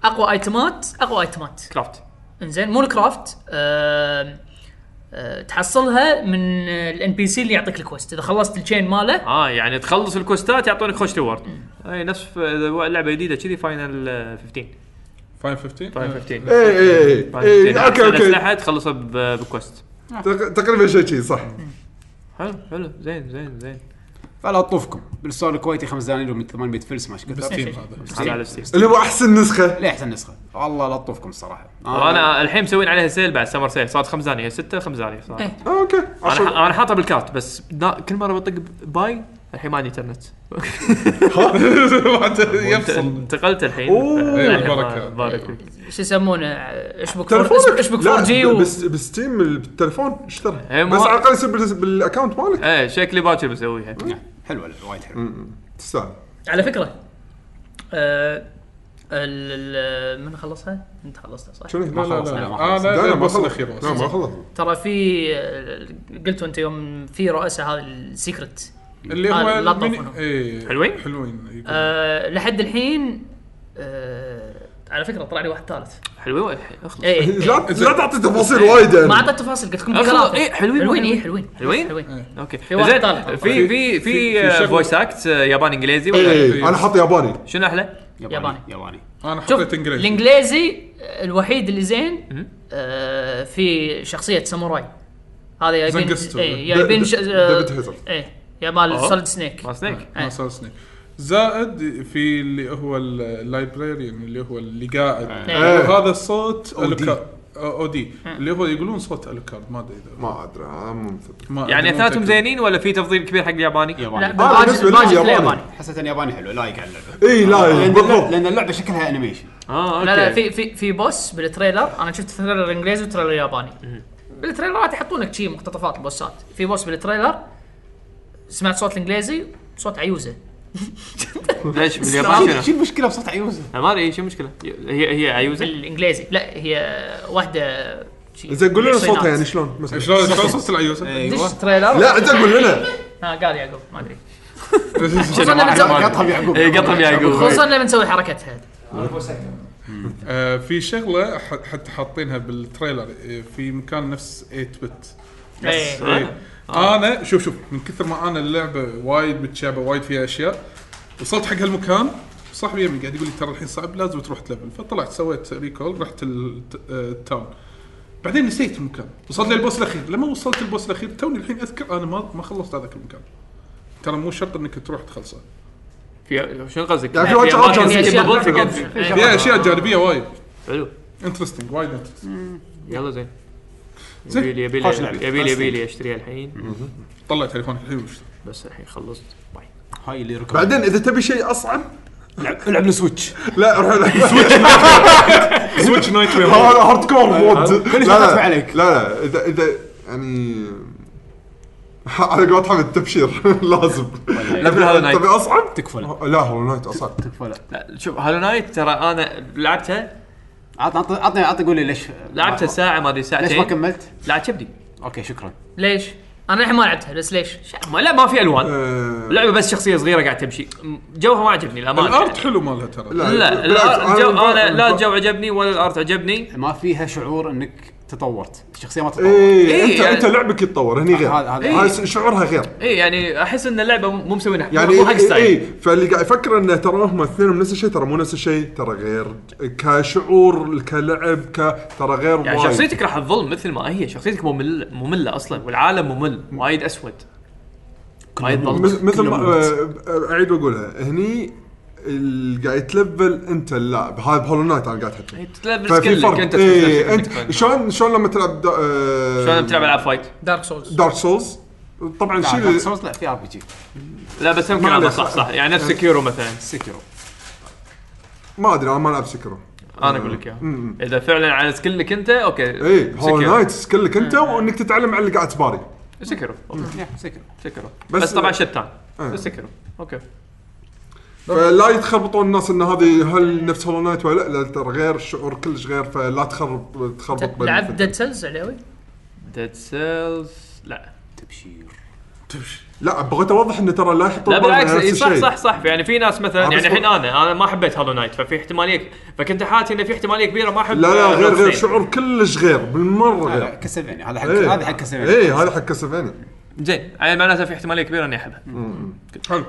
Speaker 8: اقوى ايتمات اقوى ايتمات
Speaker 7: كرافت
Speaker 8: انزين مو الكرافت آه آه تحصلها من الان بي سي اللي يعطيك الكوست اذا خلصت الشين ماله
Speaker 7: اه يعني تخلص الكوستات يعطونك خوش ريورد اي نفس ف- لعبه جديده كذي فاينل 15
Speaker 5: فاين 15
Speaker 7: فاينل 15
Speaker 1: اي اي
Speaker 7: فاينل
Speaker 1: اي
Speaker 7: 15.
Speaker 1: اوكي
Speaker 7: أحسن
Speaker 1: اوكي
Speaker 7: اسلحه تخلصها ب- بكوست
Speaker 1: إيه، تق- تقريبا شيء شي صح
Speaker 7: حلو حلو زين زين زين
Speaker 4: فلا طوفكم بالسؤال الكويتي 5 دنانير ومن 800 فلس ما ايش كثر
Speaker 5: بستيم هذا
Speaker 7: هذا على ستيم
Speaker 1: اللي هو احسن نسخه
Speaker 4: ليه احسن نسخه والله لا طوفكم الصراحه آه،
Speaker 7: انا الحين مسوين عليها سيل بعد سمر سيل صارت خمس دنانير ستة خمس دنانير صارت
Speaker 8: إيه.
Speaker 1: آه، اوكي
Speaker 7: انا
Speaker 1: عشان-
Speaker 7: ح- انا حاطها بالكارت بس دا- كل مره بطق باي الحين ما عندي انترنت
Speaker 5: واحد يفصل
Speaker 7: انتقلت الحين
Speaker 1: أوه.
Speaker 7: إيه،
Speaker 5: إيه، بارك-
Speaker 7: ما- بارك فيك
Speaker 8: شو يسمونه آه، اشبك فور
Speaker 1: تلفونك
Speaker 8: إش- اشبك
Speaker 1: لا،
Speaker 8: 4 جي
Speaker 1: ب-
Speaker 8: و...
Speaker 1: بس بالستيم ال- بالتلفون اشترى
Speaker 7: إيه، ما-
Speaker 1: بس على الاقل يصير بال- بالاكونت مالك
Speaker 7: ايه شكلي باكر بسويها
Speaker 4: حلوه لا، وايد حلوه
Speaker 7: إيه.
Speaker 1: تستاهل
Speaker 8: على فكره آه ال- ال- من خلصها؟ انت خلصتها صح؟
Speaker 1: شنو
Speaker 5: لا لا
Speaker 4: خلص، لا، ما
Speaker 5: لا
Speaker 4: خلص.
Speaker 5: انا
Speaker 1: لا،
Speaker 5: لا
Speaker 1: لا، ما
Speaker 5: بوصل
Speaker 1: خلص.
Speaker 5: الاخير
Speaker 1: لا ما
Speaker 5: بس.
Speaker 1: خلص
Speaker 8: ترى في آه، قلتوا انت يوم في رؤساء هذا السيكرت
Speaker 5: اللي هو
Speaker 8: آه، لا
Speaker 5: الميني-
Speaker 8: طوفوا.
Speaker 5: إيه،
Speaker 7: حلوين؟
Speaker 5: حلوين يقول.
Speaker 8: أه لحد الحين أه على فكره طلع لي واحد ثالث
Speaker 7: حلوين اخلص
Speaker 8: اي
Speaker 1: إيه. لا
Speaker 7: إيه.
Speaker 1: لا تعطي تفاصيل وايد
Speaker 8: ما
Speaker 1: يعني
Speaker 8: اعطيت تفاصيل قلت لكم
Speaker 7: أخلص،
Speaker 8: ثلاثة.
Speaker 7: إيه، حلوين مو
Speaker 8: حلوين اي
Speaker 7: حلوين؟
Speaker 8: حلوين
Speaker 7: حلوين؟
Speaker 5: إيه.
Speaker 7: اوكي
Speaker 8: واحد
Speaker 7: زين
Speaker 8: طالع طبعاً.
Speaker 7: في في في
Speaker 5: في شغلة-
Speaker 7: فويس اكت ياباني انجليزي ولا
Speaker 5: إيه،
Speaker 1: اي انا إيه، حاط ياباني
Speaker 7: شنو احلى؟
Speaker 8: ياباني.
Speaker 4: ياباني ياباني
Speaker 5: انا
Speaker 8: شوف
Speaker 5: حطيت انجليزي
Speaker 8: الانجليزي الوحيد اللي زين آه في شخصيه ساموراي هذا جايبين
Speaker 5: زنجستو.
Speaker 8: اي جايبين
Speaker 1: د-
Speaker 8: ش-
Speaker 1: د-
Speaker 8: آه،
Speaker 1: ديفيد هيزارد.
Speaker 8: اي يا مال
Speaker 7: أوه.
Speaker 8: سولد سنيك إيه.
Speaker 7: ما سنيك
Speaker 5: ما صار سنيك زائد في اللي هو اللايبريريان اللي هو اللي قاعد
Speaker 8: إيه.
Speaker 5: هذا الصوت
Speaker 1: أو دي.
Speaker 5: الوكارد او دي اللي هو يقولون صوت الوكارد ما ادري اذا
Speaker 1: ما ادري أنا مو مثبت.
Speaker 5: ما-
Speaker 7: يعني
Speaker 5: مو
Speaker 7: اثنيناتهم
Speaker 5: متأكد.
Speaker 7: زينين ولا في تفضيل كبير حق الياباني؟
Speaker 8: لا
Speaker 4: ياباني
Speaker 1: آه،
Speaker 8: باجت
Speaker 1: بالنسبة لي
Speaker 8: باجت
Speaker 1: ياباني.
Speaker 8: ياباني
Speaker 4: حسيت ان ياباني حلو لايق على اللعبه
Speaker 1: اي إيه، لا إي،
Speaker 4: لأن-
Speaker 1: بالضبط
Speaker 4: لان اللعبه شكلها انيميشن
Speaker 7: اه اوكي
Speaker 8: لا لا في في في بوس بالتريلر انا شفت تريلر انجليزي وتريلر ياباني بالتريلرات يحطون لك شي مقتطفات البوسات في بوس بالتريلر سمعت صوت الانجليزي صوت عيوزه
Speaker 7: ليش بالياباني
Speaker 4: شو
Speaker 7: شنو؟
Speaker 4: المشكله بصوت عيوزه
Speaker 7: أنا ما ادري شو المشكله هي هي عيوزه
Speaker 8: بالانجليزي لا هي واحده شي
Speaker 1: زين قول لنا صوتها يعني
Speaker 8: صينات.
Speaker 1: شلون مثلا
Speaker 5: شلون شلون صوت
Speaker 4: إيه.
Speaker 5: العيوزه؟
Speaker 4: يعني. إيوه.
Speaker 8: دش تريلر
Speaker 1: لا انت قول لنا
Speaker 8: ها قال يعقوب ما ادري
Speaker 7: شنو
Speaker 8: لما
Speaker 7: واحد
Speaker 8: تسوي-
Speaker 7: ياباني؟
Speaker 4: قطهم يعقوب
Speaker 7: إيه، قطهم يعقوب
Speaker 8: خصوصا لما نسوي حركتها
Speaker 5: آه، في شغله ح- حتى حاطينها بالتريلر آه، في مكان نفس 8 بت
Speaker 8: إيه.
Speaker 5: إيه. انا شوف شوف من كثر ما انا اللعبه وايد متشابه وايد فيها اشياء وصلت حق هالمكان صاحبي يمي قاعد يقول لي ترى الحين صعب لازم تروح تلفل فطلعت سويت ريكول رحت الت- آه، التاون بعدين نسيت المكان وصلت للبوس الاخير لما وصلت البوس الاخير توني الحين اذكر انا ما ما خلصت هذاك المكان ترى مو شرط انك تروح تخلصه
Speaker 7: في شنو قصدك؟
Speaker 1: يعني في وايد شغلات
Speaker 7: أماكن
Speaker 1: جانبية.
Speaker 7: skippable
Speaker 8: في أشياء
Speaker 7: تقدر-
Speaker 8: إيه.
Speaker 5: فيها اشياء جانبيه وايد
Speaker 7: حلو
Speaker 5: انترستنج وايد interesting.
Speaker 7: يلا زين
Speaker 5: زين.
Speaker 7: يبي لي يبي
Speaker 4: خوش
Speaker 7: لي
Speaker 4: لعبة.
Speaker 7: يبي لي يبي لي اشتريها الحين
Speaker 5: طلع تليفونك الحين وش
Speaker 7: بس الحين خلصت باي
Speaker 4: هاي اللي ركب
Speaker 1: بعدين اذا تبي شيء اصعب
Speaker 4: العب السويتش
Speaker 1: لا روح العب سويتش
Speaker 7: سويتش نايت
Speaker 1: هذا هارد كور مود
Speaker 4: كل شيء
Speaker 1: لا
Speaker 4: خفف
Speaker 1: لا
Speaker 4: عليك.
Speaker 1: لا لا اذا اذا يعني على قولة حمد تبشير لازم
Speaker 7: لا، في هذا نايت.
Speaker 1: تبي اصعب؟
Speaker 4: تكفى لا.
Speaker 1: لا هو نايت اصعب
Speaker 4: تكفى لا.
Speaker 7: لا شوف هالو نايت ترى انا لعبتها
Speaker 4: عط- عط- عطني عطني قول لي ليش
Speaker 7: لعبتها ساعه ما ادري
Speaker 4: ليش ما
Speaker 7: ساعتين
Speaker 4: كملت؟
Speaker 7: لا كبدي
Speaker 4: اوكي شكرا
Speaker 8: ليش؟ انا الحين ما لعبتها بس ليش؟
Speaker 7: ما لا ما في الوان
Speaker 1: آه،
Speaker 7: اللعبه بس شخصيه صغيره قاعد تمشي م- جوها ما عجبني الامانه
Speaker 5: الارت
Speaker 7: يعني.
Speaker 5: حلو مالها ترى
Speaker 1: لا.
Speaker 7: لا
Speaker 1: بالعكس،
Speaker 7: الأر- الجو
Speaker 1: أنا-
Speaker 7: انا لا الجو عجبني ولا الارت عجبني
Speaker 4: ما فيها شعور انك تطورت الشخصيه ما تطورت
Speaker 1: ايه
Speaker 7: إيه،
Speaker 1: انت
Speaker 7: يعني- إيه.
Speaker 1: انت لعبك يتطور هني غير
Speaker 4: هذا- هذا-
Speaker 1: هاي س- شعورها غير
Speaker 7: اي يعني احس ان اللعبه مو مو مسوينها حق-
Speaker 1: يعني
Speaker 7: مو حق
Speaker 1: اي
Speaker 7: ستايل
Speaker 1: إيه فاللي قاعد يفكر انه ترى هم اثنينهم نفس الشيء ترى مو نفس الشيء ترى غير كشعور كلعب ك ترى غير
Speaker 7: يعني
Speaker 1: وايد.
Speaker 7: شخصيتك راح تظل مثل ما هي شخصيتك ممل ممله اصلا والعالم ممل وايد اسود وايد ضلمه
Speaker 1: مثل مثل ما
Speaker 4: كله
Speaker 1: آه، اعيد واقولها هني ال- قاعد يتلفل انت اللاعب هذا بهولو نايت انا قاعد احكي
Speaker 7: تلبس كلك انت تلبس
Speaker 1: ايه
Speaker 7: كلك.
Speaker 1: انت شلون شلون لما تلعب دا آه،
Speaker 7: شلون بتلعب العاب فايت
Speaker 8: دارك سولز
Speaker 1: دارك سولز طبعا
Speaker 4: لا،
Speaker 1: شيء
Speaker 4: دارك سولز لا في ار بي جي
Speaker 7: لا بس هم
Speaker 1: ما
Speaker 7: كلامه
Speaker 1: عليه
Speaker 7: صح
Speaker 1: صح.
Speaker 7: صح يعني نفس سكيورو مثلا
Speaker 4: سكيرو
Speaker 1: ما ادري انا ما العب سكرو
Speaker 7: انا اقول لك اياها اذا فعلا على سكيلك انت اوكي
Speaker 1: اي هولو
Speaker 7: سكيرو.
Speaker 1: نايت سكلك
Speaker 7: إيه.
Speaker 1: انت وانك تتعلم على اللي قاعد تباري
Speaker 7: سكيرو
Speaker 4: سكيرو
Speaker 7: سكيرو
Speaker 1: بس-
Speaker 7: بس طبعا شتان
Speaker 1: آه.
Speaker 7: بس سكيرو اوكي
Speaker 1: فلا يتخربطون الناس ان هذه هل نفس هولو نايت ولا لا لا ترى غير شعور كلش غير فلا تخرب تخربط بين
Speaker 8: لعبت
Speaker 1: الفئتين.
Speaker 8: ديد سيلز علاوي؟
Speaker 7: ديد سيلز لا
Speaker 4: تبشير
Speaker 1: لا بغيت اوضح انه ترى لا يحطون
Speaker 7: لا
Speaker 1: بالمرة
Speaker 7: بالعكس
Speaker 1: نفس
Speaker 7: إي صح
Speaker 1: الشيء.
Speaker 7: صح صح يعني في ناس مثلا
Speaker 1: آه، بس
Speaker 7: يعني الحين
Speaker 1: هو-
Speaker 7: انا انا ما حبيت هالو نايت ففي احتماليه فكنت حاتي انه في احتماليه كبيره ما احب
Speaker 1: لا لا
Speaker 7: آه،
Speaker 1: غير غير
Speaker 7: Bloodstained.
Speaker 1: شعور كلش غير بالمره غير
Speaker 4: كاسلفينيا هذا حق
Speaker 1: إيه.
Speaker 4: هذا حق كاسلفينيا
Speaker 1: اي هذا حق كاسلفينيا
Speaker 7: زين يعني معناته في احتماليه كبيره اني احبها
Speaker 5: حلو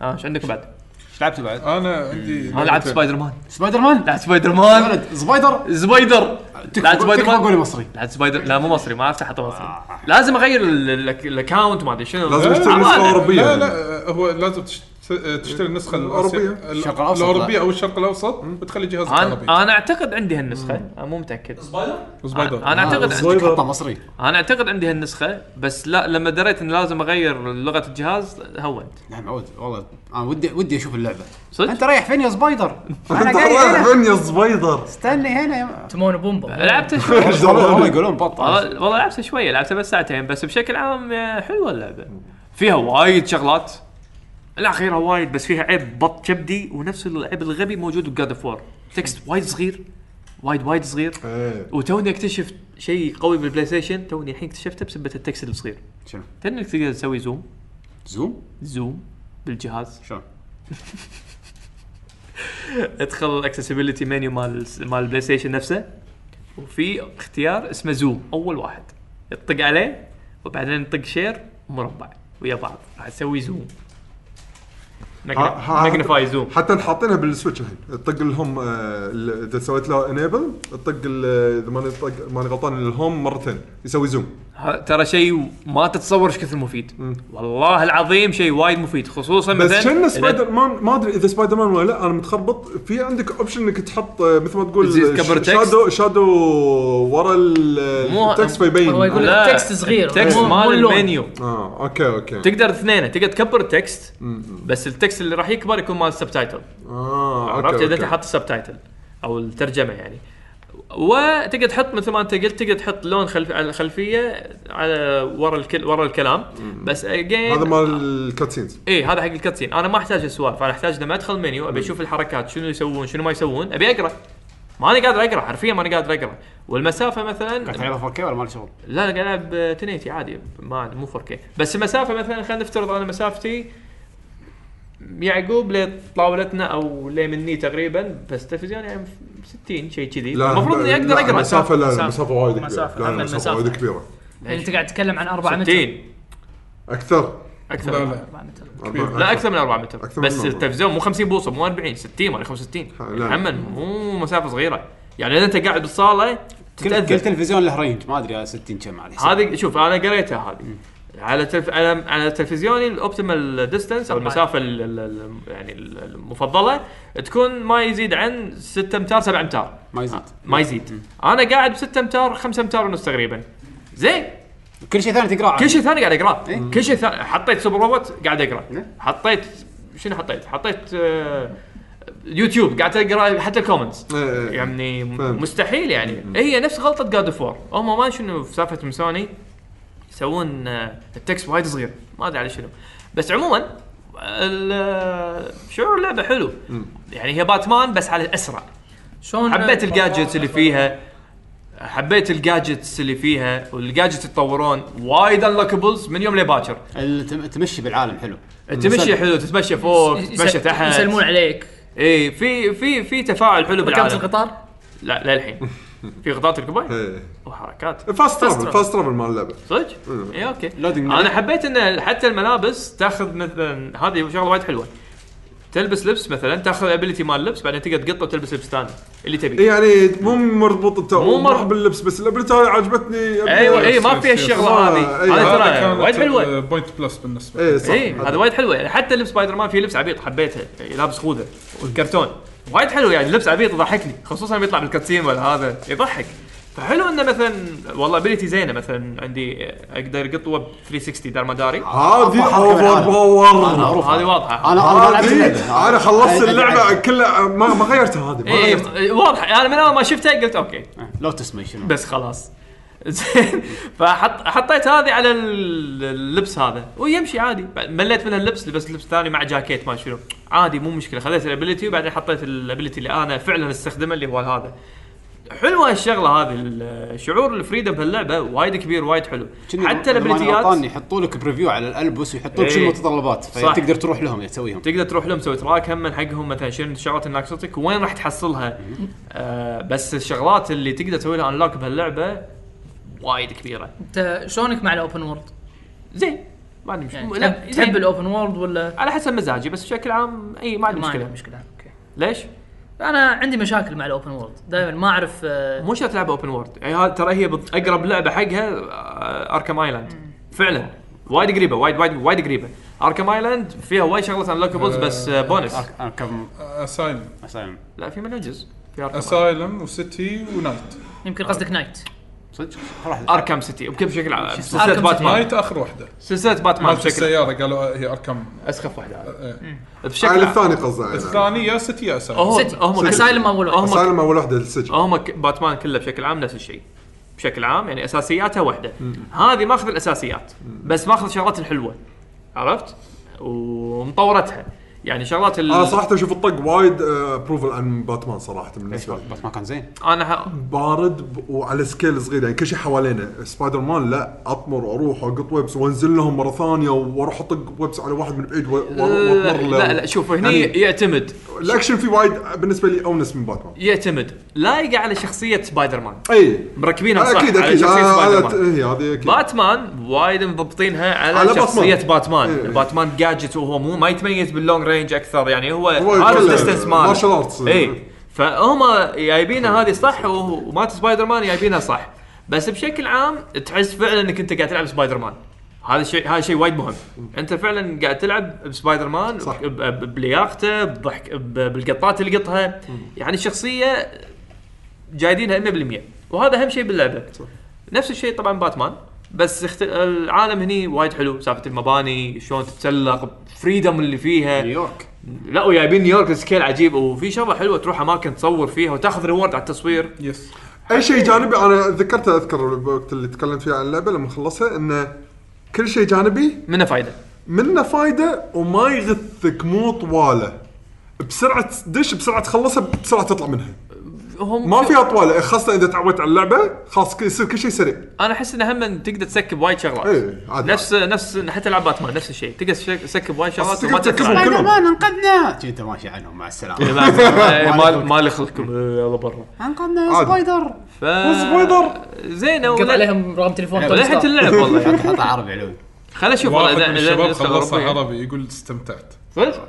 Speaker 7: اه ايش عندك بعد؟
Speaker 4: ايش لعبت بعد؟
Speaker 5: انا عندي
Speaker 7: انا لعبت سبايدر مان
Speaker 4: سبايدر مان؟
Speaker 7: لعبت سبايدر مان
Speaker 4: ولد سبايدر
Speaker 7: سبايدر لعبت
Speaker 4: تكفى
Speaker 7: سبايدر
Speaker 4: تكفى قولي
Speaker 7: مان
Speaker 4: مصري
Speaker 7: لعبت سبايدر لا مو مصري ما اعرف احطه مصري لازم اغير ال- ال- الاكونت آه. ما ادري شنو
Speaker 1: لازم تشتري
Speaker 7: أمان.
Speaker 1: نسخه اوروبيه
Speaker 5: لا
Speaker 1: يعني.
Speaker 5: لا هو لازم تشت- تشتري النسخه
Speaker 1: الأوروبية.
Speaker 5: الآسيا-
Speaker 4: الشرق الأوسط، لا.
Speaker 5: الاوروبيه او الشرق الاوسط وتخلي جهازك عربي
Speaker 7: انا انا اعتقد عندي هالنسخه انا مو متاكد
Speaker 2: سبايدر
Speaker 5: سبايدر
Speaker 7: انا اعتقد
Speaker 1: سبايدر.
Speaker 4: حطه آه، مصري
Speaker 7: انا اعتقد عندي هالنسخه بس لا لما دريت اني لازم اغير لغه الجهاز هونت
Speaker 4: نعم عود والله انا ودي ودي اشوف اللعبه
Speaker 7: صدق
Speaker 4: انت رايح فين يا سبايدر؟ انا
Speaker 1: انت
Speaker 4: قاعد
Speaker 1: رايح
Speaker 4: هنا
Speaker 1: فين يا سبايدر؟
Speaker 4: استني هنا يا
Speaker 8: تمون وبومبا
Speaker 7: لعبت شوي
Speaker 4: والله والله يقولون بطل
Speaker 7: والله والله لعبت شويه لعبت بس ساعتين بس بشكل عام آه، حلوه اللعبه فيها وايد شغلات لا خيرها وايد بس فيها عيب بط كبدي ونفس العيب الغبي موجود بجاد اوف وور تكست وايد صغير وايد وايد صغير
Speaker 1: إيه.
Speaker 7: وتوني اكتشف شيء قوي بالبلاي ستيشن توني الحين اكتشفته بسبه التكست الصغير
Speaker 4: شنو؟
Speaker 7: تدري انك تقدر تسوي زوم
Speaker 4: زوم
Speaker 7: زوم بالجهاز
Speaker 4: شلون؟
Speaker 7: ادخل الاكسسبيلتي منيو مال مال البلاي ستيشن نفسه وفي اختيار اسمه زوم اول واحد تطق عليه وبعدين تطق شير مربع ويا بعض راح تسوي زوم
Speaker 1: ها- ها-
Speaker 7: ماجنيفاي زوم
Speaker 1: حتى نحاطينها بالسويتش الحين تطق الهوم آه، ال- اذا سويت له انيبل تطق ال- اذا ماني طق ماني غلطان الهوم مرتين يسوي زوم
Speaker 7: ها- ترى شيء ما تتصور ايش كثر مفيد والله العظيم شيء وايد مفيد خصوصا
Speaker 1: بس
Speaker 7: مثلا
Speaker 1: كنا
Speaker 7: إذا-
Speaker 1: سبايدر مان ما ادري اذا سبايدر مان ولا لا انا متخربط في عندك اوبشن انك تحط آه، مثل ما تقول
Speaker 7: تزيد
Speaker 1: ش-
Speaker 7: cover text.
Speaker 1: شادو شادو ورا ال-
Speaker 7: مو-
Speaker 1: التكست فيبين
Speaker 8: هو يقول
Speaker 7: لا،
Speaker 8: التكست صغير
Speaker 7: التكست
Speaker 8: مو- مو
Speaker 7: مال
Speaker 8: اللون.
Speaker 7: المنيو
Speaker 1: اه اوكي اوكي
Speaker 7: تقدر اثنين تقدر تكبر التكست بس التكست اللي راح يكبر يكون مال السبتايتل
Speaker 1: اه
Speaker 7: عرفت
Speaker 1: أوكي،
Speaker 7: اذا انت
Speaker 1: أوكي.
Speaker 7: حاط السبتايتل او الترجمه يعني وتقدر تحط مثل ما انت قلت تقدر تحط لون خلف على الخلفيه على ورا الكل ورا الكلام بس اجين
Speaker 1: هذا مال الكاتسينز
Speaker 7: اي هذا حق الكاتسين انا ما احتاج السوالف انا احتاج لما ادخل منيو ابي اشوف الحركات شنو يسوون شنو ما يسوون ابي اقرا ما انا قادر اقرا حرفيا ما انا قادر اقرا والمسافه مثلا
Speaker 4: قاعد تعرض 4K ولا ما له شغل؟
Speaker 7: لا لا قاعد العب 1080 عادي ما مو 4K بس المسافه مثلا خلينا نفترض انا مسافتي يعقوب لطاولتنا او لمني تقريبا بس التلفزيون يعني 60 شيء كذي المفروض اني اقدر اقرا
Speaker 1: مسافه لا لا
Speaker 8: مسافة.
Speaker 1: مسافه وايد
Speaker 8: مسافة،
Speaker 1: كبيره لا
Speaker 8: أما
Speaker 1: لا مسافه
Speaker 8: المسافة.
Speaker 1: وايد كبيره
Speaker 8: يعني انت قاعد تتكلم عن 4 متر
Speaker 7: 60
Speaker 1: اكثر
Speaker 5: لا
Speaker 7: اكثر
Speaker 5: لا
Speaker 8: 4 متر
Speaker 7: لا اكثر من 4 متر
Speaker 1: أكثر من
Speaker 7: بس
Speaker 1: أربعة.
Speaker 7: التلفزيون مو 50 بوصه مو 40 60 ولا
Speaker 1: لا.
Speaker 7: 65 محمد مو مسافه صغيره يعني اذا انت قاعد بالصاله
Speaker 4: كل كل
Speaker 7: تتاذى
Speaker 4: تلفزيون له رينج ما ادري 60 كم على حسب
Speaker 7: هذه شوف انا قريتها هذه على تلف... على على تلفزيوني الاوبتيمال ديستنس او المسافه ال... ال... ال- يعني ال- المفضله تكون ما يزيد عن 6 امتار 7 امتار
Speaker 4: ما يزيد
Speaker 7: ما يزيد انا قاعد ب 6 امتار 5 امتار ونص تقريبا زين
Speaker 1: طيب.
Speaker 4: كل شيء ثاني تقراه
Speaker 7: كل شيء ثاني قاعد
Speaker 1: إيه.
Speaker 7: اقراه كل شيء ثاني حطيت سوبر روبوت قاعد اقرا حطيت شنو حطيت؟ حطيت آه، يوتيوب قاعد اقرا حتى الكومنتس
Speaker 1: إيه، إيه.
Speaker 7: يعني
Speaker 1: فهمت.
Speaker 7: مستحيل يعني هي نفس غلطه جاد اوف وور هم ما شنو في سالفه مسوني يسوون آه، التكست وايد صغير ما ادري على شنو بس عموما ال- شعور اللعبه حلو يعني هي باتمان بس على الاسرع
Speaker 8: شلون آه،
Speaker 7: حبيت الجاجتس اللي فيها حبيت الجاجتس اللي فيها والجاجتس يتطورون وايد انلوكبلز من يوم لباكر
Speaker 4: التم- تمشي بالعالم حلو
Speaker 7: تمشي حلو تتمشى فوق
Speaker 8: يس-
Speaker 7: تتمشى تحت
Speaker 8: يسلمون عليك
Speaker 7: اي في في في تفاعل حلو
Speaker 8: ركبت
Speaker 7: بالعالم
Speaker 8: القطار
Speaker 7: لا للحين في غطات الكوباي
Speaker 1: إيه.
Speaker 7: وحركات
Speaker 1: فاست ترافل فاست ترافل مال اللعبه
Speaker 7: صدق؟ اي اوكي
Speaker 4: Loading
Speaker 7: انا حبيت ان حتى الملابس تاخذ مثلا هذه شغله وايد حلوه تلبس لبس مثلا تاخذ الابيلتي مال اللبس بعدين تقدر تقطه وتلبس لبس ثاني اللي تبيه
Speaker 1: يعني مو مربوط التو
Speaker 7: مو
Speaker 1: مو
Speaker 7: مر-
Speaker 1: مربوط باللبس بس الابلتة هاي عجبتني أبي-
Speaker 7: ايوه اي ما
Speaker 5: يصير-
Speaker 7: فيها
Speaker 5: يصير.
Speaker 7: الشغله
Speaker 1: آه،
Speaker 7: هذه
Speaker 1: أيوة.
Speaker 7: هذه
Speaker 5: هذا
Speaker 7: ترى
Speaker 5: كانت
Speaker 7: وايد حلوه
Speaker 5: بوينت بلس بالنسبه لي
Speaker 1: ايه صح
Speaker 7: اي هذا وايد حلوه يعني حتى لبس سبايدر مان فيه لبس عبيط حبيته يعني لابس خوذه والكرتون وايد حلو يعني لبس عبيط يضحكني خصوصا لما يطلع بالكاتسين ولا هذا يضحك فحلو انه مثلا والله ابيلتي زينه مثلا عندي اقدر اقطوه ب 360 دار ما داري
Speaker 1: هذه
Speaker 4: أطلع
Speaker 1: اوفر
Speaker 4: بالعالم.
Speaker 1: باور
Speaker 4: معروفة.
Speaker 7: هذه واضحه
Speaker 4: انا انا لعبت اللعبة.
Speaker 1: هذه انا خلصت
Speaker 4: أي- أي-
Speaker 1: اللعبه
Speaker 4: أي-
Speaker 1: كلها ما ما غيرتها هذه ما
Speaker 7: اي
Speaker 1: غيرتها
Speaker 7: واضحه انا إيه، من اول ما شفتها قلت اوكي
Speaker 4: لو تسمي شنو
Speaker 7: بس خلاص زين فحط حطيت هذه على ال- اللبس هذا ويمشي عادي بعد- مليت من اللبس لبست لبس ثاني مع جاكيت ما شنو عادي مو مشكله خذيت الابيلتي وبعدين حطيت الابيلتي اللي انا فعلا استخدمه اللي هو هذا حلوه هالشغله هذه ال- شعور الفريدم بهاللعبه وايد كبير وايد حلو
Speaker 4: شنو
Speaker 7: حتى
Speaker 4: إذا ماني غلطان
Speaker 7: الابيلتيات
Speaker 4: يحطوا لك بريفيو على الالبس ويحطوا لك
Speaker 7: إيه.
Speaker 4: شنو المتطلبات
Speaker 7: صح.
Speaker 4: فتقدر تروح لهم تسويهم
Speaker 7: تقدر تروح لهم تسوي تراك هم من حقهم مثلا شنو الشغلات اللي ناقصتك وين راح تحصلها آه بس الشغلات اللي تقدر تسوي لها انلوك بهاللعبه وايد كبيره
Speaker 8: انت شلونك مع الاوبن وورلد؟
Speaker 7: زين ما عندي مشكله
Speaker 8: يعني
Speaker 7: لا،
Speaker 8: تحب-
Speaker 7: زين.
Speaker 8: تحب الاوبن وورلد ولا
Speaker 7: على حسب مزاجي بس بشكل عام اي ما عندي
Speaker 8: ما عندك
Speaker 7: مشكله
Speaker 8: مشكله؟ اوكي
Speaker 7: ليش؟
Speaker 8: انا عندي مشاكل مع الاوبن وورلد دائما ما اعرف آه،
Speaker 7: مو شرط لعبه اوبن وورد يعني ها- ترى هي بت- اقرب لعبه حقها آه، اركام ايلاند فعلا وايد قريبه وايد وايد وايد قريبه اركام ايلاند فيها وايد شغلات انلوكبلز بس آه، بونس
Speaker 4: أرك- أركب-
Speaker 5: اسايلم
Speaker 4: أسايلم.
Speaker 7: لا في منها جزء في اركام أسا...
Speaker 5: اسايلم وسيتي ونايت
Speaker 7: آه.
Speaker 8: يمكن قصدك نايت
Speaker 4: صدق راح
Speaker 7: اركام سيتي بكل بشكل عام سلسله
Speaker 8: أركام
Speaker 7: باتمان
Speaker 5: نايت اخر واحده
Speaker 7: سلسله باتمان
Speaker 5: مالت
Speaker 7: آه، بشكل
Speaker 5: السياره قالوا آه، هي اركام
Speaker 7: اسخف واحده
Speaker 5: إيه.
Speaker 1: على
Speaker 7: بشكل عام
Speaker 1: الثاني قصدي إيه. على
Speaker 5: الثاني يا سيتي يا اسايلم
Speaker 7: هم
Speaker 8: سيتي
Speaker 7: هم
Speaker 8: اسايلم اول واحد
Speaker 7: هم
Speaker 1: سالم اول وحده السجن
Speaker 7: هم ك- باتمان كله بشكل عام نفس الشيء بشكل عام يعني اساسياتها واحده هذه ماخذ الاساسيات بس ماخذ الشغلات الحلوه عرفت ومطورتها يعني شغلات ال...
Speaker 1: انا صراحه اشوف الطق وايد ابروفل عن باتمان صراحه بالنسبه لي
Speaker 4: بس ما كان زين
Speaker 7: انا ح...
Speaker 1: بارد ب- وعلى سكيل صغير يعني كل شيء حوالينا سبايدر مان لا اطمر واروح واقط ويبس وانزل لهم مره ثانيه واروح اطق ويبس على واحد من بعيد و- و- واطمر له
Speaker 7: لا لا شوف هني
Speaker 1: يعني
Speaker 7: يعتمد
Speaker 1: الاكشن فيه وايد بالنسبه لي اونس من باتمان
Speaker 7: يعتمد لايقه على شخصيه سبايدر مان
Speaker 1: اي
Speaker 7: مركبينها صح
Speaker 1: اكيد
Speaker 7: على
Speaker 1: اكيد
Speaker 7: شخصيه
Speaker 1: آه،
Speaker 7: سبايدر
Speaker 1: هذا
Speaker 7: مان
Speaker 1: هي هذه اكيد
Speaker 7: باتمان وايد مضبطينها على,
Speaker 1: على
Speaker 7: على
Speaker 1: باتمان.
Speaker 7: شخصيه باتمان
Speaker 1: إيه.
Speaker 7: إيه. باتمان جاجت وهو مو ما يتميز باللونج رينج اكثر يعني هو
Speaker 1: هو
Speaker 7: هذا
Speaker 1: يتكلم.
Speaker 7: الديستنس ماله
Speaker 1: مارشال آرتس.
Speaker 7: اي فهم جايبينها هذه صح وهو- ومات سبايدر مان جايبينها صح بس بشكل عام تحس فعلا انك انت قاعد تلعب سبايدر مان هذا الشيء هذا شيء وايد مهم انت فعلا قاعد تلعب بسبايدر مان
Speaker 1: صح.
Speaker 7: ب- ب- بلياقته بضحك ب- بالقطات اللي قطها يعني الشخصيه جايدينها 100% وهذا اهم شيء باللعبه نفس الشيء طبعا باتمان بس اخت... العالم هني وايد حلو سالفه المباني شلون تتسلق فريدم اللي فيها
Speaker 4: نيويورك
Speaker 7: لا وجايبين نيويورك سكيل عجيب وفي شغله حلوه تروح اماكن تصور فيها وتاخذ ريورد على التصوير
Speaker 5: يس
Speaker 1: اي شيء جانبي انا ذكرته اذكر الوقت اللي تكلمت فيه عن اللعبه لما خلصها انه كل شيء جانبي
Speaker 7: منها فايده
Speaker 1: منه فايده وما يغثك مو طواله بسرعه تدش بسرعه تخلصها بسرعه تطلع منها
Speaker 7: هم
Speaker 1: ما فيها طواله خاصه اذا تعودت على اللعبه خلاص كل- يصير كل شيء سريع
Speaker 7: انا احس انه هم تقدر تسكب وايد شغلات
Speaker 1: إيه، عادي.
Speaker 7: نفس نفس حتى العاب باتمان نفس الشيء تقدر تشك- تسكب وايد
Speaker 1: بس
Speaker 7: شغلات
Speaker 1: تقدر
Speaker 7: وما
Speaker 1: تركزهم
Speaker 7: تطلع
Speaker 1: كلهم.
Speaker 4: انا ما انقذنا انت ماشي عنهم مع
Speaker 7: إيه.
Speaker 4: السلامه
Speaker 7: مال مال يخلقكم يلا برا
Speaker 4: انقذنا
Speaker 1: عادي.
Speaker 4: يا سبايدر
Speaker 7: ف
Speaker 1: سبايدر
Speaker 7: زينه
Speaker 8: قط
Speaker 7: ولا
Speaker 8: عليهم رقم تليفون طيب،
Speaker 4: لا،
Speaker 8: توني
Speaker 4: لحقت
Speaker 7: لحت
Speaker 8: ستارك.
Speaker 7: اللعب والله يعني.
Speaker 4: حط عربي علوي
Speaker 7: خل اشوف
Speaker 5: واحد
Speaker 7: والله
Speaker 5: من الشباب خلصها عربي يقول استمتعت
Speaker 7: صدق؟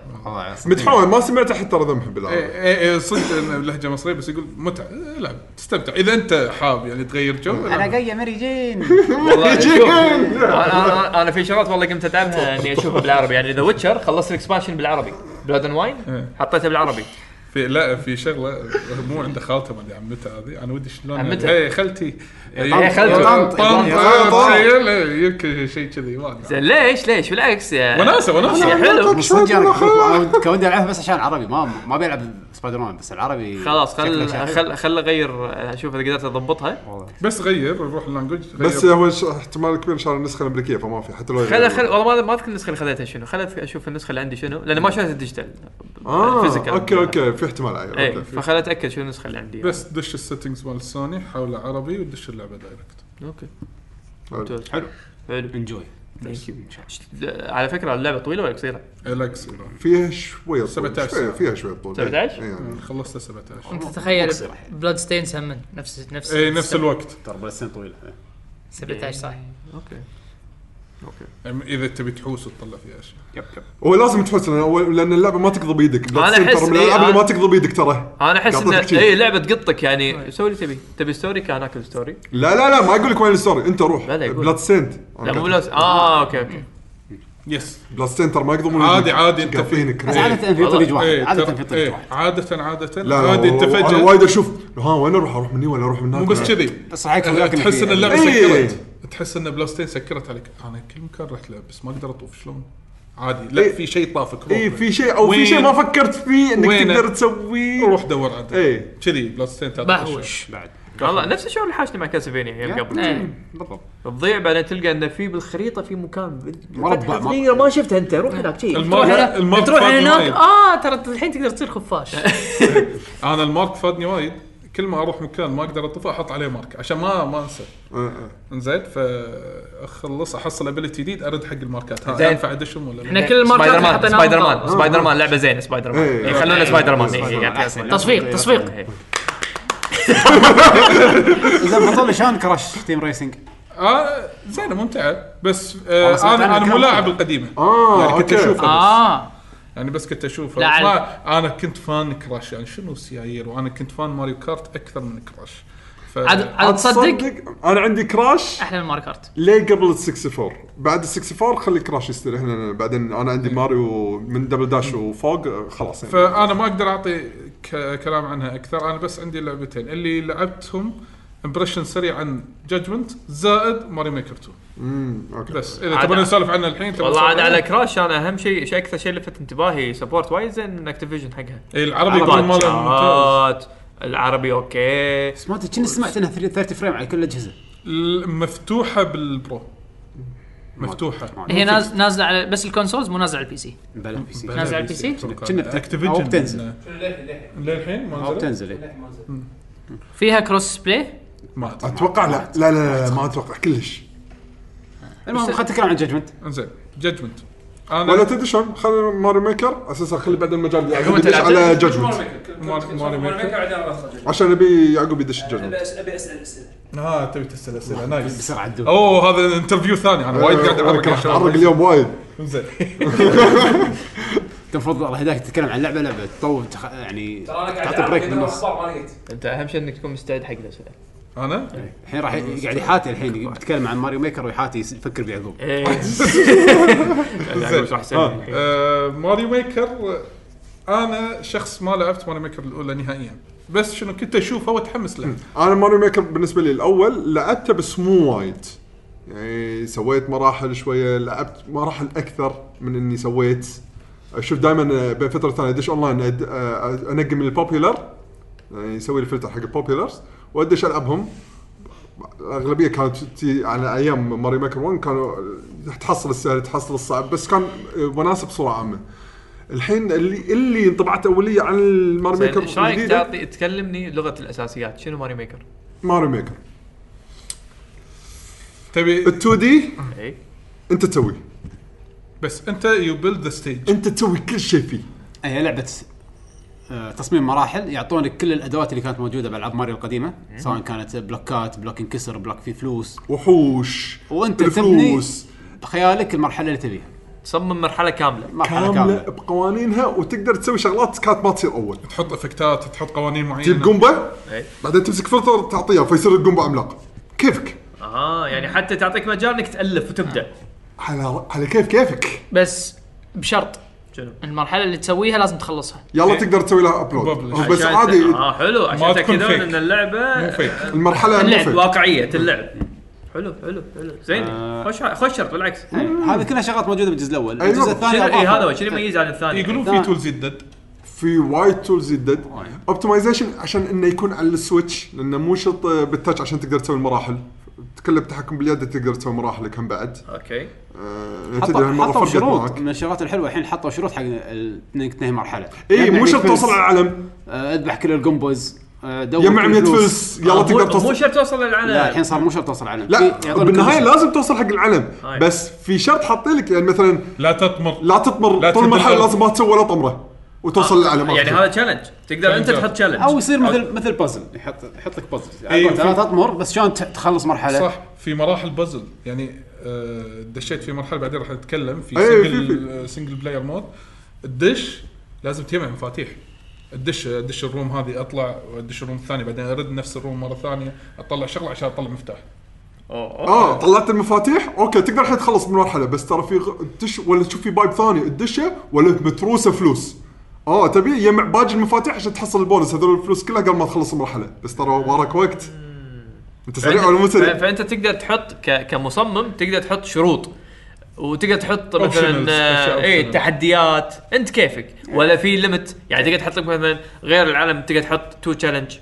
Speaker 1: متحول ما سمعته حتى رذمح بالعربي
Speaker 5: إيه، إيه، إيه، صدق إنه لهجه مصريه بس يقول متعه إيه، لا تستمتع اذا انت حاب يعني تغير جو
Speaker 4: انا جايه ماري جين
Speaker 7: والله شوف، انا أنا- انا في شغلات والله قمت اتعبها اني اشوفها بالعربي يعني ذا ويتشر خلصت الاكسبانشن بالعربي بلاد اند واين
Speaker 5: إيه.
Speaker 7: حطيتها بالعربي
Speaker 5: في لا في شغله مو عنده خالته ما ادري عمته هذه انا ودي شلون
Speaker 7: عمتها؟
Speaker 5: اي خالتي إيه،
Speaker 7: طنط- خالته.
Speaker 4: طنط.
Speaker 1: طنط.
Speaker 5: تخيل إيه، يمكن شيء كذي ما ادري
Speaker 7: زين ليش ليش بالعكس يا
Speaker 5: وناسه وناسه
Speaker 7: شيء حلو
Speaker 4: صدق انا كنت- كان ودي العبها بس عشان عربي ما ما بيلعب سبايدر مان بس العربي
Speaker 7: خلاص خل
Speaker 4: شكله شكله.
Speaker 7: خل خل اغير اشوف اذا قدرت اضبطها
Speaker 5: بس غير روح اللانجوج غير.
Speaker 1: بس هو ش- احتمال كبير شال النسخه الامريكيه فما في حتى لو
Speaker 7: خل أيوه. خل والله ما ما اذكر النسخه اللي خذيتها شنو خل أذك- اشوف النسخه اللي عندي شنو لان ما شريت الديجيتال
Speaker 1: اه
Speaker 7: الفيزيكال.
Speaker 1: اوكي اوكي في احتمال أيوه، عيل
Speaker 7: اي
Speaker 1: اوكي
Speaker 7: فخل اتاكد شنو النسخه اللي عندي
Speaker 5: بس دش السيتنجز مال سوني حوله عربي ودش اللعبه دايركت
Speaker 7: اوكي
Speaker 1: حلو.
Speaker 7: ممتاز.
Speaker 4: حلو.
Speaker 7: حلو
Speaker 4: انجوي
Speaker 7: Thank you. على فكره اللعبه طويله ولا قصيره؟
Speaker 5: الاكس
Speaker 1: فيها شويه طول.
Speaker 5: 17
Speaker 1: شوية- فيها شويه طول
Speaker 7: 17?
Speaker 1: إيه، يعني.
Speaker 5: خلصتها 17
Speaker 8: انت تخيل
Speaker 4: مقصر الحين.
Speaker 8: بلاد ستينز هم من نفس نفس
Speaker 7: إيه،
Speaker 5: اي إيه، نفس الوقت
Speaker 4: ترى بس سنه طويله
Speaker 8: 17 صح
Speaker 7: اوكي اوكي
Speaker 5: يعني اذا تبي تحوس وتطلع فيها اشياء
Speaker 4: يب يب
Speaker 1: هو لازم تحس لأن- لان اللعبه ما تقضب ايدك
Speaker 7: أنا
Speaker 1: بلاك سيل
Speaker 7: أحس
Speaker 1: ترى من
Speaker 7: إيه،
Speaker 1: الالعاب اللي
Speaker 7: أنا-
Speaker 1: ما تقضب ايدك ترى
Speaker 7: انا احس
Speaker 1: قاطعتك
Speaker 7: ان
Speaker 1: شي.
Speaker 7: اي لعبه إيه، تقطك
Speaker 3: طيب.
Speaker 7: يعني سوي اللي تبي تبي ستوري كان اكل ستوري
Speaker 1: لا لا لا ما اقول لك وين الستوري انت روح
Speaker 7: لا، لا، يقول.
Speaker 1: بلاد سينت
Speaker 7: لا مو بلاس اه اوكي اوكي
Speaker 5: يس
Speaker 1: بلاد سينت ترى ما يقضبون
Speaker 5: عادي، عادي، أنت
Speaker 1: كافينك
Speaker 4: بس عاده في طريق واحد
Speaker 5: إيه،
Speaker 4: عاده
Speaker 5: ترى-
Speaker 4: في
Speaker 5: إيه،
Speaker 4: طريق واحد
Speaker 5: عاده عاده
Speaker 1: لا
Speaker 5: عادي انت
Speaker 1: والله، انا
Speaker 5: فجاه
Speaker 1: وايد اشوف ها وين اروح اروح من هنا ولا اروح من هناك
Speaker 5: مو بس كذي
Speaker 4: بس هاي كلها كنا
Speaker 5: تحس
Speaker 4: فيها.
Speaker 5: ان اللعبه
Speaker 1: إيه.
Speaker 5: سكرت تحس ان بلاستين سكرت عليك انا كل مكان رحت له بس ما اقدر اطوف شلون عادي لا
Speaker 1: إيه.
Speaker 5: في شيء طافك روح
Speaker 1: اي
Speaker 5: له.
Speaker 1: في شيء او في
Speaker 5: وين؟
Speaker 1: شيء ما فكرت فيه انك
Speaker 5: وين؟
Speaker 1: تقدر تسويه
Speaker 5: روح دور عنده
Speaker 1: إيه.
Speaker 5: كذي بلاستين
Speaker 8: بهوش
Speaker 4: بعد
Speaker 7: والله نفس الشيء اللي حاشني مع كاسلفينيا ايام قبل
Speaker 8: إيه.
Speaker 4: بالضبط
Speaker 7: تضيع بعدين تلقى انه في بالخريطه في مكان
Speaker 4: مربع
Speaker 7: صغيره ما شفتها انت روح هناك شيء
Speaker 5: المارك المارك
Speaker 8: تروح
Speaker 5: فادني
Speaker 8: هناك آه،
Speaker 5: وايد
Speaker 8: اه ترى الحين تقدر تصير خفاش
Speaker 5: انا المارك فادني وايد كل ما اروح مكان ما اقدر اطفى احط عليه مارك عشان ما ما انسى
Speaker 1: آه،
Speaker 5: انزين فاخلص احصل ابيلتي جديد ارد حق الماركات ها
Speaker 7: زين.
Speaker 5: ينفع ادشهم ولا لا؟
Speaker 8: احنا كل الماركات
Speaker 7: سبايدر مان
Speaker 8: حطيناها
Speaker 7: سبايدر
Speaker 8: بالطاولة.
Speaker 7: مان سبايدر مان لعبه زينه سبايدر مان
Speaker 1: إيه.
Speaker 7: إيه، خلونا سبايدر مان إيه، قاعد
Speaker 6: إيه.
Speaker 7: أحسن.
Speaker 8: تصفيق تصفيق
Speaker 7: إيه.
Speaker 4: زين بطل شلون كراش تيم ريسنج؟
Speaker 5: اه زينه ممتعه بس
Speaker 4: والله
Speaker 5: آه
Speaker 4: سمعت
Speaker 5: انا
Speaker 4: عنها
Speaker 5: انا
Speaker 4: كلام
Speaker 5: مو لاعب
Speaker 4: كثير.
Speaker 5: القديمه
Speaker 1: اه
Speaker 5: يعني كنت
Speaker 1: اوكي
Speaker 5: اشوفها بس.
Speaker 8: اه
Speaker 5: يعني بس كنت اشوفه
Speaker 8: لا،
Speaker 5: بس
Speaker 8: على-
Speaker 5: ما انا كنت فان كراش يعني شنو سيايير وانا كنت فان ماريو كارت اكثر من كراش ف...
Speaker 8: عاد عاد تصدق
Speaker 1: انا عندي كراش
Speaker 8: احلى من ماري كارت
Speaker 1: ليه قبل ال 64 بعد ال 64 خلي كراش يستريح لنا بعدين انا عندي ماريو من دبل داش وفوق آه، خلاص يعني
Speaker 5: فانا ما اقدر اعطي ك... كلام عنها اكثر انا بس عندي لعبتين اللي لعبتهم امبريشن سريع عن جادجمنت زائد ماري ميكر 2
Speaker 1: امم اوكي
Speaker 5: بس اذا
Speaker 7: عاد-
Speaker 5: تبون نسولف عنها الحين تبون
Speaker 7: والله
Speaker 5: نسولف
Speaker 7: عاد على
Speaker 5: عنها؟
Speaker 7: كراش انا اهم شيء شيء اكثر شيء لفت انتباهي سبورت وايز ان اكتيفيجن حقها
Speaker 5: إيه، العربي يكون ماله ممتاز
Speaker 7: الباتشات العربي اوكي
Speaker 4: بس ما أدري، كني سمعت انها 30 فريم على كل الاجهزه
Speaker 5: ال- مفتوحه بالبرو مفتوحه
Speaker 8: هي ناز- نازله على بس الكونسولز مو نازله على البي سي
Speaker 4: بلا بي سي
Speaker 8: نازل على البي سي؟
Speaker 4: كنا بت- أو بتنزل.
Speaker 5: للحين ما
Speaker 4: او
Speaker 5: نزلت؟
Speaker 4: بتنزل إيه.
Speaker 8: فيها كروس بلاي
Speaker 5: ما أدري.
Speaker 1: اتوقع لا لا لا, لا ما اتوقع كلش
Speaker 4: المهم خلينا نتكلم عن جادجمنت
Speaker 5: انزين جادجمنت انا
Speaker 1: ولا تدري شلون خلي ماري ميكر اساسا خلي بعد المجال يعقوب
Speaker 7: أنت
Speaker 1: يدش
Speaker 7: لعبت؟
Speaker 1: على جادجمنت
Speaker 5: ماري- ماري ميكر.
Speaker 1: عشان ابي يعقوب يدش جادجمنت
Speaker 2: ابي اسال اسئله
Speaker 5: اه تبي تسال اسئله نايس
Speaker 4: بسرعه الدور
Speaker 5: اوه هذا انترفيو ثاني انا وايد قاعد اعرق يا
Speaker 1: اعرق
Speaker 5: شباب.
Speaker 1: اليوم وايد
Speaker 5: زين
Speaker 4: المفروض الله يهداك تتكلم عن لعبه لعبه تطول تخ... يعني
Speaker 2: ترى انا قاعد
Speaker 4: تعطي بريك بالنص
Speaker 2: ما لقيت
Speaker 7: انت اهم شيء انك تكون مستعد حق الاسئله
Speaker 5: انا
Speaker 4: الحين راح ي- يقعد يحاتي الحين يتكلم عن ماريو ميكر ويحاتي يس- يفكر بعقوب
Speaker 7: ايه
Speaker 1: آه.
Speaker 7: إيه.
Speaker 5: آه، ماريو ميكر آه، انا شخص ما لعبت ماريو ميكر الاولى نهائيا بس شنو كنت اشوفه واتحمس له
Speaker 1: انا ماريو ميكر بالنسبه لي الاول لعبته بس مو وايد يعني سويت مراحل شويه لعبت مراحل اكثر من اني سويت اشوف دائما بين فتره ثانيه ادش اونلاين أد... أ- انقي من البوبيلر يعني يسوي لي فلتر حق البوبيلرز وادش العبهم الاغلبيه كانت تي على ايام ماري ميكر 1 كانوا تحصل السهل تحصل الصعب بس كان آه، وناسه بصوره عامه الحين اللي اللي انطبعت اوليه عن الماري
Speaker 5: آه،
Speaker 1: ميكر
Speaker 7: ايش رايك
Speaker 1: الجديدة،
Speaker 7: تعطي تكلمني لغه الاساسيات شنو ماري ميكر؟
Speaker 1: ماري ميكر
Speaker 5: تبي
Speaker 1: ال 2 دي
Speaker 7: اي
Speaker 1: انت تسوي
Speaker 5: بس انت يو بيلد ذا ستيج
Speaker 1: انت تسوي كل شيء فيه
Speaker 4: هي لعبه آه، تصميم مراحل يعطونك كل الادوات اللي كانت موجوده بالعاب ماريو القديمه سواء كانت بلوكات بلوك انكسر بلوك فيه فلوس
Speaker 1: وحوش
Speaker 4: وانت تبني
Speaker 1: الفلوس
Speaker 4: بخيالك المرحله اللي تبيها
Speaker 7: تصمم مرحله كامله
Speaker 4: مرحله
Speaker 1: كامله
Speaker 4: كامله
Speaker 1: بقوانينها وتقدر تسوي شغلات كانت ما تصير اول
Speaker 5: تحط افكتات تحط قوانين معينه
Speaker 1: تجيب قنبه
Speaker 7: إيه.
Speaker 1: بعدين تمسك فلتر تعطيها فيصير القنبه عملاق كيفك
Speaker 7: اه يعني حتى تعطيك مجال انك تالف وتبدا
Speaker 1: على على كيف كيفك
Speaker 8: بس بشرط
Speaker 7: شنو؟
Speaker 8: المرحله اللي تسويها لازم تخلصها
Speaker 1: يلا تقدر تسوي لها ابلود
Speaker 5: Publish.
Speaker 1: بس
Speaker 7: عشان-
Speaker 1: عادي
Speaker 7: اه حلو
Speaker 5: ما
Speaker 7: عشان
Speaker 5: تكون
Speaker 7: تاكدون
Speaker 5: fake.
Speaker 7: ان اللعبه
Speaker 5: مو fake.
Speaker 1: المرحله
Speaker 7: اللعب
Speaker 1: المفيد
Speaker 7: واقعيه اللعب حلو حلو حلو زين
Speaker 5: آه.
Speaker 7: خوش خوش شرط بالعكس
Speaker 4: إيه، هذه كلها شغلات موجوده بالجزء الاول
Speaker 1: أيوة.
Speaker 4: الجزء الثاني
Speaker 7: شنو اي
Speaker 4: أضافوا.
Speaker 7: هذا هو شنو يميز عن الثاني
Speaker 5: يقولون
Speaker 4: لا.
Speaker 5: في تولز يدد
Speaker 1: في وايد تولز يدد اوبتمايزيشن عشان انه يكون على السويتش لانه مو شرط بالتاتش عشان تقدر تسوي المراحل كله بتحكم باليد تقدر تسوي مراحلك هم بعد
Speaker 7: اوكي
Speaker 1: آه، تدري
Speaker 4: حطوا
Speaker 1: هالمره
Speaker 4: حطوا
Speaker 1: فرقت
Speaker 4: شروط
Speaker 1: معك
Speaker 4: من الشغلات الحلوه الحين حطوا شروط حق ال- انك تنهي مرحله
Speaker 1: اي
Speaker 7: يعني
Speaker 4: يمنع
Speaker 1: إيه، مو شرط
Speaker 4: 100
Speaker 1: توصل
Speaker 4: فلس.
Speaker 1: على العلم
Speaker 4: آه، اذبح كل القنبز آه، دور
Speaker 1: يجمع
Speaker 4: كل
Speaker 1: 100
Speaker 4: الفلوس.
Speaker 1: فلس يلا
Speaker 7: آه، مو-
Speaker 1: تقدر
Speaker 7: مو
Speaker 1: توصل
Speaker 7: شرط يعني توصل
Speaker 4: لا الحين
Speaker 7: للعنب
Speaker 4: صار مو شرط توصل على العلم في-
Speaker 1: لا
Speaker 4: يعطونك
Speaker 1: بالنهايه
Speaker 4: كل
Speaker 1: لازم توصل حق العلم
Speaker 7: هاي.
Speaker 1: بس في شرط حاطين لك يعني مثلا
Speaker 5: لا تطمر
Speaker 1: لا تطمر
Speaker 5: لا
Speaker 1: طول
Speaker 5: تدل
Speaker 1: المرحله
Speaker 5: على-
Speaker 1: لازم ما تسوي ولا طمره وتوصل للعلم
Speaker 7: يعني هذا تشالنج تقدر انت تحط تشالنج
Speaker 4: او يصير مثل مثل بازل يحط يحط لك بازل
Speaker 5: أيوة،
Speaker 4: لا تطمر بس شلون ت- تخلص مرحله
Speaker 5: صح في مراحل بازل يعني آه، دشيت في مرحله بعدين راح نتكلم في
Speaker 1: أي، إيه، في-
Speaker 5: سنجل
Speaker 1: في.
Speaker 5: آه، سنجل بلاير مود الدش لازم تجمع مفاتيح الدش ادش الروم هذه اطلع وادش الروم الثاني بعدين ارد نفس الروم مره ثانيه اطلع شغله عشان اطلع مفتاح
Speaker 1: اه طلعت المفاتيح اوكي تقدر الحين تخلص من المرحله بس ترى في غ- تدش ولا تشوف في بايب ثاني تدشه ولا متروسه فلوس اه تبي يجمع باقي المفاتيح عشان تحصل البونس هذول الفلوس كلها قبل ما تخلص المرحله بس ترى وراك وقت انت سريع ولا مو
Speaker 7: ف-
Speaker 1: سريع؟
Speaker 7: فانت تقدر تحط ك... كمصمم تقدر تحط شروط وتقدر تحط
Speaker 5: Optionals،
Speaker 7: مثلا
Speaker 5: أشياء
Speaker 7: آه، اي
Speaker 5: optional.
Speaker 7: تحديات انت كيفك ولا في ليمت يعني تقدر تحط لك مثلا غير العالم تقدر تحط تو تشالنج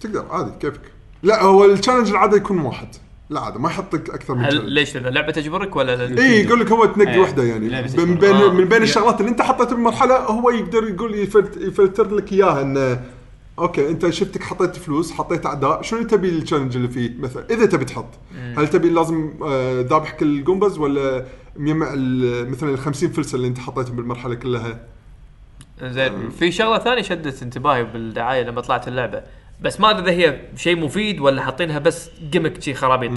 Speaker 1: تقدر عادي كيفك لا هو التشالنج العاده يكون واحد لا عادي ما يحطك اكثر من
Speaker 7: هل
Speaker 1: challenge.
Speaker 7: ليش لان اللعبه تجبرك ولا لا؟
Speaker 1: اي يقول لك هو تنقي
Speaker 4: إيه.
Speaker 1: واحده يعني
Speaker 4: لا، بس
Speaker 1: من
Speaker 4: يكون-
Speaker 1: بين
Speaker 7: آه.
Speaker 1: من بين الشغلات اللي انت حطيتها بالمرحله هو يقدر يقول يفلت- يفلتر لك اياها انه اوكي انت شفتك حطيت فلوس حطيت اعداء شنو تبي التشالنج اللي فيه مثلا اذا تبي تحط هل تبي لازم آه، ذابح كل القنبز ولا مجمع ال- مثلا ال 50 فلسه اللي انت حطيتهم بالمرحله كلها
Speaker 7: زين في شغله ثانيه شدت انتباهي بالدعايه لما طلعت اللعبه بس ما ادري اذا هي شيء مفيد ولا حاطينها بس جمك شي خرابيط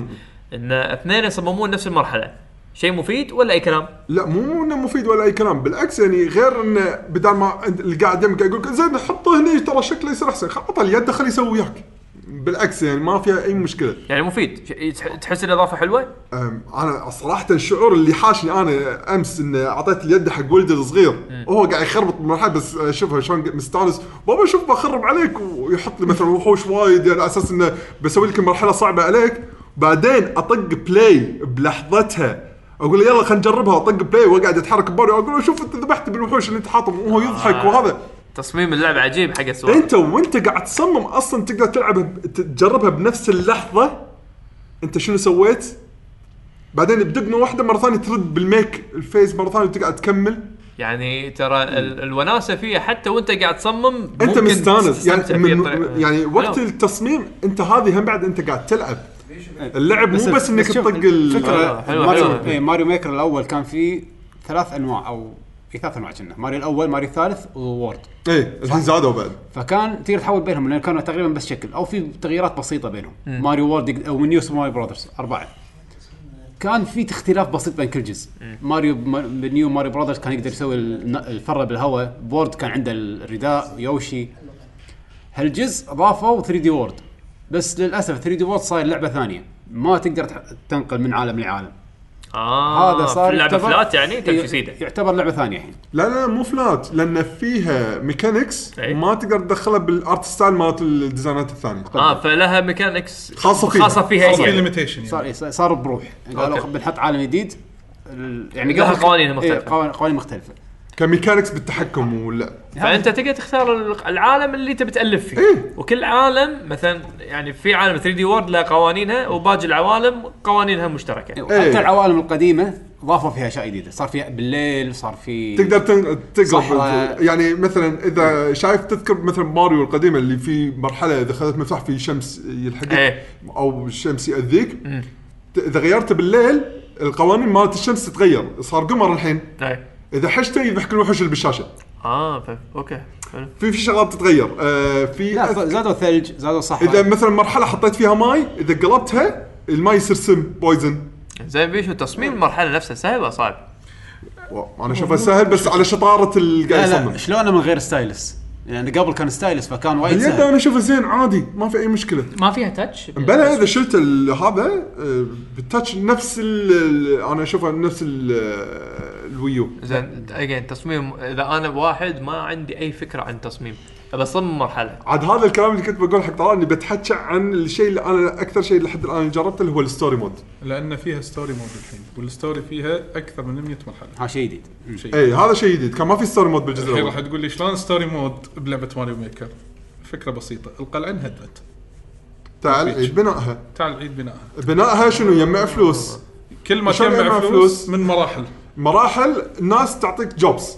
Speaker 7: ان اثنين يصممون نفس المرحله شيء مفيد ولا اي كلام
Speaker 1: لا مو انه مفيد ولا اي كلام بالعكس يعني غير انه بدل ما انت اللي قاعد يمك يقول لك زين حطه هني ترى شكله يصير احسن خلاص اليد خليه يسوي وياك بالعكس يعني ما فيها اي مشكله
Speaker 7: يعني مفيد ش- تح- تحس الاضافه حلوه
Speaker 1: أم، انا صراحه الشعور اللي حاشني انا امس ان اعطيت اليد حق ولدي الصغير وهو قاعد يخربط بالمرحله بس اشوفها شلون قاعد مستانس بابا شوف بخرب عليك ويحط لي مثلا وحوش وايد يعني على اساس انه بسوي لك المرحله صعبه عليك بعدين اطق بلاي بلحظتها اقول له يلا خلينا نجربها اطق بلاي واقعد اتحرك ببالي واقول له شوف انت ذبحت بالوحوش اللي انت حاطهم وهو يضحك وهذا
Speaker 7: تصميم اللعبه عجيب حق السؤال
Speaker 1: انت وانت قاعد تصمم اصلا تقدر تلعبها ب- تجربها بنفس اللحظه انت شنو سويت بعدين بدقمه واحده مره ثانيه ترد بالميك الفيس مره ثانيه وتقعد تكمل
Speaker 7: يعني ترى ال- الوناسه فيها حتى وانت قاعد تصمم
Speaker 1: انت
Speaker 7: ممكن
Speaker 1: مستانس
Speaker 7: تستمتع
Speaker 1: يعني
Speaker 7: فيها
Speaker 1: من
Speaker 7: بطريقة-
Speaker 1: يعني وقت
Speaker 7: حلو.
Speaker 1: التصميم انت هذه هم بعد انت قاعد تلعب اللعب مو بس انك
Speaker 4: شوف
Speaker 1: تطق ال
Speaker 4: الفكره
Speaker 7: آه، حلوة،
Speaker 4: ماريو
Speaker 7: حلوة.
Speaker 4: إيه، ماريو ميكر الاول كان فيه ثلاث انواع او في ثلاث انواع كنا ماريو الاول ماريو الثالث وورد
Speaker 1: ايه الحين زادوا بعد
Speaker 4: فكان تقدر تحول بينهم لان كانوا تقريبا بس شكل او في تغييرات بسيطه بينهم ماريو وورد يقد- او نيو سوبر ماريو براذرز اربعه كان في اختلاف بسيط بين كل جزء ماريو ما- بنيو ماريو براذرز كان يقدر يسوي الن- الفره بالهواء بورد كان عنده الرداء يوشي هالجزء اضافوا 3 دي وورد بس للاسف 3 دي وورد صاير لعبه ثانيه ما تقدر تح- تنقل من عالم لعالم
Speaker 7: آه
Speaker 4: هذا صار إيه.
Speaker 7: لعبه
Speaker 4: يعتبر-
Speaker 7: فلات يعني تمشي
Speaker 4: ي-
Speaker 7: سيده
Speaker 4: يعتبر لعبه ثانيه الحين
Speaker 1: لا لا مو فلات لان فيها ميكانكس
Speaker 7: ايه.
Speaker 1: ما تقدر تدخلها بالارت ستايل مالت الديزاينات الثانيه
Speaker 7: اه فلها ميكانكس
Speaker 1: خاصة فيها.
Speaker 7: خاصه فيها
Speaker 5: صار في
Speaker 7: يعني.
Speaker 5: ليميتيشن
Speaker 4: صار
Speaker 5: يعني
Speaker 4: إيه، صار بروح قالوا
Speaker 7: أوكي.
Speaker 4: بنحط عالم جديد ال- يعني
Speaker 7: لها
Speaker 4: قبل-
Speaker 7: قوانين مختلفة.
Speaker 4: إيه، قوانين- قوانين مختلفه
Speaker 1: كميكانكس بالتحكم ولا
Speaker 7: فانت تقدر تختار ال- العالم اللي تبي تالف فيه
Speaker 1: إيه.
Speaker 7: وكل عالم مثلا يعني في عالم 3 دي وورد له قوانينها وباقي العوالم قوانينها مشتركه
Speaker 1: إيه.
Speaker 4: حتى العوالم القديمه ضافوا فيها اشياء جديده صار فيها بالليل صار في
Speaker 1: تقدر تن- تقرب
Speaker 4: صحراء.
Speaker 1: يعني مثلا اذا شايف تذكر مثلا ماريو القديمه اللي في مرحله اذا اخذت مفتاح في شمس يلحقك
Speaker 7: إيه.
Speaker 1: او الشمس ياذيك ت- اذا غيرته بالليل القوانين مالت الشمس تتغير صار قمر الحين
Speaker 7: إيه.
Speaker 1: اذا حشته يذبحك الوحوش اللي بالشاشه
Speaker 7: اه فهم. اوكي حلو.
Speaker 1: في في شغلات تتغير آه في
Speaker 4: لا
Speaker 1: أذ-
Speaker 4: صار- زادوا ثلج زادوا
Speaker 1: اذا
Speaker 4: صحراء
Speaker 1: مثلا مرحله حطيت فيها ماي اذا قلبتها الماي يصير سم بويزن
Speaker 7: زين بيشو تصميم المرحله نفسها سهل ولا صعب؟
Speaker 1: انا اشوفها سهل بس على شطاره اللي قاعد
Speaker 4: لا
Speaker 1: يصمم
Speaker 4: لا شلون من غير ستايلس لان يعني قبل كان ستايلس فكان وايد
Speaker 1: اليد
Speaker 4: سهل
Speaker 1: انا اشوفها زين عادي ما في اي مشكله
Speaker 8: ما فيها تاتش
Speaker 4: يعني
Speaker 1: بلا اذا شلت ال- هذا آه، بالتاتش نفس ال- ال- انا اشوفها نفس ال- آه، الويو
Speaker 7: زين اجين تصميم اذا انا واحد ما عندي اي فكره عن تصميم بصمم مرحله
Speaker 1: عاد هذا الكلام اللي كنت بقول حق طلال اني بتحكى عن الشيء اللي انا اكثر شيء لحد الان جربته اللي هو الستوري مود
Speaker 5: لان فيها ستوري مود الحين والستوري فيها اكثر من 100 مرحله
Speaker 4: ها شيء جديد
Speaker 1: اي إيه، هذا شيء جديد كان ما في ستوري مود بالجزء
Speaker 5: الحين راح
Speaker 1: الاول
Speaker 5: تقول لي شلون ستوري مود بلعبه ماريو ميكر فكره بسيطه القلعه انهدمت
Speaker 1: تعال إي، بنائها
Speaker 5: تعال عيد بنائها
Speaker 1: بنائها شنو يجمع فلوس
Speaker 5: كل ما
Speaker 1: وشلون
Speaker 5: تجمع
Speaker 1: يجمع
Speaker 5: فلوس
Speaker 1: فلوس؟
Speaker 5: من مراحل
Speaker 1: مراحل ناس تعطيك جوبز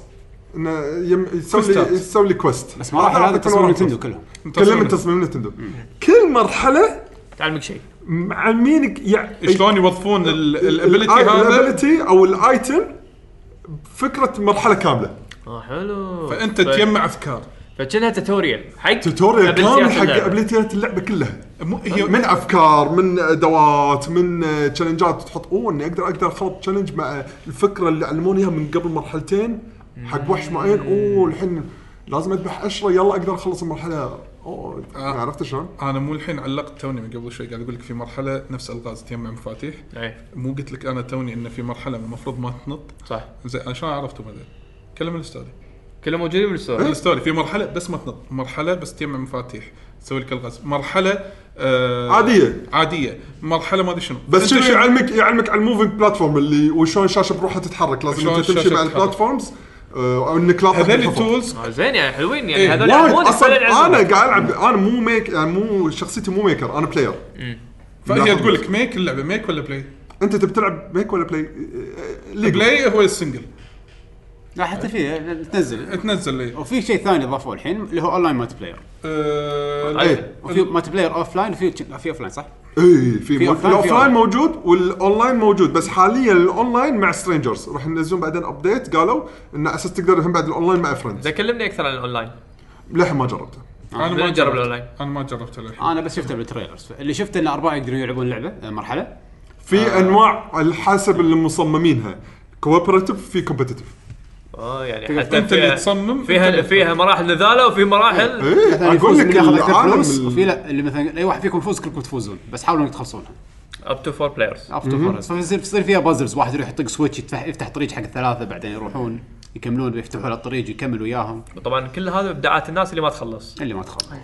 Speaker 1: انه يم- يسوي
Speaker 5: كوستات.
Speaker 1: لي يسوي لي كويست
Speaker 4: بس مراحل هذا تصميم نتندو كلهم
Speaker 1: كلهم من تصميم نتندو كل مرحله
Speaker 7: تعلمك شيء
Speaker 1: معلمينك يعني
Speaker 5: شلون يوظفون الابيلتي هذا
Speaker 1: الابيلتي او الايتم فكره مرحله كامله
Speaker 7: اه حلو
Speaker 5: فانت تجمع افكار
Speaker 7: فكانها توتوريال حق
Speaker 1: توتوريال
Speaker 7: أبيليتيات
Speaker 1: كامل حق
Speaker 7: اللعبة.
Speaker 1: ابيليتيات اللعبه كلها
Speaker 5: مو هي
Speaker 1: من افكار من ادوات من آه، تشالنجات تحط اوه اني اقدر اقدر اخلط تشالنج مع الفكره اللي علموني اياها من قبل مرحلتين حق وحش معين اوه الحين لازم اذبح اشره يلا اقدر اخلص المرحله اوه
Speaker 5: آه.
Speaker 1: عرفت شلون؟
Speaker 5: انا مو الحين علقت توني من قبل شوي قاعد اقول لك في مرحله نفس الغاز تجمع مفاتيح
Speaker 7: إيه،
Speaker 5: مو قلت لك انا توني ان في مرحله المفروض ما تنط
Speaker 7: صح
Speaker 5: زين انا شلون عرفته بعدين؟ كلم الستوري
Speaker 7: كلهم موجودين بالستوري
Speaker 5: الستوري في مرحله بس ما تنط مرحله بس تجمع مفاتيح تسوي لك الغاز مرحله آه
Speaker 1: عادية.
Speaker 5: عاديه مرحله ما ادري شنو
Speaker 1: بس
Speaker 5: أنت
Speaker 1: شنو يعني؟ يعلمك يعلمك على الموفينج بلاتفورم اللي وشلون الشاشه بروحها تتحرك لازم
Speaker 5: شلون
Speaker 1: انت تمشي
Speaker 5: الشاشة
Speaker 1: مع
Speaker 5: تتحرك.
Speaker 1: البلاتفورمز آه، او انك لا تحط
Speaker 5: هذول
Speaker 1: الخطوة.
Speaker 5: التولز
Speaker 7: آه، زين يعني حلوين يعني
Speaker 5: إيه،
Speaker 7: هذول
Speaker 1: وايد
Speaker 7: يعلمونك
Speaker 1: اصلا
Speaker 7: فعلاً يعلمونك.
Speaker 1: انا قاعد العب انا مو ميك يعني مو شخصيتي مو ميكر انا بلاير
Speaker 5: فهي تقول لك ميك اللعبه ميك ولا بلاي؟
Speaker 1: انت تبي تلعب ميك ولا بلاي؟ ليجو
Speaker 5: بلاي هو السنجل
Speaker 4: لا حتى فيه تنزل
Speaker 5: تنزل لي
Speaker 4: وفي شيء ثاني ضافوه الحين اللي هو اونلاين مالتي بلاير
Speaker 5: ايه
Speaker 4: ايه وفي مالتي بلاير اوف لاين وفي في اوف لاين صح؟
Speaker 1: اي إيه. في
Speaker 4: في offline، في
Speaker 1: الاوف لاين
Speaker 4: online.
Speaker 1: موجود والاونلاين موجود بس حاليا الاونلاين مع سترينجرز راح ينزلون بعدين ابديت قالوا انه على اساس تقدر الحين بعد الاونلاين مع فريندز
Speaker 7: زين كلمني اكثر عن الاونلاين
Speaker 1: للحين ما جربته
Speaker 5: انا
Speaker 7: بدنا
Speaker 5: ما
Speaker 7: نجرب
Speaker 5: جربت.
Speaker 7: الأونلاين.
Speaker 5: انا ما جربت للحين
Speaker 4: انا بس شفته بالتريلرز اللي شفته ان اربعه يقدرون يلعبون لعبه آه، مرحله
Speaker 1: في
Speaker 4: آه.
Speaker 1: انواع على حسب اللي مصممينها كوبراتيف في كومبتيتيف
Speaker 7: اه يعني حتى
Speaker 5: انت اللي
Speaker 7: فيها-
Speaker 5: تصمم
Speaker 7: فيها
Speaker 5: أنت-
Speaker 7: فيها مراحل نذاله وفي مراحل
Speaker 1: ايه
Speaker 4: مثلا
Speaker 1: اقول
Speaker 4: يفوز
Speaker 1: لك
Speaker 4: اللي ياخذ اكثر فلوس وفي
Speaker 1: العالم
Speaker 4: لا اللي مثلا اي واحد فيكم يفوز كلكم تفوزون بس حاولوا انك تخلصونها
Speaker 1: إيه.
Speaker 7: اب تو فور بلايرز
Speaker 4: افتر فورز فيصير يصير فيها بازلز واحد يروح يطق سويتش يتفح- يفتح طريق حق الثلاثه بعدين يروحون يكملون يفتحوا له الطريق يكمل وياهم
Speaker 7: طبعا كل هذا ابداعات الناس اللي ما تخلص
Speaker 4: اللي ما تخلص
Speaker 5: أنت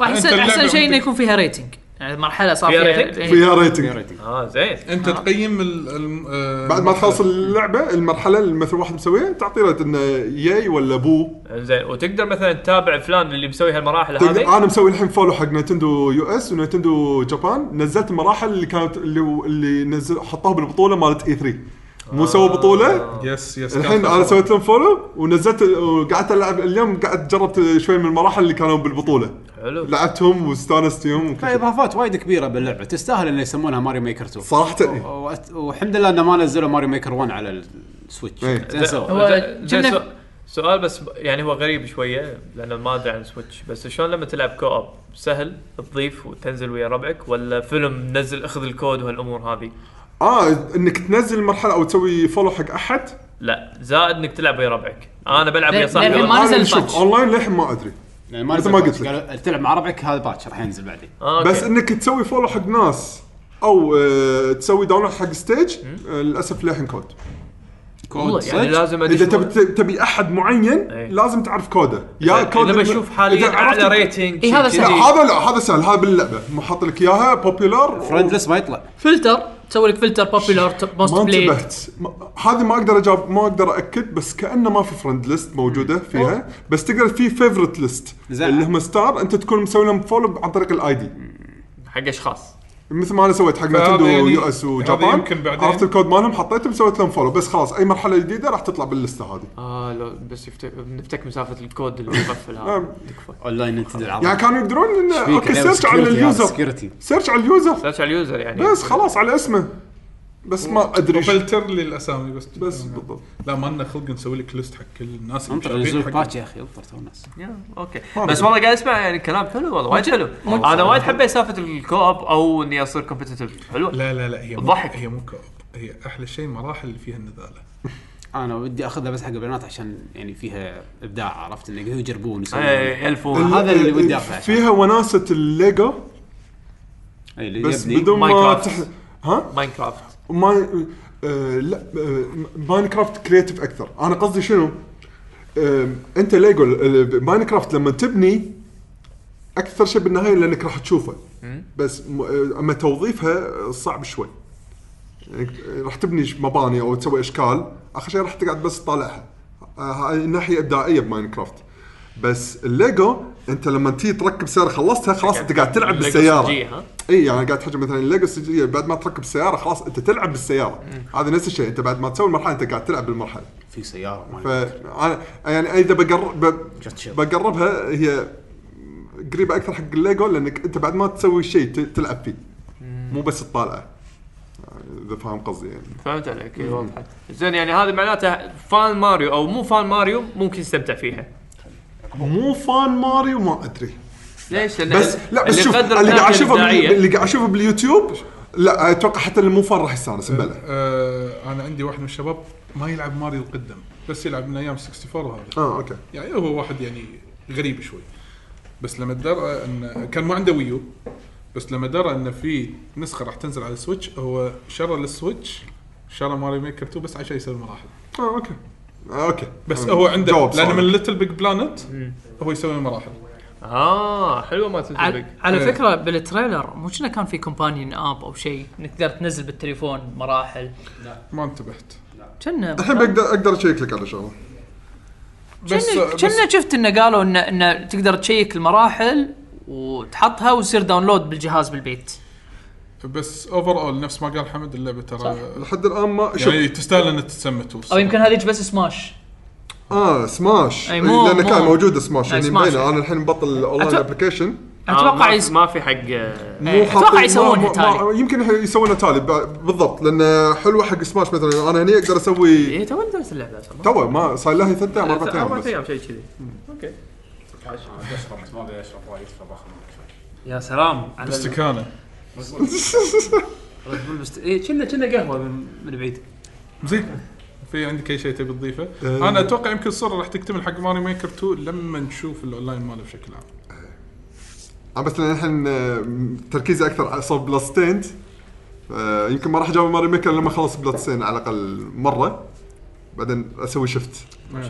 Speaker 8: واحسن
Speaker 5: اللعبة
Speaker 8: احسن شيء انه
Speaker 5: عندك-
Speaker 8: يكون فيها ريتنج يعني مرحله صار
Speaker 7: فيها
Speaker 8: فيها
Speaker 7: rating؟
Speaker 8: إيه.
Speaker 1: فيها ريتنج
Speaker 4: ريتنج
Speaker 7: اه زين
Speaker 5: انت تقيم ال- الم- آه،
Speaker 1: بعد ما تخلص اللعبه المرحله اللي مثل واحد مسويها تعطي ريت انه ياي ولا بو
Speaker 7: زين وتقدر مثلا تتابع فلان اللي مسوي هالمراحل هذه
Speaker 1: انا مسوي الحين فولو حق نينتندو يو اس ونينتندو جابان نزلت المراحل اللي كانت اللي اللي نزل حطوها بالبطوله مالت اي 3 مو سووا
Speaker 8: آه.
Speaker 1: بطوله
Speaker 5: يس يس
Speaker 1: الحين
Speaker 5: كان-
Speaker 1: انا سويت لهم فولو ونزلت وقعدت العب اليوم قعدت جربت شوي من المراحل اللي كانوا بالبطوله
Speaker 7: حلو
Speaker 1: لعبتهم واستانست يوم وكل شيء.
Speaker 4: فاضافات طيب، وايد كبيره باللعبه تستاهل انه يسمونها ماريو ميكر 2
Speaker 1: صراحه إيه.
Speaker 4: وأت- والحمد لله انه ما نزلوا ماريو ميكر 1 على السويتش
Speaker 1: إيه.
Speaker 4: زين سووا.
Speaker 8: هو
Speaker 7: زين- زين
Speaker 8: جنة-
Speaker 7: سؤ- سؤال بس يعني هو غريب شويه لانه ما ادري عن سويتش بس شلون لما تلعب كو اب سهل تضيف وتنزل ويا ربعك ولا فيلم نزل اخذ الكود وهالامور هذه
Speaker 1: اه انك تنزل المرحله او تسوي فولو حق احد
Speaker 7: لا زائد انك تلعب ويا ربعك انا بلعب ويا
Speaker 8: لأن-
Speaker 7: صاحبي
Speaker 8: لأن يعني ما
Speaker 7: والله.
Speaker 8: نزل
Speaker 1: أنا شوف
Speaker 8: الباتش.
Speaker 1: اونلاين للحين ما ادري
Speaker 4: يعني ما
Speaker 1: مثل
Speaker 4: نزل
Speaker 1: ما
Speaker 4: باتش.
Speaker 1: قلت لك.
Speaker 4: قالوا تلعب مع ربعك هذا باتش راح ينزل بعدين
Speaker 7: آه،
Speaker 1: بس
Speaker 7: أوكي.
Speaker 1: انك تسوي فولو حق ناس او آه تسوي داونلود حق ستيج آه للاسف للحين كود
Speaker 4: كود
Speaker 7: يعني
Speaker 4: صدق
Speaker 7: لازم
Speaker 1: اذا
Speaker 7: أدش-
Speaker 1: إيه. تبي تبي احد معين
Speaker 7: إيه.
Speaker 1: لازم تعرف كوده يا
Speaker 7: يعني
Speaker 1: كود
Speaker 7: انا
Speaker 1: الم-
Speaker 7: بشوف
Speaker 1: إذا
Speaker 7: حاليا
Speaker 1: عرفت-
Speaker 7: اعلى ريتنج
Speaker 8: إي،
Speaker 7: شيء
Speaker 8: هذا
Speaker 7: كذي.
Speaker 1: لا
Speaker 8: سهل.
Speaker 1: هذا لا هذا سهل هذا باللعبه محط لك اياها بوبيلر
Speaker 4: فرندلس ما يطلع
Speaker 8: فلتر تسوي لك فلتر بوبيلر موست
Speaker 1: ما
Speaker 8: بلايد
Speaker 1: انتبهت ما- هذه ما اقدر اجاوب ما اقدر اكد بس كانه ما في فرند ليست موجوده فيها بس تقدر في فيفرت ليست
Speaker 4: زين.
Speaker 1: اللي هم ستار انت تكون مسوي لهم فولو عن طريق الاي دي
Speaker 7: حق اشخاص
Speaker 1: مثل ما انا سويت حق
Speaker 5: فهذا
Speaker 1: نتندو
Speaker 5: يعني-
Speaker 1: يو اس
Speaker 5: هذا
Speaker 1: وجابان
Speaker 5: يمكن بعدين.
Speaker 1: عرفت الكود مالهم حطيتهم سويت لهم فولو بس خلاص اي مرحله جديده راح تطلع باللسته هذه
Speaker 4: آه.
Speaker 7: اه لو بس يفتك نفتك مسافه الكود اللي يقفل
Speaker 1: آه.
Speaker 7: هذا تكفى
Speaker 4: اونلاين نتندل
Speaker 1: يعني
Speaker 4: العظيم
Speaker 1: كانوا يقدرون إن
Speaker 4: فيك
Speaker 1: اوكي
Speaker 4: عليهم
Speaker 1: سيرش على
Speaker 4: security، هذا
Speaker 1: اليوزر
Speaker 4: security.
Speaker 1: سيرش على اليوزر
Speaker 7: سيرش على اليوزر يعني
Speaker 1: بس خلاص على اسمه بس ما ادري شو-
Speaker 5: فلتر لي الاسامي بس
Speaker 4: آه.
Speaker 1: بس بالضبط
Speaker 5: لا ما لنا خلق نسوي لك ليست حق كل الناس اللي
Speaker 4: انطر
Speaker 5: شغالين
Speaker 4: نزول
Speaker 5: حق-
Speaker 4: باتش يا اخي انطر تو الناس
Speaker 7: يا، اوكي
Speaker 1: آه.
Speaker 7: بس والله قاعد اسمع يعني كلام حلو والله وايد حلو انا وايد حبيت سالفه الكوب او اني اصير كومبتتف حلو
Speaker 5: لا لا لا هي مو
Speaker 7: ضحك.
Speaker 5: هي مو كوب هي احلى شيء المراحل اللي فيها النذاله
Speaker 4: انا ودي اخذها بس حق البنات عشان يعني فيها ابداع عرفت انه يقدرون يجربون يسوون
Speaker 7: ايه يلفون
Speaker 4: هذا اللي ودي أعرفه عشان.
Speaker 1: إيه، فيها وناسه الليجو
Speaker 4: اي إيه، اللي
Speaker 1: بس
Speaker 4: يبني.
Speaker 1: بدون ما
Speaker 7: ماينكرافت.
Speaker 1: تح... ها
Speaker 7: ماينكرافت
Speaker 1: ما آه لا آه ماينكرافت كريتيف اكثر انا قصدي شنو آه انت ليجو آه، ماينكرافت لما تبني اكثر شيء بالنهايه لانك راح تشوفه بس م- آه، اما توظيفها صعب شوي يعني راح تبني ش- مباني او تسوي اشكال اخر شيء راح تقعد بس تطالعها آه، هاي الناحيه ابداعيه بماينكرافت بس الليجو انت لما تيجي تركب سياره خلصتها خلاص انت قاعد تلعب
Speaker 7: ليجو
Speaker 1: بالسياره
Speaker 7: CG ها؟
Speaker 1: اي يعني قاعد تحكي مثلا الليجو السجليه بعد ما تركب السياره خلاص انت تلعب بالسياره هذا نفس الشيء انت بعد ما تسوي المرحله انت قاعد تلعب بالمرحله
Speaker 4: في سياره ما
Speaker 1: ف يعني اذا بقرب ب-
Speaker 4: Just chill.
Speaker 1: بقربها هي قريبه اكثر حق الليجو لانك انت بعد ما تسوي شيء ت- تلعب فيه مو بس تطالعه يعني اذا فاهم قصدي يعني
Speaker 7: فهمت عليك إيه، وضحت زين يعني هذا معناته فان ماريو او مو فان ماريو ممكن يستمتع فيها
Speaker 1: مو فان ماريو ما ادري
Speaker 7: ليش؟ لأن
Speaker 1: بس لا بس
Speaker 7: اللي
Speaker 1: شوف
Speaker 7: يقدر
Speaker 1: اللي قاعد
Speaker 7: الناحية
Speaker 1: اشوفه بال-
Speaker 7: الإبداعية.
Speaker 1: اللي قاعد اشوفه باليوتيوب لا اتوقع حتى اللي مو فان راح يستانس بلا
Speaker 5: آه انا عندي واحد من الشباب ما يلعب ماريو القدم بس يلعب من ايام 64 وهذا
Speaker 1: اه اوكي
Speaker 5: يعني هو واحد يعني غريب شوي بس لما درى ان كان ما عنده ويو بس لما درى ان في نسخه راح تنزل على السويتش هو شرى للسويتش شرى ماريو ميكر 2 بس عشان يسوي مراحل
Speaker 1: اه اوكي آه، اوكي
Speaker 5: بس
Speaker 1: آه،
Speaker 5: هو عنده
Speaker 1: جواب
Speaker 5: لان
Speaker 1: صعب.
Speaker 5: من ليتل بيج بلانت هو يسوي مراحل
Speaker 7: اه حلوه ما تنزل
Speaker 8: على,
Speaker 7: بك
Speaker 8: على
Speaker 5: إيه.
Speaker 8: فكره بالتريلر مو كنا كان في كومبانيون اب او شيء انك تقدر تنزل بالتليفون مراحل
Speaker 5: ما انتبهت
Speaker 8: كنا
Speaker 1: الحين بقدر اقدر اشيك لك على شغله
Speaker 5: بس
Speaker 8: كنا
Speaker 5: بس
Speaker 8: كنا شفت انه قالوا انه انه تقدر تشيك المراحل وتحطها وتصير داونلود بالجهاز بالبيت
Speaker 5: بس اوفر اول نفس ما قال حمد اللعبه ترى
Speaker 1: لحد الان ما شوف
Speaker 5: يعني تستاهل ان تتسمى توس
Speaker 8: او يمكن هذيك بس سماش
Speaker 1: اه سماش
Speaker 8: أي، مو-
Speaker 1: لانه كان
Speaker 8: مو-
Speaker 1: موجود سماش
Speaker 8: أي،
Speaker 1: يعني
Speaker 8: سماش.
Speaker 1: مبينه انا الحين مبطل اونلاين
Speaker 8: أتو-
Speaker 1: ابلكيشن
Speaker 8: اتوقع
Speaker 7: آه، ما-
Speaker 8: يس...
Speaker 7: ما في حق آه،
Speaker 8: إيه، أتوقع
Speaker 1: حاطين- ما-
Speaker 8: يسوونها
Speaker 1: ما-
Speaker 8: تالي.
Speaker 1: ما- يمكن يح- يسوونها تالي ب- بالضبط لان حلوه حق سماش مثلا انا هني اقدر اسوي
Speaker 7: إيه، تو ندرس اللعبه اصلا ما-
Speaker 1: تو ما صار لها ثلاث ايام اربع ايام
Speaker 7: اربع
Speaker 1: بس.
Speaker 7: ايام شيء كذي اوكي
Speaker 4: اشرب ما ادري اشرب وايد اشرب اخر
Speaker 3: يا سلام على ال-
Speaker 5: استكانه
Speaker 3: ريد بول بست- إيه، كنا كنا قهوه من من بعيد
Speaker 5: زين في عندك اي شيء تبي تضيفه؟ انا اتوقع يمكن الصوره راح تكتمل حق ماري ميكر 2 لما نشوف الاونلاين ماله بشكل عام.
Speaker 1: آه، بس لان الحين آه، تركيزي اكثر على صوب بلاد ستيند آه، يمكن ما راح اجاوب ماري ميكر لما اخلص بلاد ستيند على الاقل مره بعدين اسوي شفت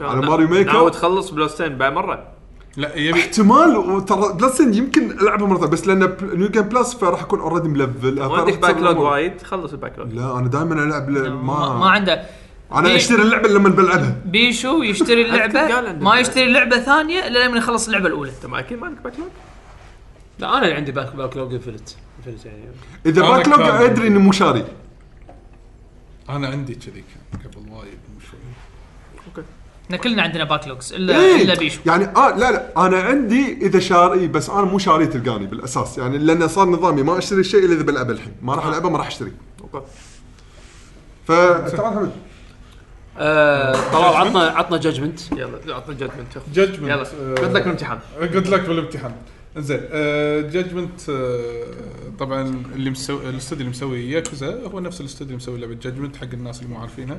Speaker 1: على ماريو ميكر.
Speaker 7: ناوي تخلص بلوستين بعد مره
Speaker 5: لا يبي
Speaker 1: احتمال وترى بلاد ستيند يمكن العبها مره ثانيه بس لان ب- نيو جيم بلس فراح اكون اوريدي ملفل
Speaker 7: ما
Speaker 1: فراح
Speaker 7: عندك
Speaker 1: تصير
Speaker 7: باك لوج
Speaker 1: الأمور.
Speaker 7: وايد خلص الباك لوج
Speaker 1: لا انا دائما العب ل-
Speaker 8: ما, ما
Speaker 1: ما
Speaker 8: عنده
Speaker 1: انا اشتري اللعبه لما بلعبها
Speaker 8: بيشو يشتري
Speaker 7: قال
Speaker 8: اللعبه
Speaker 7: عنده
Speaker 8: ما يشتري لعبه ثانيه الا لما يخلص اللعبه الاولى
Speaker 7: انت ما اكيد ما عندك باك لوج
Speaker 3: لا انا اللي عندي باك باك لوج انفلت انفلت يعني
Speaker 1: اذا
Speaker 5: أنا
Speaker 1: باك لوج
Speaker 5: كان-
Speaker 1: ادري اني مو شاري
Speaker 5: انا عندي كذي كان قبل وايد مو شوي.
Speaker 8: احنا كلنا عندنا باك لوكس الا
Speaker 1: إيه.
Speaker 8: الا بيشو
Speaker 1: يعني اه لا لا انا عندي اذا شاري بس انا مو شاري تلقاني بالاساس يعني لان صار نظامي ما اشتري الشيء الا اذا بلعبه الحين ما راح العبه ما راح اشتري
Speaker 7: أوكي.
Speaker 1: ف تعال حمد
Speaker 3: آه، طلال عطنا عطنا جادجمنت
Speaker 7: يلا اعطنا جادمنت
Speaker 3: آه.
Speaker 5: جادجمنت
Speaker 7: يلا قلت لك الامتحان
Speaker 5: جود آه، لك بالامتحان زين آه، جادجمنت طبعا اللي مسوي الاستوديو اللي مسوي ياكوزا هو نفس الاستوديو اللي مسوي لعبه جادجمنت حق الناس اللي مو عارفينها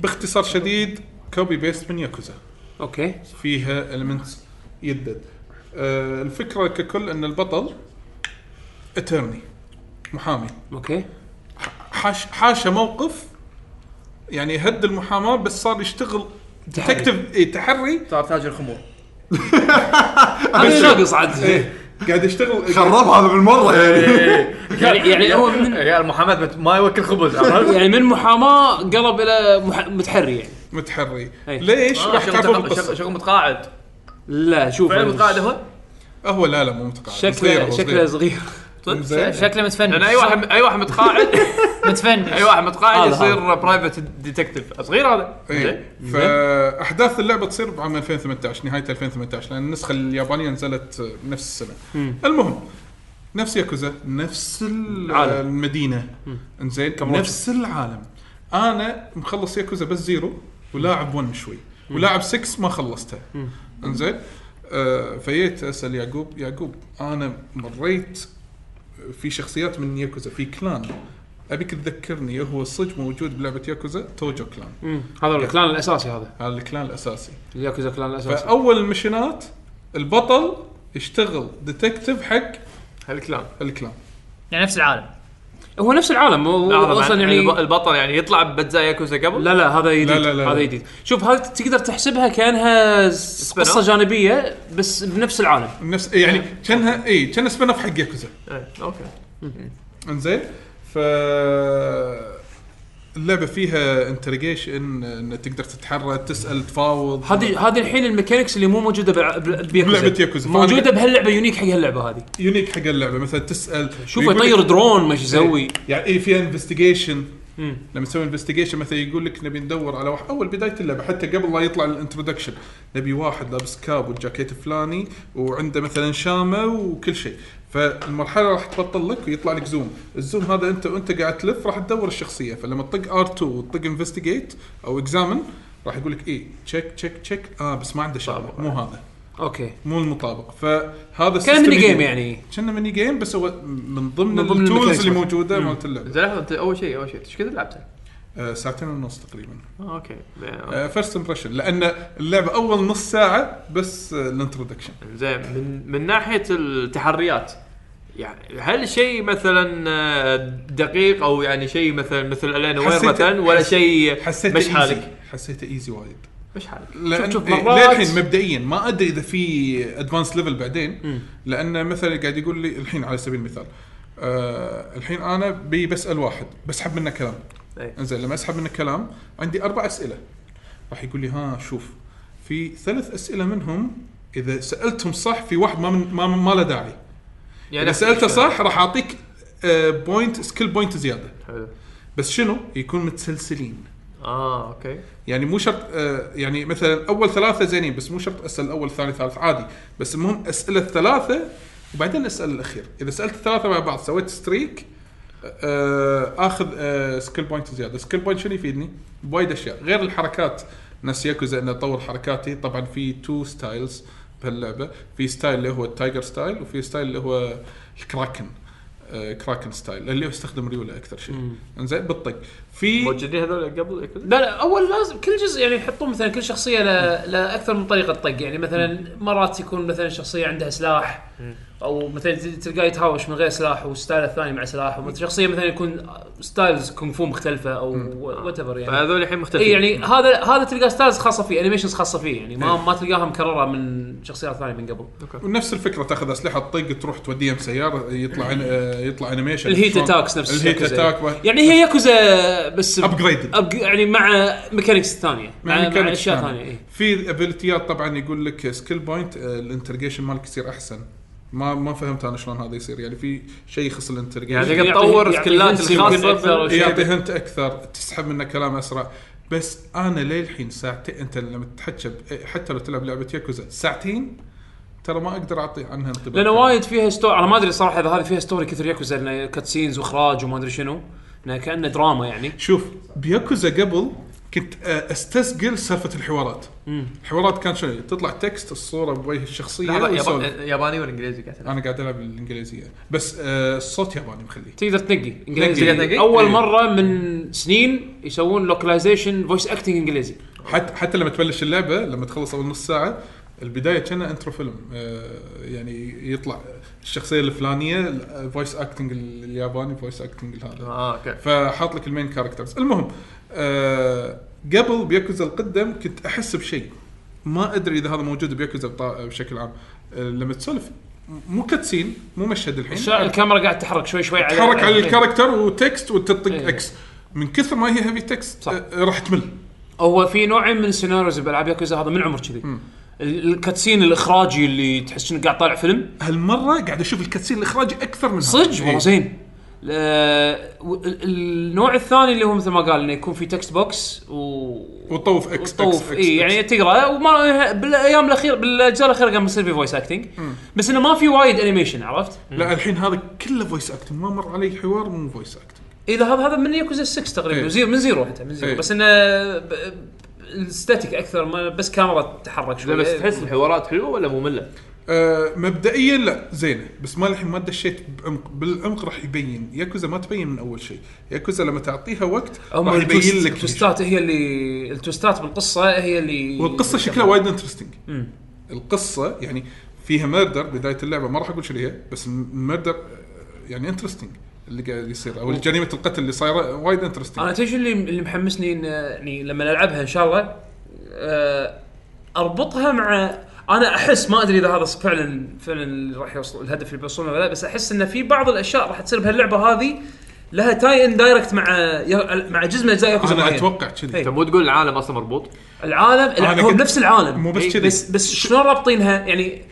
Speaker 5: باختصار شديد كوبي بيست من ياكوزا
Speaker 3: اوكي
Speaker 5: فيها المنتس يدد آه، الفكره ككل ان البطل اترني محامي
Speaker 3: اوكي
Speaker 5: حاش حاشه موقف يعني يهد المحاماه بس صار يشتغل ديتكتيف إيه، تحري
Speaker 7: صار تاجر خمور
Speaker 3: هذا ناقص عاد
Speaker 5: إيه، قاعد يشتغل
Speaker 1: خرب هذا بالمره يعني
Speaker 3: يعني يعني هو من
Speaker 7: يا المحاماه ما يوكل خبز عرفت؟
Speaker 3: يعني من محاماه قلب الى مح- متحري يعني
Speaker 5: متحري
Speaker 3: إيه.
Speaker 5: ليش؟
Speaker 7: آه،
Speaker 5: راح
Speaker 7: شغل
Speaker 5: تعرفون
Speaker 7: متق-
Speaker 5: القصه
Speaker 7: شغل- شغل متقاعد
Speaker 3: لا شوف
Speaker 7: فعلا متقاعد هو
Speaker 5: هو لا لا مو متقاعد
Speaker 3: شكله شكله صغير
Speaker 5: زين.
Speaker 8: شكله متفنن
Speaker 7: لان اي يعني واحد اي واحد متقاعد
Speaker 8: متفنن
Speaker 7: اي واحد متقاعد
Speaker 3: هذا-
Speaker 7: يصير برايفت ديتكتيف صغير هذا زين.
Speaker 5: إيه. فاحداث اللعبه تصير بعام 2018 نهايه 2018 لان النسخه اليابانيه نزلت آه، نفس السنه المهم نفس ياكوزا نفس ال- آه، المدينه انزين نفس العالم انا مخلص ياكوزا بس زيرو ولاعب 1 شوي ولاعب 6 ما خلصته انزين آه فجيت اسال يعقوب يعقوب انا مريت في شخصيات من ياكوزا في كلان ابيك تذكرني هو صدق موجود بلعبه ياكوزا توجو كلان
Speaker 3: هذا الكلان الاساسي هذا
Speaker 5: هذا الكلان الاساسي
Speaker 3: الياكوزا الكلان الاساسي
Speaker 5: فاول المشينات البطل يشتغل ديتكتيف حق
Speaker 7: هالكلام
Speaker 5: الكلان
Speaker 8: يعني نفس العالم
Speaker 3: هو نفس العالم هو هو
Speaker 7: لحظه
Speaker 3: اصلا
Speaker 7: يعني
Speaker 3: يعني
Speaker 7: البطل يعني يطلع بجزايا ياكوزا قبل
Speaker 3: لا لا هذا جديد
Speaker 5: لا لا لا.
Speaker 3: هذا جديد شوف هذا تقدر تحسبها كانها س-
Speaker 7: Spin-off.
Speaker 3: قصه جانبيه بس بنفس العالم
Speaker 5: نفس يعني كانها اي كان سبين اوف حق ياكوزا
Speaker 7: إيه، اوكي
Speaker 5: انزين ف اللعبه فيها انترجيشن ان تقدر تتحرك تسال تفاوض
Speaker 3: هذه هذه الحين الميكانكس اللي مو موجوده بع- ب-
Speaker 5: بلعبة ياكوزا. فأنا-
Speaker 3: موجوده بهاللعبه يونيك حق هاللعبه هذه
Speaker 5: يونيك حق اللعبه مثلا تسال
Speaker 3: شوف
Speaker 5: يقول لك-
Speaker 3: يطير درون ما يسوي
Speaker 5: يعني اي فيها انفستيجيشن لما تسوي انفستيجيشن مثلا يقول لك نبي ندور على واحد اول بدايه اللعبه حتى قبل لا يطلع الانترودكشن نبي واحد لابس كاب والجاكيت فلاني وعنده مثلا شامه وكل شيء فالمرحله راح تبطل لك ويطلع لك زوم الزوم هذا انت وانت قاعد تلف راح تدور الشخصيه فلما تطق ار2 وتطق انفستيجيت او اكزامن راح يقول لك إيه، اي تشيك تشيك تشيك اه بس ما عنده شامه مو هذا
Speaker 3: اوكي
Speaker 5: مو المطابق فهذا
Speaker 3: كان
Speaker 5: system
Speaker 3: ميني جيم
Speaker 5: جديد.
Speaker 3: يعني
Speaker 5: كنا ميني جيم بس هو من
Speaker 3: من
Speaker 5: ضمن,
Speaker 3: ضمن
Speaker 5: ضمن التولز
Speaker 3: الميكانيزم.
Speaker 5: اللي موجوده مالت اللعبه
Speaker 7: زين لحظه انت اول شيء اول شيء ايش كذا لعبته؟
Speaker 5: آه، ساعتين ونص تقريبا
Speaker 7: آه، اوكي آه،
Speaker 5: فيرست امبريشن لان اللعبه اول نص ساعه بس آه، الانترودكشن
Speaker 7: زين من من ناحيه التحريات يعني هل شيء مثلا آه، دقيق او يعني شيء مثلا مثل الين وير
Speaker 5: حسيت-
Speaker 7: مثلا ولا
Speaker 5: حس-
Speaker 7: شيء
Speaker 5: حسيته
Speaker 7: مش
Speaker 5: إيزي.
Speaker 7: حالك
Speaker 5: حسيته ايزي وايد
Speaker 7: مش حالك
Speaker 5: لان
Speaker 3: شوف
Speaker 5: إيه،
Speaker 3: مرات-
Speaker 5: للحين مبدئيا ما ادري اذا في ادفانس ليفل بعدين لان مثلا قاعد يقول لي الحين على سبيل المثال آه الحين انا بي بسال واحد بسحب منه كلام
Speaker 7: إيه.
Speaker 5: انزين لما اسحب منه كلام عندي اربع اسئله راح يقول لي ها شوف في ثلاث اسئله منهم اذا سالتهم صح في واحد ما من ما, ما له داعي
Speaker 7: يعني
Speaker 5: اذا سالته صح راح آه، اعطيك بوينت سكيل بوينت زياده
Speaker 7: حلو.
Speaker 5: بس شنو يكون متسلسلين
Speaker 7: اه اوكي
Speaker 5: يعني مو شرط آه، يعني مثلا اول ثلاثه زينين بس مو شرط اسال اول ثاني ثالث عادي بس المهم اسال الثلاثه وبعدين اسال الاخير اذا سالت الثلاثه مع بعض سويت ستريك آه، اخذ آه، سكيل بوينت زياده سكيل بوينت شنو يفيدني بوايد اشياء غير الحركات نفس ياكوزا ان اطور حركاتي طبعا في تو ستايلز بهاللعبه في ستايل اللي هو التايجر ستايل وفي ستايل اللي هو الكراكن آه، كراكن ستايل اللي هو يستخدم ريوله اكثر شيء انزين بتطق في
Speaker 7: موجودين هذول قبل كذا؟
Speaker 3: لا لا اول لازم كل جزء يعني يحطون مثلا كل شخصيه ل- لاكثر من طريقه طق يعني مثلا مرات يكون مثلا شخصيه عندها سلاح او مثلا ت- تلقاه يتهاوش من غير سلاح والستايل الثاني مع سلاح وشخصيه مثلا يكون ستايلز كونغ فو مختلفه او وات ايفر يعني
Speaker 7: فهذول الحين مختلفين
Speaker 3: اي
Speaker 5: إيه،
Speaker 3: يعني هذا هذا تلقاه ستايلز خاصه فيه انيميشنز خاصه فيه يعني ما ما تلقاها مكرره من شخصيات ثانيه من قبل
Speaker 5: ونفس الفكره تاخذ اسلحه تطق تروح توديها بسياره يطلع آه، يطلع انيميشن
Speaker 3: الهيت
Speaker 5: شلون-
Speaker 3: اتاكس نفس
Speaker 5: الهيت
Speaker 3: ياكوزا.
Speaker 5: اتاك
Speaker 3: يعني هي ياكوزا بس ب-
Speaker 5: Upgraded.
Speaker 3: أب- يعني مع ميكانكس ثانيه مع, مع,
Speaker 5: ميكانيكس
Speaker 3: اشياء
Speaker 5: ثانية.
Speaker 3: ثانيه إيه.
Speaker 5: يعني في ابيلتيات طبعا يقول لك سكيل بوينت الانترجيشن مالك يصير احسن ما ما فهمت انا شلون هذا يصير يعني في شيء يخص الانترجيشن
Speaker 7: يعني
Speaker 5: يعني
Speaker 7: تقدر تطور
Speaker 3: يعطي-
Speaker 7: سكلات
Speaker 3: يعطي hints
Speaker 7: الخاصه
Speaker 3: يمكن أكثر.
Speaker 7: بال-
Speaker 5: يعطي هنت اكثر تسحب منه كلام اسرع بس انا للحين ساعتين انت لما تحكي ب- حتى لو تلعب لعبه ياكوزا ساعتين ترى ما اقدر اعطي عنها انطباع
Speaker 3: لانه وايد فيها ستوري انا ما ادري صراحه اذا هذه فيها ستوري كثر ياكوزا لانه كاتسينز واخراج وما ادري شنو انه كانه دراما يعني
Speaker 5: شوف بياكوزا قبل كنت آه، استثقل سالفه الحوارات الحوارات كان شنو تطلع تكست الصوره بوجه الشخصيه
Speaker 7: لحظة،
Speaker 5: ويسولف.
Speaker 7: يابا- ياباني ولا انجليزي قاعد تلعب؟
Speaker 5: انا قاعد العب الانجليزيه بس آه، الصوت ياباني مخليه
Speaker 3: تقدر تنقي انجليزي
Speaker 7: تقدر تنقي؟
Speaker 3: اول
Speaker 5: إيه.
Speaker 3: مره من سنين يسوون لوكلايزيشن فويس اكتنج انجليزي
Speaker 5: حتى حتى لما تبلش اللعبه لما تخلص اول نص ساعه البدايه كان انترو فيلم آه، يعني يطلع الشخصيه الفلانيه فويس اكتنج الياباني فويس اكتنج هذا
Speaker 7: اه اوكي
Speaker 5: فحاط لك المين كاركترز المهم آه، قبل بياكوزا القدم كنت احس بشيء ما ادري اذا هذا موجود بياكوزا بطا- بشكل عام آه، لما تسولف مو كاتسين مو مشهد الحين
Speaker 3: الشا- الكاميرا قاعد تتحرك شوي شوي على
Speaker 5: تحرك على الكاركتر وتكست وتطق
Speaker 3: إيه.
Speaker 5: اكس من كثر ما هي هيفي تكست
Speaker 3: صح.
Speaker 5: آه، راح تمل
Speaker 3: هو في نوعين من السيناريوز بالعاب ياكوزا هذا من عمر كذي ال- الكاتسين الاخراجي اللي تحس انك قاعد طالع فيلم
Speaker 5: هالمره قاعد اشوف الكاتسين الاخراجي اكثر من هذا.
Speaker 3: صدق والله
Speaker 5: إيه.
Speaker 3: زين آه، و- ال- النوع الثاني اللي هو مثل ما قال انه يكون في تكست بوكس و
Speaker 5: وطوف اكس
Speaker 3: طوف اي يعني تقرا وما بالايام الاخير بالاجزاء الاخيره قام يصير في فويس اكتنج بس انه ما في وايد انيميشن عرفت؟
Speaker 5: لا الحين هذا كله فويس اكتنج ما مر علي حوار مو فويس اكتنج
Speaker 3: اذا هذا هذا من ياكوزا 6 تقريبا
Speaker 5: إيه.
Speaker 3: زيرو من زيرو حتى من زيرو
Speaker 5: إيه.
Speaker 3: بس انه الستاتيك اكثر ما بس كاميرا تتحرك
Speaker 7: لا
Speaker 3: شوي
Speaker 5: إيه.
Speaker 7: بس تحس الحوارات حلوه ولا ممله؟
Speaker 5: آه مبدئيا لا زينه بس ما الحين ما دشيت بعمق بالعمق راح يبين ياكوزا ما تبين من اول شيء ياكوزا لما تعطيها وقت
Speaker 3: هم
Speaker 5: راح يبين لك
Speaker 3: التوستات هي اللي التوستات بالقصه هي اللي
Speaker 5: والقصه شكلها وايد انترستنج القصه يعني فيها ميردر بدايه اللعبه ما راح اقول شو هي بس الميردر يعني انترستنج اللي قاعد يصير او جريمه القتل اللي صايره وايد انترستنج
Speaker 3: انا تدري شو اللي اللي محمسني إن- يعني لما العبها ان شاء الله آه، اربطها مع انا احس ما ادري اذا هذا فعلا فعلا راح يوصل الهدف اللي بيوصلونه ولا لا بس احس ان في بعض الاشياء راح تصير بهاللعبه هذه لها تاي ان دايركت مع يا- مع جزء من اجزاء ياكوزا
Speaker 5: انا
Speaker 3: معين.
Speaker 5: اتوقع كذي
Speaker 3: إيه.
Speaker 7: انت مو تقول العالم اصلا مربوط
Speaker 3: العالم
Speaker 5: أنا
Speaker 3: الع- هو
Speaker 5: قلت-
Speaker 3: بنفس العالم
Speaker 5: مو بس
Speaker 3: إي،
Speaker 5: كذي.
Speaker 3: بس بس شلون رابطينها يعني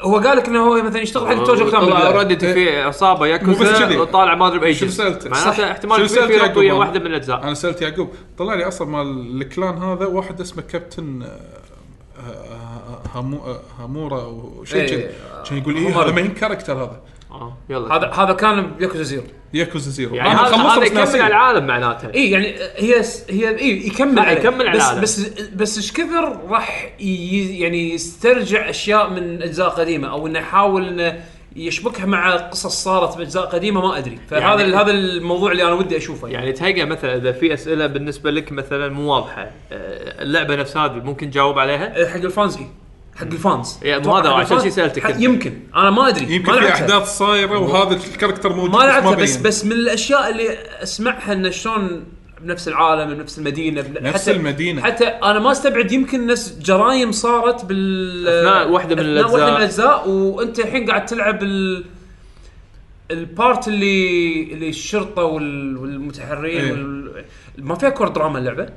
Speaker 3: هو قال لك انه هو مثلا يشتغل حق توجو كلام
Speaker 7: طلع
Speaker 3: بالبداية.
Speaker 7: اوريدي في عصابه
Speaker 5: إيه. مو بس
Speaker 7: ياكوزا
Speaker 5: كذي.
Speaker 7: وطالع ما ادري باي
Speaker 5: شو
Speaker 7: جنس.
Speaker 5: سألت؟
Speaker 7: معناته
Speaker 5: صح.
Speaker 7: احتمال
Speaker 5: شو
Speaker 7: كبير
Speaker 5: سألت آه.
Speaker 7: في
Speaker 5: يعقوب
Speaker 7: ربطيه
Speaker 5: أنا؟
Speaker 7: واحده من الاجزاء
Speaker 5: انا سالت يعقوب طلع لي اصلا مال الكلان هذا واحد اسمه كابتن آه، آه، هامو- آه، هامورا او شيء
Speaker 3: إيه.
Speaker 5: كذي كان يقول ايه
Speaker 3: هامورا.
Speaker 5: هذا مين كاركتر هذا
Speaker 7: آه، يلا
Speaker 3: هذا هذا كان ياكوزا زيرو
Speaker 5: ياكوزا زيرو
Speaker 7: يعني
Speaker 5: أنا
Speaker 7: هذا
Speaker 5: خلصته
Speaker 7: هذا
Speaker 5: بس
Speaker 7: يكمل
Speaker 5: ناسيه.
Speaker 7: على العالم معناته
Speaker 3: اي يعني هي هي اي يكمل
Speaker 7: صح،
Speaker 3: عليه.
Speaker 7: يكمل على
Speaker 3: بس
Speaker 7: هذا.
Speaker 3: بس بس ايش كثر راح ي- يعني يسترجع اشياء من اجزاء قديمه او انه يحاول انه يشبكها مع قصص صارت باجزاء قديمه ما ادري فهذا
Speaker 7: يعني-
Speaker 3: يعني هذا الموضوع اللي انا ودي اشوفه يعني,
Speaker 7: يعني تهيأ مثلا اذا في اسئله بالنسبه لك مثلا مو واضحه آه، اللعبه نفسها هذه ممكن تجاوب عليها
Speaker 3: يعني حق الفانز اي حق الفانز
Speaker 7: يعني
Speaker 3: أتوقع
Speaker 7: هذا
Speaker 3: حق
Speaker 7: عشان
Speaker 3: الفانز.
Speaker 7: شي سألتك
Speaker 3: حق-
Speaker 7: أنت.
Speaker 3: يمكن انا ما ادري
Speaker 5: يمكن
Speaker 3: ما
Speaker 5: في
Speaker 3: لعبتها.
Speaker 5: احداث صايره وهذا الكاركتر موجود
Speaker 3: ما لعبتها بس
Speaker 5: بين.
Speaker 3: بس من الاشياء اللي اسمعها انه شلون بنفس العالم بنفس المدينه بن-
Speaker 5: نفس
Speaker 3: حتى
Speaker 5: المدينة.
Speaker 3: حتى انا ما استبعد يمكن نفس جرايم صارت بال
Speaker 7: أثناء واحدة من
Speaker 3: أثناء
Speaker 7: الأجزاء.
Speaker 3: واحده من الاجزاء وانت الحين قاعد تلعب ال البارت اللي اللي الشرطه وال- والمتحرين
Speaker 5: إيه.
Speaker 3: وال... ما فيها كور دراما اللعبه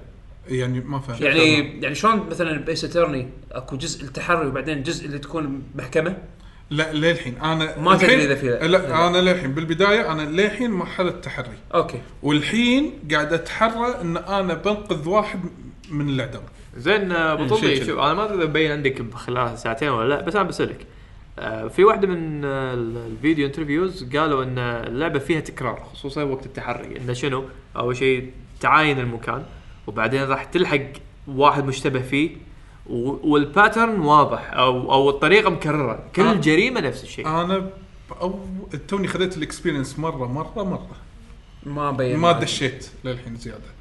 Speaker 5: يعني ما فاهم
Speaker 3: يعني يعني شلون مثلا بيس اترني اكو جزء التحري وبعدين جزء اللي تكون محكمه
Speaker 5: لا للحين انا
Speaker 7: ما تدري
Speaker 5: الحين-
Speaker 7: إذا في-
Speaker 5: لا انا للحين بالبدايه انا للحين مرحله تحري
Speaker 7: اوكي
Speaker 5: والحين قاعد اتحرى ان انا بنقذ واحد من العدم
Speaker 7: زين آه، ابو
Speaker 5: إيه، شيء
Speaker 7: طبي
Speaker 5: كذي.
Speaker 7: شوف انا ما ادري اذا مبين عندك خلال ساعتين ولا لا بس انا بسالك آه، في واحده من آه، ال- الفيديو انترفيوز قالوا ان اللعبه فيها تكرار خصوصا وقت التحري انه شنو اول شيء تعاين المكان وبعدين راح تلحق واحد مشتبه فيه و- والباترن واضح او او الطريقه مكرره
Speaker 5: آه.
Speaker 7: كل جريمه نفس الشيء
Speaker 5: انا او توني خذيت الاكسبيرينس مره مره مره
Speaker 7: ما
Speaker 3: إيه،
Speaker 7: بين
Speaker 5: ما دشيت للحين زياده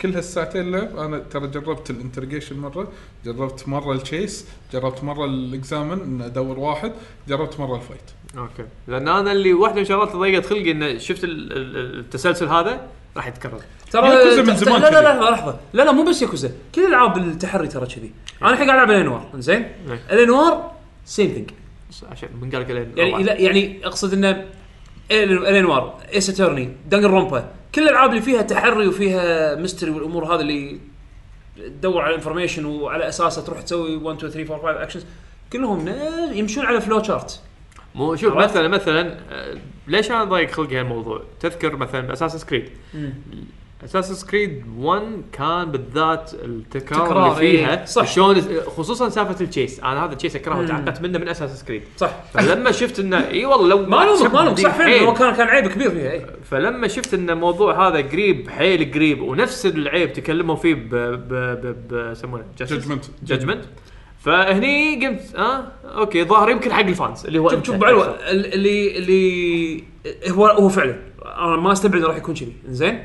Speaker 5: كل هالساعتين لعب انا ترى جربت الانترجيشن مره جربت مره التشيس جربت مره الاكزامن ان ادور واحد جربت مره الفايت
Speaker 7: اوكي لان انا اللي واحده من الشغلات اللي ضيقت خلقي انه شفت ال- ال- التسلسل هذا راح يتكرر
Speaker 3: ترى
Speaker 5: ياكوزا من زمان
Speaker 3: لا لا
Speaker 5: كذي.
Speaker 3: لحظه لحظه لا لا مو بس ياكوزا كل العاب التحري ترى كذي انا الحين قاعد العب الانوار زين
Speaker 7: إيه.
Speaker 3: الانوار سيم ثينج
Speaker 7: عشان من قال لك
Speaker 3: يعني إذا يعني اقصد انه إل- الانوار ايس اتورني دنجر رومبا كل الالعاب اللي فيها تحري وفيها ميستري والامور هذه اللي تدور على انفورميشن وعلى اساسها تروح تسوي 1 2 3 4 5 اكشنز كلهم نا- يمشون على فلو شارت
Speaker 7: مو شوف
Speaker 3: عرفت؟
Speaker 7: مثلا مثلا آه، ليش انا ضايق خلقي هالموضوع؟ تذكر مثلا اساس كريد اساس كريد 1 كان بالذات التكرار
Speaker 3: تكرار،
Speaker 7: اللي فيها
Speaker 3: إيه، صح.
Speaker 7: شلون خصوصا سالفه التشيس انا هذا التشيس اكرهه وتعقدت منه من اساس كريد
Speaker 3: صح
Speaker 7: فلما شفت انه اي والله لو إيه.
Speaker 3: ما لومك ما لومك صح فعلا
Speaker 5: إيه.
Speaker 7: حيل.
Speaker 3: هو كان كان عيب كبير فيها اي
Speaker 7: فلما شفت ان الموضوع هذا قريب حيل قريب ونفس العيب تكلموا فيه ب ب ب- ب يسمونه
Speaker 5: جادجمنت
Speaker 7: جادجمنت فهني قمت اه اوكي ظاهر يمكن حق الفانز اللي هو
Speaker 3: شوف
Speaker 7: أنت.
Speaker 3: شوف بعلوة ال- اللي اللي هو هو فعلا انا ما استبعد راح يكون كذي زين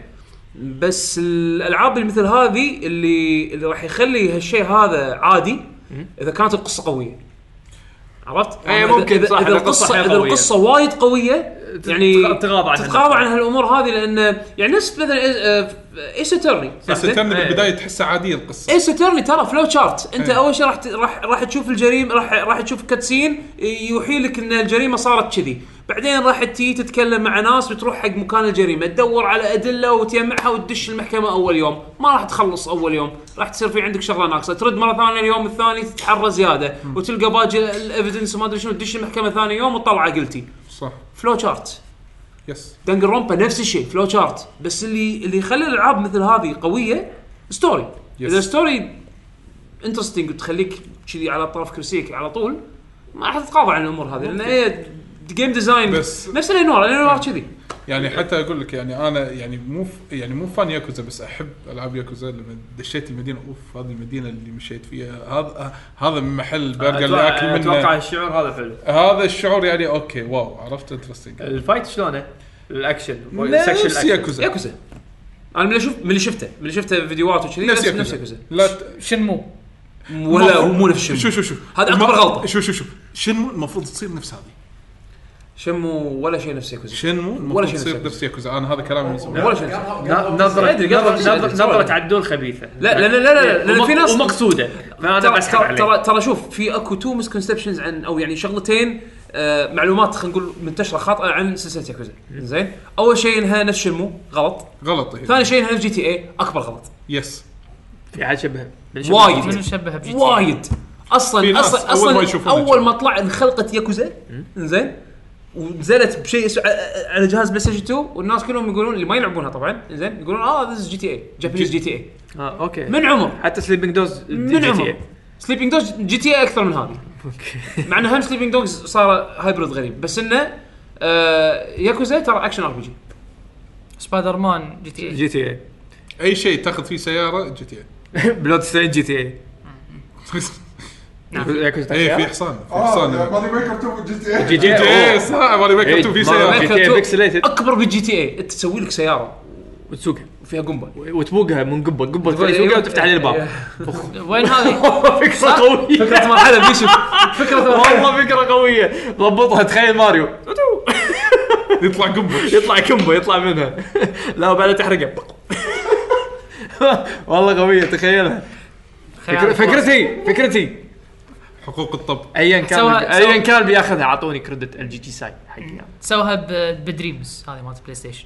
Speaker 3: بس الالعاب اللي مثل هذه اللي اللي راح يخلي هالشيء هذا عادي اذا كانت القصه قويه عرفت؟
Speaker 7: إيه،
Speaker 3: إذا-
Speaker 7: ممكن،
Speaker 3: اذا,
Speaker 7: صح،
Speaker 3: إذا
Speaker 7: إذا القصة
Speaker 3: القصه
Speaker 7: حيل
Speaker 3: اذا
Speaker 7: قوية.
Speaker 3: القصه وايد قويه يعني
Speaker 7: تتغاضى عنها.
Speaker 3: تتغاضى عن هالامور هذه لان يعني نفس مثلا ايس اترني
Speaker 5: بس ترني
Speaker 3: إيه.
Speaker 5: بالبدايه تحسها عاديه القصه
Speaker 3: ايس اترني ترى فلو تشارت انت اول شيء راح ت- راح راح تشوف الجريمه راح راح تشوف كاتسين يوحي لك ان الجريمه صارت كذي بعدين راح تي تتكلم مع ناس وتروح حق مكان الجريمه تدور على ادله وتجمعها وتدش المحكمه اول يوم ما راح تخلص اول يوم راح تصير في عندك شغله ناقصه ترد مره ثانيه اليوم الثاني تتحرى زياده وتلقى باجي الايفيدنس وما ادري شنو تدش المحكمه ثاني يوم وتطلعه قلتي
Speaker 5: صح
Speaker 3: فلو تشارت
Speaker 5: يس
Speaker 3: دنجر رومبا نفس الشيء فلو شارت بس اللي اللي يخلي الالعاب مثل هذه قويه ستوري
Speaker 5: Yes.
Speaker 3: اذا ستوري انترستنج وتخليك كذي على طرف كرسيك على طول ما راح تتقاضى عن الامور هذه لان هي جيم ديزاين
Speaker 5: بس-
Speaker 3: نفس الانوار الانوار كذي
Speaker 5: يعني حتى اقول لك يعني انا يعني مو ف- يعني مو فان ياكوزا بس احب العاب ياكوزا لما دشيت المدينه اوف هذه المدينه اللي مشيت فيها هذا هذا من محل برجر اللي اكل منه
Speaker 7: اتوقع الشعور هذا حلو
Speaker 5: هذا الشعور يعني اوكي واو عرفت انترستنج
Speaker 7: الفايت شلونه؟ الاكشن
Speaker 5: نفس ياكوزا
Speaker 3: ياكوزا انا من اللي شوف من اللي شفته من اللي شفته فيديوهات وكذي
Speaker 5: نفس
Speaker 3: نفس نفس
Speaker 5: ياكوزا
Speaker 3: ياكوزا
Speaker 5: لا ت-
Speaker 8: شنمو
Speaker 3: ولا هو مو نفس
Speaker 5: شو
Speaker 3: شنمو
Speaker 5: شو شو
Speaker 3: هذا أكبر
Speaker 5: المفروض-
Speaker 3: غلطة.
Speaker 5: شو شو شو شنمو المفروض تصير نفس هذه
Speaker 3: شنمو ولا شيء نفس ياكوزا
Speaker 5: شنمو
Speaker 3: ولا
Speaker 5: المفروض
Speaker 3: شيء
Speaker 5: تصير
Speaker 3: نفس
Speaker 5: نفس ياكوزا انا هذا كلامي من زمان
Speaker 3: ولا شيء نفس ياكوزا. أدري،
Speaker 7: نظرة
Speaker 3: قبل
Speaker 7: نظرة-
Speaker 3: شيء أدري،
Speaker 7: نظرة
Speaker 3: سؤال.
Speaker 7: عدول خبيثة
Speaker 3: لا لا لا لا لا لأن في ناس
Speaker 7: ومقصودة فانا
Speaker 3: ترى-
Speaker 7: بسحب
Speaker 3: ترى
Speaker 7: عليه
Speaker 3: ترى ترى شوف في اكو تو مسكونسبشنز عن او يعني شغلتين آه معلومات خلينا نقول منتشره خاطئه عن سلسله ياكوزا زين اول شيء انها نفس شنمو غلط
Speaker 5: غلط هي.
Speaker 3: ثاني شيء انها جي تي اي اكبر غلط
Speaker 5: يس
Speaker 7: في حد شبه
Speaker 8: منو
Speaker 3: وايد
Speaker 8: شبه بجي إيه.
Speaker 3: وايد
Speaker 5: في
Speaker 3: اصلا
Speaker 5: ناس
Speaker 3: اصلا
Speaker 5: أول ما
Speaker 3: اصلا
Speaker 5: يشوفونها
Speaker 3: اول ما طلع انخلقت ياكوزا زين ونزلت بشيء اسمه ع- على جهاز بلاي ستيشن 2 والناس كلهم يقولون اللي ما يلعبونها طبعا زين يقولون اه ذيس جي تي اي جابانيز جي تي اي
Speaker 7: اه اوكي
Speaker 3: من عمر
Speaker 7: حتى سليبنج دوز
Speaker 3: من عمر سليبنج دوج جي تي اي اكثر من هذه مع ان هم سليبنج دوجز صار هايبرد غريب بس انه آه ياكوزا ترى اكشن ار بي جي
Speaker 8: سبايدر مان جي تي إيه.
Speaker 7: جي تي اي
Speaker 5: اي شيء تاخذ فيه سياره جي تي إيه. اي
Speaker 7: بلود ستين جي تي اي إيه،
Speaker 5: اي إيه، في حصان في
Speaker 1: اه
Speaker 5: حصان
Speaker 1: مالي ميكر تو جي تي اي
Speaker 7: جي تي
Speaker 5: اي
Speaker 7: اي
Speaker 5: صح مالي ميك
Speaker 3: إيه،
Speaker 5: تو في سياره
Speaker 7: مالي GTA pixelated.
Speaker 3: اكبر بالجي تي اي انت تسوي لك سياره
Speaker 7: وتسوقها
Speaker 3: وفيها قنبه
Speaker 7: وتبوقها من قبه قبه تسوقها وتفتح عليه الباب
Speaker 8: وين هذه؟
Speaker 7: فكرة قوية
Speaker 3: فكره مرحله بيشوف فكره
Speaker 7: والله فكرة قوية ضبطها تخيل ماريو
Speaker 5: يطلع قنبل
Speaker 7: يطلع كمبو يطلع منها لا وبعدها تحرقه والله قوية تخيلها فكر- فكرتي فكرتي
Speaker 5: حقوق الطب
Speaker 7: ايا كان
Speaker 8: سوا-
Speaker 7: ايا
Speaker 8: سوا-
Speaker 7: كان بياخذها اعطوني كريدت الجي تي ساي حقي
Speaker 8: سوها ب- بدريمز هذه مالت بلاي ستيشن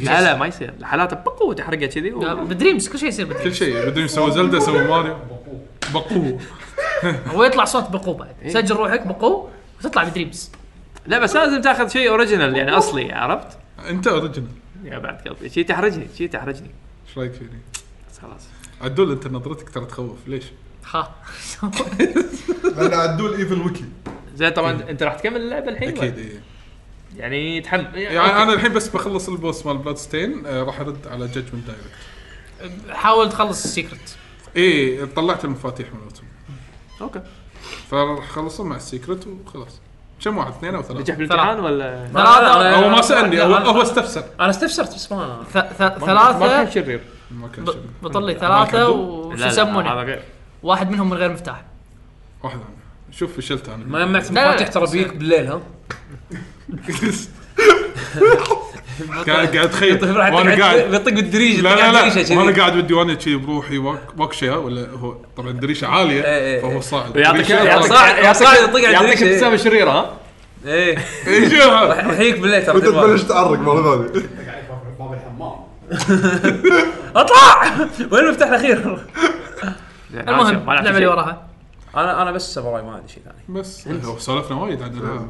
Speaker 7: لا لا ما يصير حالات بقوة وتحرقها كذي
Speaker 8: لا،
Speaker 7: و-
Speaker 8: آه، بدريمز كل شيء يصير بدريمز
Speaker 5: كل شيء بدري سوى زلده سوى ماريو بقوه
Speaker 8: هو يطلع صوت بقو بعد سجل روحك بقو وتطلع بدريمز
Speaker 7: لا بس لازم تاخذ شيء اوريجينال يعني اصلي عرفت؟
Speaker 5: انت اوريجنال
Speaker 7: يا بعد قلبي شيء تحرجني شيء تحرجني
Speaker 5: ايش رايك فيني؟
Speaker 7: بس خلاص
Speaker 5: عدول انت نظرتك ترى تخوف ليش؟
Speaker 3: أيوة.
Speaker 8: ها
Speaker 1: لان عدول ايفل ويكي
Speaker 7: زين طبعا انت راح تكمل اللعبه الحين ولا؟
Speaker 5: اكيد إيه.
Speaker 7: يعني تحمل
Speaker 5: يعني انا الحين بس بخلص البوس مال بلاد ستين راح ارد على جادجمنت دايركت
Speaker 8: حاول تخلص السيكرت
Speaker 5: اي إيه، طلعت المفاتيح مالتهم
Speaker 7: اوكي
Speaker 5: فراح اخلصهم مع السيكرت وخلاص كم واحد اثنين او ثلاثه
Speaker 7: نجح بالامتحان ولا
Speaker 8: ثلاثة
Speaker 5: هو ما سالني هو
Speaker 3: أنا-
Speaker 5: هو استفسر
Speaker 3: انا استفسرت بس ما
Speaker 8: ث- ث-
Speaker 7: ما كان
Speaker 8: ثلاثة
Speaker 7: شرير
Speaker 5: ما كان شيء.
Speaker 8: ب- بطلي ثلاثة وش
Speaker 7: لا، لا، هذا
Speaker 8: يسمونه
Speaker 7: غير.
Speaker 8: واحد منهم من غير مفتاح
Speaker 5: واحد عنه. شوف فشلت انا
Speaker 3: ما جمعت
Speaker 8: لا، لا،
Speaker 3: مفاتيح ترى بيك بالليل ها
Speaker 5: قاعد قاعد اتخيل
Speaker 7: طيب،
Speaker 3: يطيح راح
Speaker 5: وانا قاعد
Speaker 3: يطق بالدريجه
Speaker 5: لا
Speaker 3: تقعد
Speaker 5: لا
Speaker 3: دريشة
Speaker 5: لا
Speaker 3: كذي.
Speaker 5: وانا قاعد بالديوانيه كذي بروحي واك- واكشه ولا هو طبعا دريشه عاليه
Speaker 3: إيه.
Speaker 5: فهو صاعد
Speaker 7: يعطيك
Speaker 5: دريشة
Speaker 7: يعطيك
Speaker 3: صاعد- صاعد يطق على
Speaker 7: يعطيك يعطيك
Speaker 3: الدريشة.
Speaker 7: ابتسامه شريره ها
Speaker 3: ايه
Speaker 5: إيه، شوف.
Speaker 3: راح يحييك بالليل ترى بالوقت.
Speaker 1: وتبلش تعرق مره ثانيه
Speaker 4: باب الحمام
Speaker 3: اطلع وين المفتاح الاخير؟
Speaker 8: المهم اللعبة اللي وراها
Speaker 3: انا انا بس سافاراي ما عندي شيء ثاني
Speaker 5: بس إيه، هو سولفنا وايد عن
Speaker 1: آه.
Speaker 5: الألعاب.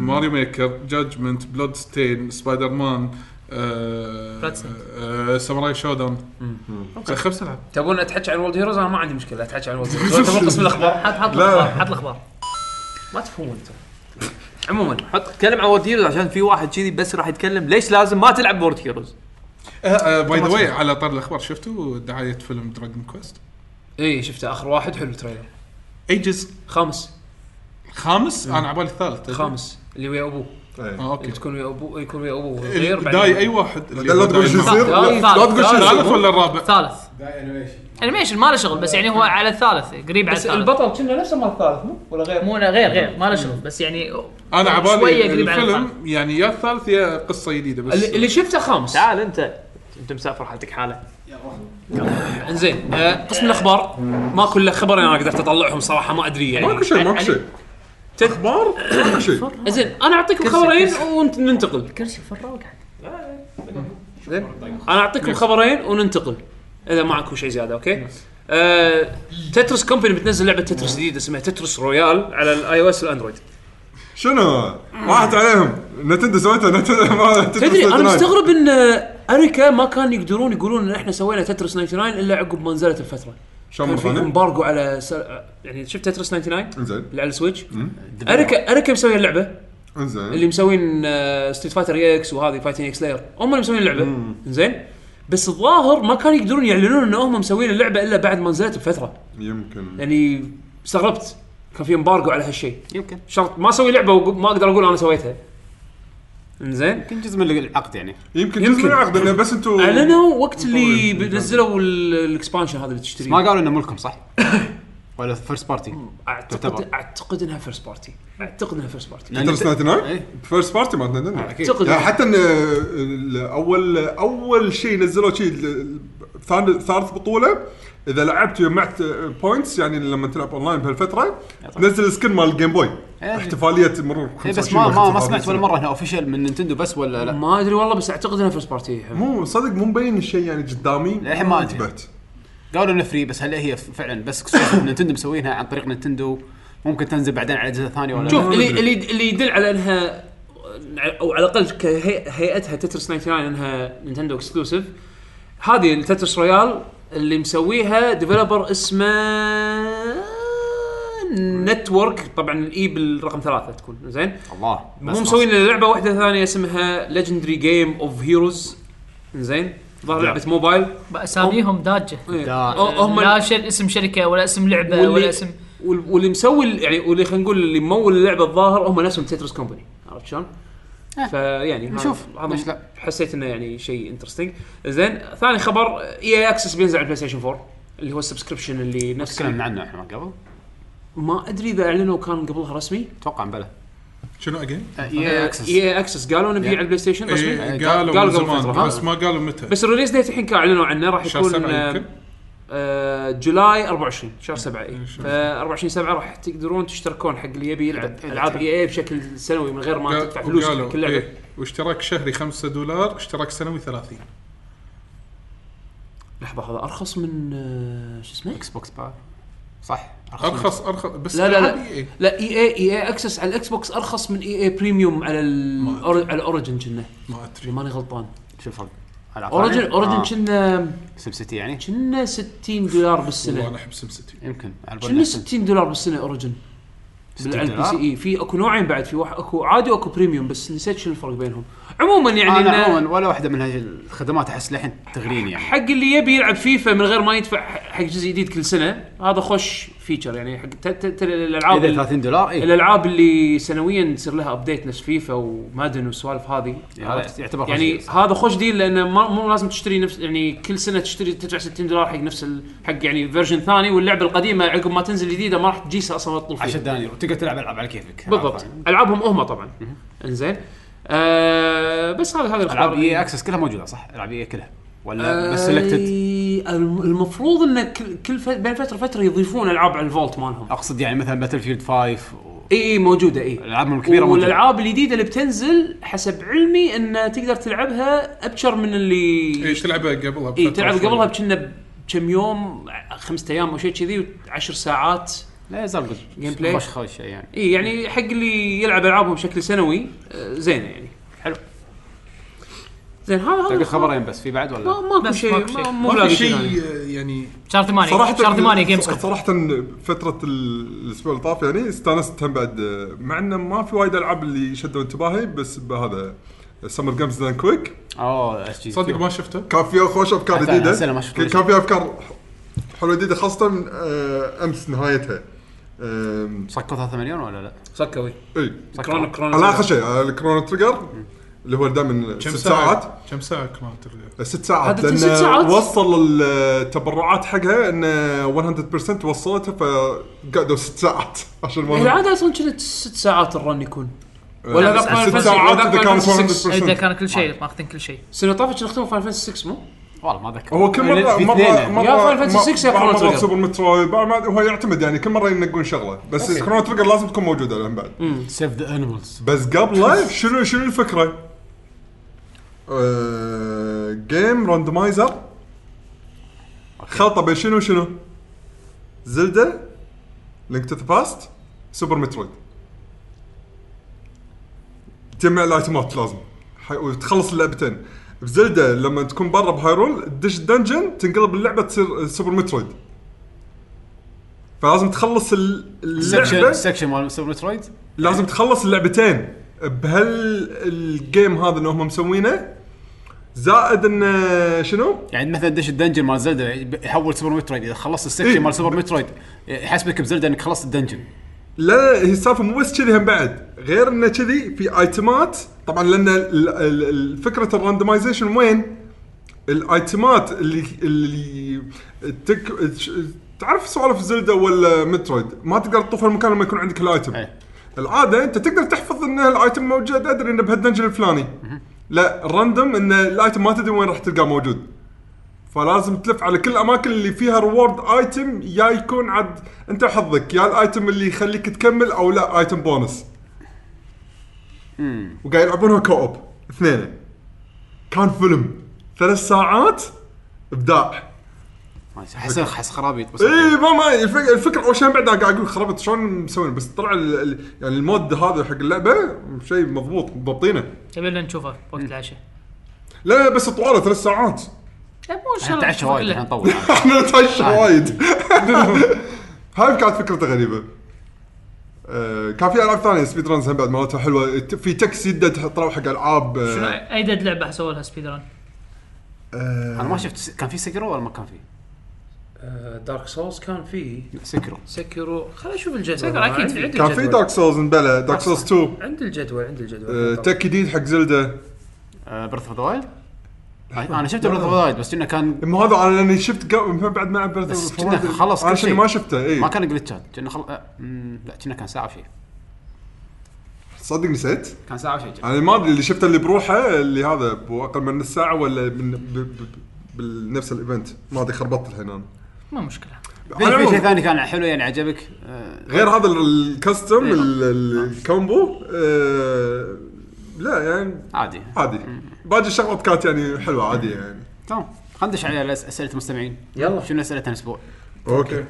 Speaker 5: ماريو ميكر جادجمنت بلود ستين سبايدر مان آه،
Speaker 8: Bloodstained.
Speaker 5: آه، ساموراي شودون خمس العاب
Speaker 3: تبون اتحكي عن وولد هيروز انا ما عندي مشكله اتحكي عن وولد هيروز تبون قسم الاخبار
Speaker 8: حط حط
Speaker 1: لا.
Speaker 8: الاخبار حط الاخبار
Speaker 3: ما تفهمون انتم
Speaker 7: عموما حط تكلم عن وورد هيروز عشان في واحد كذي بس راح يتكلم ليش لازم ما تلعب وورد هيروز
Speaker 5: باي ذا واي على طار الاخبار شفتوا دعايه فيلم دراجون كويست
Speaker 3: اي إيه، شفته اخر واحد حلو تريلر
Speaker 5: ايجز
Speaker 3: خامس
Speaker 5: خامس انا على بالي الثالث
Speaker 3: خامس اللي ويا ابوه
Speaker 5: اه اوكي
Speaker 3: اللي تكون ويا ابوه يكون ويا ابوه غير بعدين-
Speaker 5: داي اي واحد اللي
Speaker 1: لا
Speaker 5: هو
Speaker 1: تقول
Speaker 5: داي
Speaker 1: شو
Speaker 5: ما-
Speaker 1: يصير لا
Speaker 8: لا،
Speaker 1: لا تقول شو
Speaker 5: الثالث
Speaker 1: يصير
Speaker 5: ولا الرابع؟
Speaker 8: ثالث انيميشن ما له شغل بس يعني هو على الثالث قريب على
Speaker 3: بس
Speaker 8: الثالث
Speaker 3: البطل كنا نفسه مال الثالث مو ولا غير
Speaker 8: مو لا، غير غير ما له شغل بس يعني
Speaker 5: انا على بالي
Speaker 8: شويه قريب على الثالث
Speaker 5: الفيلم يعني يا الثالث يا قصه جديده بس
Speaker 3: اللي اللي شفته خامس
Speaker 7: تعال انت انت مسافر حالتك حاله
Speaker 3: انزين آه، قسم الاخبار ماكو الا خبر انا قدرت اطلعهم صراحه ما ادري يعني
Speaker 1: ماكو شيء ماكو شيء اخبار ماكو شيء
Speaker 3: زين انا اعطيكم خبرين وننتقل
Speaker 8: كرسي يعني. فرا وقعد
Speaker 3: انا اعطيكم خبرين وننتقل اذا معكم شيء زياده اوكي آه، تترس كومباني بتنزل لعبه تترس جديده اسمها تترس رويال على الاي او اس والاندرويد
Speaker 1: شنو راحت عليهم نتندو سويتها نتندو ما-
Speaker 3: تدري انا
Speaker 1: 99.
Speaker 3: مستغرب ان آه، اريكا ما كان يقدرون يقولون ان احنا سوينا تترس 99 الا عقب ما نزلت الفتره
Speaker 1: شلون
Speaker 3: كان
Speaker 1: مرة
Speaker 3: في
Speaker 1: ثانية؟
Speaker 3: امبارجو على سر... يعني شفت تترس 99
Speaker 1: انزين
Speaker 3: اللي على السويتش اريكا اريكا مسويه اللعبه
Speaker 1: انزين
Speaker 3: اللي مسوين آه، ستريت فايتر اكس وهذه فايتنج اكس لاير هم اللي مسوين اللعبه زين بس الظاهر ما كانوا يقدرون يعلنون ان هم مسوين اللعبه الا بعد ما نزلت بفتره
Speaker 1: يمكن
Speaker 3: يعني استغربت كان في امبارجو على هالشيء
Speaker 7: يمكن
Speaker 3: شرط ما اسوي لعبه وما اقدر اقول انا سويتها زين
Speaker 4: يمكن جزء من العقد يعني
Speaker 1: يمكن جزء
Speaker 3: يمكن.
Speaker 1: من العقد انه بس انتم
Speaker 3: اعلنوا وقت اللي نزلوا الاكسبانشن هذا اللي
Speaker 4: ما
Speaker 3: تشتريه
Speaker 4: قالوا انه ملكم صح؟ ولا فيرست بارتي
Speaker 3: اعتقد
Speaker 4: تعتبر.
Speaker 3: اعتقد انها فيرست بارتي اعتقد انها فيرست بارتي
Speaker 1: تترس 99
Speaker 4: إيه.
Speaker 1: فيرست بارتي مالت نتندو
Speaker 3: اعتقد
Speaker 1: يعني حتى ان ال- اول اول شيء نزلوا شيء ال- ثاني- ثالث بطوله اذا لعبت وجمعت بوينتس يعني لما تلعب اونلاين بهالفتره نزل سكن مال الجيم بوي
Speaker 4: إيه.
Speaker 1: احتفاليه مرور
Speaker 4: اي إيه، بس
Speaker 1: 25
Speaker 4: ما ما, ما
Speaker 1: واحد
Speaker 4: سمعت ولا
Speaker 1: سنة.
Speaker 4: مره هنا اوفيشال من نينتندو بس ولا لا
Speaker 3: ما ادري والله بس اعتقد انها فيرست بارتي
Speaker 1: مو صدق مو مبين الشيء يعني قدامي
Speaker 4: للحين ما أدري.
Speaker 1: انتبهت
Speaker 4: قالوا انه فري بس هل هي فعلا بس اكسكلوسيف نينتندو مسوينها عن طريق نينتندو ممكن تنزل بعدين على اجهزه ثانيه ولا
Speaker 3: شوف
Speaker 4: لا؟
Speaker 3: اللي اللي اللي يدل على انها او على الاقل كهيئتها تترس 99 انها نينتندو اكسكلوسيف هذه التترس رويال اللي مسويها ديفلوبر اسمه نتورك طبعا الاي E بالرقم ثلاثه تكون زين
Speaker 4: الله
Speaker 3: مو مسوين لنا لعبه واحده ثانيه اسمها ليجندري جيم اوف هيروز زين ظهر لعبه موبايل
Speaker 8: اساميهم داجه
Speaker 3: إيه.
Speaker 4: دا-
Speaker 3: هم
Speaker 8: لا شيء اسم شركه ولا اسم لعبه
Speaker 3: واللي-
Speaker 8: ولا اسم
Speaker 3: وال- واللي مسوي ال- يعني واللي خلينا نقول اللي ممول اللعبه الظاهر هم نفسهم تترس كومباني عرفت شلون؟ فيعني هذا-
Speaker 4: آه. نشوف،
Speaker 3: هذا
Speaker 4: ليش لا؟
Speaker 3: حسيت انه يعني شيء انترستنج زين ثاني خبر اي اكسس بينزل على بلاي ستيشن 4 اللي هو السبسكربشن اللي نفس
Speaker 5: نعم.
Speaker 4: تكلمنا عنه احنا قبل
Speaker 3: ما ادري اذا اعلنوا كان قبلها رسمي
Speaker 4: اتوقع بلا
Speaker 5: شنو اجين؟
Speaker 3: آه، إيه،
Speaker 4: اي اكسس
Speaker 3: اي اكسس قالوا نبيع على البلاي ستيشن رسمي
Speaker 5: إيه،
Speaker 3: قالوا
Speaker 5: قالوا
Speaker 3: قبل
Speaker 5: من زمان
Speaker 3: فترة، ها؟
Speaker 5: بس ما قالوا متى
Speaker 3: بس الريليز ديت الحين كان اعلنوا عنه راح
Speaker 5: شهر
Speaker 3: يكون
Speaker 5: سبعة
Speaker 3: آه،
Speaker 5: يمكن
Speaker 3: آه، جولاي 24 شهر 7 اي
Speaker 5: شهر
Speaker 3: ف 24 7 راح تقدرون تشتركون حق اللي يبي يلعب العاب اي اي بشكل سنوي من غير ما
Speaker 5: قال-
Speaker 3: تدفع فلوس
Speaker 5: وقالوا،
Speaker 3: كل لعبه
Speaker 5: إيه، واشتراك شهري 5 دولار اشتراك سنوي 30
Speaker 3: لحظه هذا ارخص من آه، شو اسمه
Speaker 4: اكس بوكس بار صح
Speaker 5: ارخص ارخص بس إيه.
Speaker 3: لا لا
Speaker 5: ألعاب
Speaker 3: لا
Speaker 5: EA.
Speaker 3: لا اي اي اي اي اكسس على الاكس بوكس ارخص من اي اي بريميوم على ال
Speaker 5: ما
Speaker 3: على الاوريجن كنا
Speaker 5: ما
Speaker 3: إذا
Speaker 5: ادري
Speaker 3: ماني غلطان
Speaker 4: شو الفرق؟ ألعاب
Speaker 3: اوريجن
Speaker 4: ثانية؟ آه.
Speaker 3: اوريجن كنا
Speaker 4: سب سيتي يعني
Speaker 3: كنا 60 دولار
Speaker 5: والله
Speaker 3: بالسنه
Speaker 5: انا احب سم سيتي
Speaker 4: يمكن على بالي
Speaker 3: كنا
Speaker 4: نفس ال-
Speaker 3: 60 دولار بالسنه اوريجن
Speaker 4: 60
Speaker 3: على البي
Speaker 4: دولار.
Speaker 3: سي اي في اكو نوعين بعد في واحد اكو عادي واكو بريميوم بس نسيت شنو الفرق بينهم عموما يعني
Speaker 4: انا
Speaker 3: إنه-
Speaker 4: عموما آه، ولا واحده من هاي الخدمات احس للحين تغريني يعني
Speaker 3: حق اللي يبي يلعب فيفا من غير ما يدفع حق جزء جديد كل سنه هذا خوش فيتشر يعني حق ت- ت- ترى الالعاب
Speaker 4: اذا
Speaker 3: ال-
Speaker 4: 30 دولار إيه. اي
Speaker 3: الالعاب اللي سنويا تصير لها ابديت نفس فيفا ومادن والسوالف هذه
Speaker 4: هذا يعتبر
Speaker 3: يعني
Speaker 4: خوش.
Speaker 3: هذا خوش ديل لانه ما- مو لازم تشتري نفس يعني كل سنه تشتري تدفع 60 دولار حق نفس ال... حق يعني فيرجن ثاني واللعبه القديمه عقب ما تنزل جديده ما راح تجيسها اصلا ولا تطول فيها
Speaker 4: عشان دانير وتقدر تلعب العاب على كيفك
Speaker 3: بالضبط العابهم هم طبعا انزين آه بس هذا هذا
Speaker 4: العاب
Speaker 3: الخبر
Speaker 4: اي اكسس كلها موجوده صح؟ العاب اي كلها ولا
Speaker 3: آه،
Speaker 4: بس سلكتد
Speaker 3: الم- المفروض ان كل كل ف- بين فتره وفتره يضيفون العاب على الفولت مالهم
Speaker 4: اقصد يعني مثلا باتل فيلد 5 و-
Speaker 3: اي اي موجوده اي
Speaker 4: العابهم الكبيره موجوده
Speaker 3: والالعاب الجديده اللي بتنزل حسب علمي ان تقدر تلعبها ابشر من اللي
Speaker 5: ايش تلعبها قبلها
Speaker 3: اي
Speaker 5: بفترة
Speaker 3: تلعب
Speaker 5: شوي.
Speaker 3: إيه، قبلها بكنا بكم يوم خمسة ايام او شيء كذي وعشر ساعات
Speaker 4: لا يزال قلت
Speaker 3: Gameplay.
Speaker 4: خوش خوش شيء يعني
Speaker 3: اي يعني حق اللي يلعب العابهم بشكل سنوي آه، زينه يعني حلو زين هذا هذا
Speaker 4: تلقى
Speaker 3: الخبر.
Speaker 4: خبرين بس في بعد
Speaker 3: ما
Speaker 4: ولا
Speaker 3: ماكو
Speaker 8: بس
Speaker 3: شيء
Speaker 8: ماكو شيء.
Speaker 3: ما- مو
Speaker 5: ما في
Speaker 3: لاقي
Speaker 5: شيء
Speaker 3: شيء
Speaker 5: يعني
Speaker 8: شهر 8
Speaker 1: صراحه
Speaker 8: شهر 8 جيمز كوم
Speaker 1: صراحه فتره ال- الاسبوع اللي طاف يعني استانست هم بعد آه، مع انه ما في وايد العاب اللي شدوا انتباهي بس بهذا سمر جيمز دان كويك
Speaker 4: اوه اس جي
Speaker 5: صدق ما شفته
Speaker 1: كان فيها خوش افكار
Speaker 4: حتى
Speaker 1: جديده
Speaker 4: أنا ما شفت
Speaker 1: كان
Speaker 4: ولا شيء.
Speaker 1: فيها افكار حلوه جديده خاصه من آه، امس نهايتها آم،
Speaker 4: سكر 3 مليون ولا لا؟
Speaker 3: سكوي
Speaker 1: اي
Speaker 3: كرونو
Speaker 1: على
Speaker 3: كرونو
Speaker 1: اخر شيء على الكرونو تريجر اللي هو دائما ست
Speaker 5: كم
Speaker 1: ساعات
Speaker 5: ساعه كم ساعه كمان ترجع
Speaker 1: ست ساعات
Speaker 3: عادة ست ساعات؟
Speaker 1: لان وصل التبرعات حقها ان 100% وصلتها فقعدوا ست ساعات عشان
Speaker 3: هي
Speaker 1: ما
Speaker 3: العاده اصلا كانت ست ساعات الرن يكون ولا
Speaker 1: ولا
Speaker 3: لا، Final
Speaker 1: ست
Speaker 3: Fantasy-
Speaker 1: ساعات
Speaker 3: لا،
Speaker 1: اذا
Speaker 3: Final
Speaker 1: كانت
Speaker 3: Fantasy
Speaker 1: 100%
Speaker 8: اذا كان كل شيء ماخذين كل شيء
Speaker 3: السنه طافت كنا ختموا فاينل فانتسي 6 مو؟
Speaker 4: والله ما اذكر
Speaker 1: هو كل مره
Speaker 4: في
Speaker 1: مره
Speaker 4: اثنين يعني.
Speaker 1: مره
Speaker 3: يا Final Fantasy 6 يا
Speaker 1: بعض
Speaker 3: Chrono
Speaker 1: مرات
Speaker 3: Trigger.
Speaker 1: سوبر مترويد بعض مرات- هو يعتمد يعني كل مره ينقون شغله بس كرونو تريجر لازم تكون موجوده لهم بعد
Speaker 4: سيف ذا انيمالز
Speaker 1: بس قبله شنو شنو الفكره؟ آه، جيم راندمايزر خلطه بين شنو شنو؟ زلدا لينك تو ذا باست سوبر مترويد تجمع الايتمات لازم ح- وتخلص اللعبتين بزلدا لما تكون برا بهايرول تدش دنجن تنقلب اللعبه تصير سوبر مترويد فلازم تخلص ال-
Speaker 4: سكشن
Speaker 1: اللعبه
Speaker 4: سكشن مال سوبر مترويد
Speaker 1: لازم تخلص اللعبتين بهال الجيم هذا اللي هم مسوينه زائد انه شنو؟
Speaker 4: يعني مثلا دش الدنجن مال زلدا يحول سوبر مترويد اذا خلصت السكشن
Speaker 1: إيه.
Speaker 4: مال سوبر مترويد يحسبك بزلدا انك خلصت الدنجن
Speaker 1: لا لا هي السالفه مو بس كذي هم بعد غير انه كذي في ايتمات طبعا لان ال- ال- ال- فكره الراندمايزيشن وين؟ الايتمات اللي اللي تك تعرف سوالف زلدا ولا مترويد ما تقدر تطوف المكان لما يكون عندك الايتم
Speaker 4: إيه.
Speaker 1: العاده انت تقدر تحفظ ان الايتم موجود ادري انه بهالدنجن الفلاني لا الراندوم ان الايتم ما تدري وين راح تلقاه موجود فلازم تلف على كل الاماكن اللي فيها ريورد ايتم يا يكون عاد انت وحظك يا الايتم اللي يخليك تكمل او لا ايتم بونس وقاعد يلعبونها كوب اثنين كان فيلم ثلاث ساعات ابداع
Speaker 4: ما أدري، احس احس خرابيط بس
Speaker 1: اي إيه، ما ما الفك- الفكره اول شيء بعد قاعد اقول خربت شلون مسوين بس طلع ال- ال- يعني المود هذا حق اللعبه شيء مضبوط ضبطينه
Speaker 8: تبي لنا نشوفه وقت العشاء
Speaker 1: لا لا بس طواله ثلاث ساعات
Speaker 8: لا مو ان شاء
Speaker 4: احنا
Speaker 8: الله
Speaker 4: نتعشى وايد احنا نطول
Speaker 1: احنا نتعشى وايد هاي كانت فكرته غريبه آه، كان في العاب ثانيه سبيد رانز هم بعد مالتها حلوه ت- في تكس يده تطلع حق العاب آه،
Speaker 8: شنو اي دد لعبه سووا لها سبيد ران
Speaker 1: آه،
Speaker 4: انا ما شفت س- كان في سكرو ولا ما كان في؟
Speaker 3: دارك سولز آه، كان فيه
Speaker 4: سكرو
Speaker 3: سكرو خل اشوف الجدول
Speaker 8: سكرو
Speaker 3: أنا
Speaker 8: أكيد
Speaker 3: عندي-
Speaker 8: عندي
Speaker 1: كان في دارك سولز بلا دارك سولز 2
Speaker 3: عندي الجدول عندي
Speaker 1: آه،
Speaker 3: الجدول
Speaker 1: تك جديد حق زلدا
Speaker 4: برث اوف ذا وايلد انا شفت برث اوف ذا وايلد بس انه كان
Speaker 1: اما هذا انا لاني شفت قبل من بعد ما العب Breath of
Speaker 4: بس
Speaker 1: the
Speaker 4: كنا
Speaker 1: Wild،
Speaker 4: خلص كل
Speaker 1: انا شنو
Speaker 4: شيء.
Speaker 1: ما شفته إيه.
Speaker 4: ما
Speaker 1: اي
Speaker 4: كان جلتشات كنا خل آه، مم، لا كنا كان ساعه وشيء
Speaker 1: صدق نسيت
Speaker 4: كان ساعه وشيء
Speaker 1: انا ما ادري اللي شفته اللي بروحه اللي هذا باقل من نص ساعه ولا من ب- ب- بنفس الايفنت ما ادري خربطت الحين انا
Speaker 8: ما مشكله
Speaker 1: على
Speaker 4: في
Speaker 1: العموم.
Speaker 4: شيء ثاني كان حلو يعني عجبك آه،
Speaker 1: غير هذا ال- الكاستم
Speaker 3: إيه.
Speaker 1: ال- ال- الكومبو آه، لا يعني
Speaker 4: عادي
Speaker 1: عادي باقي الشغلات كانت يعني حلوه عادي يعني
Speaker 4: تمام خلينا ندش على أس- اسئله المستمعين
Speaker 3: يلا.
Speaker 4: شنو اسئله الاسبوع
Speaker 1: اوكي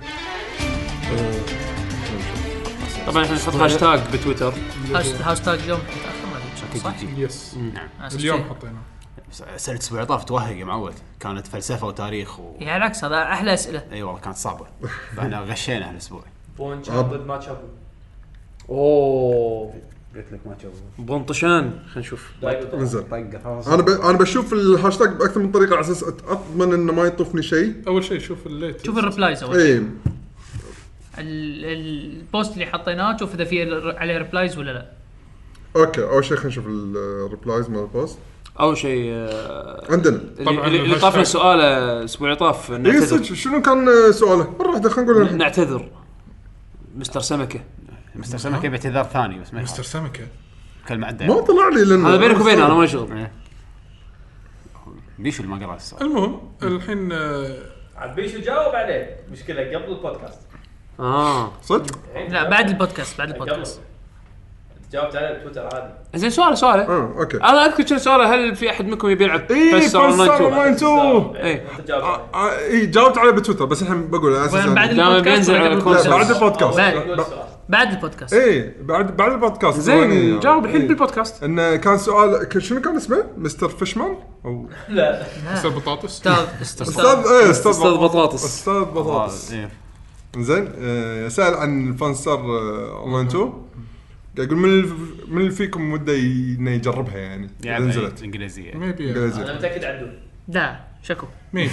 Speaker 7: طبعا احنا نحط هاشتاج بتويتر
Speaker 8: هاش- هاشتاج اليوم متاخر ما ادري صح؟
Speaker 5: يس
Speaker 8: أنا أسف
Speaker 5: اليوم
Speaker 8: شيء.
Speaker 5: حطينا
Speaker 4: سنه 17 توهق نعم. يا معود كانت فلسفه وتاريخ و...
Speaker 8: يعني على العكس هذا احلى اسئله
Speaker 4: اي والله كانت صعبه فاحنا غشينا هالاسبوع
Speaker 7: بون تشاب ضد ما تشاب اوه
Speaker 4: قلت لك ما تشوف
Speaker 3: بونطشان خلينا نشوف
Speaker 1: انزل
Speaker 4: طقه
Speaker 1: انا ب... انا بشوف الهاشتاج باكثر من طريقه على اساس اضمن انه ما يطوفني شيء إيه.
Speaker 5: اول شيء شوف الليت
Speaker 8: شوف الريبلايز اول شيء.
Speaker 1: اي
Speaker 8: ال- ال- البوست اللي حطيناه شوف اذا في ال- عليه ريبلايز ولا لا
Speaker 1: اوكي اول شيء خلينا نشوف الريبلايز مال البوست
Speaker 3: اول شيء آه،
Speaker 1: عندنا
Speaker 5: طبعاً
Speaker 3: اللي اللي
Speaker 5: الهاشتاج.
Speaker 3: طافنا سؤال الاسبوع اللي طاف
Speaker 1: اي
Speaker 3: نعتذر
Speaker 1: إيه، صدق شنو كان سؤاله؟ مره واحده خلينا نقول الحين.
Speaker 3: نعتذر مستر سمكه
Speaker 4: مستر سمكه باعتذار ثاني بس ما
Speaker 5: مستر
Speaker 4: يخالف
Speaker 5: سمكه
Speaker 4: كلمه عدل
Speaker 1: ما طلع لي لانه
Speaker 3: هذا بينك وبينه انا ما شغل
Speaker 4: ليش اللي ما قرا السؤال
Speaker 5: المهم الحين آه،
Speaker 7: عاد بيشو جاوب عليه مشكله قبل البودكاست
Speaker 3: اه
Speaker 1: صدق؟
Speaker 8: لا بعد البودكاست بعد البودكاست
Speaker 7: جاوبت عليه بتويتر عادي
Speaker 3: زين سؤال سؤال
Speaker 1: اه اوكي
Speaker 3: انا اذكر كان سؤاله هل في احد منكم يبي يلعب
Speaker 1: اي
Speaker 3: PES Online 2؟
Speaker 1: اونلاين 2
Speaker 3: إيه.
Speaker 7: انت جاوبت
Speaker 1: أه.
Speaker 7: عليه
Speaker 1: اي آه، إيه، جاوبت عليه بتويتر بس الحين بقول على اساس
Speaker 8: وين بعد
Speaker 1: أنا-
Speaker 3: دائما
Speaker 8: البودكاست
Speaker 3: بينزل
Speaker 8: ولا
Speaker 3: على
Speaker 8: قبل
Speaker 3: الكونسول.
Speaker 1: لا بعد البودكاست
Speaker 8: البودكاست؟
Speaker 1: إيه. ب-
Speaker 8: بعد. بعد البودكاست
Speaker 1: اي بعد بعد البودكاست
Speaker 3: زين
Speaker 1: ثواني.
Speaker 3: جاوب الحين
Speaker 1: إيه.
Speaker 3: بالبودكاست
Speaker 1: انه كان سؤال ك- شنو كان اسمه؟ مستر فيشمان؟ او
Speaker 5: مستر بطاطس
Speaker 3: طيب.
Speaker 8: استاذ
Speaker 1: استاذ ايه استاذ
Speaker 3: أستاذ بطاطس. آه،
Speaker 1: استاذ بطاطس
Speaker 4: إيه.
Speaker 1: زين آه، سال عن فانسر آه، اونلاين 2 قاعد يقول من الف- من اللي فيكم وده ي- انه يجربها يعني اذا
Speaker 4: يعني
Speaker 1: نزلت
Speaker 4: انجليزيه
Speaker 5: ميبي
Speaker 1: قال زين.
Speaker 7: انا متاكد عنده
Speaker 8: لا شكو
Speaker 5: مين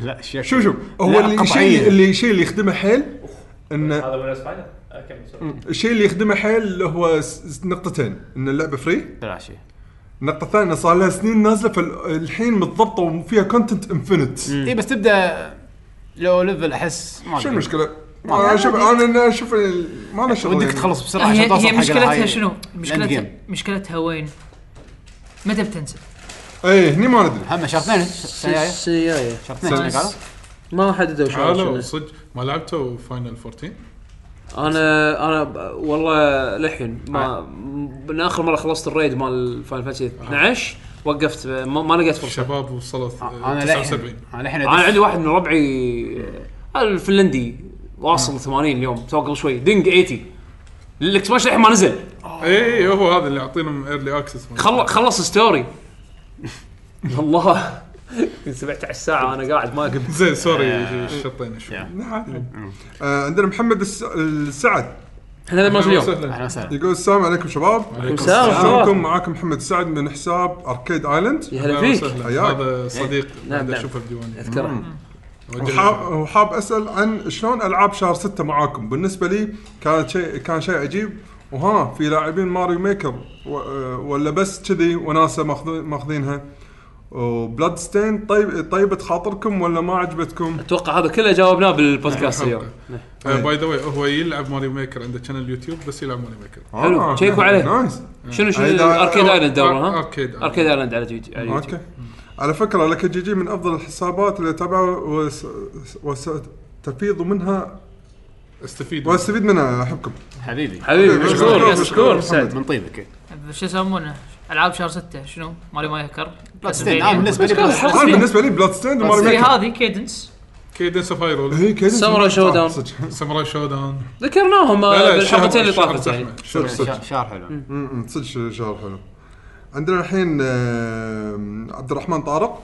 Speaker 4: لا شك
Speaker 1: شوف شوف هو
Speaker 4: لا،
Speaker 1: اللي
Speaker 4: قطعية.
Speaker 3: إيه.
Speaker 1: الشيء اللي الشيء اللي يخدمه حيل انه
Speaker 7: هذا ولا سبايدر اكمل سوري
Speaker 1: الشيء اللي يخدمه حيل اللي هو س- س- نقطتين ان اللعبه فري
Speaker 4: بلا شيء
Speaker 1: النقطه الثانيه إنه صار لها سنين نازله فالحين متضبطه وفيها كونتنت انفنت
Speaker 4: اي إيه، بس تبدا لو ليفل احس ما
Speaker 1: شو
Speaker 4: أدري.
Speaker 1: المشكله؟ انا اشوف انا أنا اشوف ال- ما له شغل
Speaker 4: ودك
Speaker 1: يعني.
Speaker 4: تخلص بسرعه عشان
Speaker 8: هي,
Speaker 4: توصل
Speaker 8: هي
Speaker 4: حق
Speaker 8: مشكلتها
Speaker 4: الهاي-
Speaker 8: شنو؟
Speaker 4: الإند
Speaker 8: مشكلتها
Speaker 4: جيم.
Speaker 8: مشكلتها وين؟ متى بتنزل؟
Speaker 1: اي إيه، هني ما ندري
Speaker 4: هم شرطين السنه الجاية.
Speaker 3: السيايه
Speaker 4: شرطين شنو قالوا؟
Speaker 3: ما حددوا شو
Speaker 5: تعالوا
Speaker 3: شنو.
Speaker 5: صدق ما لعبتوا فاينل 14
Speaker 3: انا انا ب- والله للحين ما من اخر مره خلصت الريد مال فاينل فانتسي 12 وقفت ما, ما لقيت فرصه
Speaker 5: الشباب وصلت آه،
Speaker 4: انا للحين
Speaker 5: 79
Speaker 4: انا للحين
Speaker 3: انا عندي واحد من ربعي آه، الفنلندي واصل 80 اليوم تو قبل شوي دينج 80 الاكسبانشن الحين ما نزل
Speaker 5: اي إي، إيه، هو هذا اللي يعطينهم ايرلي اكسس
Speaker 3: خل... خلص ستوري الله 17 ساعه انا قاعد ما قمت
Speaker 5: زين سوري شطينا شوي
Speaker 1: آه عندنا محمد الس- السعد
Speaker 3: احنا ما اليوم
Speaker 5: سهلاً.
Speaker 4: اهلا وسهلا
Speaker 1: يقول السلام عليكم شباب شلونكم
Speaker 3: مساء
Speaker 1: معاكم محمد السعد من حساب اركيد ايلاند
Speaker 3: يا هلا فيك
Speaker 5: وسهلاً.
Speaker 1: حياك.
Speaker 5: هذا صديق
Speaker 3: نعم،
Speaker 5: بعد
Speaker 3: نعم.
Speaker 5: اشوفه بديواني
Speaker 3: اذكره
Speaker 1: وحاب, وحاب اسال عن شلون العاب شهر ستة معاكم بالنسبه لي كانت شيء كان شيء عجيب وها في لاعبين ماريو ميكر و... آه، ولا بس كذي وناسه ماخذ- ماخذينها وبلاد ستين طيب طيبه خاطركم ولا ما عجبتكم؟
Speaker 3: اتوقع هذا كله جاوبناه بالبودكاست اليوم
Speaker 5: باي ذا واي هو يلعب ماريو ميكر عنده شانل يوتيوب بس يلعب ماريو ميكر
Speaker 3: حلو،
Speaker 1: آه،
Speaker 3: تشيكوا عليه.
Speaker 1: نايس
Speaker 3: شنو شنو
Speaker 1: أيضا-
Speaker 3: اركيد ايلاند دوره ها؟
Speaker 5: أركيد آيلاند.
Speaker 3: اركيد ايلاند على يوتيوب على يوتيوب.
Speaker 1: اوكي على فكره لك جي جي من افضل الحسابات اللي اتابعها وس... وستفيض منها
Speaker 5: استفيد
Speaker 1: واستفيد منها احبكم
Speaker 4: حبيبي
Speaker 3: حبيبي
Speaker 1: حبيبي،
Speaker 3: مشكور
Speaker 1: مشكور،
Speaker 3: يس،
Speaker 1: مشكور.
Speaker 3: مشكور سعد
Speaker 4: من طيبك
Speaker 8: شو يسمونه؟ اللعاب شهر 6 شنو؟ ماري مايكر
Speaker 4: ستين انا بالنسبه لي
Speaker 3: مشكلة،
Speaker 4: بلاستين.
Speaker 1: انا بالنسبه لي بلاد ستيند وماري
Speaker 8: في
Speaker 1: ميكر إيه،
Speaker 8: هذه كيدنس
Speaker 5: كيدنس اوف هايرول
Speaker 1: هي كذا
Speaker 3: ساموراي شو داون.
Speaker 1: صدق
Speaker 5: ساموراي شو داون
Speaker 3: ذكرناهم آه، بالحلقتين اللي
Speaker 5: شهر-
Speaker 3: طافت
Speaker 5: شهر
Speaker 3: يعني
Speaker 5: زحمة.
Speaker 1: صدق صدق
Speaker 4: شهر- شهر حلو
Speaker 1: أمم، صدق شهر حلو عندنا الحين آم، عبد الرحمن طارق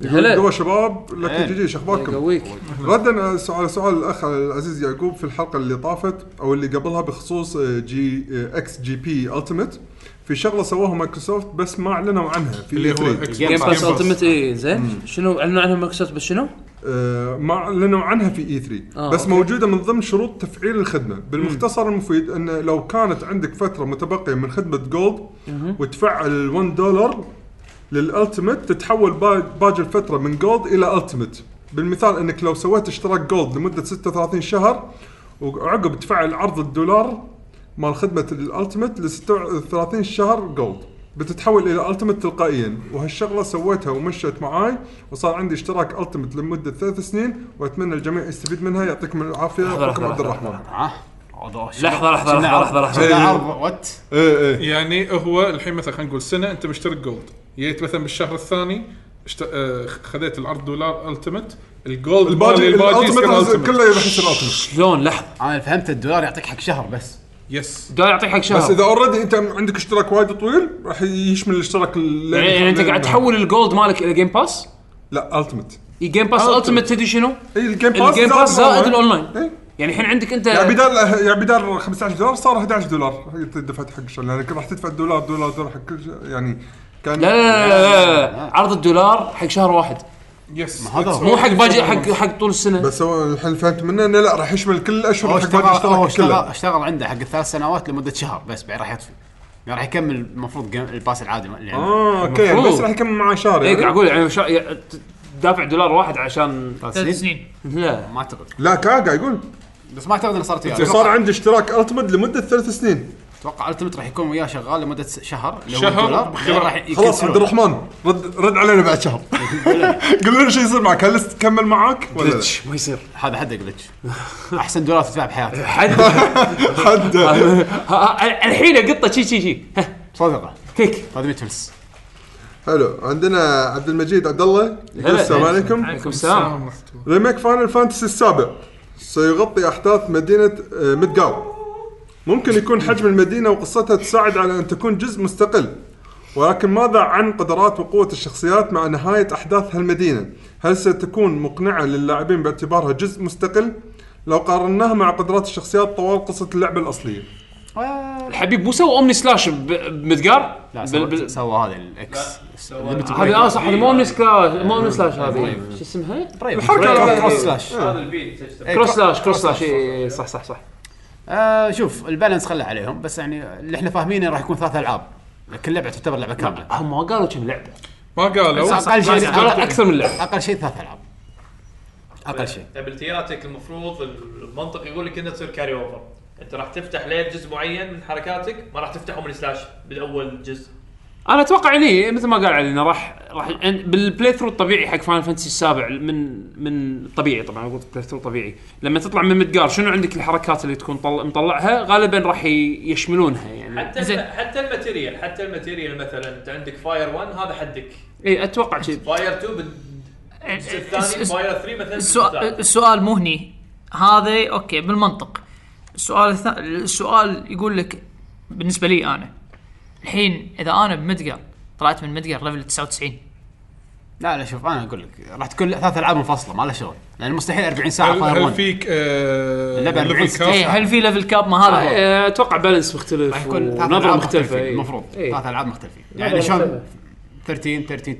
Speaker 1: يقول
Speaker 3: هلا.
Speaker 1: قوا شباب لك
Speaker 4: هلا.
Speaker 1: جي جي شخباركم
Speaker 3: يقويك
Speaker 1: ردا على سؤال سؤال الاخ العزيز يعقوب في الحلقه اللي طافت او اللي قبلها بخصوص آه، جي آه، اكس جي بي التيمت في شغله سواها مايكروسوفت بس ما اعلنوا عنها في
Speaker 5: اللي
Speaker 1: اللي
Speaker 5: هو
Speaker 1: هو
Speaker 5: Xbox
Speaker 3: جيم باس
Speaker 5: Game Pass.
Speaker 3: التمت اي إيه، زين شنو اعلنوا عنها مايكروسوفت بس شنو؟
Speaker 1: ما اعلنوا آه، عنها في اي 3
Speaker 3: آه،
Speaker 1: آه بس
Speaker 3: أوكي.
Speaker 1: أوكي. موجوده من ضمن شروط تفعيل الخدمه بالمختصر المفيد ان لو كانت عندك فتره متبقيه من خدمه جولد وتفعل 1 دولار للالتيمت تتحول با- باقي الفتره من جولد الى التيمت بالمثال انك لو سويت اشتراك جولد لمده 36 شهر وعقب تفعل عرض الدولار مال خدمه الالتيمت ل 36 شهر جولد بتتحول الى التيمت تلقائيا وهالشغله سويتها ومشت معاي وصار عندي اشتراك التيمت لمده ثلاث سنين واتمنى الجميع يستفيد منها يعطيكم العافيه اخوكم عبد الرحمن
Speaker 4: ها لحظه
Speaker 3: لحظة، لحظة، لحظة، لحظة.
Speaker 4: عرض وات
Speaker 1: ايه ايه
Speaker 5: يعني هو الحين مثلا خلينا نقول سنه انت مشترك جولد جيت مثلا بالشهر الثاني اشت... آه، خذيت الارض دولار التمت الجولد
Speaker 1: الباجي
Speaker 5: مالي الباجي
Speaker 1: الالتيميت
Speaker 5: الالتيميت
Speaker 1: كله يحس الالتيميت
Speaker 3: شلون لحظه
Speaker 4: انا فهمت الدولار يعطيك حق شهر بس
Speaker 5: يس
Speaker 3: قاعد يعطيك حق
Speaker 1: بس
Speaker 3: شهر
Speaker 1: اذا اوريدي انت عندك اشتراك وايد طويل راح يشمل الاشتراك ال-
Speaker 3: يعني يعني انت قاعد تحول الجولد مالك الى جيم باس
Speaker 1: لا التيميت
Speaker 3: اي جيم باس التمت تدري شنو؟
Speaker 1: اي الجيم باس
Speaker 3: الجيم باس زائد الاونلاين
Speaker 1: إيه.
Speaker 3: يعني الحين عندك انت
Speaker 1: يعني بدال يعني بدال 15 دولار صار 11 دولار أنت دفعت حق شغل لانك راح تدفع دولار دولار دولار حق كل شيء يعني كان
Speaker 3: لا لا لا, لا, لا. عرض الدولار حق شهر واحد
Speaker 5: يس
Speaker 4: هذا
Speaker 5: That's
Speaker 4: هو.
Speaker 3: مو
Speaker 5: all.
Speaker 3: حق باجي حق حق طول السنه
Speaker 1: بس هو الحين فهمت منه انه لا راح يشمل كل الاشهر
Speaker 4: هو
Speaker 1: حق باقي
Speaker 4: اشتغل هو
Speaker 1: الاشتراك
Speaker 4: اشتغل
Speaker 1: كله
Speaker 4: اشتغل عنده حق الثلاث سنوات لمده شهر بس بعد راح يطفي يعني راح يكمل المفروض جيم- الباس العادي اللي عنده.
Speaker 1: اه اوكي يعني بس
Speaker 3: المفروض.
Speaker 1: راح يكمل معاه شهر
Speaker 3: اي قاعد
Speaker 1: يعني.
Speaker 3: اقول يعني شا... يا- ت- دافع دولار واحد عشان
Speaker 8: ثلاث سنين
Speaker 3: لا
Speaker 4: ما اعتقد
Speaker 1: لا كان قاعد يقول
Speaker 4: بس ما اعتقد انه صارت
Speaker 3: إيه،
Speaker 4: وياه.
Speaker 1: صار
Speaker 4: اتوقع-
Speaker 1: عندي اشتراك التمت لمده ثلاث سنين
Speaker 4: اتوقع التمت راح يكون وياه شغال لمده س- شهر اللي هو
Speaker 5: شهر
Speaker 4: الدولار.
Speaker 5: بخير.
Speaker 4: بعدين راح يكنسلون.
Speaker 1: خلاص عبد الرحمن رد رد علينا بعد شهر قول لنا شو يصير معك هل لسه تكمل معاك ولا لا؟
Speaker 3: إيش ما يصير
Speaker 4: هذا حده جلتش احسن دولار تدفع بحياتك
Speaker 1: حد
Speaker 3: ها- ها- الحين قطه شي شي شي ها،
Speaker 4: صدقه
Speaker 3: كيك
Speaker 4: هذا 100 فلس
Speaker 1: حلو عندنا عبد المجيد عبد الله يقول
Speaker 3: هلا.
Speaker 1: السلام عليكم
Speaker 3: عليكم السلام
Speaker 5: السلام ورحمة الله.
Speaker 1: ريميك فاينل فانتسي السابع سيغطي احداث مدينه آه، مدقاو ممكن يكون حجم المدينه وقصتها تساعد على ان تكون جزء مستقل ولكن ماذا عن قدرات وقوه الشخصيات مع نهايه احداث هالمدينه هل ستكون مقنعه للاعبين باعتبارها جزء مستقل لو قارناها مع قدرات الشخصيات طوال قصه اللعبه الاصليه
Speaker 3: الحبيب مو سوى اومني سلاش ب- بمدقار
Speaker 4: لا
Speaker 3: بال-
Speaker 4: سوى,
Speaker 3: بال-
Speaker 4: سوى هذا الاكس
Speaker 3: هذا اه صح هذا مو اومني سلاش مو اومني سلاش هذه شو اسمها؟
Speaker 4: طيب،
Speaker 1: الحركه
Speaker 4: كروس سلاش إيه،
Speaker 3: كروس سلاش كروس سلاش إي، إي، صح صح صح
Speaker 4: آه شوف البالانس خله عليهم بس يعني اللي احنا فاهمينه راح يكون ثلاث العاب كل لعبه تعتبر لعبه كامله
Speaker 3: هم ما قالوا كم لعبه
Speaker 5: ما قالوا
Speaker 4: اقل شيء
Speaker 3: قالوا اكثر من لعبه
Speaker 4: اقل شيء ثلاث العاب
Speaker 7: طيب.
Speaker 4: اقل شيء
Speaker 7: ابيلتياتك المفروض المنطق يقول لك انها تصير كاري اوفر انت راح تفتح لين جزء معين من حركاتك ما راح تفتحه من سلاش بالاول جزء
Speaker 3: انا اتوقع يعني مثل ما قال علي انه راح راح يعني بالبلاي ثرو الطبيعي حق فاينل فانتسي السابع من من طبيعي طبعا اقول بلاي ثرو طبيعي لما تطلع من مدقار شنو عندك الحركات اللي تكون طل... مطلعها غالبا راح ي- يشملونها يعني
Speaker 7: حتى
Speaker 8: زين.
Speaker 7: حتى الماتيريال حتى الماتيريال مثلا انت عندك فاير 1 هذا حدك
Speaker 3: اي اتوقع
Speaker 4: طيب.
Speaker 3: كذي
Speaker 7: فاير 2
Speaker 8: إيه،
Speaker 7: بالجزء الثاني
Speaker 8: الس-
Speaker 7: فاير 3 مثلا
Speaker 4: أه-
Speaker 8: السؤال
Speaker 7: بالجزء الثالث.
Speaker 8: السؤال مو هني هذا اوكي بالمنطق السؤال الث... السؤال يقول لك بالنسبه لي انا الحين اذا انا بمدقر طلعت من مدقر ليفل 99
Speaker 4: لا لا شوف انا اقول لك راح تكون ثلاث العاب منفصله ما لها شغل لان مستحيل 40 ساعه
Speaker 5: هل,
Speaker 4: فاير
Speaker 5: هل
Speaker 4: 1
Speaker 5: فيك آه
Speaker 4: اللعبة
Speaker 5: level
Speaker 4: بالعكس.
Speaker 5: cap؟
Speaker 8: اي إيه، هل في ليفل كاب ما هذا هو
Speaker 3: آه، اتوقع
Speaker 4: راح
Speaker 3: بالانس مختلف إيه.
Speaker 4: يكون ثلاث
Speaker 3: ونظره
Speaker 4: العاب
Speaker 3: مختلفه
Speaker 4: مختلفين
Speaker 3: إي.
Speaker 4: المفروض
Speaker 3: إي.
Speaker 4: ثلاث العاب مختلفين يعني شلون 13 13 2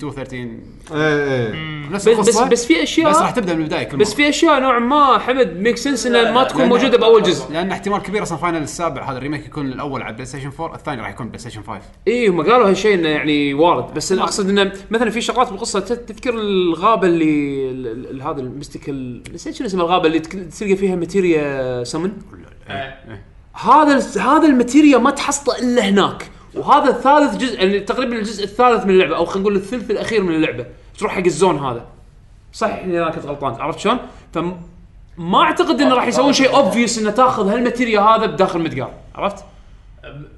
Speaker 4: 13
Speaker 1: ايه ايه
Speaker 4: نفس
Speaker 3: بس بس,
Speaker 4: القصه
Speaker 3: بس في اشياء
Speaker 4: بس راح تبدا من البدايه كل
Speaker 3: بس
Speaker 4: مرة.
Speaker 3: في اشياء نوعا ما حمد ميك سنس انها ما تكون
Speaker 4: لأن-
Speaker 3: موجوده باول جزء
Speaker 4: لان احتمال كبير اصلا فاينل السابع هذا الريميك يكون الاول على بلاي ستيشن 4 الثاني راح يكون بلاي ستيشن 5
Speaker 3: اي إيه، هم قالوا هالشيء انه يعني وارد بس انا اقصد انه مثلا في شغلات بالقصه ت- تذكر الغابه اللي ال- ال- هذا الميستيكال نسيت شنو اسم الغابه اللي تك- تلقى فيها ماتيريا سمن هذا الس- هذا الماتيريا ما تحصله الا هناك وهذا الثالث جزء يعني تقريبا الجزء الثالث من اللعبه او خلينا نقول الثلث الاخير من اللعبه تروح حق الزون هذا صح اني انا كنت غلطان عرفت شلون؟ فما اعتقد انه راح يسوون شيء اوبفيوس انه تاخذ هالماتيريا هذا بداخل مدقار عرفت؟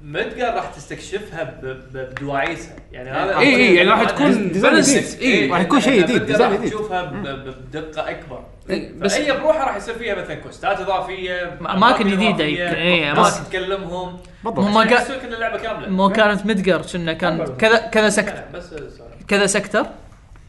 Speaker 7: مدقر راح تستكشفها ب- ب- بدواعيسها يعني
Speaker 4: إيه،
Speaker 7: هذا
Speaker 3: إي إي، يعني راح
Speaker 7: هذا-
Speaker 3: تكون
Speaker 7: هذا-
Speaker 3: ديزاين
Speaker 7: هذا-
Speaker 3: جديد. إي،
Speaker 7: إي،
Speaker 4: راح يكون شيء
Speaker 7: لأن
Speaker 4: جديد،
Speaker 7: مدقر
Speaker 4: ديزاين
Speaker 7: راح
Speaker 4: جديد.
Speaker 7: تشوفها ب- ب- بدقه اكبر
Speaker 3: بس-
Speaker 7: إيه، بس هي بروحها راح يصير فيها مثلا كوستات اضافيه
Speaker 8: أماكن جديده
Speaker 7: إضافية،
Speaker 8: يمكن،
Speaker 4: إيه،
Speaker 8: إي،
Speaker 7: ناس
Speaker 8: أماكن.
Speaker 7: تكلمهم يعني
Speaker 8: مو ما
Speaker 7: ما
Speaker 8: قا-
Speaker 7: يحسوك ان اللعبه كامله
Speaker 8: مو كانت مدقر كنا كان كذا كذا سكتر
Speaker 7: بس سوري.
Speaker 8: كذا سكتر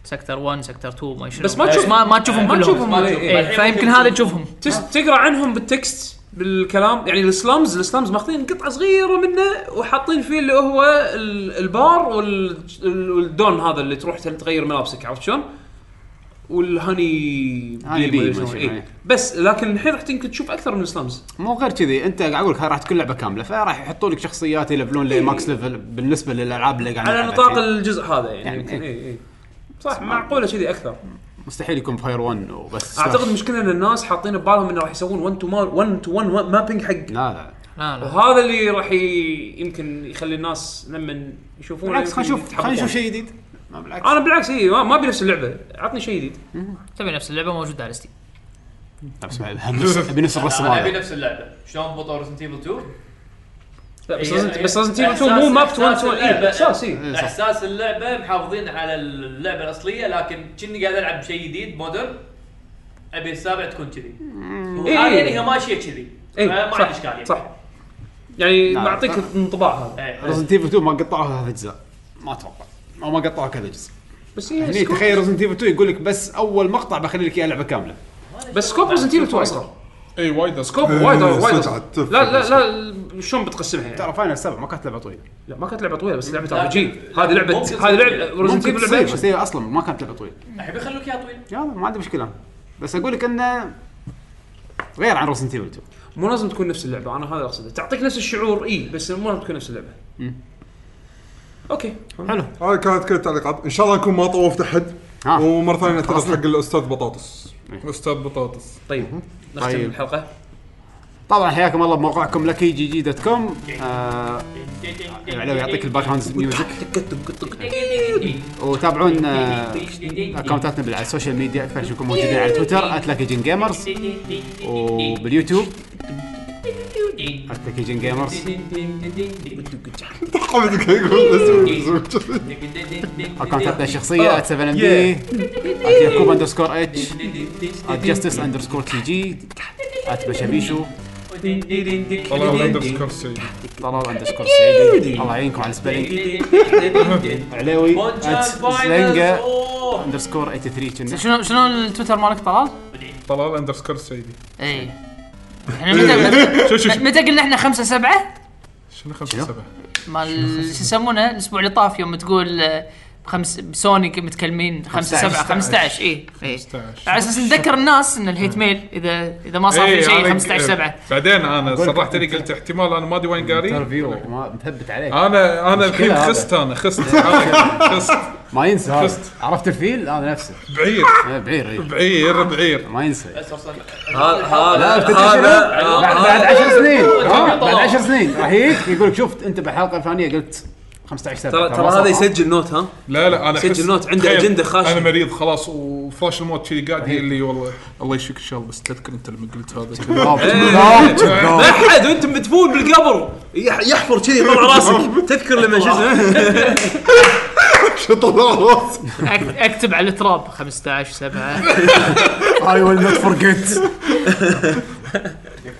Speaker 8: سكتر 1 سكتر 2 ما شنو
Speaker 3: بس ما تشوف-
Speaker 8: ما, ما تشوفهم
Speaker 3: ما
Speaker 8: كلهم
Speaker 3: تشوفهم،
Speaker 8: إي،
Speaker 3: إي،
Speaker 8: إي،
Speaker 7: الحين
Speaker 8: فيمكن
Speaker 7: ممكن
Speaker 8: هذا
Speaker 7: تشوف.
Speaker 8: تشوفهم
Speaker 3: تس تقرا عنهم بالتكست بالكلام يعني السلامز السلامز ماخذين قطعه صغيره منه وحاطين فيه اللي هو ال- البار وال- ال- والدون هذا اللي تروح تل- تغير ملابسك عرفت شلون؟ والهاني
Speaker 4: هاني بي
Speaker 3: ولا
Speaker 4: ما
Speaker 3: شلون،
Speaker 4: شنو،
Speaker 3: إيه.
Speaker 4: إيه.
Speaker 3: بس لكن الحين راح يمكن تشوف اكثر من السلامز
Speaker 4: مو غير كذي انت قاعد اقول لك هاي راح تكون لعبه كامله فراح يحطوا لك شخصيات يلفلون لماكس ليفل بالنسبه للالعاب اللي قاعد
Speaker 3: على
Speaker 4: نلعبها
Speaker 3: نطاق
Speaker 4: الحين.
Speaker 3: الجزء هذا يعني,
Speaker 4: يعني
Speaker 3: يعني
Speaker 4: إيه.
Speaker 3: إيه. إيه. إيه. صح معقوله كذي اكثر
Speaker 4: مستحيل يكون فاير 1 وبس
Speaker 3: اعتقد
Speaker 4: سلاش.
Speaker 3: المشكله ان الناس حاطين ببالهم انه راح يسوون 1 تو 1 تو 1 مابينج حق
Speaker 4: لا لا
Speaker 8: لا لا
Speaker 3: وهذا اللي راح ي- يمكن يخلي الناس لما يشوفون
Speaker 4: بالعكس خلينا نشوف
Speaker 3: يتحبطون.
Speaker 4: خلينا نشوف شيء جديد ما بالعكس
Speaker 3: انا بالعكس اي ما ما ابي نفس اللعبه عطني شيء جديد
Speaker 8: تبي نفس اللعبه موجوده على ستيم
Speaker 4: بس بنفس الرسم
Speaker 7: انا ابي
Speaker 4: هذا
Speaker 7: نفس اللعبه شلون بطل ريزنت ايفل 2
Speaker 3: لا بس
Speaker 8: إيه،
Speaker 3: رزنت بس رزنت
Speaker 8: إحساس-
Speaker 3: ايفل 2 مو ماب
Speaker 8: إحساس
Speaker 3: 1 تو 1
Speaker 8: اللعبة.
Speaker 3: احساس اي
Speaker 4: إيه، صح.
Speaker 7: احساس اللعبه محافظين على اللعبه الاصليه لكن كني قاعد العب شيء جديد مودرن ابي السابع تكون كذي وحاليا
Speaker 3: إيه.
Speaker 7: هي ماشيه كذي
Speaker 3: إيه،
Speaker 7: فما
Speaker 3: صح،
Speaker 7: عندي اشكال يعني.
Speaker 3: صح يعني
Speaker 4: نعم.
Speaker 3: معطيك انطباع هذا
Speaker 7: إيه.
Speaker 4: رزنت ايفل 2 ما قطعوها ثلاث اجزاء ما اتوقع او ما قطعوها كذا جزء
Speaker 3: بس هي
Speaker 4: هني
Speaker 3: سكوب-
Speaker 4: تخيل رزنت ايفل 2 يقول لك بس اول مقطع بخلي لك اياه لعبه كامله
Speaker 3: بس سكوب رزنت ايفل 2 اصغر
Speaker 5: اي وايد
Speaker 3: سكوب
Speaker 1: إيه،
Speaker 3: وايد
Speaker 1: صدق
Speaker 3: وايد أصغر.
Speaker 1: عاد تفرق
Speaker 3: لا لا لا شلون بتقسمها يعني
Speaker 4: ترى فاينل 7 ما كانت لعبه طويله
Speaker 3: لا ما كانت لعبه طويله بس لعبه
Speaker 7: لا،
Speaker 3: ار بي جي
Speaker 7: ممكن
Speaker 3: هذه لعبه
Speaker 7: تصير
Speaker 3: هذه
Speaker 7: طويلة.
Speaker 3: لعبه رزنت
Speaker 4: ممكن
Speaker 3: ايفل
Speaker 4: تصير بس
Speaker 3: لعبه
Speaker 4: هي اصلا ما كانت لعبه طويله
Speaker 7: احب يخلوك اياها طويل
Speaker 4: يلا ما عندي مشكله أنا. بس اقول لك انه غير عن رزنت ايفل 2
Speaker 3: مو لازم تكون نفس اللعبه انا هذا اقصده تعطيك نفس الشعور اي بس مو لازم تكون نفس اللعبه اوكي
Speaker 4: حلو
Speaker 1: هاي كانت كل التعليقات ان شاء الله نكون ما طوفت احد
Speaker 4: ها.
Speaker 1: ومره ثانيه اعترف حق الاستاذ بطاطس
Speaker 5: استاذ بطاطس
Speaker 3: طيب نختم
Speaker 4: طيب.
Speaker 3: الحلقه
Speaker 4: طبعا حياكم الله بموقعكم لكي جي جي دوت كوم العلاوي يعطيك الباك جراوند ميوزك وتابعون آه، اكونتاتنا بال- على السوشيال ميديا اكثر شيء يكون موجودين على تويتر @لكيجن جيمرز وباليوتيوب @لكيجن جيمرز
Speaker 1: حمد يقول بس- بس-
Speaker 4: اكونتاتنا الشخصيه @7 ام دي @يعقوب اندرسكور اتش @جستس اندرسكور تي جي @بشابيشو
Speaker 5: والله الاندرسكور سيء
Speaker 4: طلال اندرسكور سعيدي الله يعينكم على السبيلينج علاوي
Speaker 3: oh!
Speaker 4: @سلينجا اندرسكور 83 كنا
Speaker 8: شنو شنو التويتر مالك طلال؟
Speaker 5: طلال اندرسكور سيدي
Speaker 8: اي احنا إيه. متى
Speaker 5: شو شو شو
Speaker 8: متى قلنا احنا خمسة سبعة؟
Speaker 5: شنو خمسة سبعة
Speaker 8: مال شو يسمونه الاسبوع اللي طاف يوم تقول آه، بخمس بسوني متكلمين خمسة سبعة 15 اي
Speaker 5: إيه.
Speaker 8: اي
Speaker 5: 15.
Speaker 8: على اساس نذكر الناس ان الهيت ميل اذا اذا ما صار في
Speaker 5: إيه، أنا-
Speaker 8: شيء 15 7
Speaker 5: بعدين انا صرحت لي قلت احتمال انا ما ادري وين قاري
Speaker 4: انترفيو ما مثبت عليك
Speaker 5: انا انا الحين
Speaker 4: هذا.
Speaker 5: خست انا خست خست
Speaker 4: ما ينسى
Speaker 5: فزت.
Speaker 4: هذا عرفت الفيل هذا نفسه
Speaker 5: بعير
Speaker 4: آه، بعير إيه.
Speaker 5: بعير بعير
Speaker 4: ما ينسى لا
Speaker 7: هذا
Speaker 4: تدري شنو؟ بعد بعد 10 سنين آه، بعد 10 سنين راح يجيك يقول لك شفت انت بالحلقه الفلانيه قلت 15 سنه
Speaker 3: ترى ترى
Speaker 4: ما صح.
Speaker 3: هذا يسجل نوت ها
Speaker 5: لا لا انا
Speaker 3: سجل
Speaker 5: أحس-
Speaker 3: نوت، عنده
Speaker 5: تخيل،
Speaker 3: أجندة خاصة.
Speaker 5: انا مريض خلاص وفلاش الموت كذي قاعد يقول لي والله الله يشفيك ان شاء الله بس تذكر انت لما قلت هذا
Speaker 4: بالضبط، بالضبط.
Speaker 3: لا احد وانت مدفون بالقبر يح- يحفر كذي يطلع راسك تذكر لما شو اسمه
Speaker 1: شو طلع راسي
Speaker 8: اكتب على التراب 15 7
Speaker 4: I will not forget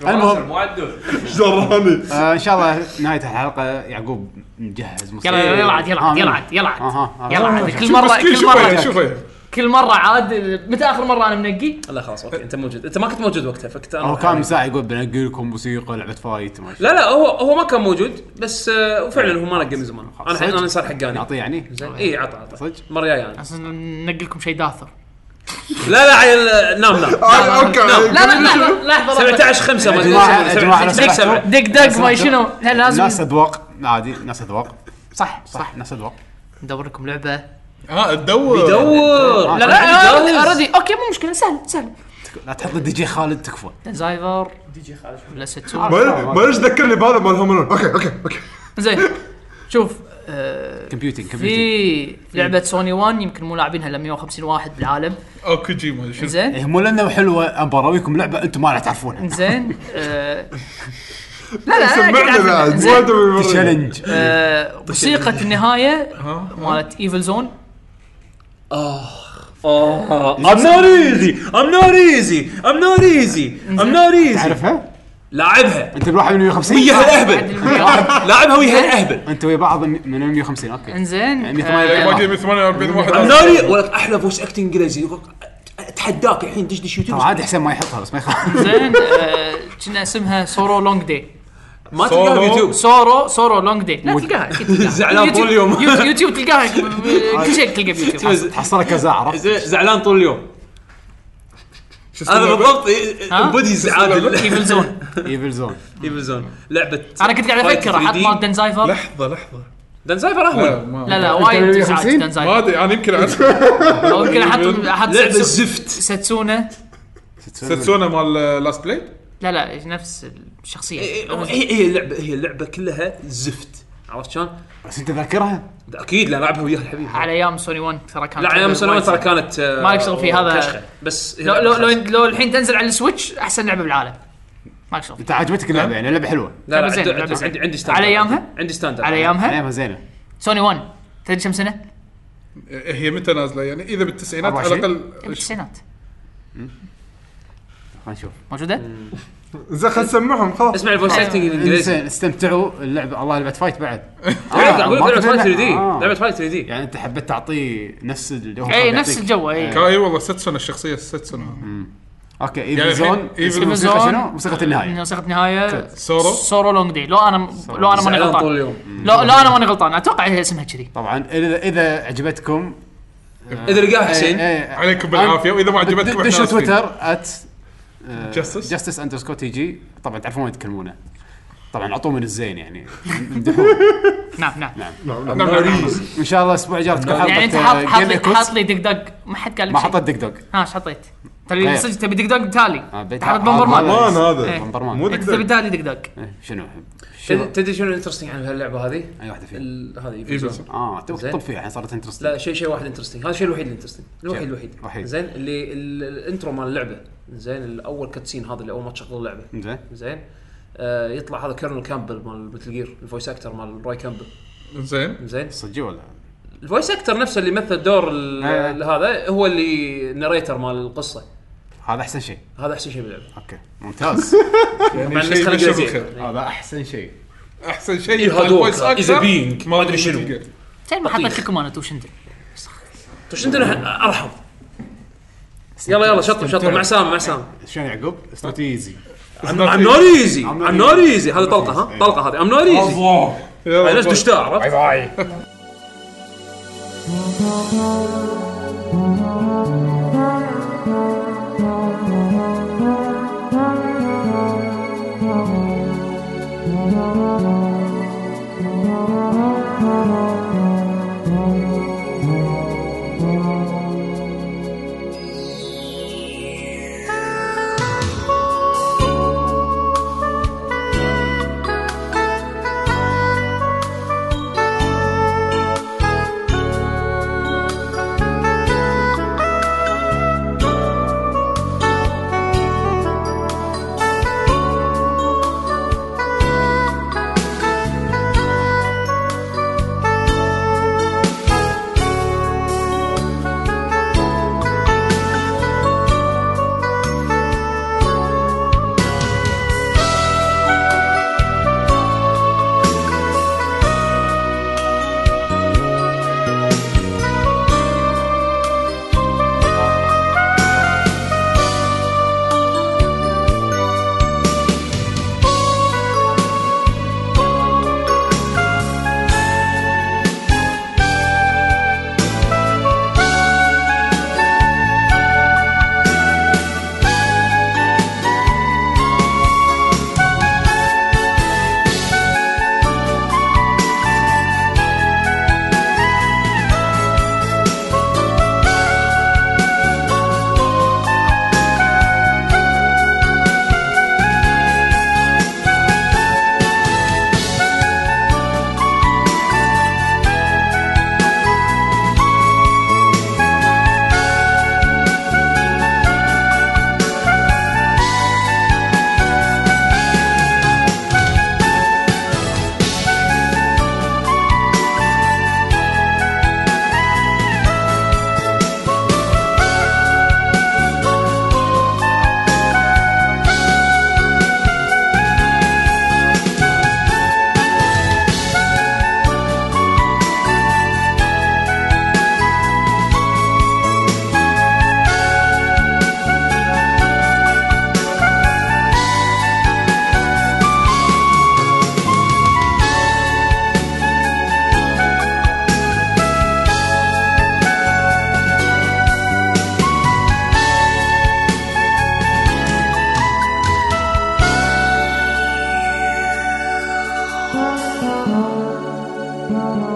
Speaker 4: المهم
Speaker 7: مو عدول
Speaker 1: جراني
Speaker 4: آه، ان شاء الله نهايه الحلقه يعقوب مجهز مصير.
Speaker 8: يلا يلا عاد يلا عاد يلا عاد يلا عاد
Speaker 4: اها
Speaker 8: يلا
Speaker 4: آه.
Speaker 8: عاد كل مره كل
Speaker 5: شوفه
Speaker 8: مره
Speaker 5: شوفه
Speaker 8: كل مره عاد متى اخر مره انا منقي؟
Speaker 3: لا خلاص اوكي انت موجود انت ما كنت موجود وقتها فكنت انا
Speaker 4: هو أه. كان مساعد يقول بنقي لكم موسيقى لعبه فايت ما
Speaker 3: لا لا هو هو ما كان موجود بس آه، وفعلا هو ما نقى من زمان انا الحين
Speaker 4: أه. صدق؟
Speaker 3: انا صار حقاني
Speaker 4: نعطيه يعني
Speaker 3: زين اي عطى عطى
Speaker 4: صدق؟
Speaker 3: المره الجايه يعني
Speaker 8: عشان ننقي لكم شيء داثر
Speaker 3: لا لا عيل نام نام
Speaker 1: آه، اوكي
Speaker 8: لا لا لحظه لحظه
Speaker 3: 17 5 ما
Speaker 4: يا
Speaker 3: ادري
Speaker 4: جماعة- يا جماعة،
Speaker 3: 17
Speaker 4: لو سمحتوا.
Speaker 3: 7
Speaker 8: دق دق ما شنو لا
Speaker 4: ناس
Speaker 8: لازم
Speaker 4: اذواق عادي ناس اذواق
Speaker 8: صح صح
Speaker 4: صح ناس اذواق
Speaker 8: ندور لكم لعبه
Speaker 5: ها تدور
Speaker 3: دور
Speaker 8: لا لا اوريدي اوكي مو مشكله سهل سهل
Speaker 4: لا تحط الدي جي خالد تكفى
Speaker 8: زايفر دي جي خالد ولا ستون
Speaker 1: ما- ما ليش ذكرني بهذا مال هوم ألون. اوكي اوكي اوكي
Speaker 8: زين شوف آه،
Speaker 4: كمبيوتنج كمبيوتنج
Speaker 8: في لعبه سوني 1 يمكن مو لاعبينها الا 150 واحد بالعالم
Speaker 5: او كوجيما شنو
Speaker 8: زين
Speaker 4: إيه، مو لانه حلوه أنا براويكم لعبه انتم ما راح تعرفونها
Speaker 8: زين آه، لا لا أنا قاعد
Speaker 1: سمعنا
Speaker 8: أعرف.
Speaker 1: بعد ما
Speaker 8: زين.
Speaker 1: أدري بالمرة.
Speaker 4: تشالنج
Speaker 8: آه، موسيقى النهايه مالت ايفل زون آه.
Speaker 3: I'm not easy I'm not easy I'm not easy I'm not easy
Speaker 4: تعرفها؟
Speaker 3: لاعبها
Speaker 4: انت الواحد من 150
Speaker 3: وياها الاهبل لاعبها وياها الاهبل
Speaker 4: انت ويا بعض من من 150 اوكي
Speaker 8: انزين
Speaker 4: يعني
Speaker 8: آه،
Speaker 5: باقي من 48
Speaker 3: I'm
Speaker 5: واحد
Speaker 3: not e- easy ولك احلى فويس اكتنج انجليزي يقول اتحداك الحين دشدش
Speaker 4: ترى
Speaker 3: يوتيوب
Speaker 4: عادي حسين ما يحطها بس ما يخاف
Speaker 8: زين آه، كنا اسمها سورو لونج داي
Speaker 3: ما تلقاها باليوتيوب
Speaker 8: سورو سورو لونج داي لا تلقاها اكيد تلقاها
Speaker 3: زعلان طول اليوم.
Speaker 8: يوتيوب- يوتيوب- يوتيوب تلقاها كل شيء تلقاه بيوتيوب
Speaker 4: تحصلها كذا عرفت؟
Speaker 3: زين، زعلان طول اليوم
Speaker 5: شو
Speaker 3: انا
Speaker 5: اسمه؟
Speaker 3: بالضبط
Speaker 8: ها؟
Speaker 3: بودي زعلان إيه،
Speaker 8: ايفل زون
Speaker 4: ايفل زون
Speaker 3: ايفل زون لعبه
Speaker 8: انا كنت قاعد افكر احط مال دنزايفر
Speaker 5: لحظه لحظه
Speaker 3: دنزايفر اهون
Speaker 5: لا ما
Speaker 8: لا لا وايد تسعات
Speaker 4: 150
Speaker 5: ما
Speaker 8: دنزايفر
Speaker 5: ادري انا يمكن اعرف
Speaker 8: او يمكن احط احط
Speaker 3: لعبه
Speaker 8: ستسو-
Speaker 3: زفت
Speaker 8: ساتسونا
Speaker 5: ساتسونا مال لاست بليد
Speaker 8: لا لا نفس
Speaker 3: إيه،
Speaker 8: الشخصيه
Speaker 3: هي هي اللعبه هي اللعبه كلها زفت عرفت شلون؟
Speaker 4: بس انت ذاكرها؟
Speaker 3: اكيد لا لعبها وياها الحبيب
Speaker 8: على ايام سوني 1 ترى كان
Speaker 3: لا على ايام سنوات ترى كانت آه،
Speaker 8: ما لك شغل فيه، هذا-
Speaker 3: كشخة. بس هي
Speaker 8: لو
Speaker 3: لعبة
Speaker 8: لو لو,
Speaker 3: خاصة.
Speaker 8: لو الحين تنزل على السويتش احسن لعبه بالعالم ما شاء الله
Speaker 4: انت عجبتك اللعبه يعني اللعبه حلوه
Speaker 3: لا لا
Speaker 8: لعبة زينة،
Speaker 3: عندي-
Speaker 8: لعبة
Speaker 3: عندي
Speaker 8: زينة.
Speaker 3: عندي ستاندرد
Speaker 8: على أيامها؟
Speaker 3: عندي ستاندرد
Speaker 8: على ايامها
Speaker 4: ايامها زينه
Speaker 8: سوني 1 تدري كم سنه؟
Speaker 5: هي متى نازله يعني اذا بالتسعينات على
Speaker 4: 24.
Speaker 5: الاقل
Speaker 8: بالتسعينات
Speaker 4: خلينا نشوف
Speaker 8: موجوده؟
Speaker 1: زين خلينا نسمعهم خلاص
Speaker 3: اسمع
Speaker 4: آه.
Speaker 3: الفويس اكتنج الانجليزي
Speaker 4: زين استمتعوا اللعبه الله لعبه فايت بعد
Speaker 3: لعبة- لعبه فايت 3 دي
Speaker 4: آه.
Speaker 3: لعبه فايت 3 دي
Speaker 4: يعني انت حبيت تعطيه نفس اللي هو
Speaker 8: اي
Speaker 4: صار
Speaker 8: إيه، نفس
Speaker 4: يعطيك.
Speaker 8: الجو إيه. اي
Speaker 5: اي والله ستسون الشخصيه ستسون
Speaker 4: اوكي ايفل
Speaker 5: يعني الحين
Speaker 4: زون
Speaker 5: Evil
Speaker 4: بس الموسيقى
Speaker 8: زون.
Speaker 4: شنو؟ موسيقى النهايه
Speaker 8: موسيقى نهايه
Speaker 5: سورو
Speaker 8: سورو لونج دي لو انا لو انا ماني
Speaker 3: زعلان طول
Speaker 8: غلطان
Speaker 3: اليوم
Speaker 8: لو لو انا ماني غلطان اتوقع هي اسمها كذي
Speaker 4: طبعا اذا اذا عجبتكم آه، إيه،
Speaker 3: اذا لقاه حسين
Speaker 5: عليكم بالعافيه واذا ما عجبتكم
Speaker 4: دشوا تويتر آه، ات
Speaker 5: Justice.
Speaker 4: جاستس اندرسكور تي جي طبعا تعرفون وين تكلمونه طبعا اعطوه من الزين يعني امدحوه
Speaker 8: نعم نعم
Speaker 4: ان شاء الله الاسبوع الجاي تكون حلقه
Speaker 8: يعني انت حاط
Speaker 4: آه،
Speaker 8: حاط
Speaker 4: Game
Speaker 8: لي
Speaker 4: Echoes.
Speaker 8: حاط لي دق دق ما حد قال لك
Speaker 4: ما
Speaker 8: شيء.
Speaker 4: حطت دق دق
Speaker 8: ها ايش حطيت؟
Speaker 4: غير.
Speaker 8: ترى صدق تبي دق دق تالي
Speaker 4: بيت-
Speaker 8: حاط
Speaker 4: آه،
Speaker 8: بمبرمان
Speaker 1: مان
Speaker 8: إيه.
Speaker 1: هذا
Speaker 4: بمبرمان.
Speaker 1: مو
Speaker 8: انت تبي
Speaker 1: دقدق.
Speaker 8: تالي دق دق
Speaker 4: إيه، شنو شنو
Speaker 3: تدري- تدري شنو الانترستنج عن هاللعبه هذه؟
Speaker 4: اي واحده فيهم
Speaker 3: ال- هذه
Speaker 5: Evil
Speaker 3: Evil Zone.
Speaker 5: Zone.
Speaker 4: اه توك
Speaker 3: زين.
Speaker 4: تطب فيها الحين صارت انترستنج
Speaker 3: لا شيء شيء واحد انترستنج هذا الشيء الوحيد الانترستنج الوحيد
Speaker 4: شيء
Speaker 3: الوحيد
Speaker 4: وحيد.
Speaker 3: زين اللي ال- الانترو مال اللعبه زين الاول كاتسين هذا اللي اول ما تشغل اللعبه
Speaker 4: زين
Speaker 3: زين آه يطلع هذا كيرنل كامبل مال مثل جير الفويس اكتر مال براي كامبل
Speaker 5: زين
Speaker 3: زين
Speaker 4: صجي ولا
Speaker 3: الفويس اكتر نفسه اللي مثل دور ال-
Speaker 4: إيه.
Speaker 3: ال- هذا هو اللي ناريتر مال القصه
Speaker 4: هذا احسن شيء
Speaker 3: هذا احسن شيء باللعبه
Speaker 4: اوكي ممتاز
Speaker 5: يعني
Speaker 3: مع
Speaker 5: شيء
Speaker 3: النسخة
Speaker 5: بشر
Speaker 3: الإنجليزية.
Speaker 5: بالخير.
Speaker 4: هذا احسن شيء
Speaker 5: احسن شيء
Speaker 3: إيه، هادوك.
Speaker 5: الفويس
Speaker 3: He's
Speaker 5: أكثر
Speaker 3: a being.
Speaker 5: ما
Speaker 3: ما أدري شنو.
Speaker 5: Metal Gear.
Speaker 8: زين
Speaker 4: طيب.
Speaker 8: ما حطيت
Speaker 3: بطيخ.
Speaker 8: لكم انا تو شندل
Speaker 3: توش عندنا ارحم يلا يلا شطب شطب مع سام مع سام
Speaker 4: شنو يعقوب؟ استراتيجي
Speaker 3: ام نوت ايزي ام نوت ايزي هذا طلقه ها طلقه هذه ام نوت ايزي
Speaker 5: يلا
Speaker 3: ليش
Speaker 5: باي.
Speaker 3: دشتها عرفت؟
Speaker 9: Thank